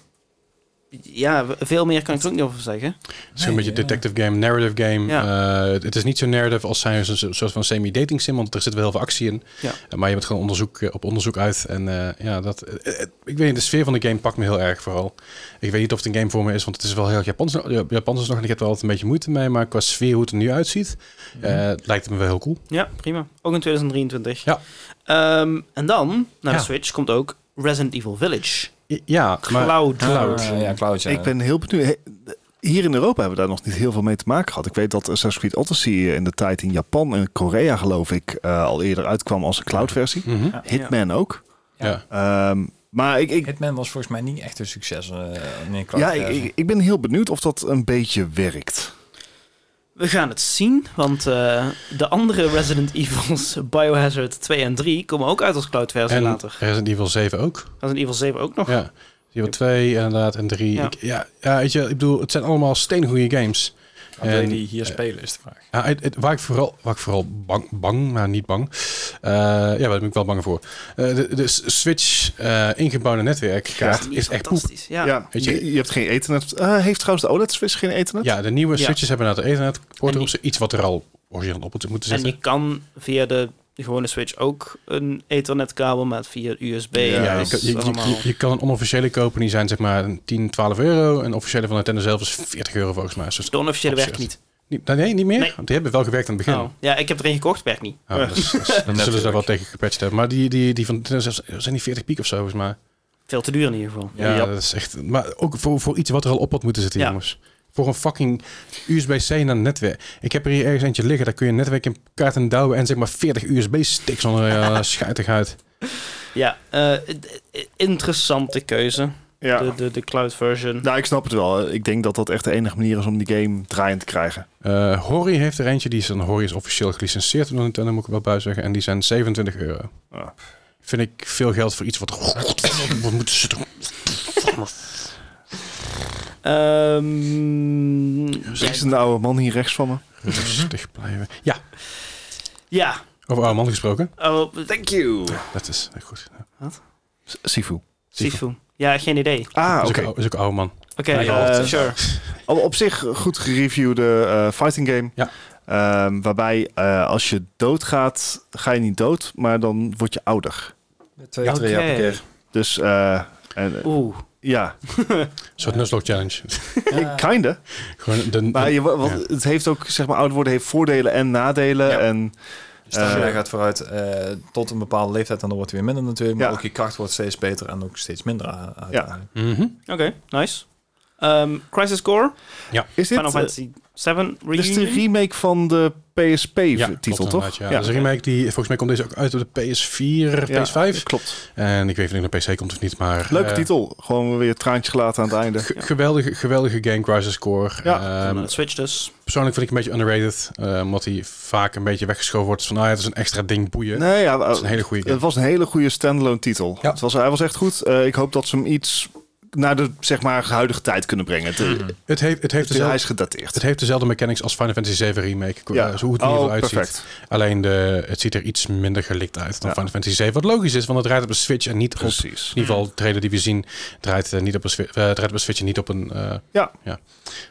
Speaker 3: ja, veel meer kan ik er ook niet over zeggen.
Speaker 1: Het is een
Speaker 2: Nee,
Speaker 1: beetje
Speaker 2: ja.
Speaker 1: detective game, narrative game.
Speaker 3: Ja.
Speaker 1: Eh, het- het is niet zo narrative als zijn een soort van semi-dating sim, want er zit wel heel veel actie in.
Speaker 3: Ja.
Speaker 1: Eh, maar je bent gewoon onderzoek, eh, op onderzoek uit. En eh, ja, dat, eh, eh, ik weet niet, de sfeer van de game pakt me heel erg vooral. Ik weet niet of het een game voor me is, want het is wel heel erg Japans, Ja, Japans is nog en ik heb er altijd een beetje moeite mee. Maar qua sfeer, hoe het er nu uitziet, eh, lijkt het me wel heel cool.
Speaker 3: Ja, prima. Ook in 2023.
Speaker 1: Ja.
Speaker 3: Ehm, en dan, naar
Speaker 1: Ja.
Speaker 3: de Switch, komt ook Resident Evil Village.
Speaker 1: I- ja, maar
Speaker 3: Cloud.
Speaker 1: Cloud.
Speaker 2: Ah, ja, Cloud, ja.
Speaker 4: Ik ben heel benieuwd. He- Hier in Europa hebben we daar nog niet heel veel mee te maken gehad. Ik weet dat Assassin's Creed Odyssey eh, in de tijd in Japan en Korea, geloof ik, eh, al eerder uitkwam als een cloud-versie.
Speaker 1: Mhm.
Speaker 2: Ja.
Speaker 4: Hitman ook.
Speaker 1: ja.
Speaker 2: Ja.
Speaker 4: Ehm, maar ik, ik,
Speaker 2: Hitman was volgens mij niet echt een succes. eh in Cloud
Speaker 4: ja,
Speaker 2: versie.
Speaker 4: ik, ik- ik ben heel benieuwd of dat een beetje werkt.
Speaker 3: We gaan het zien, want eh, de andere Resident Evils, <laughs> Biohazard 2 en 3, komen ook uit als cloud versie
Speaker 1: En
Speaker 3: later.
Speaker 1: Resident Evil 7 ook.
Speaker 3: Resident Evil 7 ook nog.
Speaker 1: Ja. Die hebben twee inderdaad en drie.
Speaker 3: Ja.
Speaker 1: Ik, ja, ja, weet je, ik bedoel, het zijn allemaal steengoede games.
Speaker 2: Maar wil je
Speaker 1: En,
Speaker 2: die hier spelen, is de vraag.
Speaker 1: Ja, het- het- waar ik vooral, waar ik vooral bang, bang, maar niet bang. eh, ja, daar ben ik wel bang voor. Eh, de, de Switch eh, ingebouwde netwerkkaart is echt poep.
Speaker 3: fantastisch. Ja.
Speaker 4: Ja,
Speaker 1: Weet je-
Speaker 4: je, je hebt geen ethernet. Eh, heeft trouwens de OLED-switch geen ethernet?
Speaker 1: Ja, de nieuwe
Speaker 3: Ja.
Speaker 1: Switches hebben naar de Ethernet-poort
Speaker 3: En
Speaker 1: erop. Iets wat er al origineel op had moeten
Speaker 3: En
Speaker 1: zitten.
Speaker 3: je kan via de gewone Switch ook een ethernetkabel, maar via USB.
Speaker 4: Ja,
Speaker 1: Ja,
Speaker 3: dat
Speaker 1: je, kan,
Speaker 3: is
Speaker 1: je- je,
Speaker 3: allemaal-
Speaker 1: je, je kan een onofficiële kopen, die zijn zeg maar 10, 12 euro. En de officiële van Nintendo zelf is 40 euro volgens mij. Dus dat is
Speaker 3: de onofficiële werkt
Speaker 1: absurd.
Speaker 3: niet.
Speaker 1: niet- nee, niet meer?
Speaker 3: Nee.
Speaker 1: Want die hebben wel gewerkt aan het begin.
Speaker 3: Oh. Ja, ik heb er een gekocht, werkt niet.
Speaker 1: Oh, dat is- dat is- dan zullen ze daar wel tegen gepatcht hebben. Maar die, die, die van Nintendo zelf zijn die 40 piek of zo, volgens mij.
Speaker 3: Veel te duur in ieder geval.
Speaker 1: Ja, dat is echt. Maar ook voor, voor iets wat er al op had moeten zitten,
Speaker 3: Ja.
Speaker 1: jongens. Voor een fucking USB-C naar netwerk. Ik heb er hier ergens eentje liggen, daar kun je netwerk in kaart en douwen en zeg maar 40 USB-sticks onder eh,
Speaker 4: <laughs>
Speaker 1: je scheitigheid.
Speaker 3: Ja, eh, d- eh, interessante keuze.
Speaker 4: Ja.
Speaker 3: De, de, de cloud version.
Speaker 4: Nou, ik snap het wel. Ik denk dat dat echt de enige manier is om die game draaiend te krijgen.
Speaker 1: Eh Hori heeft er eentje, die is, dan Hori is officieel gelicenseerd door Nintendo, moet ik er wel bij zeggen. En die zijn 27 euro.
Speaker 4: Ah.
Speaker 1: Vind ik veel geld voor iets wat... wat moeten ze doen?
Speaker 3: Ehm,
Speaker 4: Is
Speaker 3: ja,
Speaker 4: een oude man hier rechts van me?
Speaker 1: Rustig blijven. Ja,
Speaker 3: ja.
Speaker 1: over oude man gesproken.
Speaker 3: Oh, thank you.
Speaker 1: Dat is eh, goed. Ja.
Speaker 4: Ah, S- Sifu.
Speaker 3: Sifu. Ja, geen idee.
Speaker 4: Ah,
Speaker 1: Is
Speaker 4: oké.
Speaker 1: ook ou- Is ook oude man.
Speaker 3: Oké,
Speaker 1: Nee,
Speaker 3: eh,
Speaker 4: eh,
Speaker 3: sure.
Speaker 4: Op, op zich goed gereviewde eh, fighting game.
Speaker 1: Ja.
Speaker 4: Ehm, waarbij eh, als je doodgaat, ga je niet dood, maar dan word je ouder.
Speaker 2: Twee,
Speaker 3: Oké.
Speaker 2: twee per keer.
Speaker 4: Dus eh, en, eh,
Speaker 3: Oeh.
Speaker 4: <laughs> ja,
Speaker 1: Een soort Nuzlocke challenge. <laughs>
Speaker 4: <laughs> kinda.
Speaker 1: Gewoon de,
Speaker 4: Maar je, wa- want
Speaker 1: Ja.
Speaker 4: het heeft ook, zeg maar, ouder worden heeft voordelen en nadelen.
Speaker 2: Ja.
Speaker 4: En
Speaker 2: Dus de
Speaker 4: Eh,
Speaker 2: snelheid gaat vooruit eh, tot een bepaalde leeftijd en dan wordt het weer minder natuurlijk. Maar
Speaker 4: Ja.
Speaker 2: ook je kracht wordt steeds beter en ook steeds minder. eh, uiteindelijk.
Speaker 1: Mhm.
Speaker 3: Oké, nice. Ehm, Crisis Core,
Speaker 4: is dit,
Speaker 3: Final
Speaker 4: eh,
Speaker 3: Fantasy 7
Speaker 4: dit is de
Speaker 3: Reunion.
Speaker 4: remake van de
Speaker 1: klopt
Speaker 4: PSP-titel,
Speaker 1: inderdaad,
Speaker 4: toch?
Speaker 1: Ja. Dus Dat is een remake die, volgens mij komt deze ook uit op de PS4,
Speaker 4: Ja,
Speaker 1: PS5.
Speaker 4: Klopt.
Speaker 1: En ik weet niet of het naar PC komt of niet, maar...
Speaker 4: Leuke
Speaker 1: eh,
Speaker 4: titel. Gewoon weer traantje gelaten aan het einde.
Speaker 1: ge- geweldige, geweldige game Crisis Core.
Speaker 4: Ja.
Speaker 1: Ehm,
Speaker 3: Eh, Switch dus.
Speaker 1: persoonlijk vind ik een beetje underrated. eh, omdat hij vaak een beetje weggeschoven wordt van... Ah, ja, het is een extra ding boeien.
Speaker 4: Nee, <laughs> ja, eh,
Speaker 1: Het is een hele goede game.
Speaker 4: Het was een hele goede standalone titel.
Speaker 1: Ja.
Speaker 4: Het was, hij was echt goed. Eh, ik hoop dat ze hem iets naar de zeg maar, huidige tijd kunnen brengen. Het, het-
Speaker 1: Het heeft, het heeft
Speaker 4: hij
Speaker 1: dezelfde...
Speaker 4: is gedateerd.
Speaker 1: Mhm. Het heeft dezelfde mechanics als Final Fantasy 7 Remake. Qua- eh, zo hoe het in
Speaker 4: oh,
Speaker 1: ieder geval uitziet.
Speaker 4: perfect.
Speaker 1: Alleen de, het ziet er iets minder gelikt uit dan
Speaker 4: Ja.
Speaker 1: Final Fantasy 7. Wat logisch is, want het draait op een Switch en niet op
Speaker 4: Precies.
Speaker 1: In ieder geval, de trailer die we zien draait, eh, niet op een, swi- eh, draait op een Switch en niet op een eh,
Speaker 4: Ja.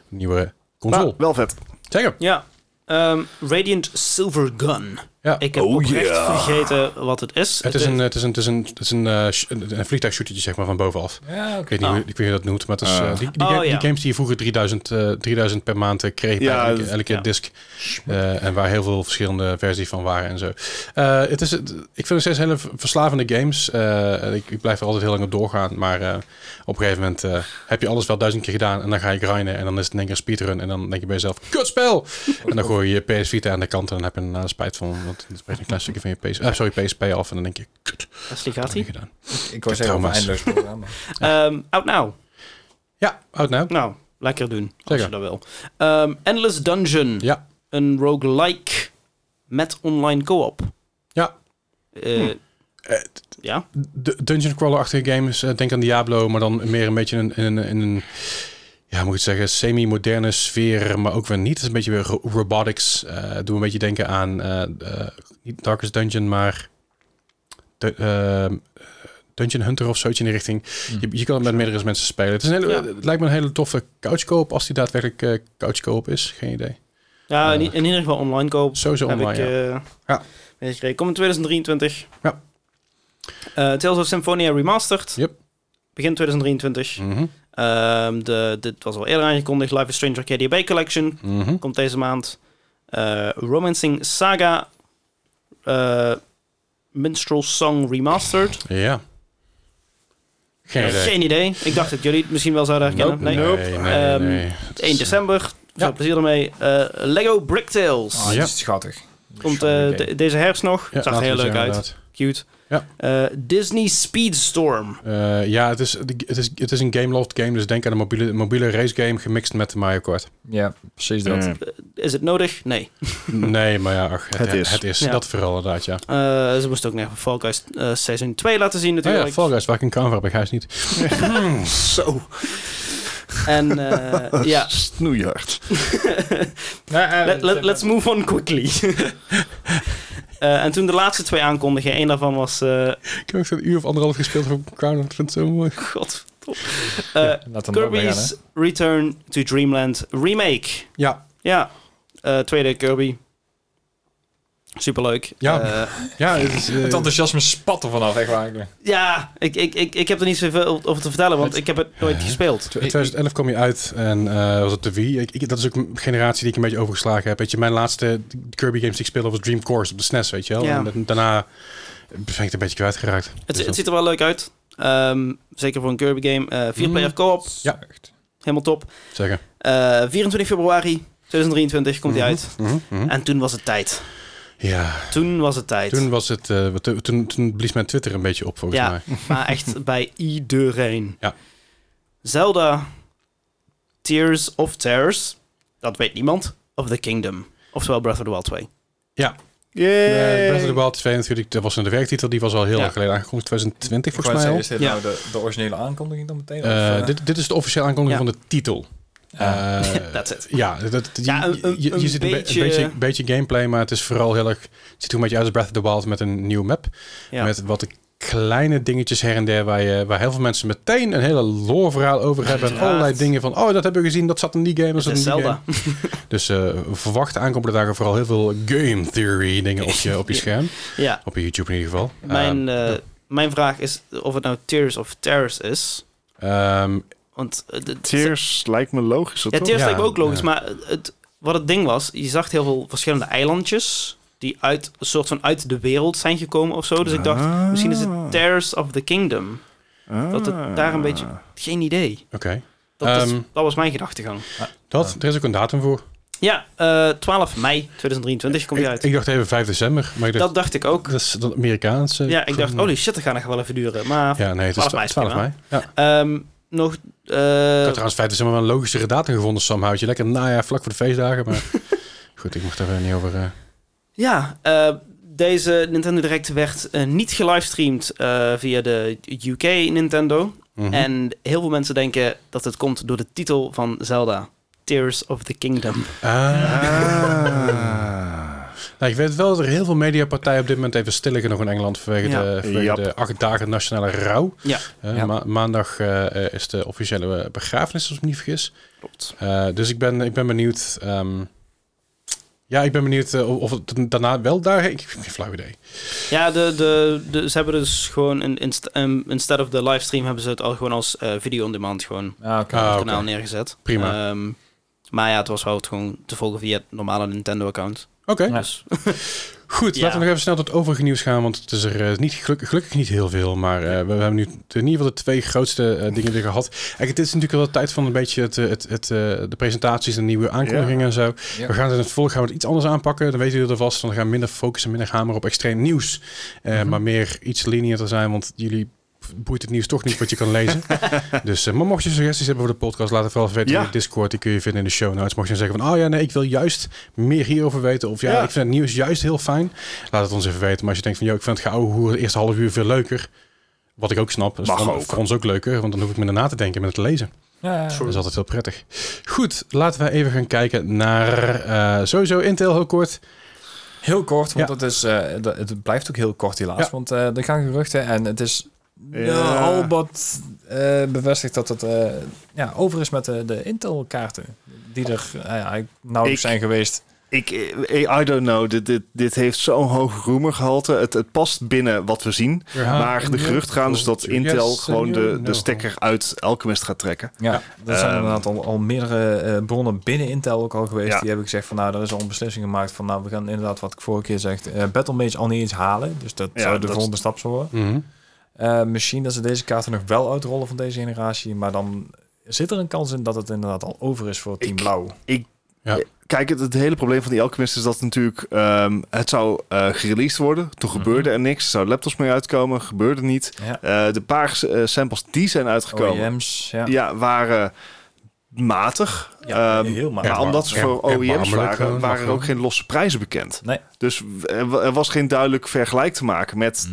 Speaker 1: nieuwe
Speaker 4: Maar
Speaker 1: console.
Speaker 4: Nou, wel vet.
Speaker 1: Zeker.
Speaker 3: Ja. Ehm, Radiant Silver Gun.
Speaker 1: Ja.
Speaker 3: Ik heb
Speaker 4: Oh,
Speaker 3: oprecht
Speaker 4: yeah.
Speaker 3: vergeten wat het is.
Speaker 1: Het is een, het is een, het is een, het is een, eh, sh- een een vliegtuigshootertje zeg maar, van bovenaf.
Speaker 2: Ja, oké.
Speaker 1: Ik weet niet,
Speaker 3: Oh.
Speaker 1: hoe, ik weet niet hoe dat noemt, maar het is, eh,
Speaker 4: Ah.
Speaker 1: die, die,
Speaker 3: Oh,
Speaker 1: ga- die
Speaker 3: ja.
Speaker 1: games die je vroeger 3000, eh, 3000 per maand eh, kreeg
Speaker 4: Ja,
Speaker 1: bij elke,
Speaker 4: dat-
Speaker 1: elke
Speaker 3: ja.
Speaker 1: disc. eh, en waar heel veel verschillende versies van waren en zo. Eh, het is, het- ik vind het steeds hele v- verslavende games. Eh, ik, ik blijf er altijd heel lang op doorgaan. Maar eh, op een gegeven moment eh, heb je alles wel duizend keer gedaan. En dan ga je grinden. En dan is het in één keer een speedrun. En dan denk je bij jezelf, kutspel! en dan gooi je je PS Vita aan de kant. En dan heb je er daarna spijt van. Want het breekt een klein stukje van je PS, eh, sorry, PSP af. En dan denk je, kut, wat
Speaker 3: Leslie
Speaker 1: heb
Speaker 3: gaat
Speaker 1: ik niet gedaan?
Speaker 2: Ik was zeggen over
Speaker 1: trauma's.
Speaker 2: eindeloos programma.
Speaker 3: <laughs> Ehm, Out Now.
Speaker 1: Ja, out now.
Speaker 3: Nou, lekker doen. Als
Speaker 1: Zeker.
Speaker 3: je dat wil. Ehm, Endless Dungeon.
Speaker 1: Ja.
Speaker 3: Een roguelike met online co-op.
Speaker 1: Ja.
Speaker 3: Eh, ja.
Speaker 1: de dungeon crawler-achtige games. eh, denk aan Diablo, maar dan meer een beetje in, in, in een... Ja, hoe moet ik het zeggen, semi-moderne sfeer, maar ook weer niet. Het is een beetje weer ro- robotics. eh doe een beetje denken aan, eh, eh, niet Darkest Dungeon, maar de- ehm, Dungeon Hunter of zoiets in die richting. Je, je kan het met meerdere mensen spelen. Het, is een hele,
Speaker 3: Hmm. Ja.
Speaker 1: het lijkt me een hele toffe couch co-op, als die daadwerkelijk eh couch co-op is. Geen idee.
Speaker 3: Ja, in,
Speaker 1: Eh.
Speaker 3: i- in ieder geval online co-op.
Speaker 1: Sowieso
Speaker 3: heb
Speaker 1: online,
Speaker 3: ik
Speaker 1: ja.
Speaker 3: eh
Speaker 1: Ja.
Speaker 3: meegekregen. Komt in 2023.
Speaker 1: Ja.
Speaker 3: Eh, Tales of Symphonia Remastered.
Speaker 1: Yep.
Speaker 3: Begin 2023.
Speaker 1: Mhm,
Speaker 3: Ehm, de, dit was al eerder aangekondigd. Life is Strange Arcadia Bay Collection.
Speaker 1: mhm.
Speaker 3: Komt deze maand. Eh, Romancing Saga. eh, Minstrel Song Remastered.
Speaker 1: Ja. Geen idee.
Speaker 3: Geen idee. Ik dacht dat jullie het misschien wel zouden herkennen.
Speaker 1: Nope.
Speaker 3: Nee.
Speaker 1: Nee, nee,
Speaker 3: Ehm,
Speaker 1: nee. Het is,
Speaker 3: 1 december. Veel
Speaker 1: Ja. Oh,
Speaker 3: plezier ermee. Eh, Lego Brick Tales.
Speaker 2: Ah,
Speaker 1: Ja.
Speaker 2: die is schattig.
Speaker 3: Komt eh,
Speaker 2: Schattige game.
Speaker 3: de- deze herfst nog.
Speaker 1: ja,
Speaker 3: Zag er
Speaker 1: laten
Speaker 3: heel
Speaker 1: we
Speaker 3: leuk
Speaker 1: zeggen,
Speaker 3: uit.
Speaker 1: inderdaad.
Speaker 3: Cute.
Speaker 1: Ja.
Speaker 3: Eh, Disney Speedstorm.
Speaker 1: Eh, ja, het is, het, is, het is een game loft game, dus denk aan een mobiele, mobiele race game gemixt met de Mario Kart.
Speaker 2: Ja, precies dat.
Speaker 4: Mm.
Speaker 3: Is het nodig? Nee.
Speaker 1: Nee, maar ja, ach, het,
Speaker 4: Het
Speaker 1: is.
Speaker 4: is.
Speaker 1: Het is
Speaker 3: Hmm. Ja.
Speaker 1: Dat vooral inderdaad, ja.
Speaker 3: Eh, ze moesten ook nog even Fall Guys eh, seizoen 2 laten zien
Speaker 1: Oh
Speaker 3: natuurlijk.
Speaker 1: ja, Fall Guys, waar ik een camera heb, ik huis niet.
Speaker 4: Zo.
Speaker 3: En
Speaker 1: <laughs>
Speaker 3: eh, ja,
Speaker 4: Snoeihard.
Speaker 3: Eh, Let- let- let's move on quickly.
Speaker 1: <laughs>
Speaker 3: Eh, en toen de laatste twee aankondigingen, één daarvan was... eh <laughs>
Speaker 1: Ik heb ook zo'n uur of anderhalf gespeeld voor Crown. Ik vind het zo mooi.
Speaker 3: Godverdomme. Eh,
Speaker 2: Laat hem ook weer gaan,
Speaker 3: Kirby's Return to Dreamland Remake.
Speaker 1: Ja,
Speaker 3: Ja, eh, tweede Kirby. Superleuk.
Speaker 1: Ja.
Speaker 3: Eh,
Speaker 1: ja het is... eh,
Speaker 2: Het enthousiasme spat er vanaf, echt waar.
Speaker 3: ja ik, ik, ik, ik heb er niet zoveel over te vertellen, want ik heb het nooit gespeeld.
Speaker 1: In 2011 kwam je uit en eh, was het de Wii. Ik, ik- dat is ook een generatie die ik een beetje overgeslagen heb. Weet je, mijn laatste Kirby games die ik speelde was Dream Course op de SNES, weet je wel.
Speaker 3: Ja.
Speaker 1: En da- daarna ben ik het een beetje kwijtgeraakt.
Speaker 3: Het,
Speaker 1: Dus
Speaker 3: het
Speaker 1: dat-
Speaker 3: ziet er wel leuk uit. Ehm, zeker voor een Kirby game. Eh Vierplayer
Speaker 1: Mm.
Speaker 3: co-op,
Speaker 1: Ja.
Speaker 3: helemaal top.
Speaker 1: Zeker.
Speaker 3: Eh, 24 februari 2023 komt die uit.
Speaker 1: Mhm, mhm.
Speaker 3: En toen was het tijd.
Speaker 1: Ja,
Speaker 3: Toen was het tijd.
Speaker 1: toen was het... eh, wat- toen, toen blies mijn Twitter een beetje op, volgens
Speaker 3: Ja.
Speaker 1: mij.
Speaker 3: Maar
Speaker 1: <laughs>
Speaker 3: echt bij iedereen.
Speaker 1: Ja.
Speaker 3: Zelda Tears of Terrors. Dat weet niemand. Of The Kingdom. Oftewel Breath of the Wild 2.
Speaker 1: Eh,
Speaker 4: Yay.
Speaker 1: Breath of the Wild 2 natuurlijk, dat was een werktitel. Die was al heel
Speaker 3: Ja.
Speaker 1: lang geleden aangekondigd, 2020
Speaker 2: Ik
Speaker 1: volgens mij al.
Speaker 2: is dit
Speaker 3: Ja.
Speaker 2: nou de, de originele aankondiging dan meteen?
Speaker 1: Eh,
Speaker 2: of, eh,
Speaker 1: dit, dit is de officiële aankondiging
Speaker 3: Ja.
Speaker 1: van de titel.
Speaker 2: Ja.
Speaker 1: Eh,
Speaker 3: <laughs> That's it.
Speaker 1: Ja, dat, je-
Speaker 3: Ja, een- een-
Speaker 1: je, je
Speaker 3: een
Speaker 1: ziet een be-
Speaker 3: beetje-
Speaker 1: een beetje, beetje gameplay, maar het is vooral heel erg... Het ziet er een beetje uit als Breath of the Wild met een nieuwe map.
Speaker 3: Ja.
Speaker 1: Met wat kleine dingetjes her en der, waar, je, waar heel veel mensen meteen een hele lore verhaal over hebben. En
Speaker 3: Uiteraard.
Speaker 1: allerlei dingen van, oh, dat hebben we gezien, dat zat in die game, dat
Speaker 3: Het
Speaker 1: zat in die
Speaker 3: is
Speaker 1: game.
Speaker 3: Zelda.
Speaker 1: Dus eh, verwacht de aankomende dagen vooral heel veel game theory dingen op je, op
Speaker 3: <laughs>
Speaker 1: je
Speaker 3: Ja.
Speaker 1: scherm.
Speaker 3: Ja.
Speaker 1: Op je YouTube in ieder geval.
Speaker 3: Mijn, eh, mijn vraag is of het nou Tears of Terrors is.
Speaker 1: Ehm, ehm,
Speaker 3: Want eh, de-
Speaker 4: Tears lijkt me logischer,
Speaker 3: Ja,
Speaker 4: toch?
Speaker 3: Tears
Speaker 1: Ja,
Speaker 3: lijkt me ook logisch,
Speaker 1: ja.
Speaker 3: maar eh, het, wat het ding was, je zag heel veel verschillende eilandjes die uit, een soort van uit de wereld zijn gekomen of zo. Dus ik dacht,
Speaker 4: Ah.
Speaker 3: misschien is het Tears of the Kingdom. dat het daar een beetje- Geen idee.
Speaker 1: oké.
Speaker 3: Dat, is-
Speaker 1: Ehm.
Speaker 3: dat was mijn gedachtegang.
Speaker 1: Dat, er is ook een datum voor.
Speaker 3: Ja, eh, 12 mei 2023 komt die
Speaker 1: Ik,
Speaker 3: uit.
Speaker 1: ik dacht even 5 december, maar ik dacht,
Speaker 3: dat dacht ik ook.
Speaker 1: dat is dat Amerikaanse.
Speaker 3: Ja, ik dacht, holy shit, dat gaat nog wel even duren. Maar
Speaker 1: Ja, nee, het is
Speaker 3: 12 mei is
Speaker 1: 12
Speaker 3: prima.
Speaker 1: mei. Ja.
Speaker 3: ehm, nog... eh,
Speaker 1: Ik had trouwens 5 december wel een logischere datum gevonden, Sam. Houd je lekker najaar vlak voor de feestdagen,
Speaker 3: <laughs>
Speaker 1: maar... Goed, ik mocht daar verder niet over... eh,
Speaker 3: Ja, eh, deze Nintendo Direct werd eh, niet gelivestreamd eh, via de UK Nintendo.
Speaker 1: mhm.
Speaker 3: En heel veel mensen denken dat het komt door de titel van Zelda. Tears of the Kingdom.
Speaker 1: Ah.
Speaker 4: Ah. <laughs>
Speaker 1: Nou, ik weet wel dat er heel veel mediapartijen op dit moment even stil liggen nog in Engeland vanwege,
Speaker 3: Ja.
Speaker 1: de, vanwege
Speaker 4: Jap.
Speaker 1: de acht dagen nationale rouw.
Speaker 3: Ja.
Speaker 1: Eh,
Speaker 2: Ja.
Speaker 1: ma- maandag eh, eh, is de officiële eh, begrafenis, als ik me niet vergis.
Speaker 3: Klopt.
Speaker 1: Eh, dus ik ben, ik ben benieuwd. ehm, ja, ik ben benieuwd eh, of het daarna wel daar. Ik heb geen flauw idee.
Speaker 3: Ja, de, de, de, ze hebben dus gewoon... Een, inst- een- instead of de livestream hebben ze het al gewoon als eh, video on demand gewoon op
Speaker 2: ah, oké.
Speaker 1: Ah,
Speaker 3: het
Speaker 1: oké.
Speaker 3: kanaal neergezet.
Speaker 1: Prima.
Speaker 3: Ehm, maar ja, het was wel het gewoon te volgen via het normale Nintendo-account.
Speaker 1: Oké,
Speaker 2: Ja.
Speaker 3: Dus
Speaker 1: goed.
Speaker 3: Ja.
Speaker 1: Laten we nog even snel tot het overige nieuws gaan, want het is er eh, niet, geluk- gelukkig niet heel veel. Maar eh, we, we hebben nu t- in ieder geval de twee grootste eh, dingen weer gehad. Eigenlijk, het is natuurlijk wel de tijd van een beetje het, eh, het, het, eh, de presentaties en nieuwe aankondigingen en zo.
Speaker 2: Ja.
Speaker 1: We gaan het in het vervolg gaan we het iets anders aanpakken. Dan weten jullie er vast van. We gaan minder focussen, minder hamer op extreem nieuws. Eh,
Speaker 4: Mhm.
Speaker 1: Maar meer iets lineairder zijn, want jullie boeit het nieuws toch niet wat je kan lezen.
Speaker 4: <laughs>
Speaker 1: dus, eh, maar mocht je suggesties hebben voor de podcast, laat het vooral even weten
Speaker 4: Ja.
Speaker 1: in de Discord. Die kun je vinden in de show notes. Mocht je dan zeggen van, oh ja, nee, ik wil juist meer hierover weten. Of ja,
Speaker 4: Ja.
Speaker 1: ik vind het nieuws juist heel fijn. Laat het ons even weten. Maar als je denkt van, joh, ik vind het geouwe hoe het eerste half uur veel leuker. Wat ik ook snap. Dat is
Speaker 4: Mag
Speaker 1: voor,
Speaker 4: ook.
Speaker 1: voor ons ook leuker, want dan hoef ik minder na te denken met het lezen.
Speaker 2: Ja, ja.
Speaker 1: Dat is altijd heel prettig. Goed, laten we even gaan kijken naar eh, sowieso Intel heel kort.
Speaker 2: Heel kort, want
Speaker 1: Ja.
Speaker 2: het, is, eh, dat- het blijft ook heel kort helaas.
Speaker 1: Ja.
Speaker 2: Want eh, er gaan geruchten en het is
Speaker 4: Ja.
Speaker 2: ja, al wat eh, bevestigd dat het eh, ja, over is met de, de Intel kaarten. Die er eh, ja, nauwelijks
Speaker 4: Ik-
Speaker 2: zijn geweest.
Speaker 4: Ik, eh, I don't know. Dit, dit, dit heeft zo'n hoog roemergehalte. Het, het past binnen wat we zien. maar de geruchten gaan dus dat Intel
Speaker 1: Yes,
Speaker 4: gewoon
Speaker 1: you
Speaker 4: de, de
Speaker 1: know.
Speaker 4: stekker uit Alchemist gaat trekken.
Speaker 2: Ja, er zijn
Speaker 4: Ehm.
Speaker 2: inderdaad al, al meerdere eh, bronnen binnen Intel ook al geweest.
Speaker 4: Ja.
Speaker 2: Die hebben gezegd van nou, er is al een beslissing gemaakt van nou, we gaan inderdaad wat ik vorige keer zegt, eh Battle Mage al niet eens halen. Dus dat
Speaker 4: Ja,
Speaker 2: zou de
Speaker 4: dat is-
Speaker 2: volgende stap zo worden.
Speaker 1: Mhm.
Speaker 2: Eh, misschien dat ze deze kaarten nog wel uitrollen van deze generatie, maar dan zit er een kans in dat het inderdaad al over is voor Team
Speaker 4: Ik-
Speaker 2: Blauw.
Speaker 4: Kijk, het, het hele probleem van die Alchemist is dat natuurlijk... ehm, het zou eh gereleased worden. Toen gebeurde er niks. Er zouden laptops mee uitkomen. Gebeurde niet.
Speaker 2: Ja.
Speaker 4: Eh, de paar eh, samples die zijn uitgekomen...
Speaker 2: OEM's, E ja.
Speaker 4: ja, waren matig.
Speaker 2: Ja,
Speaker 4: Ehm,
Speaker 2: heel maar.
Speaker 4: maar
Speaker 1: erbarm-
Speaker 4: omdat ze
Speaker 1: er-
Speaker 4: voor OEM's
Speaker 1: erbarmelijk
Speaker 4: waren,
Speaker 1: gewoon,
Speaker 4: waren er
Speaker 1: gewoon.
Speaker 4: ook geen losse prijzen bekend.
Speaker 2: Nee.
Speaker 4: Dus w- er wa- er was geen duidelijk
Speaker 1: Mhm.
Speaker 4: vergelijk te maken met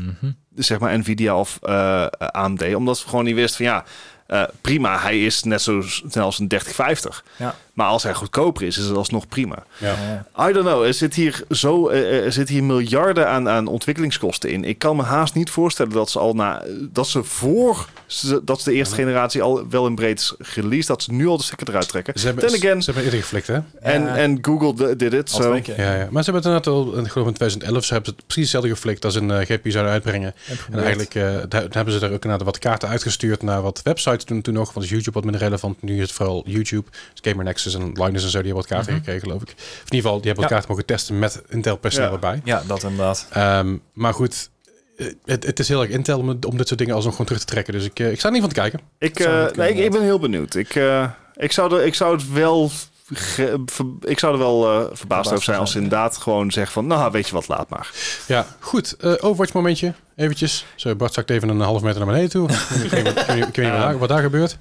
Speaker 4: zeg maar Nvidia of eh, AMD. Omdat we gewoon niet wisten van ja, Eh, prima, hij is net zo snel als een 3050.
Speaker 2: Ja.
Speaker 4: Maar als hij goedkoper is, is het alsnog prima.
Speaker 2: Ja.
Speaker 4: I don't know. Er zit hier, zo, eh, er zit hier miljarden aan, aan ontwikkelingskosten in. Ik kan me haast niet voorstellen dat ze al na. dat ze voor. ze- dat ze de eerste generatie al wel in breed is released. dat ze nu al de stekker eruit trekken.
Speaker 1: Ze hebben,
Speaker 4: Then again.
Speaker 1: ze hebben eerder geflikt, hè?
Speaker 4: En,
Speaker 2: Ja.
Speaker 4: en Google d- did it.
Speaker 2: Al
Speaker 4: so.
Speaker 2: twee keer.
Speaker 1: Ja, ja. Maar ze hebben het inderdaad al, ik geloof in 2011, ze hebben het precies hetzelfde geflikt als een eh, GPU zouden uitbrengen. En eigenlijk eh, daar- daar hebben ze daar ook inderdaad wat kaarten uitgestuurd naar wat websites toen, toen nog. Want is YouTube wat minder relevant. Nu is het vooral YouTube. Dus Gamer Nexus en Linus en zo, die hebben wat kaarten gekregen, geloof ik. Of in ieder geval, die hebben wat
Speaker 2: Ja.
Speaker 1: kaarten mogen testen met Intel personeel
Speaker 4: Ja.
Speaker 1: erbij.
Speaker 2: Ja, dat inderdaad.
Speaker 1: Ehm, maar goed, eh, het, het is heel erg Intel om, om dit soort dingen alsnog gewoon terug te trekken. Dus ik, eh, ik sta er niet van te kijken.
Speaker 4: Ik,
Speaker 2: Dat zou
Speaker 4: eh,
Speaker 2: goed kunnen,
Speaker 4: nee, ik, ik ben heel benieuwd. Ik, eh, ik, zou er, ik zou het wel. ge- ver- ik zou er wel eh, verbaasd, over zijn als ze
Speaker 2: zijn, ja.
Speaker 4: inderdaad gewoon zeggen van, nou weet je wat, laat maar.
Speaker 1: Ja, goed. Eh Overwatch momentje, eventjes. Zo, Bart zakt even een halve meter naar beneden toe. ik weet niet, ik weet niet- ik weet niet wat, daar, wat daar gebeurt.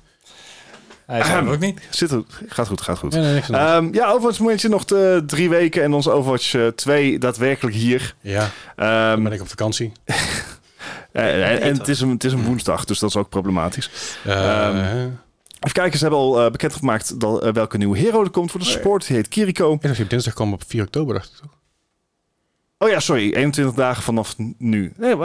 Speaker 2: Hij is
Speaker 4: Ahem.
Speaker 2: ook niet.
Speaker 4: Zit er, gaat goed, gaat goed.
Speaker 1: Nee, nee, niks aan de hand.
Speaker 4: Ehm, ja, Overwatch momentje nog eh, drie weken en onze Overwatch eh, 2 daadwerkelijk hier.
Speaker 1: Ja,
Speaker 4: Ehm,
Speaker 1: dan ben ik op vakantie.
Speaker 4: en en- en het, is een, het is een woensdag, dus dat is ook problematisch. ehm,
Speaker 1: Eh,
Speaker 4: Even kijken, ze hebben al eh, bekendgemaakt dat, eh, welke nieuwe hero er komt voor de support. Die heet Kiriko.
Speaker 1: ik dacht, die op dinsdag kwam op 4 oktober, dacht ik toch?
Speaker 4: Oh ja, sorry, 21 dagen vanaf nu. Nee, eh,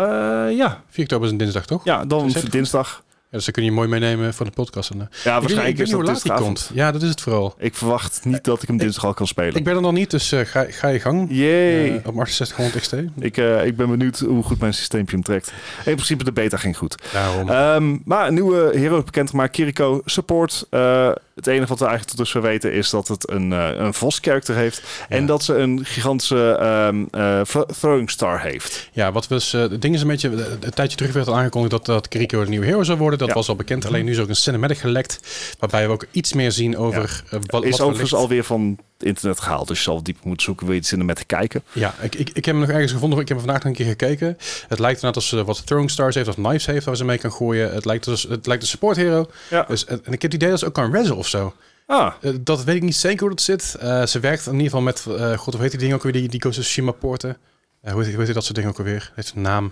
Speaker 4: ja.
Speaker 1: 4 oktober is een dinsdag, toch? Ja.
Speaker 4: ja, dan
Speaker 1: Dus heb-
Speaker 4: dinsdag.
Speaker 1: dus dan kun je mooi meenemen voor de podcast. En, eh,
Speaker 4: Ja,
Speaker 1: ik weet niet- ik
Speaker 4: waarschijnlijk
Speaker 1: weet
Speaker 4: is
Speaker 1: niet hoe
Speaker 4: dat
Speaker 1: laat die
Speaker 4: dinsdagavond.
Speaker 1: komt. Ja, dat is het vooral.
Speaker 4: Ik verwacht niet dat ik hem dinsdag al kan spelen.
Speaker 1: Ik ben er nog niet, dus eh, ga, ga je gang.
Speaker 4: Jee.
Speaker 1: Eh, op 6800 XT.
Speaker 4: ik, eh, ik ben benieuwd hoe goed mijn systeempje hem trekt. In principe, de beta ging goed.
Speaker 1: Daarom.
Speaker 4: Ehm, maar een nieuwe hero is bekendgemaakt. Kiriko support. Eh, het enige wat we eigenlijk tot dusver weten is dat het een, eh, een vos-character heeft.
Speaker 1: Ja.
Speaker 4: En dat ze een gigantische ehm, eh, thro- throwing star heeft.
Speaker 1: Ja, wat was, eh het ding is een beetje, eh, een tijdje terug werd al aangekondigd dat, dat Kiriko een nieuwe hero zou worden. Dat
Speaker 4: Ja.
Speaker 1: was al bekend, alleen nu is ook een cinematic gelekt, waarbij we ook iets meer zien over eh, wat,
Speaker 4: is
Speaker 1: wat
Speaker 4: overigens
Speaker 1: wellicht-
Speaker 4: alweer van internet gehaald. Dus je zal diep moeten zoeken. Wil je iets in met te kijken?
Speaker 1: Ja, ik, ik, ik heb hem nog ergens gevonden, ik heb hem vandaag nog een keer gekeken. Het lijkt inderdaad als ze wat Throwing Stars heeft, of Knives heeft, waar ze mee kan gooien. Het lijkt, als, het lijkt een support hero.
Speaker 4: Ja.
Speaker 1: Dus, en, en ik heb het idee dat ze ook kan rezzen of zo.
Speaker 4: Ah,
Speaker 1: Eh, dat weet ik niet zeker hoe dat zit. Eh, ze werkt in ieder geval met, eh, god, hoe heet die ding ook weer, die, die Ghost of Tsushima poorten. Eh, hoe, heet, hoe heet dat soort dingen ook alweer? Het heeft een naam.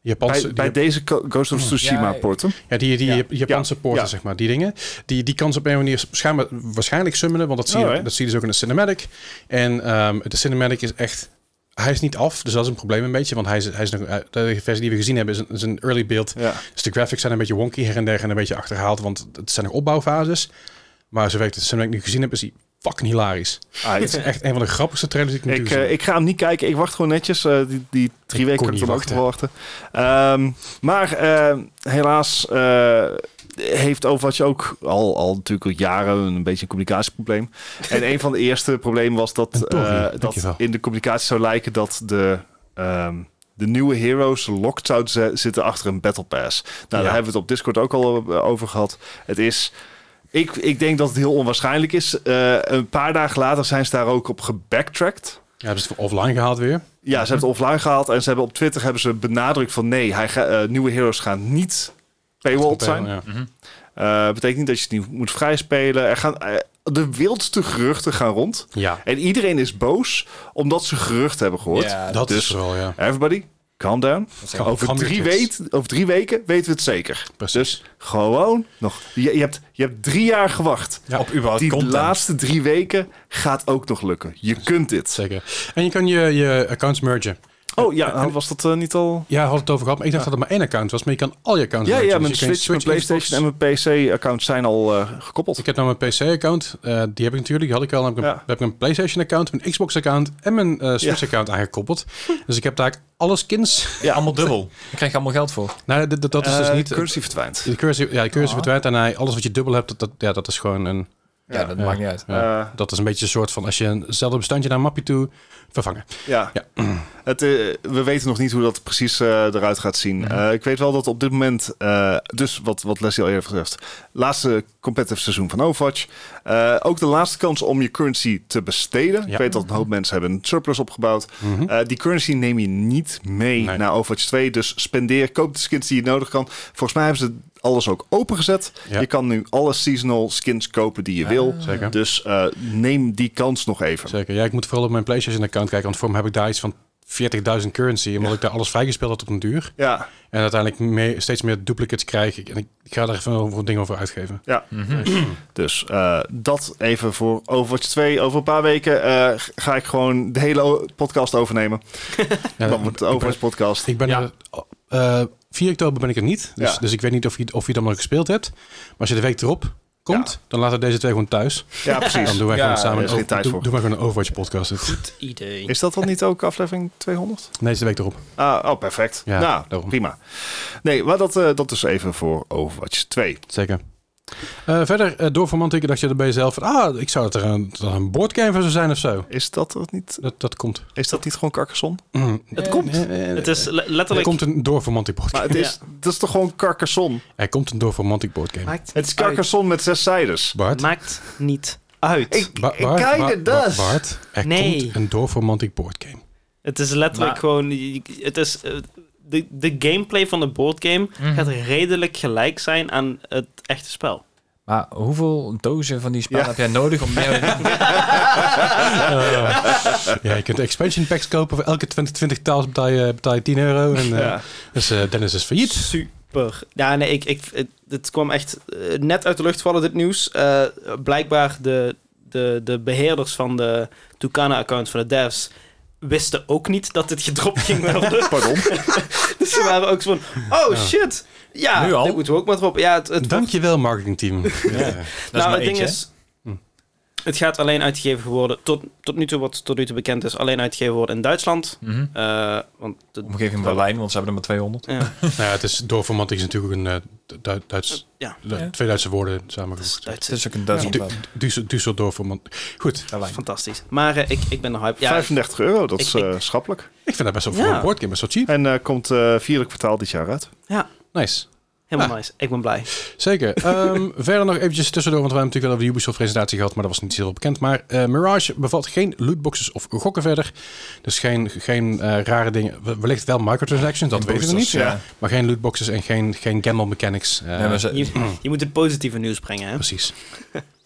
Speaker 1: Japanse,
Speaker 4: bij,
Speaker 1: die-
Speaker 4: bij deze Ko- Ghost of Tsushima
Speaker 2: Ja,
Speaker 4: porten.
Speaker 1: ja, die, die
Speaker 2: Ja.
Speaker 1: Japanse
Speaker 4: Ja.
Speaker 1: poorten,
Speaker 4: Ja.
Speaker 1: zeg maar, die dingen. Die, die kan ze op een manier schijnbaar, waarschijnlijk summonen, want dat zie, je,
Speaker 4: Oh, hè?
Speaker 1: ook- dat zie je dus ook in de cinematic. En ehm, de cinematic is echt... Hij is niet af, dus dat is een probleem een beetje. Want hij is, hij is nog, eh, de versie die we gezien hebben is een, is een early build.
Speaker 4: Ja.
Speaker 1: Dus de graphics zijn een beetje wonky her en der en een beetje achterhaald. Want het zijn nog opbouwfases. Maar zover ik de cinematic nu gezien heb, is hij fucking hilarisch.
Speaker 4: Ah,
Speaker 1: Het is echt een van de grappigste trailers die ik nu
Speaker 4: Ik,
Speaker 1: gezien
Speaker 4: eh,
Speaker 1: heb.
Speaker 4: ik ga hem niet kijken. Ik wacht gewoon netjes. eh, die, die drie
Speaker 1: Ik
Speaker 4: weken
Speaker 1: kon
Speaker 4: kan ik
Speaker 1: niet
Speaker 4: dan ook nog wel wachten. Ehm, maar eh, helaas eh, heeft Overwatch ook al, al natuurlijk al jaren een beetje een
Speaker 1: <laughs>
Speaker 4: communicatieprobleem. En een van de eerste problemen was dat,
Speaker 1: Een Tory,
Speaker 4: eh, dat
Speaker 1: dankjewel.
Speaker 4: in de communicatie zou lijken dat de... ehm, de nieuwe heroes locked zouden ze- zitten achter een battle pass. Nou, daar
Speaker 1: Ja.
Speaker 4: hebben we het op Discord ook al eh, over gehad. Het is ik, ik denk dat het heel onwaarschijnlijk is. Eh, een paar dagen later zijn ze daar ook op gebacktracked.
Speaker 1: Ja, dus offline gehaald weer.
Speaker 4: Ja, ze hebben het offline gehaald en ze hebben op Twitter hebben ze benadrukt van nee, hij ga, eh, nieuwe heroes gaan niet paywalled zijn.
Speaker 1: Ja.
Speaker 4: Eh, betekent niet dat je het niet moet vrijspelen. Er gaan eh, de wildste geruchten gaan rond
Speaker 1: Ja,
Speaker 4: en iedereen is boos omdat ze geruchten hebben gehoord.
Speaker 2: Ja,
Speaker 1: dat is
Speaker 4: dus-
Speaker 1: vooral, ja.
Speaker 4: Everybody, calm down.
Speaker 1: Calm-
Speaker 4: Over
Speaker 1: calm your
Speaker 4: drie,
Speaker 1: tits.
Speaker 4: weet, over drie weken weten we het zeker.
Speaker 1: Precies.
Speaker 4: Dus gewoon nog. Je, je, hebt, je hebt drie jaar gewacht.
Speaker 1: Ja.
Speaker 2: Op überhaupt
Speaker 4: Die
Speaker 2: content.
Speaker 4: laatste drie weken gaat ook nog lukken. Je kunt dit.
Speaker 1: Zeker. En je kan je, je accounts mergen.
Speaker 4: Oh ja, was dat eh, niet al?
Speaker 1: Ja, had het over gehad, maar ik dacht dat het maar één account was. Maar je kan al je accounts
Speaker 4: Ja,
Speaker 1: mergen.
Speaker 4: ja,
Speaker 1: Dus
Speaker 4: mijn
Speaker 1: je kan je
Speaker 4: Switch, mijn
Speaker 1: Xbox-
Speaker 4: PlayStation en mijn PC-accounts zijn al eh, gekoppeld.
Speaker 1: Ik heb nou mijn PC-account. eh, die heb ik natuurlijk. Die had ik al. Dan heb ik een,
Speaker 4: Ja.
Speaker 1: heb ik een PlayStation-account, mijn Xbox-account en mijn eh, Switch-account aangekoppeld. Dus ik heb daar alle skins.
Speaker 4: Ja.
Speaker 2: Allemaal dubbel. Daar krijg je allemaal geld voor.
Speaker 1: <laughs> Nou, dat- dat, dat is dus
Speaker 4: Eh, Oh.
Speaker 1: niet...
Speaker 4: Currency verdwijnt.
Speaker 1: de cursus, ja, de cursus verdwijnt en hij, alles wat je dubbel hebt, dat, dat, ja, dat is gewoon een...
Speaker 2: Ja, dat
Speaker 1: Ja.
Speaker 2: maakt niet uit.
Speaker 1: ja,
Speaker 4: Eh.
Speaker 1: dat is een beetje een soort van, als je eenzelfde bestandje naar een mapje toe vervangen.
Speaker 4: Ja.
Speaker 1: Ja.
Speaker 4: Het, eh, we weten nog niet hoe dat precies eh, eruit gaat zien.
Speaker 1: Mhm.
Speaker 4: Eh, ik weet wel dat op dit moment, eh, dus wat, wat Leslie al eerder gezegd, laatste competitive seizoen van Overwatch. Eh, ook de laatste kans om je currency te besteden. Ik
Speaker 1: Ja.
Speaker 4: weet dat een hoop mensen hebben een surplus opgebouwd.
Speaker 1: Mhm.
Speaker 4: Eh, die currency neem je niet mee
Speaker 1: Nee.
Speaker 4: naar Overwatch 2. Dus spendeer, koop de skins die je nodig kan. Volgens mij hebben ze alles ook opengezet.
Speaker 1: Ja.
Speaker 4: Je kan nu alle seasonal skins kopen die je wil.
Speaker 1: Zeker.
Speaker 4: Dus eh, neem die kans nog even.
Speaker 1: Zeker. Ja, ik moet vooral op mijn PlayStation-account kijken, want voor me heb ik daar iets van 40.000 currency, omdat ik daar alles vrijgespeeld had op een duur.
Speaker 4: Ja,
Speaker 1: En uiteindelijk meer, steeds meer duplicates krijg ik. En ik, ik ga daar even over dingen over uitgeven. Mhm.
Speaker 4: dus eh, dat even voor Overwatch 2. Over een paar weken eh, ga ik gewoon de hele o- podcast overnemen.
Speaker 1: Ja,
Speaker 4: Dan wordt de Overwatch
Speaker 1: <laughs>
Speaker 4: podcast.
Speaker 1: Ik ben
Speaker 2: Ja.
Speaker 1: er, eh, 4 oktober ben ik er niet. Dus,
Speaker 4: Ja.
Speaker 1: dus ik weet niet of je, of je dan nog gespeeld hebt. Maar als je de week erop komt, dan laten we deze twee gewoon thuis.
Speaker 4: Ja, precies.
Speaker 1: Dan doen wij
Speaker 2: Ja,
Speaker 1: gewoon samen
Speaker 4: er
Speaker 1: een,
Speaker 4: is geen
Speaker 1: over-
Speaker 4: tijd
Speaker 1: doen-
Speaker 4: voor.
Speaker 1: doen wij gewoon een Overwatch podcast.
Speaker 3: Goed idee.
Speaker 4: Is dat dan niet ook aflevering 200?
Speaker 1: Nee, is de week erop.
Speaker 4: Ah, oh, perfect.
Speaker 1: Ja,
Speaker 4: nou,
Speaker 1: daarom.
Speaker 4: prima. Nee, maar dat, eh, dat is even voor Overwatch 2.
Speaker 1: Zeker. Eh, verder, eh, door Formantic dacht je er bij jezelf van... Ah, ik zou dat er een, dat er een boardgame van zou zijn of zo.
Speaker 4: Is dat, dat niet,
Speaker 1: Dat, dat komt.
Speaker 4: is dat niet gewoon Carcassonne?
Speaker 1: Het komt.
Speaker 3: het is le-
Speaker 1: er
Speaker 3: letterlijk...
Speaker 1: komt een door Formantic
Speaker 4: Maar
Speaker 1: boardgame.
Speaker 4: het is, dat is toch gewoon Carcassonne?
Speaker 1: Er komt een door Formantic boardgame.
Speaker 3: maakt
Speaker 4: Het is Carcassonne met zes zijdes.
Speaker 1: Bart?
Speaker 3: uit. Maakt niet uit.
Speaker 4: Ik,
Speaker 1: Ba-
Speaker 4: ik
Speaker 1: Bart,
Speaker 4: kijk
Speaker 1: Ba-
Speaker 4: het
Speaker 1: Ba-
Speaker 4: dus.
Speaker 1: Bart, er
Speaker 3: Nee.
Speaker 1: komt een doorformantic boardgame.
Speaker 3: Het is letterlijk
Speaker 2: Maar-
Speaker 3: gewoon... je- Het is, eh, de, de gameplay van de boardgame gaat redelijk gelijk zijn aan het echte spel.
Speaker 2: Maar hoeveel dozen van die spel
Speaker 4: Ja.
Speaker 2: heb jij nodig om meer...
Speaker 1: ja, je kunt expansion packs kopen. Voor elke 20, 20 taals betaal je, betaal je 10 euro. En, eh,
Speaker 4: Ja.
Speaker 1: Dus eh, Dennis is failliet.
Speaker 3: Super. Ja, nee, ik, ik, het, het kwam echt eh, net uit de lucht vallen, dit nieuws. Eh, blijkbaar de, de, de beheerders van de Tucana-account van de devs wisten ook niet dat dit gedropt ging
Speaker 2: <laughs>
Speaker 3: worden.
Speaker 4: Pardon.
Speaker 3: <laughs> dus ze waren ook zo van, oh shit, ja,
Speaker 2: Nu al?
Speaker 3: dit moeten we ook maar droppen. Ja, het, het
Speaker 1: Dankjewel,
Speaker 3: <laughs>
Speaker 1: marketingteam. ja.
Speaker 2: Dat is maar
Speaker 3: nou, het ding
Speaker 2: eentje, hè?
Speaker 3: is,
Speaker 1: Hm.
Speaker 3: het gaat alleen uitgegeven worden, tot, tot nu toe wat tot nu toe bekend is, alleen uitgegeven worden in Duitsland.
Speaker 2: Mhm.
Speaker 3: Eh, want de,
Speaker 2: Omgeving Berlijn, want ze hebben er maar 200.
Speaker 3: ja,
Speaker 1: Nou ja, het is doorformantic is natuurlijk een eh, Du- Duits,
Speaker 3: ja,
Speaker 1: Du-
Speaker 2: Ja.
Speaker 1: twee Duitse woorden
Speaker 3: dat is
Speaker 1: samengevoegd.
Speaker 2: Het
Speaker 3: Duits.
Speaker 2: is ook een
Speaker 1: Ja.
Speaker 2: Duitsland.
Speaker 1: Du- Duitsel- Duitsel doorformantic. Goed,
Speaker 2: Berlijn.
Speaker 3: Fantastisch. Maar eh, ik, ik ben er hype. Ja,
Speaker 4: 35 euro, dat
Speaker 3: Ik-
Speaker 4: is
Speaker 3: ik-
Speaker 4: eh, schappelijk.
Speaker 1: ik vind dat best wel voor
Speaker 3: Ja.
Speaker 1: een boardgame best wel cheap.
Speaker 4: En eh, komt eh vierde kwartaal dit jaar uit.
Speaker 1: Nice.
Speaker 3: helemaal
Speaker 1: Ah.
Speaker 3: nice. Ik ben blij.
Speaker 1: Zeker. Ehm, verder nog eventjes tussendoor, want we hebben natuurlijk wel over de Ubisoft-presentatie gehad, maar dat was niet heel bekend. Maar eh, Mirage bevat geen lootboxes of gokken verder. Dus geen, geen eh, rare dingen. We- Wellicht wel microtransactions, dat weten we niet.
Speaker 2: dus, Ja.
Speaker 1: Maar geen lootboxes en geen, geen gamble mechanics. eh,
Speaker 2: Nee, maar ze, ik
Speaker 3: Je, je moet het positieve nieuws brengen, hè?
Speaker 1: Precies.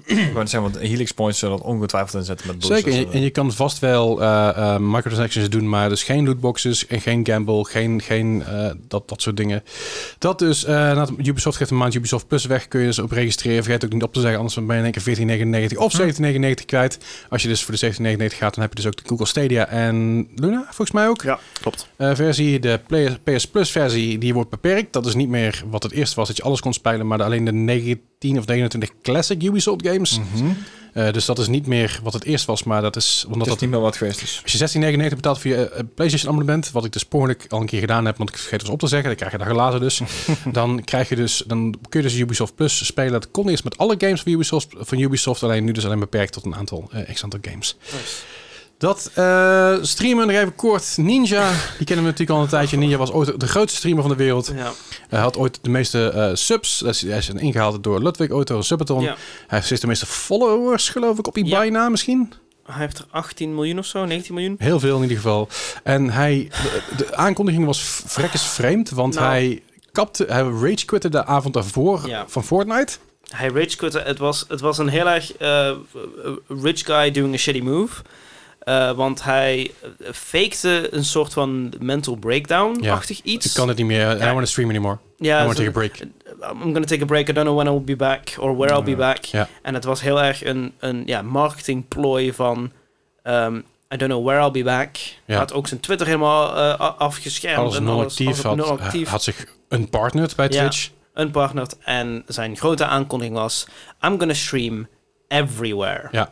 Speaker 2: wou net zeggen, want Helix Points zullen dat ongetwijfeld inzetten met boosters.
Speaker 1: Zeker. En je, en je kan vast wel eh, eh, microtransactions doen, maar dus geen lootboxes en geen gamble, geen, geen eh, dat, dat soort dingen. Dat dus, eh, na het- Ubisoft geeft een maand Ubisoft Plus weg, kun je dus op registreren. Vergeet ook niet op te zeggen, anders ben je in één keer 14,99 of 17,99 kwijt. Als je dus voor de 17,99 gaat, dan heb je dus ook de Google Stadia en Luna, volgens mij ook.
Speaker 4: Ja, klopt.
Speaker 1: Eh, versie, de PS, PS Plus versie, die wordt beperkt. Dat is niet meer wat het eerst was, dat je alles kon spelen, maar alleen de 19 of 29 classic Ubisoft games. Eh, dus dat is niet meer wat het eerst was, maar dat is omdat dat
Speaker 2: Dat dat niet meer wat geweest is.
Speaker 1: als je 16,99 betaalt voor je eh, PlayStation abonnement, wat ik dus per ongeluk al een keer gedaan heb, want ik vergeet het eens op te zeggen, dan krijg je daar gelaten dus. dan krijg je dus, dan kun je dus Ubisoft Plus spelen. Dat kon eerst met alle games van Ubisoft, van Ubisoft alleen nu dus alleen beperkt tot een aantal eh x aantal games. Dat eh, streamen nog even kort. Ninja, die kennen we natuurlijk al een tijdje. Ninja was ooit de grootste streamer van de wereld.
Speaker 3: Ja.
Speaker 1: Hij had ooit de meeste eh, subs. Dat is, hij is ingehaald door Ludwig ooit door een subathon.
Speaker 3: Ja.
Speaker 1: Hij heeft de meeste followers, geloof ik, op
Speaker 3: Ja.
Speaker 1: Ibai na misschien.
Speaker 3: Hij heeft er 18 miljoen of zo, 19 miljoen.
Speaker 1: Heel veel in ieder geval. En hij, de, de aankondiging was v- vrekkes vreemd, want
Speaker 3: Nou.
Speaker 1: hij kapte, hij rage quitte de avond daarvoor
Speaker 3: Ja.
Speaker 1: van Fortnite.
Speaker 3: Hij ragequitte. Het was, het was een heel erg eh, rich guy doing a shitty move. Eh, want hij eh, fakte een soort van mental breakdown-achtig
Speaker 1: Ik
Speaker 3: iets.
Speaker 1: kan het niet meer. I don't
Speaker 3: Ja.
Speaker 1: want to stream anymore. I
Speaker 3: ja,
Speaker 1: want to
Speaker 3: zo-
Speaker 1: take a break.
Speaker 3: I'm gonna take a break. I don't know when I will be back or where I'll be back.
Speaker 1: Ja.
Speaker 3: En het was heel erg een, een ja, marketingplooi van... ehm, I don't know where I'll be back. Hij had ook zijn Twitter helemaal eh, a- afgeschermd.
Speaker 1: Alles
Speaker 3: en
Speaker 1: non-actief
Speaker 3: alles
Speaker 1: had,
Speaker 3: non-actief.
Speaker 1: had zich unpartnered bij
Speaker 3: Ja.
Speaker 1: Twitch.
Speaker 3: unpartnered. En zijn grote aankondiging was... I'm gonna stream everywhere.
Speaker 1: Ja.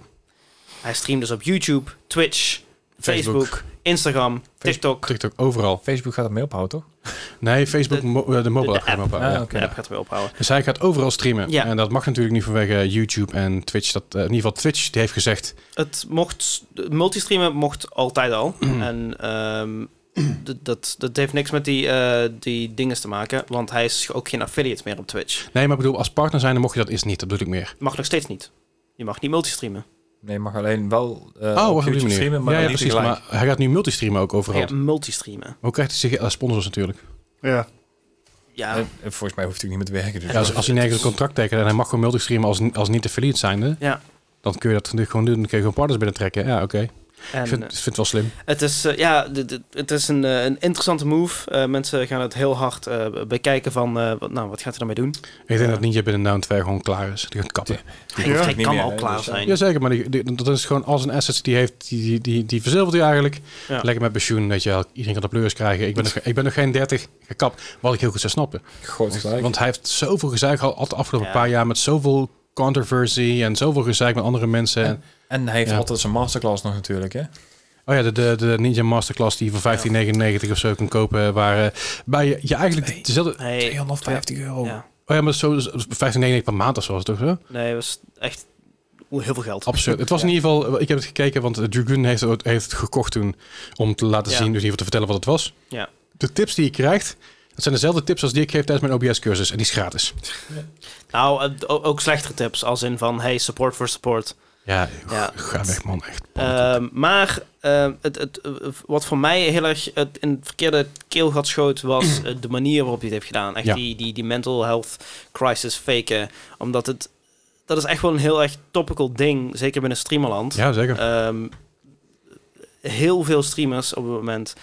Speaker 3: Hij streamt dus op YouTube, Twitch,
Speaker 1: Facebook.
Speaker 3: Facebook, Instagram, TikTok. De,
Speaker 1: TikTok, overal.
Speaker 2: Facebook gaat het mee ophouden, toch?
Speaker 1: Nee, Facebook,
Speaker 3: De-
Speaker 1: mo- eh, de mobile
Speaker 3: de
Speaker 1: app gaat hem
Speaker 3: app.
Speaker 1: ophouden,
Speaker 2: Ah,
Speaker 1: ja.
Speaker 2: oké.
Speaker 3: app gaat weer ophouden.
Speaker 1: Dus hij gaat overal streamen.
Speaker 3: Ja.
Speaker 1: En dat mag natuurlijk niet vanwege YouTube en Twitch. Dat, eh, in ieder geval Twitch die heeft gezegd...
Speaker 3: Het mocht, de multistreamen mocht altijd al. en ehm, d- dat, dat heeft niks met die, eh, die dingen te maken, want hij is ook geen affiliate meer op Twitch.
Speaker 1: Nee, maar ik bedoel, als partner zijn, dan mocht je dat eerst niet. Dat bedoel ik meer.
Speaker 3: Mag nog steeds niet. Je mag niet multistreamen.
Speaker 2: Nee, je mag alleen wel eh
Speaker 1: oh, wacht op die
Speaker 2: op YouTube
Speaker 1: manier.
Speaker 2: streamen, maar
Speaker 1: ja, ja,
Speaker 2: niet
Speaker 1: precies.
Speaker 2: tegelijk.
Speaker 1: Maar hij gaat nu multistreamen ook overal.
Speaker 3: Ja, multistreamen.
Speaker 1: Hoe krijgt hij zich eh, sponsors natuurlijk?
Speaker 4: Ja.
Speaker 3: Ja,
Speaker 2: Eh, volgens mij hoeft hij ook niet meer te werken. Dus
Speaker 1: Ja, als, als hij nergens een contract tekent en hij mag gewoon multistreamen als, als niet affiliate zijnde,
Speaker 3: ja.
Speaker 1: dan kun je dat nu gewoon doen. Dan kun je gewoon partners binnentrekken. Ja, oké. Ik
Speaker 3: En,
Speaker 1: vind,
Speaker 3: eh,
Speaker 1: ik vind het wel slim.
Speaker 3: het is, eh, ja, d- d- het is een, eh, een interessante move. Eh, mensen gaan het heel hard eh, bekijken van, eh, wat, nou, wat gaat hij daarmee doen?
Speaker 1: Ik denk dat Ninja binnen Down 2 gewoon klaar is. Die gaat kappen.
Speaker 4: Ja.
Speaker 3: Hij
Speaker 2: Niet
Speaker 3: kan
Speaker 2: meer,
Speaker 3: al
Speaker 2: hè,
Speaker 3: klaar
Speaker 2: dus, eh,
Speaker 3: zijn.
Speaker 1: Jazeker, maar die, die- dat is gewoon als een asset die heeft, die, die, die, die verzilvert hij eigenlijk.
Speaker 3: Ja.
Speaker 1: Lekker met pensioen, weet je wel. Iedereen kan de pleurs krijgen. Ik ben, nog, ik ben nog geen 30 gekapt, wat ik heel goed zou snappen.
Speaker 2: Groot gelijk.
Speaker 1: Want hij heeft zoveel gezeik gehad de afgelopen
Speaker 3: Ja.
Speaker 1: paar jaar met zoveel controversy en zoveel gezeik met andere mensen. En,
Speaker 2: en hij heeft
Speaker 1: Ja.
Speaker 2: altijd zijn masterclass nog natuurlijk, hè?
Speaker 1: oh ja, de, de, de Ninja Masterclass die je voor 15,99 of zo kan kopen, waar eh, bij je, je eigenlijk dezelfde...
Speaker 3: Hey,
Speaker 1: 250 euro.
Speaker 3: Ja.
Speaker 1: Oh ja, maar zo dus 15,99 per maand of zo was het toch zo?
Speaker 3: Nee, dat was echt oeh, heel veel geld.
Speaker 1: Absurd. Het was in ieder geval, ik heb het gekeken, want eh, Dragoon heeft, het- heeft het gekocht toen om te laten
Speaker 3: Ja.
Speaker 1: zien, dus in ieder geval te vertellen wat het was.
Speaker 3: Ja.
Speaker 1: De tips die je krijgt, dat zijn dezelfde tips als die ik geef tijdens mijn OBS-cursus. En die is gratis.
Speaker 3: Nou, eh, o- ook slechtere tips, als in van, hey, support for support.
Speaker 1: Ja,
Speaker 3: Ja.
Speaker 1: ga weg man, echt.
Speaker 3: Ehm, maar eh, het, het, eh, wat voor mij heel erg het in het verkeerde keelgat schoot, was eh, de manier waarop hij het heeft gedaan. Echt
Speaker 1: Ja.
Speaker 3: die, die, die mental health crisis faken. Omdat het, dat is echt wel een heel erg topical ding, zeker binnen streamerland.
Speaker 1: ja, zeker.
Speaker 3: Ehm, heel veel streamers op het moment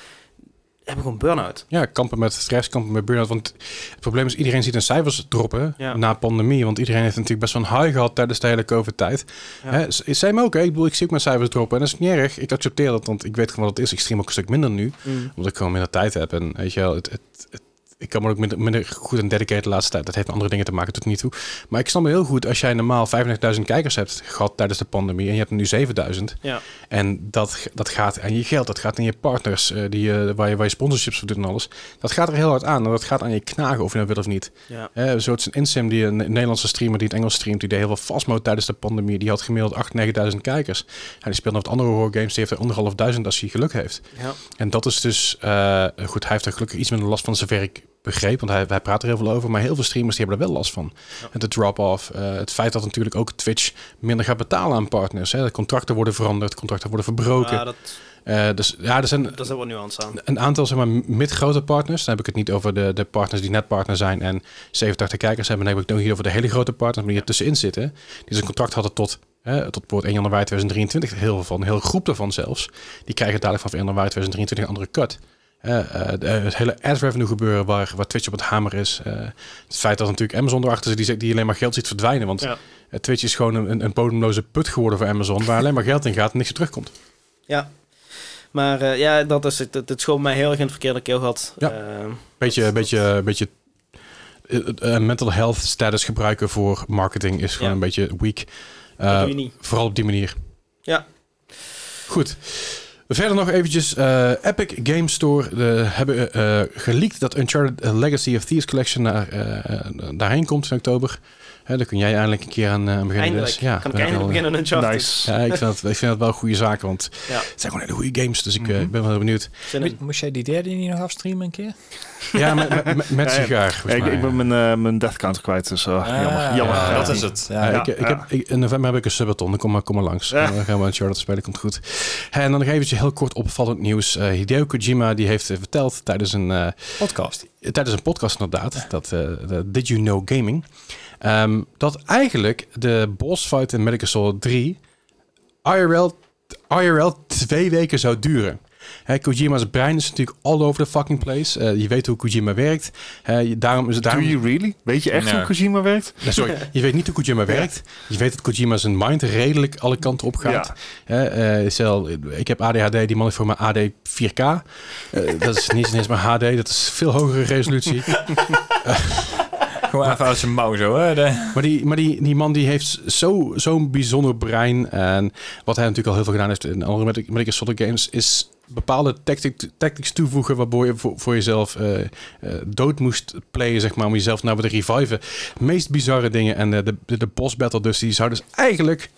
Speaker 3: hebben gewoon burn-out.
Speaker 1: Ja, kampen met stress, kampen met burn-out. Want het probleem is, iedereen ziet een cijfers droppen
Speaker 3: Ja.
Speaker 1: na pandemie. Want iedereen heeft natuurlijk best wel een high gehad tijdens de hele COVID-tijd.
Speaker 3: Ja.
Speaker 1: Hè, z- Zijn me ook, hè? Ik bedoel, ik zie ook mijn cijfers droppen. En dat is niet erg. Ik accepteer dat, want ik weet gewoon wat het is. Ik stream ook een stuk minder nu.
Speaker 3: Mm.
Speaker 1: Omdat ik gewoon minder tijd heb. En weet je wel, het, het, het- ik kan me ook minder, minder goed en dedicated de laatste tijd. Dat heeft met andere dingen te maken tot nu toe. Maar ik snap me heel goed, als jij normaal 35.000 kijkers hebt gehad tijdens de pandemie... en je hebt er nu 7000...
Speaker 3: Ja.
Speaker 1: En dat, dat gaat aan je geld, dat gaat aan je partners, eh, die, eh, waar, je, waar je sponsorships voor doet en alles. Dat gaat er heel hard aan. En dat gaat aan je knagen, of je dat wil of niet.
Speaker 3: Ja.
Speaker 1: Eh, zo het is een Insim, die een Nederlandse streamer die het Engels streamt, die deed heel veel fastmode tijdens de pandemie. Die had gemiddeld 8.000, 9.000 kijkers. En die speelde wat andere horror games, die heeft er anderhalf duizend als hij geluk heeft.
Speaker 3: Ja.
Speaker 1: En dat is dus, eh, goed, hij heeft er gelukkig iets minder last van, zover ik begreep, want hij, hij praat er heel veel over, maar heel veel streamers die hebben er wel last van. En de drop-off, eh, het feit dat natuurlijk ook Twitch minder gaat betalen aan partners, hè, de contracten worden veranderd, contracten worden verbroken.
Speaker 3: Ah, dat,
Speaker 1: Eh, dus ja, er zijn
Speaker 3: daar zit wel nuance aan.
Speaker 1: een aantal zeg maar, mid-grote partners. Dan heb ik het niet over de, de partners die net partner zijn en 87 kijkers hebben. Dan heb ik het nog niet over de hele grote partners, maar die er tussenin zitten. Die dus een contract hadden tot, eh, tot bijvoorbeeld 1 januari 2023. Heel veel van, een hele groep daarvan zelfs. Die krijgen dadelijk vanaf 1 januari 2023 een andere cut. Eh, eh, de- het hele ad revenue gebeuren waar, waar Twitch op het hamer is. Eh, het feit dat natuurlijk Amazon erachter zit, die, zit- die alleen maar geld ziet verdwijnen. Want
Speaker 3: Ja.
Speaker 1: eh, Twitch is gewoon een, een bodemloze put geworden voor Amazon, waar alleen maar geld in gaat en niks terugkomt.
Speaker 3: Ja. Maar eh, ja, dat is het. Het, het schoot mij heel erg in het verkeerde keelgat.
Speaker 1: Ja.
Speaker 3: Eh,
Speaker 1: Beetje, beetje, beetje eh, eh, mental health status gebruiken voor marketing is gewoon
Speaker 3: Ja.
Speaker 1: een beetje weak.
Speaker 3: dat
Speaker 1: Eh,
Speaker 3: doe je niet.
Speaker 1: vooral op die manier.
Speaker 3: Ja.
Speaker 1: Goed. Verder nog eventjes, eh, Epic Game Store de, hebben eh geleakt dat Uncharted eh, Legacy of Thieves Collection naar, eh, eh, daarheen komt in oktober. Hè, daar kun jij eindelijk een keer aan eh, aan beginnen.
Speaker 3: Eindelijk.
Speaker 1: Dus, ja,
Speaker 3: kan ik
Speaker 1: ben
Speaker 3: eindelijk
Speaker 1: wel-
Speaker 3: beginnen aan Uncharted.
Speaker 4: Nice.
Speaker 1: Ja, ik vind, dat, ik vind dat wel een goede zaak, want
Speaker 3: Ja. Mhm.
Speaker 1: het zijn gewoon hele goede games, dus ik eh, ben wel heel benieuwd.
Speaker 3: Zin in.
Speaker 2: Moest jij die derde niet nog afstreamen een keer?
Speaker 1: Ja, met, met, met, met
Speaker 4: <laughs> Ja, ja.
Speaker 1: sigaar.
Speaker 4: Ja,
Speaker 1: volgens
Speaker 4: ik,
Speaker 1: mij.
Speaker 4: ik ben mijn, eh, mijn death count kwijt, dus eh, jammer. jammer.
Speaker 1: ja,
Speaker 4: Ja.
Speaker 2: dat is het. Ah, Ja.
Speaker 1: Ja,
Speaker 4: Ja,
Speaker 1: ik, ik
Speaker 4: ja.
Speaker 1: Heb, ik- in november heb ik een subathon. Dan kom maar, kom maar langs.
Speaker 4: Ja.
Speaker 1: Dan gaan we aan Charlotte spelen. Komt goed. En dan nog eventjes heel kort opvallend nieuws. Eh, Hideo Kojima die heeft eh, verteld tijdens een, eh,
Speaker 2: Podcast.
Speaker 1: tijdens een podcast inderdaad. Dat, eh, de Did You Know Gaming. ehm, dat eigenlijk de boss fight in Medical Soul 3 IRL, IRL twee weken zou duren. Hè, Kojima's brein is natuurlijk all over the fucking place. Eh, je weet hoe Kojima werkt. Eh, je- daarom is het
Speaker 4: Do
Speaker 1: daarom...
Speaker 4: you really? Weet je echt
Speaker 2: Nee.
Speaker 4: hoe Kojima werkt?
Speaker 1: Nee, sorry, je weet niet hoe Kojima werkt. Je weet dat Kojima zijn mind redelijk alle kanten op gaat. Hè, eh, stel, ik heb ADHD, die man heeft voor mijn AD 4K. Eh, dat is niet eens maar HD, dat is veel hogere resolutie.
Speaker 2: Gewoon even uit zijn mouw zo. Hè? De-
Speaker 1: Maar die, maar die, die man die heeft zo- zo'n bijzonder brein. En wat hij natuurlijk al heel veel gedaan heeft in andere Metal- Metal Gear Solid games... is bepaalde tactic, tactics toevoegen... waardoor je voor, voor jezelf eh, eh, dood moest playen, zeg maar... om jezelf nou weer te reviven. meest bizarre dingen. En eh, de, de, de boss battle dus, die zou dus eigenlijk...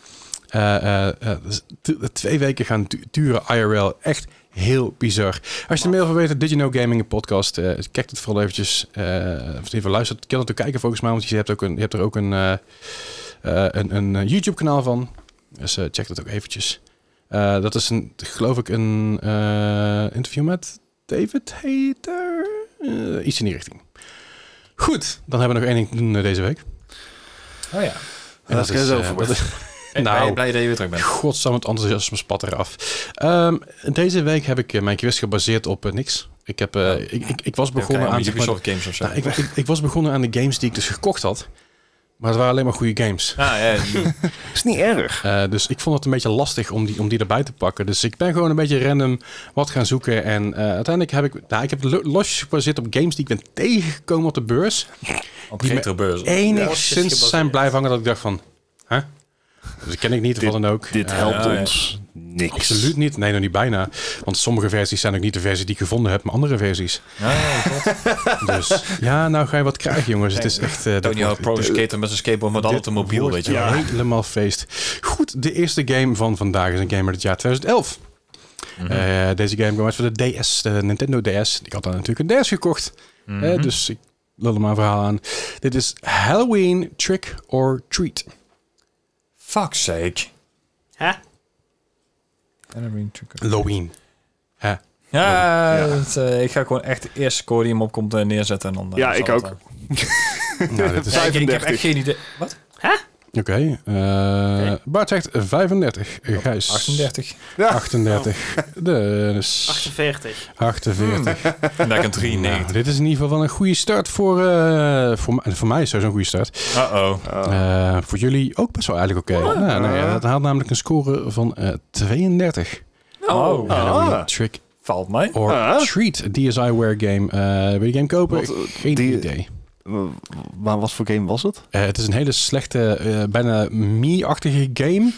Speaker 1: eh, eh, eh, dus t- twee weken gaan du- duren IRL. Echt heel bizar. Als je er meer over weet, Did You Know Gaming, een podcast. eh, kijk het vooral eventjes. eh of even luistert. Je kan het ook kijken volgens mij, want je hebt, ook een, je hebt er ook een, eh, eh, een, een eh, YouTube kanaal van. Dus eh, check dat ook eventjes. Eh, dat is een, geloof ik een eh, interview met David Hater. Eh, iets in die richting. Goed, dan hebben we nog één ding te doen eh, deze week.
Speaker 2: Oh ja.
Speaker 1: En
Speaker 4: Let's get it
Speaker 1: eh,
Speaker 4: over
Speaker 1: dat
Speaker 4: with.
Speaker 1: is-
Speaker 2: Ik ben
Speaker 1: Nou.
Speaker 2: blij dat je weer terug bent.
Speaker 1: Godsam, het enthousiasme spat eraf. Ehm, deze week heb ik eh, mijn quiz gebaseerd op eh, niks. Ik, heb, eh, ik, ik, ik was begonnen aan... zeg maar,
Speaker 2: Ubisoft games of zo.
Speaker 1: nou, ik, ik, ik was begonnen aan de games die ik dus gekocht had. Maar het waren alleen maar goede games.
Speaker 2: Ah,
Speaker 1: <laughs>
Speaker 2: ja, ja.
Speaker 4: Is niet erg.
Speaker 1: Eh, dus ik vond het een beetje lastig om die, om die erbij te pakken. Dus ik ben gewoon een beetje random wat gaan zoeken. En eh, uiteindelijk heb ik... Nou, ik heb lo- losjes gebaseerd op games die ik ben tegengekomen op de beurs.
Speaker 2: op
Speaker 1: Die
Speaker 2: retrobeurs.
Speaker 3: Losjes
Speaker 1: Enigszins
Speaker 3: gebaseerd.
Speaker 1: zijn blijven hangen dat ik dacht van... Huh? Dat ken ik niet, of wat dan ook.
Speaker 4: Dit
Speaker 1: Eh,
Speaker 4: helpt
Speaker 2: ja, ja.
Speaker 4: ons niks.
Speaker 1: Absoluut niet. Nee, nog niet bijna. Want sommige versies zijn ook niet de versie die ik gevonden heb, maar andere versies.
Speaker 2: Ja, klopt.
Speaker 1: Dus ja, nou ga je wat krijgen, jongens. Het is echt... eh, dat
Speaker 2: Tony Hawk
Speaker 1: wordt-
Speaker 2: Pro Skater met zijn skateboard, maar dan op de mobiel,
Speaker 1: wordt
Speaker 2: weet je wel.
Speaker 1: Helemaal feest. Goed, de eerste game van vandaag is een gamer dit jaar 2011.
Speaker 2: Mhm.
Speaker 1: Eh, deze game kwam uit voor de DS, de Nintendo DS. Ik had dan natuurlijk een DS gekocht. Eh,
Speaker 2: Mhm.
Speaker 1: dus ik lul er maar een verhaal aan. Dit is Halloween Trick or Treat.
Speaker 2: Fuck sake.
Speaker 3: Hè?
Speaker 1: Halloween. Hè?
Speaker 2: Ja, het, eh, ik ga gewoon echt eerst score die hem opkomt eh, neerzetten en dan... eh,
Speaker 4: Ja,
Speaker 2: zal
Speaker 4: ik
Speaker 2: het
Speaker 4: ook.
Speaker 2: wel.
Speaker 1: Nou, dit is...
Speaker 2: <laughs> Ja, ik, ik heb
Speaker 4: 35.
Speaker 2: echt geen idee. Wat?
Speaker 1: Oké. eh, Bart zegt 35.
Speaker 2: Oh,
Speaker 1: Gijs.
Speaker 2: 38. <laughs>
Speaker 1: 38. Dus
Speaker 3: 48.
Speaker 2: Hmm.
Speaker 1: 48.
Speaker 2: <laughs> Lekker 93.
Speaker 1: Nou, dit is in ieder geval wel een goede start voor... eh, voor, m- voor mij is sowieso een goede start.
Speaker 2: Uh-oh.
Speaker 4: Oh.
Speaker 1: Eh, voor jullie ook best wel eigenlijk oké. Ja, nou ja, dat haalt namelijk een score van eh 32.
Speaker 2: Oh.
Speaker 4: Ah.
Speaker 1: Halloween Trick
Speaker 2: Valt mij.
Speaker 1: or
Speaker 4: Ah.
Speaker 1: Treat, DSiWare game. Eh, wil je die game kopen?
Speaker 4: Wat, eh,
Speaker 1: Geen
Speaker 4: die-
Speaker 1: idee.
Speaker 4: Eh, Maar wat voor game was het?
Speaker 1: Eh, het is een hele slechte, eh, bijna me-achtige game.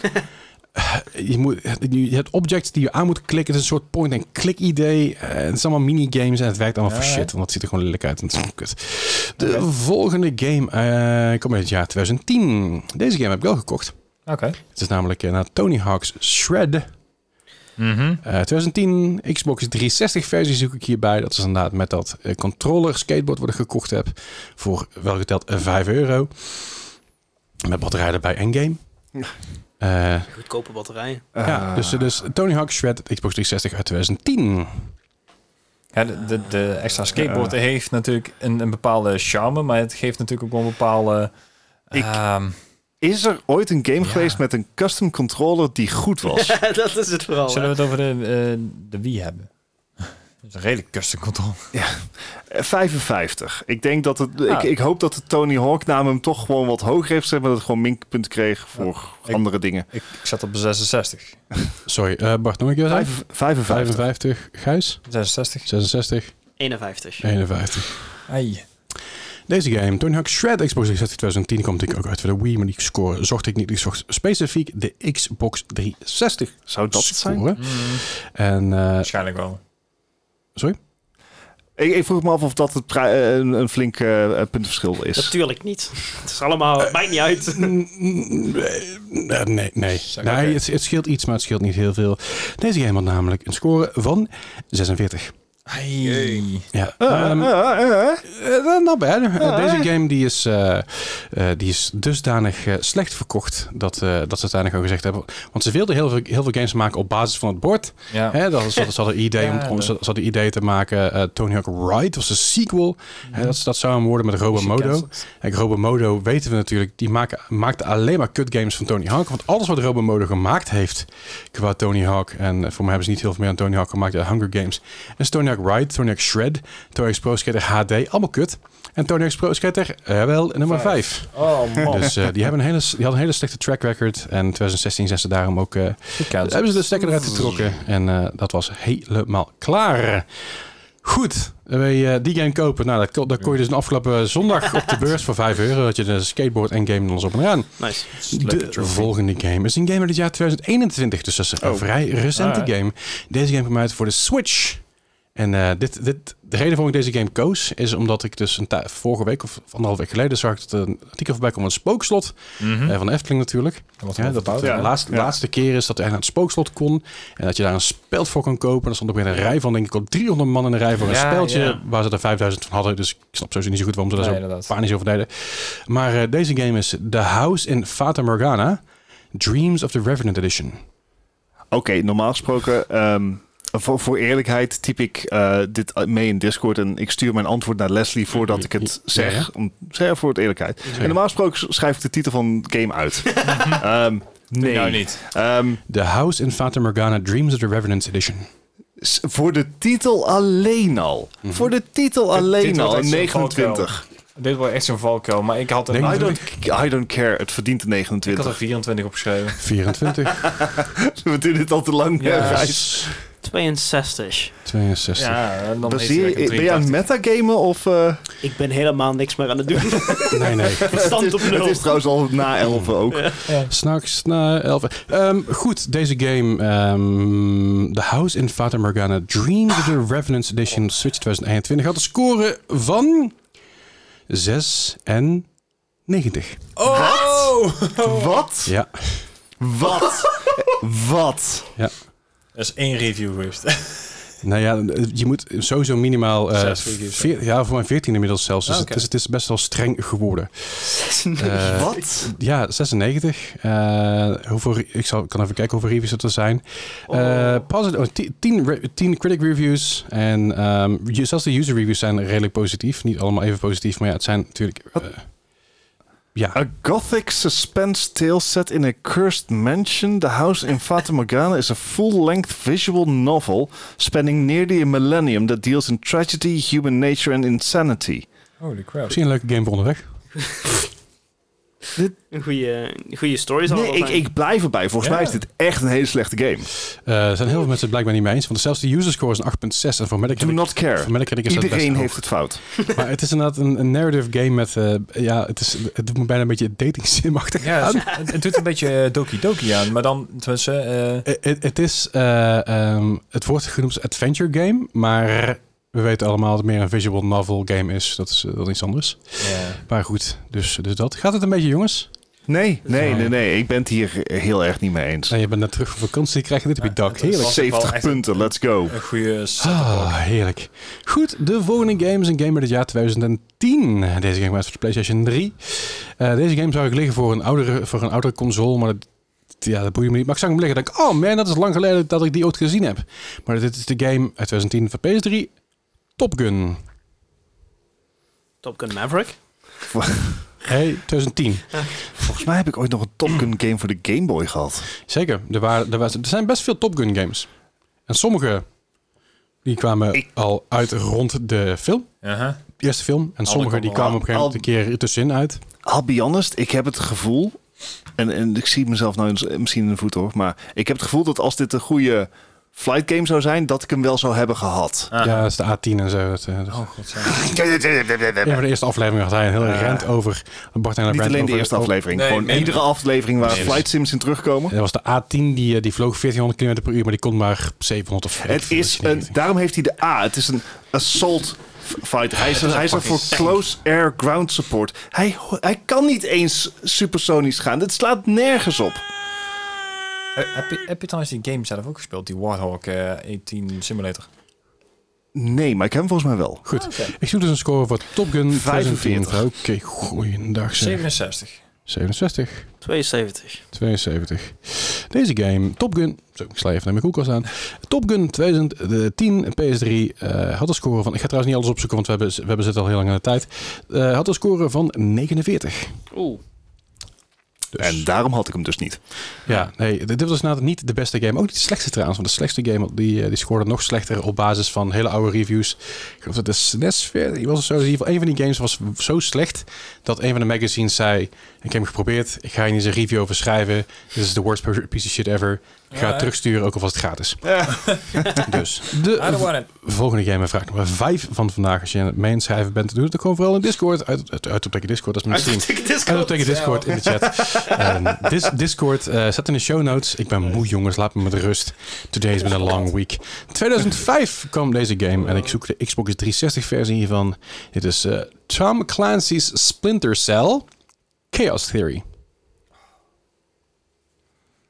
Speaker 1: Eh, je, moet, je je hebt objects die je aan moet klikken. Het is een soort point-and-click idee. Eh, het zijn allemaal minigames en het werkt allemaal voor
Speaker 2: Ja.
Speaker 1: shit. Want het ziet er gewoon lelijk uit en het is gewoon kut. De volgende game eh komt uit het jaar 2010. Deze game heb ik wel gekocht.
Speaker 2: Oké.
Speaker 1: Het is namelijk eh, naar Tony Hawk's Shred.
Speaker 2: Mhm.
Speaker 1: Eh, 2010 Xbox 360 versie zoek ik hierbij. Dat is inderdaad met dat eh, controller skateboard wat ik gekocht heb. Voor wel geteld eh, 5 euro. Met batterij erbij en
Speaker 4: <laughs>
Speaker 1: game. Eh,
Speaker 3: Goedkope <laughs> batterijen.
Speaker 4: Ah. Eh,
Speaker 1: ja, dus, dus Tony Hawk Shred Xbox 360 uit 2010.
Speaker 2: Ja, de, de, de extra skateboard heeft natuurlijk een, een bepaalde charme, maar het geeft natuurlijk ook wel een bepaalde...
Speaker 4: Ik-
Speaker 2: ehm,
Speaker 4: Is er ooit een game
Speaker 2: Ja.
Speaker 4: geweest met een custom controller die goed was?
Speaker 3: dat is het vooral.
Speaker 2: zullen
Speaker 3: hè?
Speaker 2: we het over de, eh, de Wii hebben? <laughs> Dat is een redelijk custom control.
Speaker 4: Eh, 55. Ik denk dat het. Ik,
Speaker 2: Ah.
Speaker 4: ik hoop dat de Tony Hawk naam hem toch gewoon wat hoger heeft gezet, maar dat het gewoon minpunt kreeg voor
Speaker 2: Ik-
Speaker 4: andere dingen.
Speaker 2: Ik, ik zat op de 66.
Speaker 1: Sorry, eh, Bart, nog een keer zeggen?
Speaker 4: Vijf- 55.
Speaker 1: 55, Gijs,
Speaker 2: 66.
Speaker 1: 66,
Speaker 3: 51.
Speaker 1: 51.
Speaker 2: Ai.
Speaker 1: Deze game, Tony Hawk Shred Xbox 360 2010, komt ik ook uit voor de Wii, maar die score zocht ik niet. Ik zocht specifiek de Xbox 360
Speaker 4: Zou dat het zijn?
Speaker 1: score.
Speaker 2: Hmm.
Speaker 1: En eh,
Speaker 2: Waarschijnlijk wel.
Speaker 1: Sorry?
Speaker 4: Ik, ik vroeg me af of dat het pri- eh, een, een flink eh, eh, puntverschil is.
Speaker 3: Natuurlijk niet. Het is allemaal, maakt niet uit.
Speaker 1: Mm, Eh, nee, nee.
Speaker 2: Zeg,
Speaker 1: nee
Speaker 2: oké.
Speaker 1: het, het scheelt iets, maar het scheelt niet heel veel. Deze game had namelijk een score van 46.
Speaker 2: Ai.
Speaker 1: Ja.
Speaker 4: Eh,
Speaker 2: ah.
Speaker 1: Ehm,
Speaker 4: eh, eh, eh.
Speaker 1: eh, nou, not bad. Eh,
Speaker 4: Ja,
Speaker 1: Deze game die is, eh, eh, die is dusdanig eh, slecht verkocht dat, eh, dat ze uiteindelijk al gezegd hebben. Want ze wilden heel veel, heel veel games maken op basis van het bord.
Speaker 2: Ja.
Speaker 1: Hè, dat, is- dat, is- ze hadden een idee om,
Speaker 2: <laughs> Ja,
Speaker 1: om-
Speaker 2: dat-
Speaker 1: ze, ze hadden een idee te maken. eh, Tony Hawk Ride was een sequel.
Speaker 2: Mhm.
Speaker 1: Hè, dat, dat zou hem worden met Robomodo. En Robomodo weten we natuurlijk, die maken, maakte alleen maar kutgames van Tony Hawk. Want alles wat Robomodo gemaakt heeft qua Tony Hawk, en eh, voor mij hebben ze niet heel veel meer aan Tony Hawk gemaakt, uit Hunger Games. En dus Tony Hawk Ride, Tony Hawk Shred, Tony Hawk's Pro Skater HD, allemaal kut. En Tony Hawk's Pro Skater, eh, wel, nummer 5.
Speaker 2: Oh man.
Speaker 1: Dus eh, die, hebben een hele, s- die hadden een hele slechte track record. En 2016 zijn ze daarom ook... eh,
Speaker 2: Gekend.
Speaker 1: hebben ze de stekker eruit getrokken. En eh, dat was helemaal klaar. Goed, wij eh, die game kopen. Nou, dat, ko- dat kon je dus een afgelopen zondag op de beurs voor 5 euro. Dat je de skateboard en game ons op en aan.
Speaker 3: Nice.
Speaker 1: De volgende game is een game uit het jaar 2021. Dus dat is een vrij recente
Speaker 2: Ah, ja.
Speaker 1: game. Deze game kwam uit voor de Switch. En eh, dit, dit, de reden waarom ik deze game koos, is omdat ik dus een tij- vorige week of anderhalf week geleden zag dat er een artikel voorbij kwam van het spookslot.
Speaker 2: Mhm. Hm?
Speaker 1: eh, van de Efteling natuurlijk.
Speaker 2: Wat
Speaker 1: Ja,
Speaker 2: er
Speaker 1: dat
Speaker 2: gebouwd.
Speaker 1: het de
Speaker 4: Ja.
Speaker 1: laatste,
Speaker 4: Ja.
Speaker 1: laatste keer is dat hij naar het spookslot kon. En dat je daar een speld voor kon kopen. En er stond ook weer een rij van, denk ik, op 300 man in een rij voor een
Speaker 2: Ja,
Speaker 1: speldje.
Speaker 2: ja.
Speaker 1: Waar ze er 5000 van hadden. Dus ik snap sowieso niet zo goed waarom ze daar
Speaker 2: Nee,
Speaker 1: zo
Speaker 2: inderdaad.
Speaker 1: panisch over deden. Maar eh, deze game is The House in Fata Morgana. Dreams of the Revenant Edition.
Speaker 4: Oké, normaal gesproken. ehm, voor, voor eerlijkheid typ ik eh, dit mee in Discord en ik stuur mijn antwoord naar Leslie voordat ik het zeg.
Speaker 1: Ja, ja.
Speaker 4: Om, zeg voor het eerlijkheid. En normaal gesproken schrijf ik de titel van de game uit. Ehm, Nee.
Speaker 2: Nou niet.
Speaker 4: Ehm,
Speaker 1: The House in Fata Morgana Dreams of the Revenants Edition.
Speaker 4: s- voor de titel alleen al. Voor de titel alleen
Speaker 2: dit wordt
Speaker 4: al.
Speaker 2: echt zo'n
Speaker 4: 29.
Speaker 2: Dit wordt echt zo'n valkuil. Maar ik had er,
Speaker 1: Denk
Speaker 4: I
Speaker 1: ik.
Speaker 4: don't, I don't care. Het verdient de
Speaker 2: ik had er
Speaker 4: <laughs> 29.
Speaker 2: 24 opgeschreven.
Speaker 1: 24.
Speaker 4: We doen dit al te lang. eh,
Speaker 2: Ja.
Speaker 4: hè, Gijs.
Speaker 3: 62.
Speaker 1: 62.
Speaker 2: <laughs> ja, en dan heeft hij
Speaker 4: Baseer,
Speaker 2: lekker
Speaker 4: ben je aan het
Speaker 2: 83.
Speaker 4: metagamen of... eh,
Speaker 3: Ik ben helemaal niks meer aan het doen.
Speaker 1: Nee, nee.
Speaker 3: Stand op
Speaker 4: het, is, het
Speaker 3: nul.
Speaker 4: is trouwens al na 11 ook.
Speaker 1: S'nachts na 11. Ehm, goed, deze game. ehm, The House in Fata Morgana Dreams of the Revenants Edition Switch 2021 had een score van 6 en 90.
Speaker 4: <laughs> Wat?
Speaker 1: Ja,
Speaker 4: Wat? Wat?
Speaker 2: Er is één review geweest. <laughs>
Speaker 1: nou ja, je moet sowieso minimaal... eh,
Speaker 2: Zes reviews,
Speaker 1: veer- ja, voor mijn 14 inmiddels zelfs. Dus
Speaker 2: Ah,
Speaker 1: het,
Speaker 2: oké.
Speaker 1: is, het is best wel streng geworden. <laughs> Eh,
Speaker 4: Wat?
Speaker 1: Ja, 96. Eh, hoeveel, re- ik zal, kan even kijken hoeveel reviews het er zijn. Eh
Speaker 4: Oh.
Speaker 1: positive, 10, critic reviews. En ehm, ju- zelfs de user reviews zijn redelijk positief. Niet allemaal even positief, maar ja, het zijn natuurlijk... eh, ja,
Speaker 4: A gothic suspense tale set in a cursed mansion, The House in Fata Morgana is a full-length visual novel spanning nearly a millennium that deals in tragedy, human nature and insanity.
Speaker 2: Holy crap.
Speaker 1: misschien een leuke game voor onderweg.
Speaker 3: Een goede, een goede story zal
Speaker 4: Nee,
Speaker 3: het wel
Speaker 4: ik,
Speaker 3: zijn.
Speaker 4: ik blijf erbij. Volgens
Speaker 2: Ja.
Speaker 4: mij is dit echt een hele slechte game.
Speaker 1: Eh, Er zijn heel veel mensen het blijkbaar niet mee eens. Want zelfs de user score is een 8.6. En voor
Speaker 4: Do
Speaker 1: Metacritic,
Speaker 4: not care.
Speaker 1: voor Metacritic is dat best
Speaker 4: Iedereen
Speaker 1: hoog.
Speaker 4: heeft het fout.
Speaker 1: Maar het is inderdaad een, een narrative game met... eh, ja, het, is, het doet me bijna een beetje dating sim-achtig
Speaker 2: Ja,
Speaker 1: aan.
Speaker 2: het, het- het doet een beetje eh, Doki Doki aan. Maar dan, tenminste, eh,
Speaker 1: Eh, Het het is, eh, ehm, het wordt genoemd als adventure game, maar we weten allemaal dat het meer een visual novel game is. Dat is eh, wel iets anders.
Speaker 2: ja.
Speaker 1: Maar goed, dus, dus dat. Gaat het een beetje, jongens?
Speaker 4: Nee, nee,
Speaker 1: Zo.
Speaker 4: nee, nee. Ik ben het hier heel erg niet mee eens.
Speaker 1: Nou, je bent net terug van vakantie, krijg je dit op je
Speaker 2: Ja,
Speaker 1: dak.
Speaker 2: het is
Speaker 1: Heerlijk.
Speaker 2: wel-
Speaker 4: 70
Speaker 2: echt-
Speaker 4: punten, let's go.
Speaker 2: een goede set.
Speaker 1: Ah, heerlijk. Goed, de volgende game is een game uit het jaar 2010. Deze game was voor de PlayStation 3. Eh, deze game zou ik liggen voor een oudere, voor een oudere console, maar dat, ja, dat boeit me niet. Maar ik zag hem liggen en dacht, ik, oh man, dat is lang geleden dat ik die ooit gezien heb. Maar dit is de game uit 2010 voor PS3, Top Gun.
Speaker 3: Top Gun Maverick.
Speaker 1: Hey, 2010.
Speaker 4: Volgens mij heb ik ooit nog een Top Gun game voor de Game Boy gehad.
Speaker 1: Zeker. Er, waren, er, was, er zijn best veel Top Gun games. En sommige die kwamen
Speaker 4: Ik-
Speaker 1: al uit rond de film.
Speaker 2: Uh-huh.
Speaker 1: De eerste film. En sommige die
Speaker 2: al-
Speaker 1: kwamen op een gegeven moment een keer tussenin uit.
Speaker 4: I'll be honest, ik heb het gevoel... En, en ik zie mezelf nou eens- misschien in de voet hoor... maar ik heb het gevoel dat als dit een goede flight game zou zijn... dat ik hem wel zou hebben gehad. <laughs>
Speaker 2: Ah.
Speaker 1: Ja, dat is de A10 en zo. Dat, eh, dat-
Speaker 2: Oh, godzijdank.
Speaker 1: Ja, maar de eerste aflevering had hij een heel
Speaker 4: Ah.
Speaker 1: rent over. Bart en
Speaker 4: Niet
Speaker 1: rant
Speaker 4: alleen de
Speaker 1: over-
Speaker 4: eerste
Speaker 1: over-
Speaker 4: aflevering.
Speaker 2: Nee,
Speaker 4: gewoon
Speaker 2: nee,
Speaker 4: iedere aflevering waar
Speaker 2: Nee.
Speaker 4: flight sims in terugkomen.
Speaker 1: Dat was de A10, die, eh, die vloog 1400 km per uur, maar die kon maar 700 of weet ik
Speaker 4: Het
Speaker 1: veel,
Speaker 4: is
Speaker 1: weet je
Speaker 4: een,
Speaker 1: niet.
Speaker 4: daarom heeft hij de A. Het is een assault f- fight. Hij is, hij is er voor close air ground support. Hij, ho- hij kan niet eens supersonisch gaan. Dit slaat nergens op.
Speaker 2: Eh, heb, je, heb je trouwens die game zelf ook gespeeld? Die Warhawk eh 18 Simulator.
Speaker 4: Nee, maar ik heb hem volgens mij wel.
Speaker 1: Goed. Ik zoek dus een score voor Top Gun 2010.
Speaker 4: 45.
Speaker 1: Oké, goeiedag zeg.
Speaker 2: 67.
Speaker 1: 67.
Speaker 3: 72.
Speaker 1: 72. Deze game, Top Gun... Zo, ik sla even naar mijn koelkast aan. Top Gun 2010 PS3 eh, had een score van... Ik ga trouwens niet alles opzoeken, want we hebben, we hebben zitten al heel lang aan de tijd. Eh, had een score van 49.
Speaker 3: Oeh.
Speaker 1: Dus,
Speaker 4: En daarom had ik hem dus niet.
Speaker 1: ja, nee, dit dit was inderdaad niet de beste game. Ook niet de slechtste trouwens, want de slechtste game die, eh, die scoorde nog slechter op basis van hele oude reviews. Ik geloof dat de E SNES versie was of zo. In ieder geval, een van die games was zo slecht dat een van de magazines zei... Ik heb hem geprobeerd, ik ga hier eens een review over schrijven. Dit is the worst piece of shit ever. Ik ga
Speaker 2: Ja.
Speaker 1: het terugsturen, ook al was het <laughs> gratis. dus
Speaker 2: I don't
Speaker 1: de
Speaker 2: want it.
Speaker 1: volgende game, en vraag nummer 5 van vandaag. Als je aan het meenschrijven bent, doe het ook gewoon vooral in Discord. Uit, uit, uit op Discord, dat is mijn team. En dat betekent Discord in de chat. Ehm, dis- Discord eh zet in de show notes. Ik ben moe, jongens. Laat me met rust. Today has been a long week. 2005 kwam deze game. En ik zoek de Xbox 360 versie hiervan. Dit is eh, Tom Clancy's Splinter Cell Chaos Theory.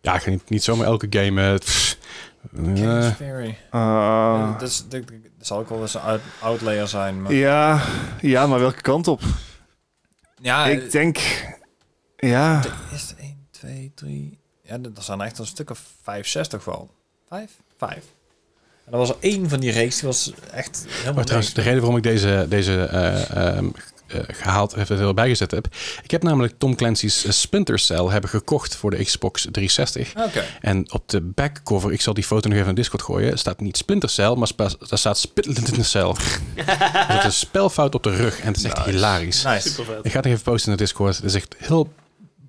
Speaker 1: Ja, ik ga niet, niet zomaar elke game... eh, pff, eh,
Speaker 2: King's Fury.
Speaker 4: Eh,
Speaker 2: Ja, dat, is, dat, dat zal ook wel eens een out- outlayer zijn. Maar...
Speaker 4: ja, ja, maar welke kant op?
Speaker 2: Ja, eh,
Speaker 4: ik denk... Ja,
Speaker 2: Is 1, 2, 3. Ja, dat dat zijn echt een stuk of 5, 6 toch wel. 5? 5. En er was er één van die reeks die was echt helemaal
Speaker 1: Maar Oh, trouwens, de
Speaker 2: niks.
Speaker 1: reden waarom ik deze, deze eh, ehm, eh, gehaald heb, het heel bijgezet heb. Ik heb namelijk Tom Clancy's eh, Splinter Cell hebben gekocht voor de Xbox 360.
Speaker 2: Oké.
Speaker 1: En op de backcover, ik zal die foto nog even in Discord gooien, staat niet Splinter Cell, maar spa- daar staat Splinter Cell. <laughs> dat is een spelfout op de rug en het is echt hilarisch.
Speaker 2: Nice.
Speaker 1: Ik ga het nog even posten in de Discord. Het is echt heel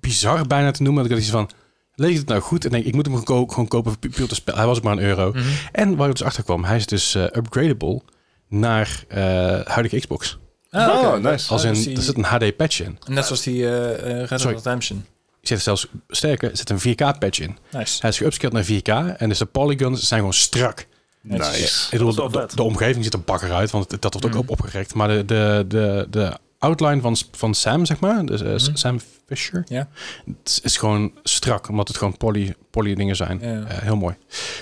Speaker 1: bizar bijna te noemen. Dat ik had iets van, lees ik het nou goed? En denk, ik moet hem gewoon, ko- gewoon kopen voor pu- puur te spelen. Hij was ook maar een euro.
Speaker 2: Mhm.
Speaker 1: En waar ik dus achter kwam, hij is dus eh, upgradable naar eh, huidige Xbox.
Speaker 2: Ah, oké.
Speaker 4: Oh, nice.
Speaker 1: Als
Speaker 2: dus
Speaker 1: in,
Speaker 2: die-
Speaker 1: er zit een HD-patch in.
Speaker 2: Net zoals die eh, eh, Red Dead
Speaker 1: Sorry.
Speaker 2: Redemption.
Speaker 1: Er zit zelfs sterker, er zit een 4K-patch in.
Speaker 2: Nice.
Speaker 1: Hij is geupscaled naar 4K en dus de polygons zijn gewoon strak.
Speaker 4: Nice.
Speaker 1: Ik bedoel,
Speaker 3: Dat is wel
Speaker 1: de,
Speaker 3: vet.
Speaker 1: de omgeving zit er bakker uit, want het- dat wordt ook
Speaker 2: Mhm.
Speaker 1: op, opgerekt. Maar de, de, de, de outline van, S- van Sam, zeg maar, dus eh, S-
Speaker 2: Mhm.
Speaker 1: Sam Fisher,
Speaker 2: Ja.
Speaker 1: het is, is gewoon strak, omdat het gewoon poly, poly dingen zijn.
Speaker 2: Ja.
Speaker 1: Eh, heel mooi.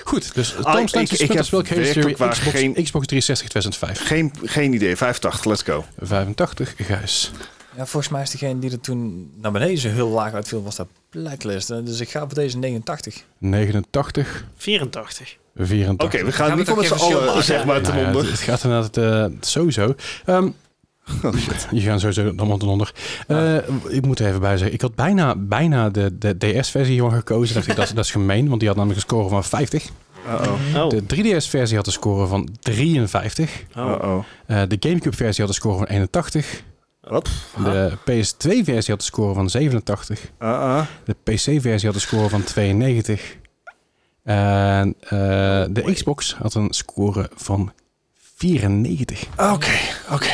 Speaker 1: Goed, dus Tom
Speaker 4: Ah, ik-
Speaker 1: Clancy's
Speaker 4: ik- ik
Speaker 1: Splinter Cell
Speaker 4: heb
Speaker 1: Game
Speaker 4: werkelijk
Speaker 1: Theory
Speaker 4: waar
Speaker 1: Xbox,
Speaker 4: geen-
Speaker 1: Xbox 360 2005.
Speaker 4: Geen, geen idee. 85, let's go.
Speaker 1: 85, Gijs.
Speaker 2: Ja, volgens mij is degene die er toen naar beneden zo heel laag uitviel, was dat Blacklist. Eh, Dus ik ga voor deze 89.
Speaker 1: 89,
Speaker 3: 84.
Speaker 1: 84.
Speaker 4: Oké, we gaan,
Speaker 2: Gaan we
Speaker 4: niet
Speaker 2: toch
Speaker 4: met z'n
Speaker 2: geen verschil
Speaker 4: allen
Speaker 2: maken?
Speaker 4: zeg maar
Speaker 1: Nou
Speaker 4: ten
Speaker 1: ja,
Speaker 4: onder.
Speaker 1: het, het gaat inderdaad eh, sowieso. Ehm, je gaat sowieso dan onder onder. Eh, Ik moet er even bij zeggen. Ik had bijna, bijna de, de DS-versie hiervan gekozen. Dacht ik, dat, is- dat is gemeen, want die had namelijk een score van 50.
Speaker 4: Uh-oh.
Speaker 3: Oh.
Speaker 1: De 3DS-versie had een score van 53.
Speaker 3: oh.
Speaker 4: Uh-oh.
Speaker 1: Eh, de GameCube-versie had een score van 81.
Speaker 4: Wat?
Speaker 1: De PS2-versie had een score van 87.
Speaker 4: Uh-uh.
Speaker 1: De PC-versie had een score van 92. En eh, de Xbox had een score van 94.
Speaker 4: Oké, oké.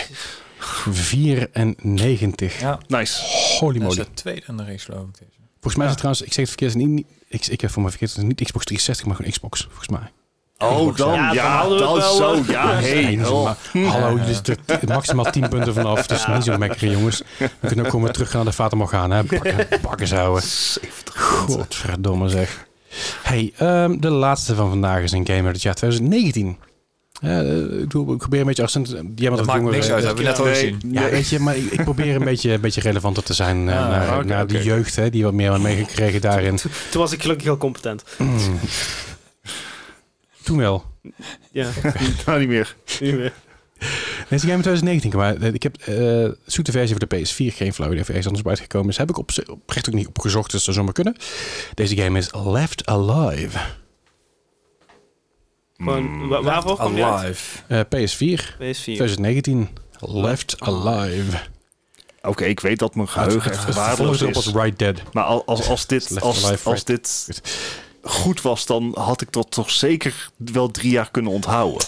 Speaker 1: 94.
Speaker 2: Ja,
Speaker 4: Nice.
Speaker 1: Holy
Speaker 2: dat is
Speaker 1: moly.
Speaker 2: de tweede in de reeks geloof ik. Deze.
Speaker 1: Dus Volgens mij is het trouwens, ik zeg het verkeerd, het is niet, niet- ik, ik heb voor mijn verkeerd, het is niet Xbox 360, maar gewoon Xbox, volgens mij.
Speaker 4: Oh, dan.
Speaker 3: Ja,
Speaker 4: Ja,
Speaker 3: dan hadden we het
Speaker 4: dan
Speaker 3: wel,
Speaker 4: zo.
Speaker 3: eh.
Speaker 4: Ja, hey.
Speaker 1: Eén is
Speaker 4: oh.
Speaker 1: maar- Hallo, dus er- er maximaal 10 punten vanaf. Dat is niet zo lekker, jongens. We kunnen ook gewoon weer terug gaan naar de Fata Morgana. hè. Bakken, bakken zouden.
Speaker 4: 70.
Speaker 1: Godverdomme zeg. Hey, ehm, de laatste van vandaag is een game uit het jaar 2019. Ja, eh, ik, bedoel, ik probeer een beetje accent. Jij bent
Speaker 2: Dat
Speaker 1: wat
Speaker 2: maakt
Speaker 1: jonger.
Speaker 2: niks
Speaker 1: eh,
Speaker 2: uit, dat
Speaker 1: eh,
Speaker 2: hebben we net al
Speaker 4: Nee.
Speaker 2: gezien.
Speaker 1: Ja,
Speaker 4: Nee.
Speaker 1: weet je, maar ik, ik probeer <laughs> een beetje, een beetje relevanter te zijn eh,
Speaker 2: Ah,
Speaker 1: naar,
Speaker 4: oké,
Speaker 1: naar
Speaker 4: oké.
Speaker 1: de jeugd, hè, die wat meer hebben meegekregen daarin.
Speaker 3: Toen was ik gelukkig heel competent.
Speaker 1: Mm. Toen wel.
Speaker 3: Ja,
Speaker 4: Nou, niet meer.
Speaker 3: nu weer.
Speaker 1: Deze game in 2019, maar eh, ik heb eh zoete versie voor de PS4, geen flauw idee of er ergens anders uitgekomen is. Heb ik op, oprecht ook niet opgezocht, dus dat zou maar kunnen. Deze game is Left Alive.
Speaker 4: Mm,
Speaker 3: Gewoon, wa- waarvoor kwam je uit?
Speaker 2: Alive.
Speaker 1: Eh, PS4,
Speaker 3: <laughs> PS4.
Speaker 1: 2019. Left Alive.
Speaker 4: Oké, ik weet dat mijn
Speaker 1: Het-
Speaker 4: geheugen
Speaker 1: het- het
Speaker 4: echt
Speaker 1: vervolg
Speaker 4: waardeloos
Speaker 1: erop
Speaker 4: is.
Speaker 1: was Right Dead.
Speaker 4: Maar al- als, als, dit,
Speaker 1: Left
Speaker 4: als,
Speaker 1: alive,
Speaker 4: als
Speaker 1: right.
Speaker 4: dit goed was, dan had ik dat toch zeker wel drie jaar kunnen onthouden.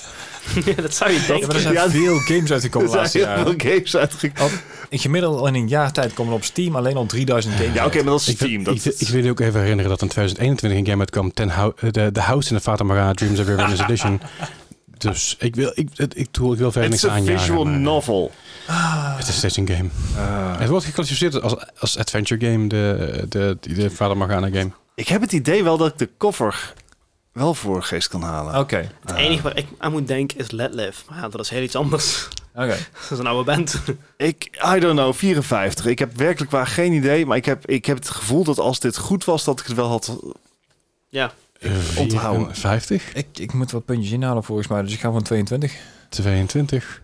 Speaker 3: Ja, dat zou je
Speaker 2: Ja, maar
Speaker 3: denken.
Speaker 2: er zijn
Speaker 4: Ja,
Speaker 2: veel games
Speaker 1: <laughs>
Speaker 2: uitgekomen de
Speaker 4: Er <laughs> zijn
Speaker 2: laatste
Speaker 4: heel
Speaker 2: jaren.
Speaker 4: veel games uitgekomen.
Speaker 1: Oh.
Speaker 2: Al- In gemiddeld al in een jaar tijd komen er op Steam alleen al 3000 games
Speaker 4: Ja, oké, maar dat is
Speaker 1: Ik, wil-
Speaker 4: Steam. Dat
Speaker 1: ik, ik wil je ook even herinneren dat in 2021 een game uitkwam, ten Hou- eh, de, de House in de Fata Morgana Dreams of Revenge
Speaker 4: <laughs>
Speaker 1: Edition. Dus ik wil, ik, het- ik, doe- ik wil verder
Speaker 4: It's
Speaker 1: niks
Speaker 4: a
Speaker 1: aanjagen.
Speaker 4: visual
Speaker 1: maar eh,
Speaker 4: novel. Ah.
Speaker 1: Het is steeds een game. het wordt geclassificeerd als, als adventure game, de, de, de, de Fata Morgana game.
Speaker 4: Ik heb het idee wel dat ik de cover wel voor de geest kan halen.
Speaker 2: Oké, oké.
Speaker 3: Het enige waar ik aan moet denken is Let Live. Maar ja, dat is heel iets anders. <laughs> Dat is een oude band. <laughs>
Speaker 4: Ik, I don't know, 54. Ik heb werkelijk waar geen idee, maar ik heb, ik heb het gevoel dat als dit goed was, dat ik het wel had.
Speaker 3: Ja,
Speaker 1: Eh,
Speaker 4: onthouden.
Speaker 1: 50,
Speaker 2: Ik, ik moet wat puntjes inhalen volgens mij, dus ik ga van 22.
Speaker 1: 22,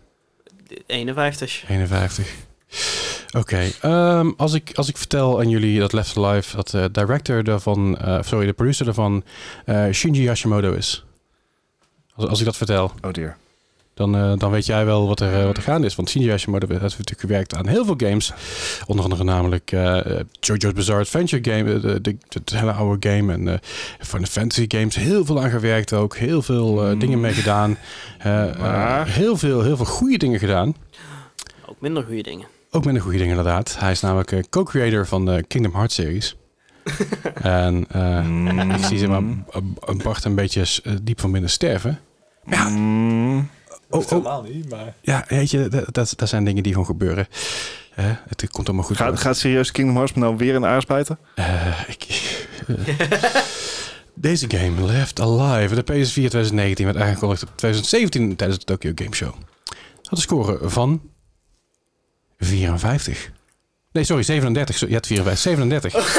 Speaker 3: 51.
Speaker 1: 51. Oké, ehm, als, ik, als ik vertel aan jullie dat Left Alive, dat de director daarvan, eh, sorry, de producer daarvan eh, Shinji Hashimoto is. Als, als ik dat vertel.
Speaker 4: Oh dear.
Speaker 1: Dan, eh, dan weet jij wel wat er, eh, wat er gaande is. Want Shinji Hashimoto heeft natuurlijk gewerkt aan heel veel games. Onder andere namelijk eh, eh, JoJo's Bizarre Adventure Game. eh, de, de, de, de hele oude game. En eh Final Fantasy games. Heel veel aan gewerkt ook. Heel veel eh,
Speaker 4: Mm.
Speaker 1: dingen mee gedaan. Eh, eh,
Speaker 4: Maar?
Speaker 1: heel, veel, heel veel goede dingen gedaan.
Speaker 3: Ook minder goede dingen.
Speaker 1: Ook met een goede ding inderdaad. Hij is namelijk eh, co-creator van de Kingdom Hearts series. en eh,
Speaker 2: Hmm.
Speaker 1: ik zie zeg maar, eh, Bart een beetje eh, diep van binnen sterven. Ja.
Speaker 4: Mm.
Speaker 1: Oh, oh,
Speaker 2: niet, maar...
Speaker 1: ja, weet je, dat, dat, dat zijn dingen die gewoon gebeuren. Eh, het komt allemaal goed.
Speaker 4: Gaat, gaat serieus Kingdom Hearts me nou weer in de aars bijten?
Speaker 1: Eh, ik, <laughs> deze game, Left Alive, de PS4 2019, werd aangekondigd op 2017 tijdens de Tokyo Game Show. Had een score van 54. Nee, sorry,
Speaker 4: <laughs>
Speaker 1: 37. Zo- Je had 54. 37.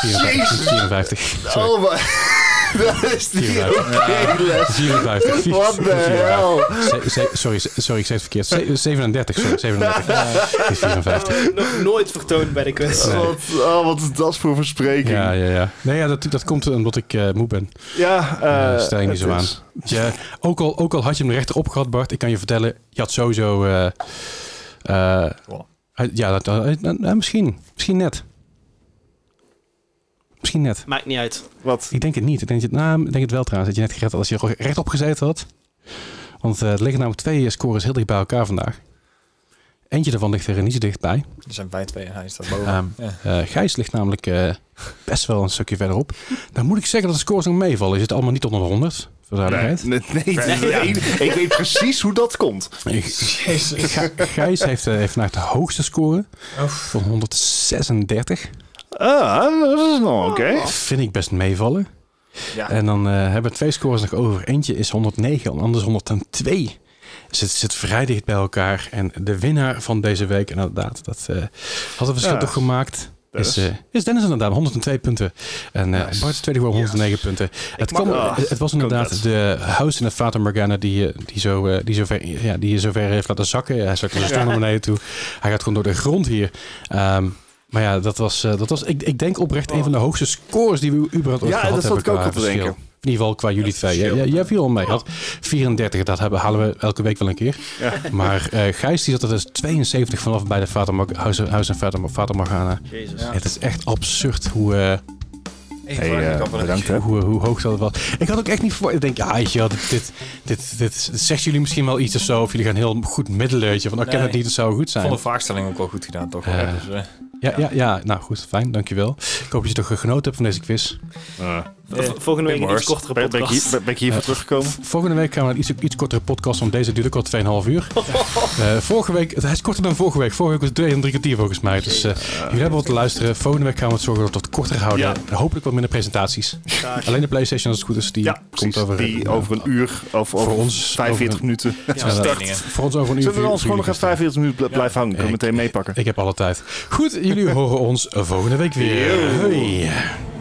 Speaker 1: 54. 54. Sorry.
Speaker 4: Oh, maar- <laughs> dat is die
Speaker 1: Ja.
Speaker 4: OP-les.
Speaker 1: 54.
Speaker 4: <laughs> Wat de
Speaker 1: 54.
Speaker 4: hel.
Speaker 1: Ze- ze- Sorry, ze- sorry, ik zei het verkeerd. Ze- 37, sorry, 37. Het is 54.
Speaker 3: Oh, Nog nooit vertoond
Speaker 4: <laughs>
Speaker 3: bij de quiz.
Speaker 1: Nee.
Speaker 4: Wat, oh, wat is dat voor verspreking?
Speaker 1: Ja, ja, ja. Nee, ja, dat, dat komt omdat ik eh, moe ben.
Speaker 4: Ja, eh,
Speaker 1: stel je niet
Speaker 4: het
Speaker 1: zo
Speaker 4: is-
Speaker 1: Ja, ook, al, ook al had je hem rechterop gehad, Bart, ik kan je vertellen, je had sowieso... eh, eh,
Speaker 2: Gewonnen.
Speaker 1: ja, dat, eh, eh, eh, misschien. Misschien net. Misschien net.
Speaker 3: Maakt niet uit.
Speaker 4: Wat?
Speaker 1: Ik denk het niet. Ik denk, het, nou, ik denk het wel trouwens, dat je net gered had als je er rechtop gezeten had. Want eh er liggen namelijk twee scores heel dicht bij elkaar vandaag. Eentje daarvan ligt er niet zo dichtbij.
Speaker 2: Er zijn wij twee en hij staat boven.
Speaker 1: Ehm,
Speaker 2: ja.
Speaker 1: Eh, Gijs ligt namelijk eh, best wel een stukje verderop. Dan moet ik zeggen dat de scores nog meevallen. Is het allemaal niet onder de 100? Voor de
Speaker 4: Nee,
Speaker 1: duidelijkheid.
Speaker 4: nee, nee, nee, ik weet precies hoe dat komt.
Speaker 1: Ik- Gij- Gijs heeft, eh, heeft vandaag de hoogste score van 136.
Speaker 4: Ah, dat is nog oké.
Speaker 1: Vind ik best meevallen.
Speaker 2: Ja.
Speaker 1: En dan eh, hebben we twee scores nog over. Eentje is 109, en anders 102. Dus het zit vrij dicht bij elkaar. En de winnaar van deze week, en inderdaad, dat eh, had een verschil
Speaker 4: Ja.
Speaker 1: toch gemaakt. Is,
Speaker 4: Dennis.
Speaker 1: eh, is Dennis inderdaad, 102 punten. En eh,
Speaker 4: Nice.
Speaker 1: Bart tweede gewoon 109 punten. Het, kwam,
Speaker 4: mag- ah,
Speaker 1: het, het was inderdaad
Speaker 4: congrats.
Speaker 1: de house in het Fata Morgana die, eh, die, zo, eh, die, zo ver, ja, die je zo ver heeft laten zakken. Hij zakte zo snel naar beneden toe. Hij gaat gewoon door de grond hier. Ehm, maar ja, dat was, eh, dat was ik, ik denk oprecht een van de hoogste scores die we überhaupt ooit
Speaker 4: Ja,
Speaker 1: gehad
Speaker 4: dat zat
Speaker 1: hebben.
Speaker 4: ik ook
Speaker 1: qua
Speaker 4: al te
Speaker 1: verschil.
Speaker 4: denken.
Speaker 1: In ieder geval qua jullie twee. Jij, jij- jij viel al mee. Had 34, dat hebben, halen we elke week wel een keer. Maar eh, Gijs die zat er dus 72 vanaf bij de Fata Morg- House House en Fata Fata Morgana.
Speaker 3: Jezus.
Speaker 2: Ja.
Speaker 1: Het is echt absurd hoe... eh,
Speaker 4: Hey, eh, bedankt hè.
Speaker 1: hoe, hoe hoog dat was. Ik had ook echt niet verwacht. Ik denk, ja, weet je wel, dit, dit, dit, dit, is- dit zegt jullie misschien wel iets of zo. Of jullie gaan heel goed middelen. weet je, Van, ik ken
Speaker 2: Nee.
Speaker 1: het niet, het zou goed
Speaker 2: Ik
Speaker 1: zijn.
Speaker 2: vond de vraagstelling ook wel goed gedaan, toch?
Speaker 1: Eh,
Speaker 2: Ja, dus, eh,
Speaker 1: ja, ja, ja, nou goed, fijn, dankjewel. Ik hoop dat je toch eh, genoten hebt van deze quiz.
Speaker 4: Eh,
Speaker 3: V- Volgende week een iets kortere
Speaker 4: ben, ben ik hier,
Speaker 3: podcast.
Speaker 4: ben- ben ik hier voor teruggekomen?
Speaker 1: Volgende week gaan we naar een iets, iets kortere podcast, want deze duurt ook al 2,5
Speaker 4: <laughs>
Speaker 1: uur. Eh, vorige week, hij is korter dan vorige week. Vorige week was het twee en drie kwartier volgens mij. Dus eh, jullie hebben wat te luisteren. Volgende week gaan we het zorgen dat we het korter houden. Hopelijk wat minder presentaties. Alleen de PlayStation, als het goed is, die
Speaker 4: Ja,
Speaker 1: komt
Speaker 4: precies.
Speaker 1: over,
Speaker 4: die
Speaker 1: eh,
Speaker 4: over een uur of over
Speaker 1: ons
Speaker 4: 45
Speaker 1: over
Speaker 4: minuten.
Speaker 1: eh, voor ons over een uur.
Speaker 4: Zullen we ons
Speaker 1: vier-
Speaker 4: gewoon nog even
Speaker 1: vier-
Speaker 4: 45 minuten bl- blijven hangen? Kunnen we
Speaker 1: Ik-
Speaker 4: meteen meepakken?
Speaker 1: Ik heb alle tijd. Goed, jullie horen ons volgende week weer. Hoi.